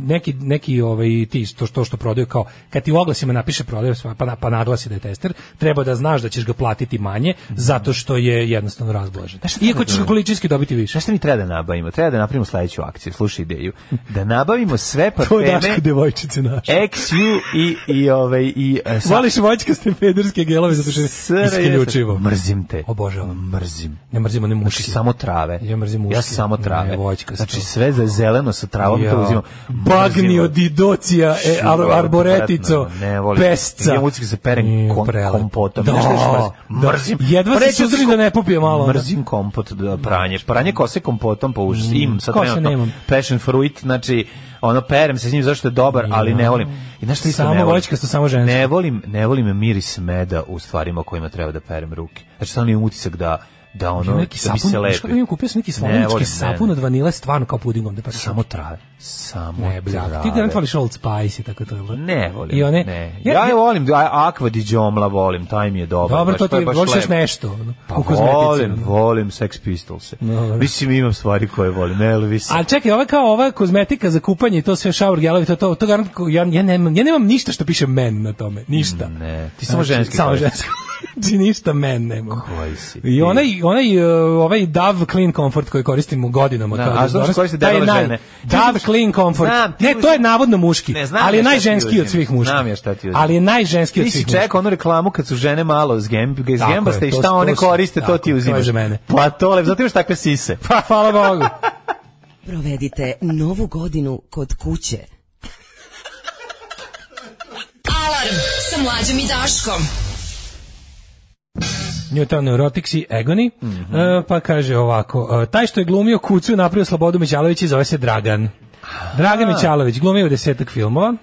[SPEAKER 6] neki neki ovaj ti to što što prodaju kao kad ti u oglasima napiše prodaju sva- pa na- pa naglasi da je tester, treba da znaš da ćeš ga platiti manje
[SPEAKER 7] Mhm.
[SPEAKER 6] zato što je jednostavno razblažen. Iako ćeš ga količinski dobiti više.
[SPEAKER 7] Znaš šta mi treba da nabavimo? Treba da napravimo sledeću akciju, slušaj ideju. Da nabavimo sve
[SPEAKER 6] To je
[SPEAKER 7] parfeme
[SPEAKER 6] daško devojčice naše.
[SPEAKER 7] XU i, i, ovaj, i e, sa-
[SPEAKER 6] Voliš voćkaste pederske gelove zato što je
[SPEAKER 7] SRS.
[SPEAKER 6] isključivo.
[SPEAKER 7] Mrzim te.
[SPEAKER 6] Obožavam.
[SPEAKER 7] Mrzim.
[SPEAKER 6] Ne mrzimo ne muši.
[SPEAKER 7] Znači samo trave.
[SPEAKER 6] Ja mrzim muške.
[SPEAKER 7] Ja samo
[SPEAKER 6] Ne,
[SPEAKER 7] trave.
[SPEAKER 6] voćkasto.
[SPEAKER 7] znači sve za zeleno sa travom to
[SPEAKER 6] Ja.
[SPEAKER 7] uzimam.
[SPEAKER 6] Bagni
[SPEAKER 7] Mrzim.
[SPEAKER 6] od idocija, e,
[SPEAKER 7] Šivo,
[SPEAKER 6] ar, arboretico,
[SPEAKER 7] odvratno, ne volim.
[SPEAKER 6] pesca.
[SPEAKER 7] Idem ucik se perem
[SPEAKER 6] Nije,
[SPEAKER 7] kom-
[SPEAKER 6] prelep.
[SPEAKER 7] kompotom.
[SPEAKER 6] Da,
[SPEAKER 7] Znaš šta još mrzim?
[SPEAKER 6] da.
[SPEAKER 7] Mrzim.
[SPEAKER 6] Jedva se
[SPEAKER 7] Preću
[SPEAKER 6] suzdržim
[SPEAKER 7] kom-
[SPEAKER 6] da ne popije malo onda.
[SPEAKER 7] Mrzim kompot, da, pranje. Pranje kose kompotom, pa užas. Imam sad
[SPEAKER 6] mm, kose
[SPEAKER 7] trenutno
[SPEAKER 6] nemam.
[SPEAKER 7] passion fruit, znači ono perem se s njim zašto je dobar, ali ne volim. I znaš šta isto
[SPEAKER 6] Samo
[SPEAKER 7] ne volim?
[SPEAKER 6] voćkasto, samo žensko.
[SPEAKER 7] Ne volim, ne volim miris meda u stvarima o kojima treba da perem ruke. Znači, stvarno imam utisak da da ono
[SPEAKER 6] Imam neki
[SPEAKER 7] da
[SPEAKER 6] sapun,
[SPEAKER 7] mi se
[SPEAKER 6] znaš
[SPEAKER 7] lepi.
[SPEAKER 6] kako imam, kupio sam neki slavonički sapun od vanile, stvarno kao pudingom, da pa
[SPEAKER 7] samo trave. Samo
[SPEAKER 6] Ne, bljak.
[SPEAKER 7] trave.
[SPEAKER 6] Ti garant voliš Old Spice i tako to, jel?
[SPEAKER 7] Ne volim.
[SPEAKER 6] I one,
[SPEAKER 7] ne. Ja, je volim, a, Aqua di Giomla volim, taj mi je dobar.
[SPEAKER 6] Dobro,
[SPEAKER 7] Pa baš,
[SPEAKER 6] to ti
[SPEAKER 7] je baš
[SPEAKER 6] voliš još
[SPEAKER 7] lepo.
[SPEAKER 6] nešto, ono,
[SPEAKER 7] Pa
[SPEAKER 6] u kozmetici,
[SPEAKER 7] volim,
[SPEAKER 6] ono.
[SPEAKER 7] volim Sex Pistols.
[SPEAKER 6] Dobro.
[SPEAKER 7] Mislim, imam stvari koje volim, Elvis.
[SPEAKER 6] A čekaj, ova kao ova kozmetika za kupanje i to sve shower gelovi, to to, to garant, ko- ja, ja, nemam, ja nemam ništa što piše men na tome, ništa.
[SPEAKER 7] Ne, ti Mm, samo
[SPEAKER 6] Znači,
[SPEAKER 7] ženski.
[SPEAKER 6] Samo
[SPEAKER 7] koristiš.
[SPEAKER 6] ženski. Znači, ništa men nemam.
[SPEAKER 7] Koji si ti?
[SPEAKER 6] I onaj, onaj, uh, ovaj Dove Clean Comfort koji koristim u godinama.
[SPEAKER 7] Da,
[SPEAKER 6] kao
[SPEAKER 7] a
[SPEAKER 6] dezodoran,
[SPEAKER 7] znaš koji se
[SPEAKER 6] taj
[SPEAKER 7] debele
[SPEAKER 6] naj-
[SPEAKER 7] žene?
[SPEAKER 6] Dove Clean Comfort.
[SPEAKER 7] Znam, ti
[SPEAKER 6] ne,
[SPEAKER 7] uzimaš-
[SPEAKER 6] to je navodno muški,
[SPEAKER 7] Ne, znam
[SPEAKER 6] ali
[SPEAKER 7] ja
[SPEAKER 6] je
[SPEAKER 7] šta ti
[SPEAKER 6] najženski od
[SPEAKER 7] uzimam.
[SPEAKER 6] svih muških.
[SPEAKER 7] Znam ja šta ti uzimam.
[SPEAKER 6] Ali je najženski od
[SPEAKER 7] Ti si
[SPEAKER 6] svih muških.
[SPEAKER 7] čekao onu reklamu kad su žene malo zgemb,
[SPEAKER 6] Tako je,
[SPEAKER 7] zgembaste i
[SPEAKER 6] to-
[SPEAKER 7] šta
[SPEAKER 6] to
[SPEAKER 7] one
[SPEAKER 6] su-
[SPEAKER 7] koriste,
[SPEAKER 6] tako
[SPEAKER 7] to
[SPEAKER 6] je, to
[SPEAKER 7] ti
[SPEAKER 6] je
[SPEAKER 7] uzimaš.
[SPEAKER 6] za mene.
[SPEAKER 7] Pa to lepo, zato imaš takve sise.
[SPEAKER 6] Pa, hvala Bogu.
[SPEAKER 5] Provedite novu godinu kod kuće.
[SPEAKER 10] Alarm sa mlađom i Daškom.
[SPEAKER 6] Newton Neurotics i Egoni. E, pa kaže ovako, e, taj što je glumio kucu i napravio Slobodu Mićalović i zove se Dragan. Dragan Mićalović, glumio je u desetak filmova.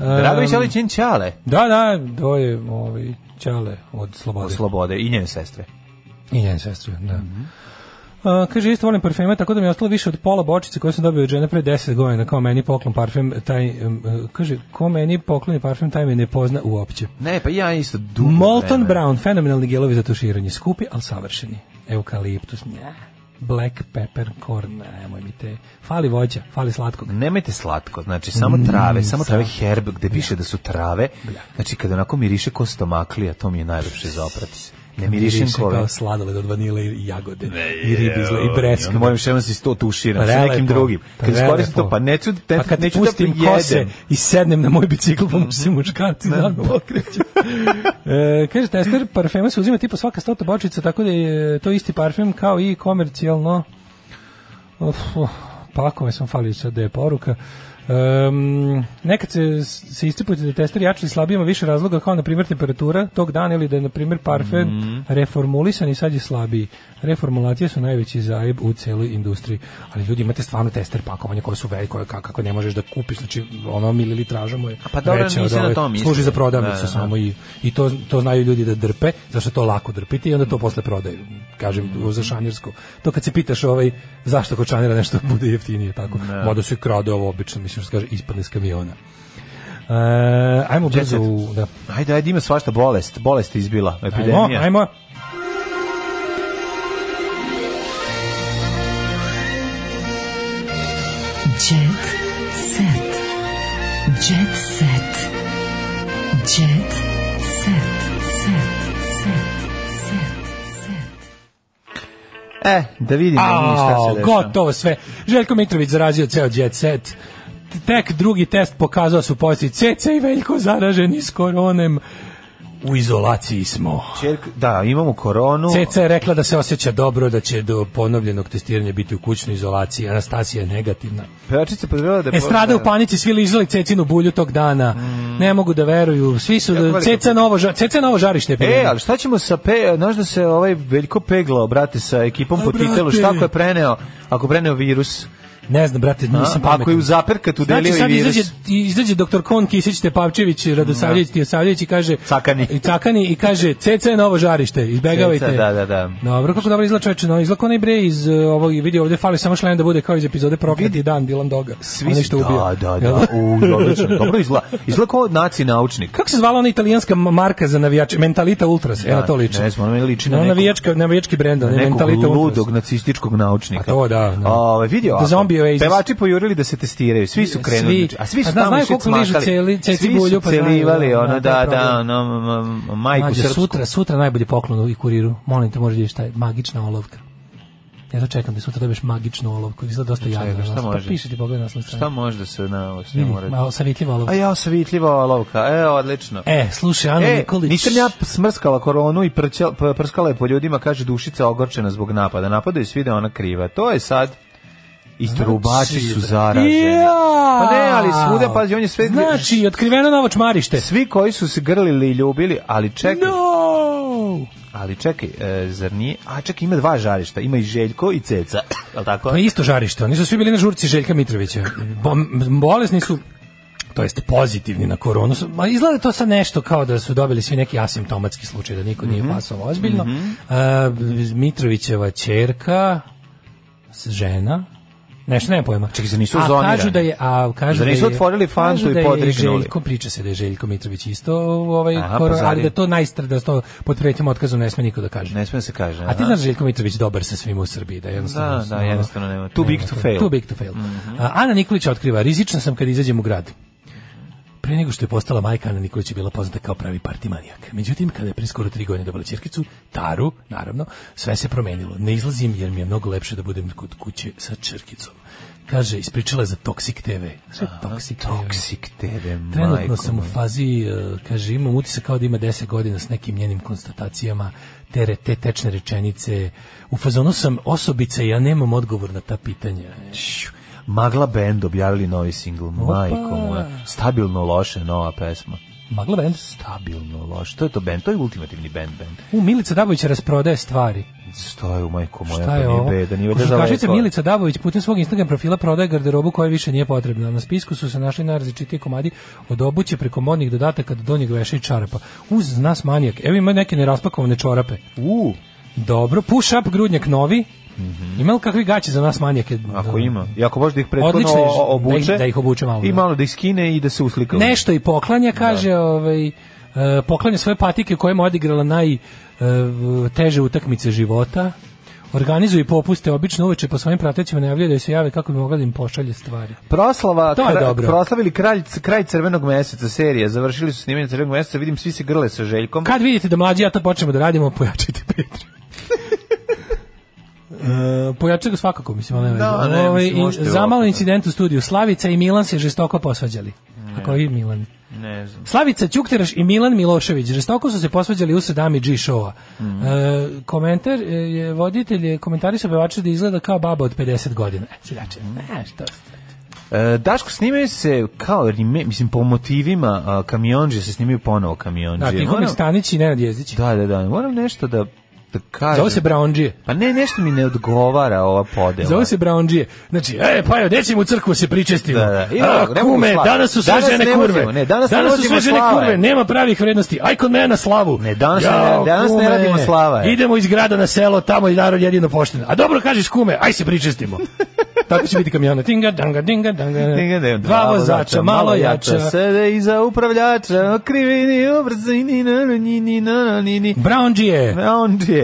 [SPEAKER 6] E,
[SPEAKER 7] Dragović Alić njen čale
[SPEAKER 6] Da, da, to je ovaj, Ćale od Slobode.
[SPEAKER 7] od slobode i njene sestre.
[SPEAKER 6] I njen sestru, da. A, kaže, isto volim parfeme, tako da mi je ostalo više od pola bočice koje sam dobio od žene pre 10 godina, kao meni poklon parfem, taj, em, e, kaže, ko meni pokloni parfem, taj me ne pozna uopće.
[SPEAKER 7] Ne, pa ja isto dugo
[SPEAKER 6] Molton
[SPEAKER 7] vreme.
[SPEAKER 6] Brown, fenomenalni gelovi za tuširanje, skupi, ali savršeni. Eukaliptus, ne. Black pepper corn, nemoj mi te. Fali voća, fali slatkog.
[SPEAKER 7] Nemajte slatko, znači samo trave,
[SPEAKER 6] Mm,
[SPEAKER 7] samo trave herb gde piše da su trave. Znači kada onako miriše ko stomaklija, to mi je najlepše za oprati se. Ne mirišem
[SPEAKER 6] Miriše
[SPEAKER 7] ko
[SPEAKER 6] kao
[SPEAKER 7] ove.
[SPEAKER 6] sladoled od vanile i jagode, i ribizle, i breskve.
[SPEAKER 7] Mojim šemom se to tuširam sa
[SPEAKER 6] Prelepo,
[SPEAKER 7] nekim drugim. Kad
[SPEAKER 6] prelepo.
[SPEAKER 7] iskoristim to, pa neću, ne,
[SPEAKER 6] pa kad
[SPEAKER 7] neću
[SPEAKER 6] pustim
[SPEAKER 7] da
[SPEAKER 6] kose
[SPEAKER 7] jedem.
[SPEAKER 6] i sednem na moj bicikl, pa mu se muškarci dan pokreću. e, kaže, tester, parfema se uzima tipa svaka stota bočica, tako da je to isti parfem kao i komercijalno. Uf, uf, pakove sam falio sad da je poruka. Ehm, nekad se, se istipujete da je tester jači ili slabiji ima više razloga kao na primjer temperatura tog dana ili da je na primjer parfem
[SPEAKER 7] Mhm.
[SPEAKER 6] reformulisan i sad je slabiji reformulacije su najveći zajeb u celoj industriji ali ljudi imate stvarno tester pakovanja koje su velike koje ka- kako ne možeš da kupiš znači ono mililitraža mu je
[SPEAKER 7] pa dobro,
[SPEAKER 6] veća od
[SPEAKER 7] nisam na
[SPEAKER 6] ove.
[SPEAKER 7] to mislio.
[SPEAKER 6] služi za prodavnicu
[SPEAKER 7] Da, da, da.
[SPEAKER 6] samo i, i to, to znaju ljudi da drpe zašto je to lako drpiti i onda to posle prodaju kažem
[SPEAKER 7] Mhm.
[SPEAKER 6] za šanjersko to kad se pitaš ovaj, zašto kod šanjera nešto
[SPEAKER 7] Mhm.
[SPEAKER 6] bude jeftinije tako mada su i krade ovo obično mislim što se kaže ispadne s kamiona E, ajmo
[SPEAKER 7] Jet
[SPEAKER 6] brzo
[SPEAKER 7] set.
[SPEAKER 6] u, da.
[SPEAKER 7] Ajde, ajde, ima svašta bolest. Bolest je izbila,
[SPEAKER 6] Ajmo,
[SPEAKER 7] epidemija.
[SPEAKER 6] ajmo.
[SPEAKER 10] Jet set. Jet set. Jet set. Set. Set. Set.
[SPEAKER 7] E, da vidimo mi šta
[SPEAKER 6] A,
[SPEAKER 7] se dešava.
[SPEAKER 6] gotovo sve. Željko Mitrović zarazio ceo jet set. Tek drugi test pokazao su pozitiv. CC i Veljko zaraženi s koronem. U izolaciji smo.
[SPEAKER 7] Čerk- da, imamo koronu.
[SPEAKER 6] CC je rekla da se osjeća dobro, da će do ponovljenog testiranja biti u kućnoj izolaciji. Anastasija je negativna.
[SPEAKER 7] Pevačica podvela da je
[SPEAKER 6] Estrada E, u panici, svi ližali Cecinu bulju tog dana. Ne mogu da veruju. Svi su...
[SPEAKER 7] Mm. Jako velika
[SPEAKER 6] Ceca novo, ža- Ceca novo žarište. je
[SPEAKER 7] E,
[SPEAKER 6] bilo.
[SPEAKER 7] ali šta ćemo sa pe, znaš da se ovaj Veljko peglao, brate, sa ekipom
[SPEAKER 6] A,
[SPEAKER 7] po titelu,
[SPEAKER 6] brate.
[SPEAKER 7] šta ako je preneo, ako je preneo virus?
[SPEAKER 6] Ne znam, brate,
[SPEAKER 7] A?
[SPEAKER 6] nisam pametan.
[SPEAKER 7] Ako je u zaperkatu
[SPEAKER 6] Znači
[SPEAKER 7] delio i
[SPEAKER 6] sad
[SPEAKER 7] virus.
[SPEAKER 6] izađe, izađe doktor Kon Kisić Tepavčević, Radosavljević, Tijosavljević i kaže...
[SPEAKER 7] Cakani.
[SPEAKER 6] I cakani i kaže, CC je novo žarište, izbegavajte.
[SPEAKER 7] Ceca, da, da, da.
[SPEAKER 6] Dobro, kako dobro izgleda čoveče, no izgleda onaj bre iz uh, ovog, vidi ovdje fali samo šlem da bude kao iz epizode Prokleti dan Dylan Doga.
[SPEAKER 7] Svi
[SPEAKER 6] Onaj
[SPEAKER 7] su,
[SPEAKER 6] što je ubio.
[SPEAKER 7] da, da,
[SPEAKER 6] Jel?
[SPEAKER 7] da, u, odlično, dobro izgleda, izgleda kao naci naučnik.
[SPEAKER 6] Kako se zvala ona italijanska ma- marka za navijače? Mentalita Ultras, evo to liči.
[SPEAKER 7] Znači, Ne znam, ona meni liči na
[SPEAKER 6] Ona
[SPEAKER 7] nekog-
[SPEAKER 6] navijačka, navijački brend, ona je
[SPEAKER 7] nekog
[SPEAKER 6] Mentalita Ultras.
[SPEAKER 7] ludog nacističkog naučnika.
[SPEAKER 6] A to da, da.
[SPEAKER 7] Ovaj vidio.
[SPEAKER 6] The
[SPEAKER 7] ovako,
[SPEAKER 6] Zombie Oasis.
[SPEAKER 7] Pevači pojurili da se testiraju. Svi su krenuli.
[SPEAKER 6] Svi.
[SPEAKER 7] znači, a svi su
[SPEAKER 6] A zna-
[SPEAKER 7] tamo
[SPEAKER 6] znaju
[SPEAKER 7] išli
[SPEAKER 6] koliko ližu
[SPEAKER 7] cmakali.
[SPEAKER 6] celi- ceci
[SPEAKER 7] Svi su
[SPEAKER 6] bulju, pa znaju,
[SPEAKER 7] celivali,
[SPEAKER 6] da, da, to
[SPEAKER 7] ono, da,
[SPEAKER 6] je
[SPEAKER 7] da,
[SPEAKER 6] problem.
[SPEAKER 7] ono, m- m- majku
[SPEAKER 6] Mađo,
[SPEAKER 7] srpsku.
[SPEAKER 6] sutra, sutra najbolji poklon i kuriru. Molim te, možeš da ideš taj magična olovka. Ja to čekam da sutra dobiješ magičnu olovku. Izgleda dosta
[SPEAKER 7] Čekaj,
[SPEAKER 6] jadno.
[SPEAKER 7] šta
[SPEAKER 6] ono, Pa
[SPEAKER 7] može?
[SPEAKER 6] piše ti pogled naslovnu stranu.
[SPEAKER 7] Šta može da se na šta
[SPEAKER 6] Vidi,
[SPEAKER 7] mora?
[SPEAKER 6] malo savitljiva olovka.
[SPEAKER 7] A ja osavitljiva olovka. E, odlično.
[SPEAKER 6] E, slušaj, Ana
[SPEAKER 7] E,
[SPEAKER 6] Nikolić.
[SPEAKER 7] nisam ja smrskala koronu i prćal- p- prskala je po ljudima, kaže Dušica ogorčena zbog napada. Napadaju svi da je ona kriva. To je sad i trubači su zaraženi.
[SPEAKER 6] Znači Ja!
[SPEAKER 7] Pa ne, ali svuda, pazi, on je sve...
[SPEAKER 6] Znači, otkriveno novo čmarište.
[SPEAKER 7] Svi koji su se grlili i ljubili, ali čekaj,
[SPEAKER 6] No!
[SPEAKER 7] ali čekaj, e, zar nije? A čekaj, ima dva žarišta, ima i Željko i Ceca, je li tako?
[SPEAKER 6] To je isto žarište. Oni su svi bili na žurci Željka Mitrovića. Bo- m- bolesni su to jest pozitivni na koronu. su- Ma izgleda to sad nešto kao da su dobili svi neki asimptomatski slučaj, da niko
[SPEAKER 7] Mhm.
[SPEAKER 6] nije pasovao ozbiljno. E, Mitrovićeva čerka, s- žena, nešto nema pojma.
[SPEAKER 7] Čekaj, zar nisu
[SPEAKER 6] a
[SPEAKER 7] zonirani?
[SPEAKER 6] kažu da je, a kažu
[SPEAKER 7] Zar nisu
[SPEAKER 6] da je,
[SPEAKER 7] otvorili fantu
[SPEAKER 6] kažu
[SPEAKER 7] i
[SPEAKER 6] da je
[SPEAKER 7] podrignuli?
[SPEAKER 6] Željko, priča se da je Željko Mitrović isto ovaj,
[SPEAKER 7] Aha, pa
[SPEAKER 6] korona,
[SPEAKER 7] zar
[SPEAKER 6] ali
[SPEAKER 7] je-
[SPEAKER 6] da to najstra, da to pod pretnjom otkazom ne sme niko da kaže.
[SPEAKER 7] Ne smije se kaže.
[SPEAKER 6] A ti
[SPEAKER 7] aha.
[SPEAKER 6] znaš da je Željko Mitrović dobar sa svim u Srbiji, da je jednostavno...
[SPEAKER 7] Da, da,
[SPEAKER 6] ono,
[SPEAKER 7] jednostavno nema- too big to fail.
[SPEAKER 6] Too big to fail. Mm-hmm. A, Ana Nikolić otkriva, rizična sam kad izađem u grad. Pre nego što je postala majka, Ana Nikolić je bila poznata kao pravi partimanijak. Međutim, kada je pre skoro tri godine dobila ćerkicu, Taru, naravno, sve se promenilo. Ne izlazim jer mi je mnogo lepše da budem kod kuće sa čerkicom. Kaže, ispričala je za Toxic TV. Sve Toxic TV.
[SPEAKER 7] Toksik tebe,
[SPEAKER 6] Trenutno
[SPEAKER 7] majko
[SPEAKER 6] sam u
[SPEAKER 7] moja.
[SPEAKER 6] fazi, e, kaže, imam utisak kao da ima 10 godina s nekim njenim konstatacijama, te, re- te tečne rečenice. U fazonu sam osobica i ja nemam odgovor na ta pitanja.
[SPEAKER 7] Ću. Magla Band objavili novi singl, majko moja. Stabilno loše nova pesma.
[SPEAKER 6] Magla Band?
[SPEAKER 7] Stabilno loše. To je to band, to je ultimativni band band.
[SPEAKER 6] U, Milica Dabović rasprodaje stvari.
[SPEAKER 7] Stoju, majko
[SPEAKER 6] Šta
[SPEAKER 7] moja,
[SPEAKER 6] je
[SPEAKER 7] pa nije
[SPEAKER 6] ovo?
[SPEAKER 7] beda, nije beda
[SPEAKER 6] Košarkašica
[SPEAKER 7] daleko.
[SPEAKER 6] Milica Dabović putem svog Instagram profila prodaje garderobu koja više nije potrebna. Na spisku su se našli najrazličitiji komadi od obuće preko modnih dodataka do donjeg veša i čarapa. Uz nas manijak. Evo ima neke neraspakovane čorape.
[SPEAKER 7] U,
[SPEAKER 6] Dobro, push up grudnjak novi. Ima li kakvi gaće za nas manijake?
[SPEAKER 7] Mhm. ako
[SPEAKER 6] Da.
[SPEAKER 7] ima. I ako može da ih prethodno
[SPEAKER 6] Odlične,
[SPEAKER 7] o- o-
[SPEAKER 6] da ih-
[SPEAKER 7] obuče.
[SPEAKER 6] da ih obuče malo,
[SPEAKER 7] I
[SPEAKER 6] da.
[SPEAKER 7] malo da ih skine i da se uslika. u njih.
[SPEAKER 6] Nešto i poklanja, kaže, ovaj, e, poklanja svoje patike kojima je odigrala najteže utakmice života. Organizuju i popuste, obično uveče po svojim pratećima najavljaju da se jave kako bi mogla da im pošalje stvari.
[SPEAKER 7] Proslava,
[SPEAKER 6] To je
[SPEAKER 7] kra-
[SPEAKER 6] dobro.
[SPEAKER 7] proslavili kralj, kraj crvenog meseca serija, završili su snimanje crvenog meseca, vidim svi se grle sa Željkom.
[SPEAKER 6] Kad vidite da mlađi ja to počnemo da radimo, pojačajte Petra. E, pojačaj ga svakako, mislim, ali nema
[SPEAKER 7] Da,
[SPEAKER 6] veze.
[SPEAKER 7] ne, mislim,
[SPEAKER 6] Ovaj, i
[SPEAKER 7] možete
[SPEAKER 6] za malo
[SPEAKER 7] ovako, da.
[SPEAKER 6] incident u studiju. Slavica i Milan se žestoko posvađali. A koji Milan?
[SPEAKER 7] Ne znam.
[SPEAKER 6] Slavica Ćukteraš i Milan Milošević žestoko su se posvađali u Sadami G showa.
[SPEAKER 7] Mhm.
[SPEAKER 6] E, komentar e, je voditelj je komentarisao pevača da izgleda kao baba od 50 godina. E, Ciljače,
[SPEAKER 7] Mhm.
[SPEAKER 6] znaš to.
[SPEAKER 7] E, Daško, snimaju se kao, reme- mislim, po motivima a, kamionđe se snimaju ponovo kamionđe.
[SPEAKER 6] Da, Tihomir Stanić i Nenad Jezdić.
[SPEAKER 7] Znači, ono- da, da, da, moram nešto da, da kažem.
[SPEAKER 6] Zove se Braonđije.
[SPEAKER 7] Pa ne, nešto mi ne odgovara ova podela.
[SPEAKER 6] Zove se Braonđije. Znači, e, pa evo, dećim u crkvu se pričestimo.
[SPEAKER 7] Da, da. I
[SPEAKER 6] A,
[SPEAKER 7] ovako, ne mogu
[SPEAKER 6] kume,
[SPEAKER 7] slavu.
[SPEAKER 6] danas su sve
[SPEAKER 7] Danas
[SPEAKER 6] žene
[SPEAKER 7] ne
[SPEAKER 6] kurve.
[SPEAKER 7] vozimo, ne, danas ne
[SPEAKER 6] su
[SPEAKER 7] vozimo
[SPEAKER 6] sve žene
[SPEAKER 7] slave.
[SPEAKER 6] kurve, nema pravih vrednosti. Aj kod mene na slavu.
[SPEAKER 7] Ne, danas ne- danas ne radimo slava, e.
[SPEAKER 6] Idemo iz grada na selo, tamo je narod jedino pošten. A dobro kažeš kume, aj se pričestimo. Tako će biti kamiona. Dinga, danga, dinga, danga.
[SPEAKER 7] Njega nema.
[SPEAKER 6] Dva vozača, malo jača.
[SPEAKER 7] Sede iza upravljača, okriveni obrzini, na, na, ni, ni, na, na, ni, E, ni.
[SPEAKER 6] Braonđije,
[SPEAKER 7] Kamionđe.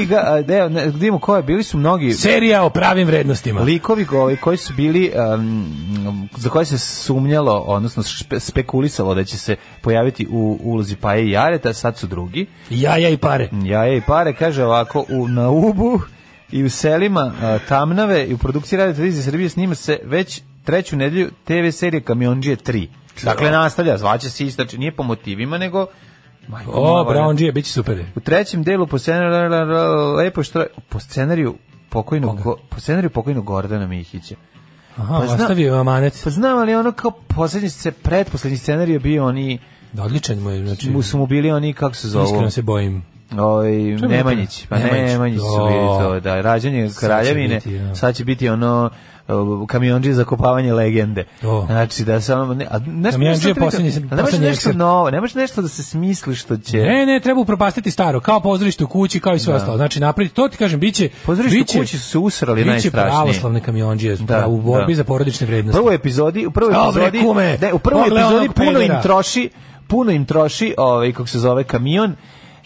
[SPEAKER 7] I ga, a, evo, ne, vidimo ko je, bili su mnogi...
[SPEAKER 6] serija o pravim vrednostima.
[SPEAKER 7] likovi koji, koji su bili um, za koje se sumnjalo odnosno špe- spekulisalo da će se pojaviti u ulozi Paje i Jareta sad su drugi
[SPEAKER 6] Jaja i pare.
[SPEAKER 7] Jaje i Pare kaže ovako u Naubu i u selima a, Tamnave i u produkciji Radio Televizije Srbije snima se već treću nedelju TV serije Kamionđije 3 dakle nastavlja zvaće se isto znači nije po motivima nego Majko moja,
[SPEAKER 6] O, Braonđije, bit će super.
[SPEAKER 7] u trećem delu po scenariju lepo što po scenariju pokojnog Go- po scenariju pokojnog Gordana Mihića.
[SPEAKER 6] Aha,
[SPEAKER 7] Pa zna-
[SPEAKER 6] ostavio je amanet.
[SPEAKER 7] Pa znam ali ono kao poslednji se pretposlednji scenarij je bio oni
[SPEAKER 6] Da, odličan mu je, znači,
[SPEAKER 7] pa- mu su mu bili oni kako se zovu.
[SPEAKER 6] iskreno se bojim.
[SPEAKER 7] Oj,
[SPEAKER 6] Čemu
[SPEAKER 7] Ovaj, Nemanjić, pa
[SPEAKER 6] Nemanjić.
[SPEAKER 7] Nemanjić su
[SPEAKER 6] O.
[SPEAKER 7] bili to, da, rađanje
[SPEAKER 6] će
[SPEAKER 7] kraljevine,
[SPEAKER 6] biti, da.
[SPEAKER 7] sad će biti ono kamionđi za kopavanje legende.
[SPEAKER 6] To.
[SPEAKER 7] Znači da samo ne, a znaš,
[SPEAKER 6] Kamiondžija je posljednji-
[SPEAKER 7] ne može
[SPEAKER 6] posljednji
[SPEAKER 7] nešto
[SPEAKER 6] ekser.
[SPEAKER 7] novo, ne može nešto da se smisli što će.
[SPEAKER 6] Ne, ne, treba upropastiti staro, kao pozorište u kući, kao i sve ostalo. Znači, napraviti, to ti kažem, bit će...
[SPEAKER 7] Pozorište u
[SPEAKER 6] bit će-
[SPEAKER 7] kući su se usrali
[SPEAKER 6] Bit će
[SPEAKER 7] najstrašnije.
[SPEAKER 6] pravoslavne kamionđije
[SPEAKER 7] Da,
[SPEAKER 6] u borbi
[SPEAKER 7] da.
[SPEAKER 6] za porodične vrednosti.
[SPEAKER 7] prvoj epizodi, u prvoj
[SPEAKER 6] Dobre,
[SPEAKER 7] epizodi,
[SPEAKER 6] kume,
[SPEAKER 7] ne, u prvoj
[SPEAKER 6] pogle
[SPEAKER 7] epizodi
[SPEAKER 6] onog
[SPEAKER 7] puno im
[SPEAKER 6] pedera.
[SPEAKER 7] troši, puno im troši, ovaj kako se zove kamion.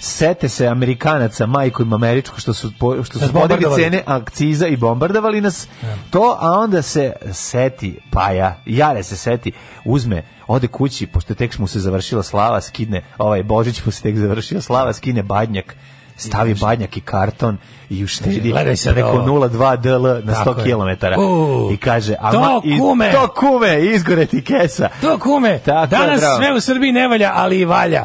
[SPEAKER 7] Sete se Amerikanaca, majku im američku što su po- što
[SPEAKER 6] Nas
[SPEAKER 7] su podigli
[SPEAKER 6] bombardovali.
[SPEAKER 7] cene akciza i bombardovali nas. To, a onda se seti Paja, Jare se seti, uzme, ode kući pošto je tek mu se završila slava, skine, ovaj Božić mu se tek završila slava, skine badnjak stavi badnjak i karton i uštedi
[SPEAKER 6] Gledaj sad
[SPEAKER 7] preko
[SPEAKER 6] ovo.
[SPEAKER 7] 0,2 DL na
[SPEAKER 6] Tako
[SPEAKER 7] 100
[SPEAKER 6] je.
[SPEAKER 7] km.
[SPEAKER 6] U.
[SPEAKER 7] I kaže, a
[SPEAKER 6] To
[SPEAKER 7] ma- i-
[SPEAKER 6] kume!
[SPEAKER 7] to kume, izgore ti kesa.
[SPEAKER 6] To kume,
[SPEAKER 7] Tako je,
[SPEAKER 6] danas
[SPEAKER 7] bravo.
[SPEAKER 6] sve u Srbiji ne valja, ali i valja.